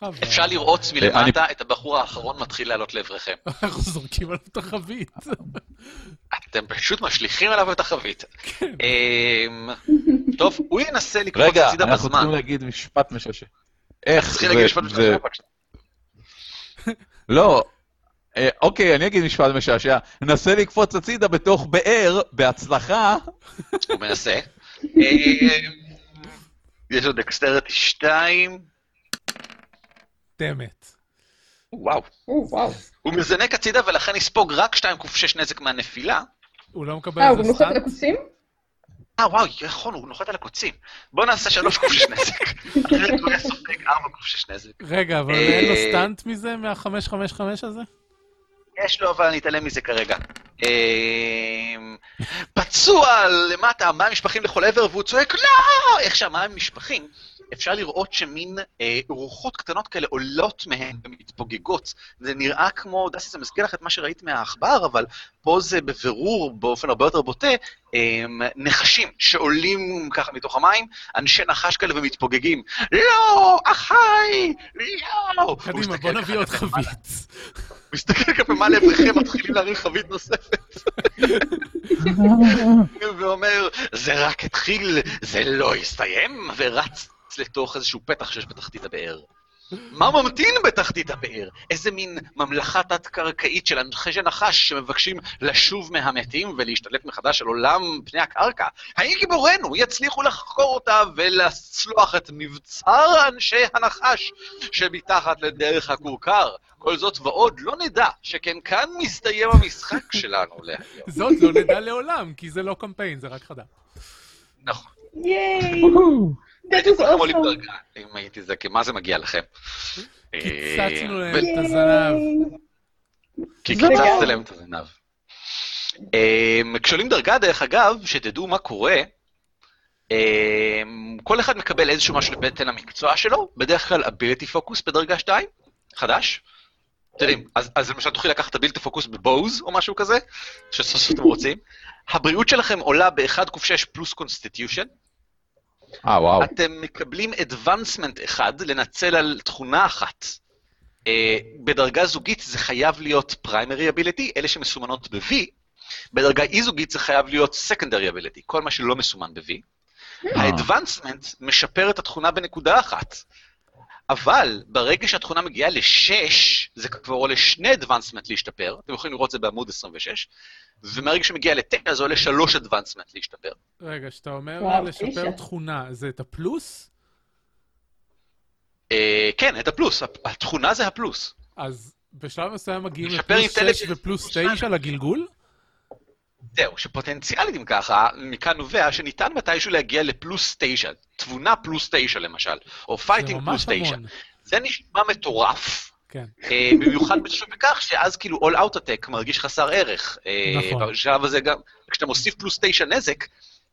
Speaker 3: חבל.
Speaker 1: אפשר לראות
Speaker 2: אה, אני-
Speaker 1: מלמטה את הבחור האחרון מתחיל לעלות לעברכם.
Speaker 3: אנחנו זורקים עליו את החבית.
Speaker 1: אתם פשוט משליכים עליו את החבית. אמ, טוב, הוא ינסה לקפוץ
Speaker 2: כן. רגע,
Speaker 1: הצידה
Speaker 2: אנחנו
Speaker 1: בזמן.
Speaker 2: צריכים להגיד משפט משעשע. איך
Speaker 1: צריכים להגיד משפט
Speaker 2: זה...
Speaker 1: משפט.
Speaker 2: לא. אה, אוקיי, אני אגיד משפט משעשע. נסה לקפוץ הצידה בתוך באר, בהצלחה.
Speaker 1: הוא מנסה. אמ, יש לו דקסטרטי 2.
Speaker 3: דמת.
Speaker 1: וואו.
Speaker 4: או, וואו.
Speaker 1: הוא מזנק הצידה ולכן יספוג רק 2 ק6 נזק מהנפילה.
Speaker 3: הוא לא מקבל
Speaker 4: אה, הוא
Speaker 3: איזה
Speaker 4: גם נוחת על
Speaker 3: סטאנט?
Speaker 4: הקוצים?
Speaker 1: אה, וואו, נכון, הוא נוחת על הקוצים. בוא נעשה 3 ק6 נזק. אחרת הוא היה סופג 4 ק6 נזק.
Speaker 3: רגע, אבל
Speaker 1: אה,
Speaker 3: אין לו סטאנט מזה, מה-555 הזה?
Speaker 1: יש לו, אבל נתעלם מזה כרגע. אמ, פצוע למטה, המים נשפכים לכל עבר, והוא צועק, לא! איך שהמים נשפכים, אפשר לראות שמין אה, רוחות קטנות כאלה עולות מהן ומתפוגגות. זה נראה כמו, דסי, זה מזכיר לך את מה שראית מהעכבר, אבל פה זה בבירור, באופן הרבה יותר בוטה, אמ, נחשים שעולים ככה מתוך המים, אנשי נחש כאלה ומתפוגגים. לא! אחי! לא! הוא
Speaker 3: קדימה,
Speaker 1: מסתכל
Speaker 3: בוא
Speaker 1: ככה
Speaker 3: נביא עוד
Speaker 1: כלפי
Speaker 3: חבית.
Speaker 1: מסתכל כלפי מעלה אברכם, מתחילים להרים חבית נוספת. ואומר, זה רק התחיל, זה לא יסתיים, ורץ לתוך איזשהו פתח שיש בתחתית הבאר. מה ממתין בתחתית הבאר? איזה מין ממלכה תת-קרקעית של אנחשי נחש שמבקשים לשוב מהמתים ולהשתלט מחדש על עולם פני הקרקע? האם גיבורינו יצליחו לחקור אותה ולצלוח את מבצר אנשי הנחש שמתחת לדרך הכורכר? כל זאת ועוד לא נדע, שכן כאן מסתיים המשחק שלנו להיום.
Speaker 3: זאת לא נדע לעולם, כי זה לא קמפיין, זה רק חדש.
Speaker 1: נכון.
Speaker 4: ייי! That
Speaker 1: הייתי
Speaker 4: was
Speaker 1: צריך כמו
Speaker 4: awesome!
Speaker 1: לבדרגה, אם הייתי זקן, מה זה מגיע לכם?
Speaker 3: קיצצנו
Speaker 1: אה,
Speaker 3: להם
Speaker 1: ו-
Speaker 3: את הזנב.
Speaker 4: ייי!
Speaker 1: כי
Speaker 4: זהו.
Speaker 1: קיצצת להם את הזנב. אמ, כשעולים דרגה, דרך אגב, שתדעו מה קורה, אמ, כל אחד מקבל איזשהו משהו לבטן המקצוע שלו, בדרך כלל ability focus בדרגה 2, חדש. אתם יודעים, אז, אז למשל תוכלי לקחת ability focus בבוז או משהו כזה, שסוף סוף אתם רוצים. הבריאות שלכם עולה ב-1 ק6 פלוס קונסטיטיושן.
Speaker 2: אה, וואו.
Speaker 1: אתם מקבלים advancement אחד לנצל על תכונה אחת. אה, בדרגה זוגית זה חייב להיות primary ability, אלה שמסומנות ב-V, בדרגה אי-זוגית זה חייב להיות secondary ability, כל מה שלא מסומן ב-V.
Speaker 2: אה.
Speaker 1: אה, ה-advancement משפר את התכונה בנקודה אחת, אבל ברגע שהתכונה מגיעה לשש, זה כבר עולה שני advancement להשתפר, אתם יכולים לראות את זה בעמוד 26, ומהרגע שמגיע לתשע זה עולה שלוש advancement להשתפר.
Speaker 3: רגע, כשאתה אומר
Speaker 4: וואו,
Speaker 3: לשפר
Speaker 4: תשע.
Speaker 3: תכונה, זה את הפלוס?
Speaker 1: אה, כן, את הפלוס, הפ- התכונה זה הפלוס.
Speaker 3: אז בשלב מסוים מגיעים
Speaker 1: לשפר
Speaker 3: לפלוס
Speaker 1: אינטליגנס
Speaker 3: 6 ופלוס
Speaker 1: פלוס שתיים.
Speaker 3: 9 לגלגול?
Speaker 1: זהו, שפוטנציאלית אם ככה, מכאן נובע שניתן מתישהו להגיע לפלוס תשע, תבונה פלוס תשע למשל, או
Speaker 3: זה
Speaker 1: פייטינג
Speaker 3: ממש
Speaker 1: פלוס תשע.
Speaker 3: המון.
Speaker 1: זה נשמע מטורף,
Speaker 3: כן.
Speaker 1: אה, במיוחד בשביל בכך שאז כאילו All Out Attack מרגיש חסר ערך. אה,
Speaker 3: נכון.
Speaker 1: בשלב הזה גם, כשאתה מוסיף פלוס תשע נזק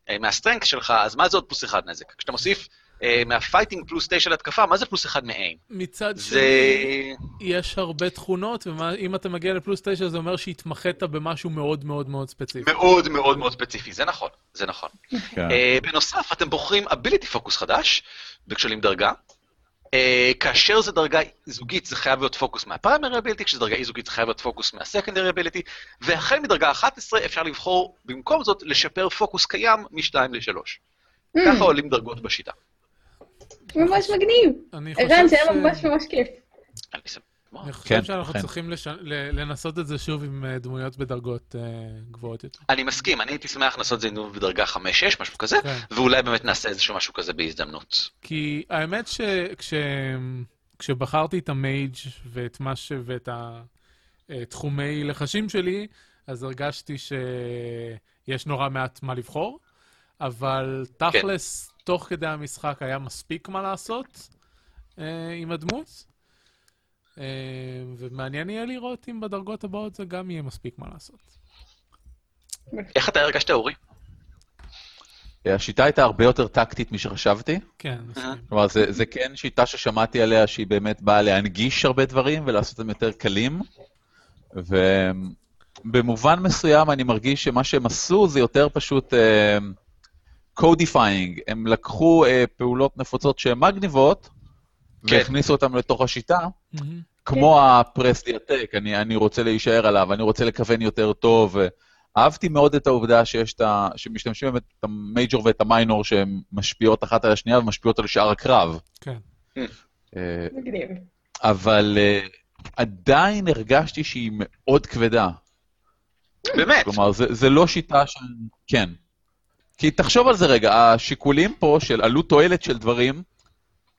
Speaker 1: אה, מהסטרנקס שלך, אז מה זה עוד פלוס אחד נזק? כשאתה מוסיף אה, מהפייטינג פלוס תשע להתקפה, מה זה פלוס אחד מאיים?
Speaker 3: מצד
Speaker 1: זה...
Speaker 3: שני, יש הרבה תכונות, ואם אתה מגיע לפלוס 9 זה אומר שהתמחית במשהו מאוד מאוד מאוד ספציפי.
Speaker 1: מאוד מאוד מאוד ספציפי, זה נכון, זה נכון.
Speaker 2: כן.
Speaker 1: אה, בנוסף, אתם בוחרים ability פוקוס חדש, בכשלים דרגה. אה, כאשר זה דרגה זוגית, זה חייב להיות פוקוס מהפריימרי אביליטי, כשזה דרגה אי זוגית, זה חייב להיות פוקוס מהסקנדרי אביליטי, והחל מדרגה 11 אפשר לבחור במקום זאת לשפר פוקוס קיים מ-2 ל-3. ככה עולים דרגות בשיטה.
Speaker 4: ממש מגניב!
Speaker 3: אני חושב
Speaker 4: ערן, זה
Speaker 3: ש-
Speaker 4: היה ממש ממש כיף.
Speaker 1: אני שמח.
Speaker 3: אני חושב
Speaker 2: כן,
Speaker 3: שאנחנו
Speaker 2: כן.
Speaker 3: צריכים לש- ל- לנסות את זה שוב עם אה, דמויות בדרגות אה, גבוהות יותר.
Speaker 1: אני מסכים, אני הייתי שמח לעשות את זה בדרגה 5-6, משהו כזה,
Speaker 3: כן.
Speaker 1: ואולי באמת נעשה איזשהו משהו כזה בהזדמנות.
Speaker 3: כי האמת שכש... כשבחרתי את המייג' ואת מה ש... ואת התחומי לחשים שלי, אז הרגשתי שיש נורא מעט מה לבחור, אבל תכלס, כן. תוך כדי המשחק היה מספיק מה לעשות אה, עם הדמות, אה, ומעניין יהיה לראות אם בדרגות הבאות זה גם יהיה מספיק מה לעשות.
Speaker 1: איך אתה הרגשת, אורי?
Speaker 2: אה, השיטה הייתה הרבה יותר טקטית משחשבתי.
Speaker 3: כן, מסכים.
Speaker 2: כלומר, זה, זה כן שיטה ששמעתי עליה, שהיא באמת באה להנגיש הרבה דברים ולעשות אותם יותר קלים. ובמובן מסוים אני מרגיש שמה שהם עשו זה יותר פשוט אה, codifying. הם לקחו אה, פעולות נפוצות שהן מגניבות,
Speaker 1: כן.
Speaker 2: והכניסו אותן לתוך השיטה,
Speaker 3: מהמם.
Speaker 2: כמו הפרס דיאטק, אני, אני רוצה להישאר עליו, אני רוצה לכוון יותר טוב. אה, אהבתי מאוד את העובדה שיש את ה... שמשתמשים באמת את המייג'ור ואת המיינור שהן משפיעות אחת על השנייה ומשפיעות על שאר הקרב.
Speaker 3: כן.
Speaker 2: אה,
Speaker 4: מגניב.
Speaker 2: אבל אה, עדיין הרגשתי שהיא מאוד כבדה.
Speaker 1: באמת,
Speaker 2: כלומר, זה, זה לא שיטה של... כן. כי תחשוב על זה רגע, השיקולים פה של עלות תועלת של דברים,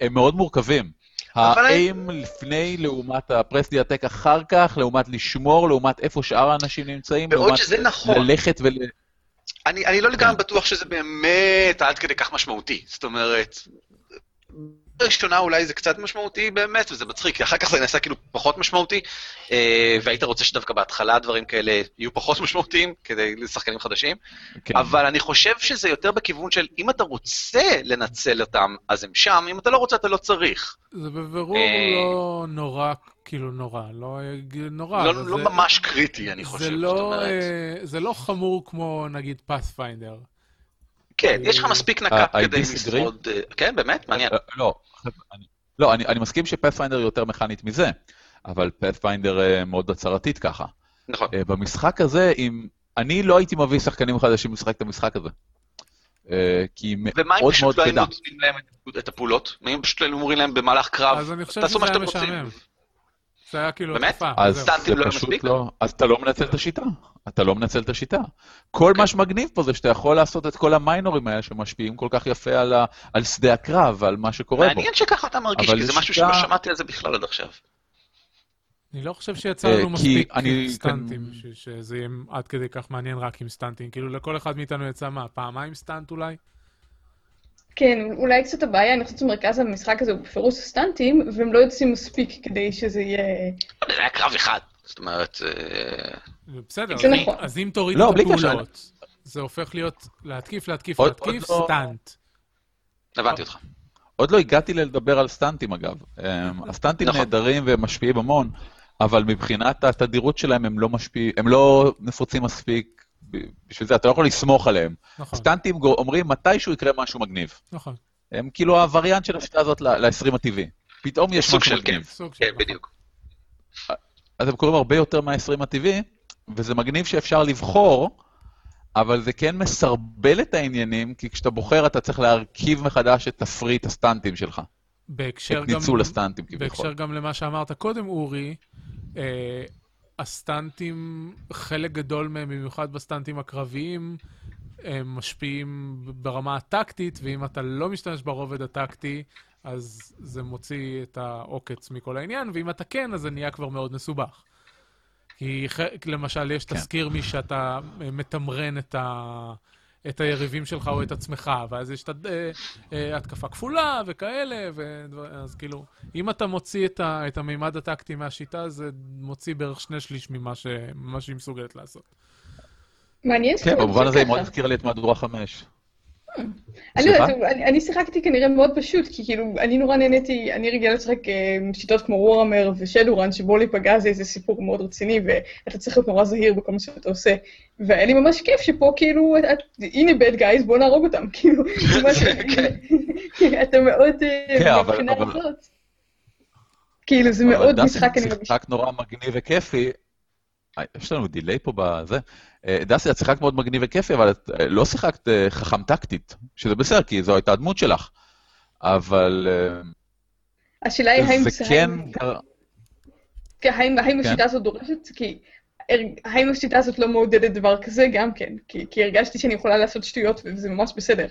Speaker 2: הם מאוד מורכבים.
Speaker 1: אבל
Speaker 2: האם לפני לעומת הפרס דיאטק אחר כך, לעומת לשמור, לעומת איפה שאר האנשים נמצאים,
Speaker 1: בעוד
Speaker 2: לעומת
Speaker 1: שזה נכון.
Speaker 2: ללכת ול...
Speaker 1: אני, אני לא לגמרי בטוח שזה באמת עד כדי כך משמעותי. זאת אומרת, בראשונה אולי זה קצת משמעותי באמת, וזה מצחיק, כי אחר כך זה נעשה כאילו פחות משמעותי, אה, והיית רוצה שדווקא בהתחלה דברים כאלה יהיו פחות משמעותיים, כדי לשחקנים חדשים,
Speaker 2: כן.
Speaker 1: אבל אני חושב שזה יותר בכיוון של אם אתה רוצה לנצל אותם, אז הם שם, אם אתה לא רוצה, אתה לא צריך.
Speaker 3: זה בבירור
Speaker 1: אה.
Speaker 3: לא נורא, כאילו נורא, לא נורא.
Speaker 1: לא,
Speaker 3: אבל
Speaker 1: לא
Speaker 3: זה-
Speaker 1: ממש קריטי, אני חושב,
Speaker 3: זה
Speaker 1: זאת
Speaker 3: לא,
Speaker 1: אומרת.
Speaker 3: אה, זה לא חמור כמו נגיד פאספיינדר.
Speaker 1: כן, יש לך
Speaker 3: אה,
Speaker 1: מספיק
Speaker 2: אה,
Speaker 1: נק"פ
Speaker 2: I
Speaker 1: כדי
Speaker 2: disagree.
Speaker 1: לשרוד... אה, כן, באמת? מעניין.
Speaker 2: אה, לא, אני- לא, אני, אני מסכים שפאת'פיינדר היא יותר מכנית מזה, אבל פאת'פיינדר אה, מאוד הצהרתית ככה.
Speaker 1: נכון.
Speaker 2: אה, במשחק הזה, אם... אני לא הייתי מביא שחקנים חדשים לשחק את המשחק הזה. אה, כי היא מאוד
Speaker 1: ומה אם
Speaker 2: מאוד
Speaker 1: פשוט לא היינו
Speaker 2: כדה.
Speaker 1: נותנים להם את- את הפעולות? מה אם פשוט היינו אומרים להם במהלך קרב,
Speaker 3: אז אני חושב
Speaker 1: אה, תעשו מה
Speaker 3: שזה היה
Speaker 1: שאתם רוצים?
Speaker 3: משעמם. זה היה כאילו
Speaker 1: באמת?
Speaker 3: התקפה.
Speaker 2: אז
Speaker 3: זהו.
Speaker 1: סתם.
Speaker 2: זה
Speaker 1: סטנטים לא
Speaker 2: פשוט
Speaker 1: מספיק?
Speaker 2: לא, אז אתה לא מנצל את השיטה. אתה לא מנצל את השיטה. כל מה שמגניב פה זה שאתה יכול לעשות את כל המיינורים האלה שמשפיעים כל כך יפה על, ה, על שדה הקרב ועל מה שקורה בו.
Speaker 1: מעניין שככה אתה מרגיש,
Speaker 2: אבל
Speaker 1: כי זה
Speaker 2: זו
Speaker 1: משהו
Speaker 2: שיטה-
Speaker 1: שלא שמעתי על זה בכלל עד עכשיו.
Speaker 3: אני לא חושב
Speaker 2: אה,
Speaker 3: שיצרנו
Speaker 2: כי
Speaker 3: מספיק
Speaker 2: אני
Speaker 3: סטנטים,
Speaker 2: כאן-
Speaker 3: ש- שזה יהיה עד כדי כך מעניין רק עם סטנטים. כאילו לכל אחד מאיתנו יצא מה, פעמיים סטנט אולי?
Speaker 4: כן, אולי קצת הבעיה, אני חושבת שמרכז המשחק הזה הוא בפירוש סטנטים, והם לא יוצאים מספיק כדי שזה יהיה...
Speaker 1: זה היה קרב אחד. זאת אומרת, אה,
Speaker 3: בסדר,
Speaker 4: זה
Speaker 3: אז-
Speaker 4: נכון.
Speaker 3: אז אם תוריד
Speaker 2: לא,
Speaker 3: את
Speaker 2: בלי קשר.
Speaker 3: הפעולות, זה הופך להיות להתקיף, להתקיף,
Speaker 2: עוד-
Speaker 3: להתקיף,
Speaker 2: עוד לא-
Speaker 3: סטנט.
Speaker 1: הבנתי אותך.
Speaker 2: עוד לא הגעתי לדבר על סטנטים אגב. אמ, הסטנטים
Speaker 1: נכון.
Speaker 2: נהדרים והם משפיעים המון, אבל מבחינת התדירות שלהם הם לא משפיעים, הם לא נפוצים מספיק. ב- בשביל זה אתה לא יכול לסמוך עליהם.
Speaker 3: נכון,
Speaker 2: סטנטים גו- אומרים מתישהו יקרה משהו מגניב.
Speaker 3: נכון.
Speaker 2: הם כאילו הווריאנט של השיטה הזאת ל-20 הטבעי. פתאום יש
Speaker 1: סוג
Speaker 2: משהו
Speaker 1: של
Speaker 2: מגניב.
Speaker 3: סוג של...
Speaker 1: כן,
Speaker 3: נכון.
Speaker 1: בדיוק.
Speaker 2: אז הם קוראים הרבה יותר מה-20 הטבעי, וזה מגניב שאפשר לבחור, אבל זה כן מסרבל את העניינים, כי כשאתה בוחר אתה צריך להרכיב מחדש את תפריט הסטנטים שלך.
Speaker 3: בהקשר
Speaker 2: את
Speaker 3: כן, גם...
Speaker 2: ניצול הסטנטים כביכול.
Speaker 3: בהקשר גם למה שאמרת קודם, אורי, אה, הסטנטים, חלק גדול מהם, במיוחד בסטנטים הקרביים, הם משפיעים ברמה הטקטית, ואם אתה לא משתמש ברובד הטקטי, אז זה מוציא את העוקץ מכל העניין, ואם אתה כן, אז זה נהיה כבר מאוד מסובך. כי ח- למשל, יש
Speaker 2: כן.
Speaker 3: תזכיר מי שאתה אה, מתמרן את ה... את היריבים שלך או את עצמך, ואז יש את הד- אה, אה, התקפה כפולה וכאלה, ודבר- אז כאילו, אם אתה מוציא את, ה, את המימד הטקטי מהשיטה, זה מוציא בערך שני שליש ממה ש, ממה שהיא מסוגלת לעשות.
Speaker 4: מעניין
Speaker 2: כן,
Speaker 4: שזה
Speaker 2: במובן הזה היא
Speaker 4: ככה.
Speaker 2: מאוד הזכירה לי את מהדורה 5.
Speaker 4: אני, לא יודעת, אני, אני שיחקתי כנראה מאוד פשוט, כי כאילו, אני נורא נהניתי, אני רגילה לשחק אה, שיטות כמו וורמר ושדורן, שבו להיפגע זה איזה סיפור מאוד רציני, ואתה צריך להיות נורא זהיר בכל מה שאתה עושה. והיה לי ממש כיף שפה כאילו, את- את- הנה bad guys, בוא נהרוג אותם, כאילו, ממש, אתה מאוד, אה,
Speaker 2: כן, אבל-
Speaker 4: מהבחינה
Speaker 2: אבל-
Speaker 4: הזאת. כאילו, זה מאוד משחק, אני
Speaker 2: מרגיש.
Speaker 4: מרגישה.
Speaker 2: משחק נורא מגניב וכיפי. אה, יש לנו דיליי פה בזה. אה, דסי, את שיחקת מאוד מגניב וכיפי, אבל את אה, לא שיחקת אה, חכם טקטית, שזה בסדר, כי זו הייתה הדמות שלך. אבל אה,
Speaker 4: השאלה היא אה, האם...
Speaker 2: זה כן... גר-
Speaker 4: כן, האם, האם
Speaker 2: כן.
Speaker 4: השיטה הזאת דורשת? כי הר- האם השיטה הזאת לא מעודדת דבר כזה? גם כן. כי, כי הרגשתי שאני יכולה לעשות שטויות, וזה ממש בסדר.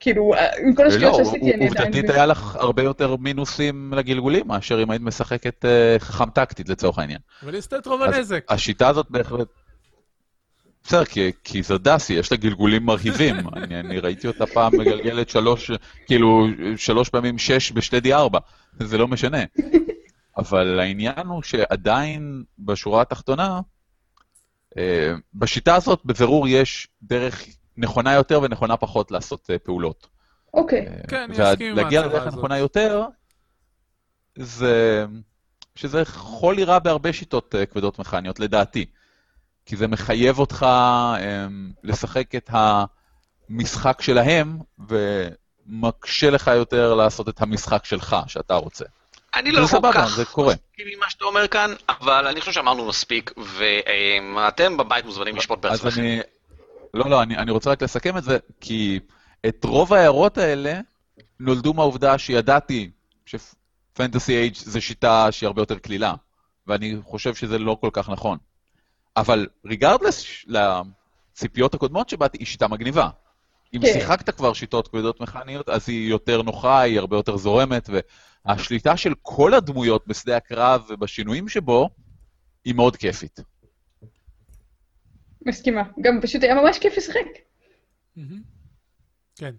Speaker 4: כאילו, אה, עם כל
Speaker 2: לא,
Speaker 4: השטויות שעשיתי, אני עדיין...
Speaker 2: עובדתית היה לך הרבה יותר מינוסים לגלגולים מאשר אם היית משחקת אה, חכם טקטית לצורך העניין.
Speaker 3: אבל היא עשתה את רוב הנזק.
Speaker 2: השיטה הזאת בהחלט... בסדר, כי, כי זה דסי, יש לה גלגולים מרהיבים. אני, אני ראיתי אותה פעם מגלגלת שלוש, כאילו, שלוש פעמים שש בשתי די ארבע. זה לא משנה. אבל העניין הוא שעדיין, בשורה התחתונה, אה, בשיטה הזאת בבירור יש דרך נכונה יותר ונכונה פחות לעשות אה, פעולות.
Speaker 4: אוקיי.
Speaker 3: כן, אני
Speaker 2: אה, וה-
Speaker 3: אסכים עם
Speaker 2: להגיע
Speaker 3: ההצהרה
Speaker 2: לדרך
Speaker 3: הזאת.
Speaker 2: הנכונה יותר, זה... שזה חולי רע בהרבה שיטות אה, כבדות מכניות, לדעתי. כי זה מחייב אותך אמ, לשחק את המשחק שלהם, ומקשה לך יותר לעשות את המשחק שלך, שאתה רוצה.
Speaker 1: אני
Speaker 2: זה
Speaker 1: לא כל
Speaker 2: סבבה,
Speaker 1: כך
Speaker 2: זה קורה.
Speaker 1: מסכים עם מה שאתה אומר כאן, אבל אני חושב שאמרנו מספיק, ואתם בבית מוזמנים לשפוט
Speaker 2: אז
Speaker 1: בעצמכם.
Speaker 2: אני... לא, לא, אני, אני רוצה רק לסכם את זה, כי את רוב ההערות האלה נולדו מהעובדה שידעתי שפנטסי אייג' זו שיטה שהיא הרבה יותר קלילה, ואני חושב שזה לא כל כך נכון. אבל ריגרדלס לציפיות הקודמות שבאתי, היא שיטה מגניבה. אם
Speaker 4: כן.
Speaker 2: שיחקת כבר שיטות כבדות מכניות, אז היא יותר נוחה, היא הרבה יותר זורמת, והשליטה של כל הדמויות בשדה הקרב ובשינויים שבו, היא מאוד כיפית.
Speaker 4: מסכימה. גם פשוט היה ממש כיף לשחק.
Speaker 3: מהמם. כן.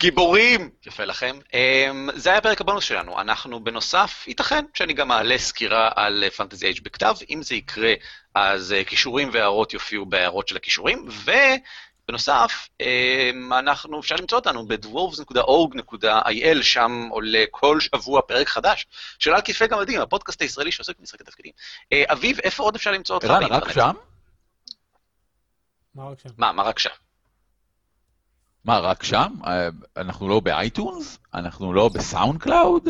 Speaker 1: גיבורים! יפה לכם. אמ, זה היה פרק הבונוס שלנו. אנחנו בנוסף, ייתכן שאני גם אעלה סקירה על אה, פנטזי אייג' בכתב. אם זה יקרה, אז אה, כישורים והערות יופיעו בהערות של הכישורים. ובנוסף, אמ, אנחנו, אפשר למצוא אותנו ב-dwarves.org.il, שם עולה כל שבוע פרק חדש של על כתפי גמדים, הפודקאסט הישראלי שעוסק במשחקי תפקידים. אה, אביב, איפה עוד אפשר למצוא אותך?
Speaker 2: ערן, רק
Speaker 1: באינטרנט?
Speaker 2: שם?
Speaker 3: מה רק שם?
Speaker 1: מה, מה רק שם?
Speaker 2: מה, רק שם? אה, אנחנו לא באייטונס? אנחנו לא בסאונד קלאוד?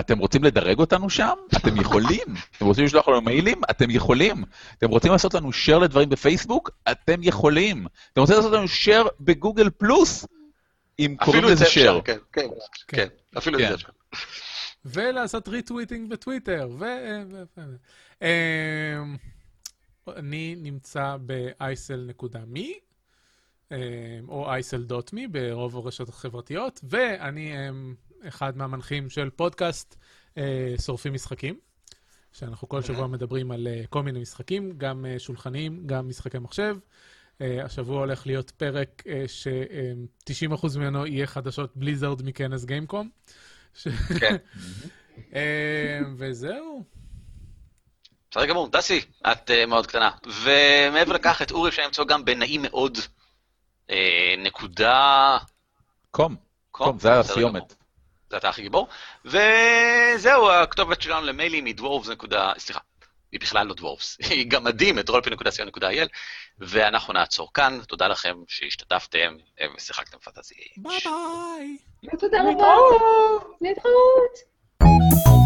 Speaker 2: אתם רוצים לדרג אותנו שם? אתם יכולים. אתם רוצים לשלוח לנו מיילים? אתם יכולים. אתם רוצים לעשות לנו share לדברים בפייסבוק? אתם יכולים. אתם רוצים לעשות לנו share בגוגל פלוס? אם קוראים
Speaker 1: אפילו את זה
Speaker 2: לזה
Speaker 1: אפשר,
Speaker 2: שייר.
Speaker 1: כן, כן,
Speaker 3: כן.
Speaker 1: כן, אפילו את
Speaker 2: כן.
Speaker 1: זה אפשר.
Speaker 3: ולעשות ריטוויטינג בטוויטר, ו... ו- ו- אמ, אני נמצא ב-isel.me, אמ, או isel.me ברוב הרשתות החברתיות, ואני אמ, אחד מהמנחים של פודקאסט אה, שורפים משחקים, שאנחנו כל שבוע מדברים על אה, כל מיני משחקים, גם אה, שולחניים, גם משחקי מחשב. אה, השבוע הולך להיות פרק אה, ש-90% ממנו יהיה חדשות בליזרד מכנס גיימקום. ש-
Speaker 1: כן.
Speaker 3: אה, וזהו.
Speaker 1: בסדר גמור, דסי, את אה, מאוד קטנה. ומעבר לכך, את אורי אפשר למצוא גם בנעים מאוד. אה, נקודה...
Speaker 2: קום,
Speaker 1: קום.
Speaker 2: קום,
Speaker 1: בסדר
Speaker 2: זה
Speaker 1: גמור.
Speaker 2: הסיומת.
Speaker 1: זה אתה הכי גיבור. וזהו, הכתובת שלנו למיילים היא דוורבס נקודה, סליחה, היא בכלל לא דוורבס, היא גמדים, את rollp.co.il, ואנחנו נעצור כאן, תודה לכם שהשתתפתם אה, ושיחקתם פנטזי.
Speaker 3: ביי ביי!
Speaker 4: תודה רבה. להתראות.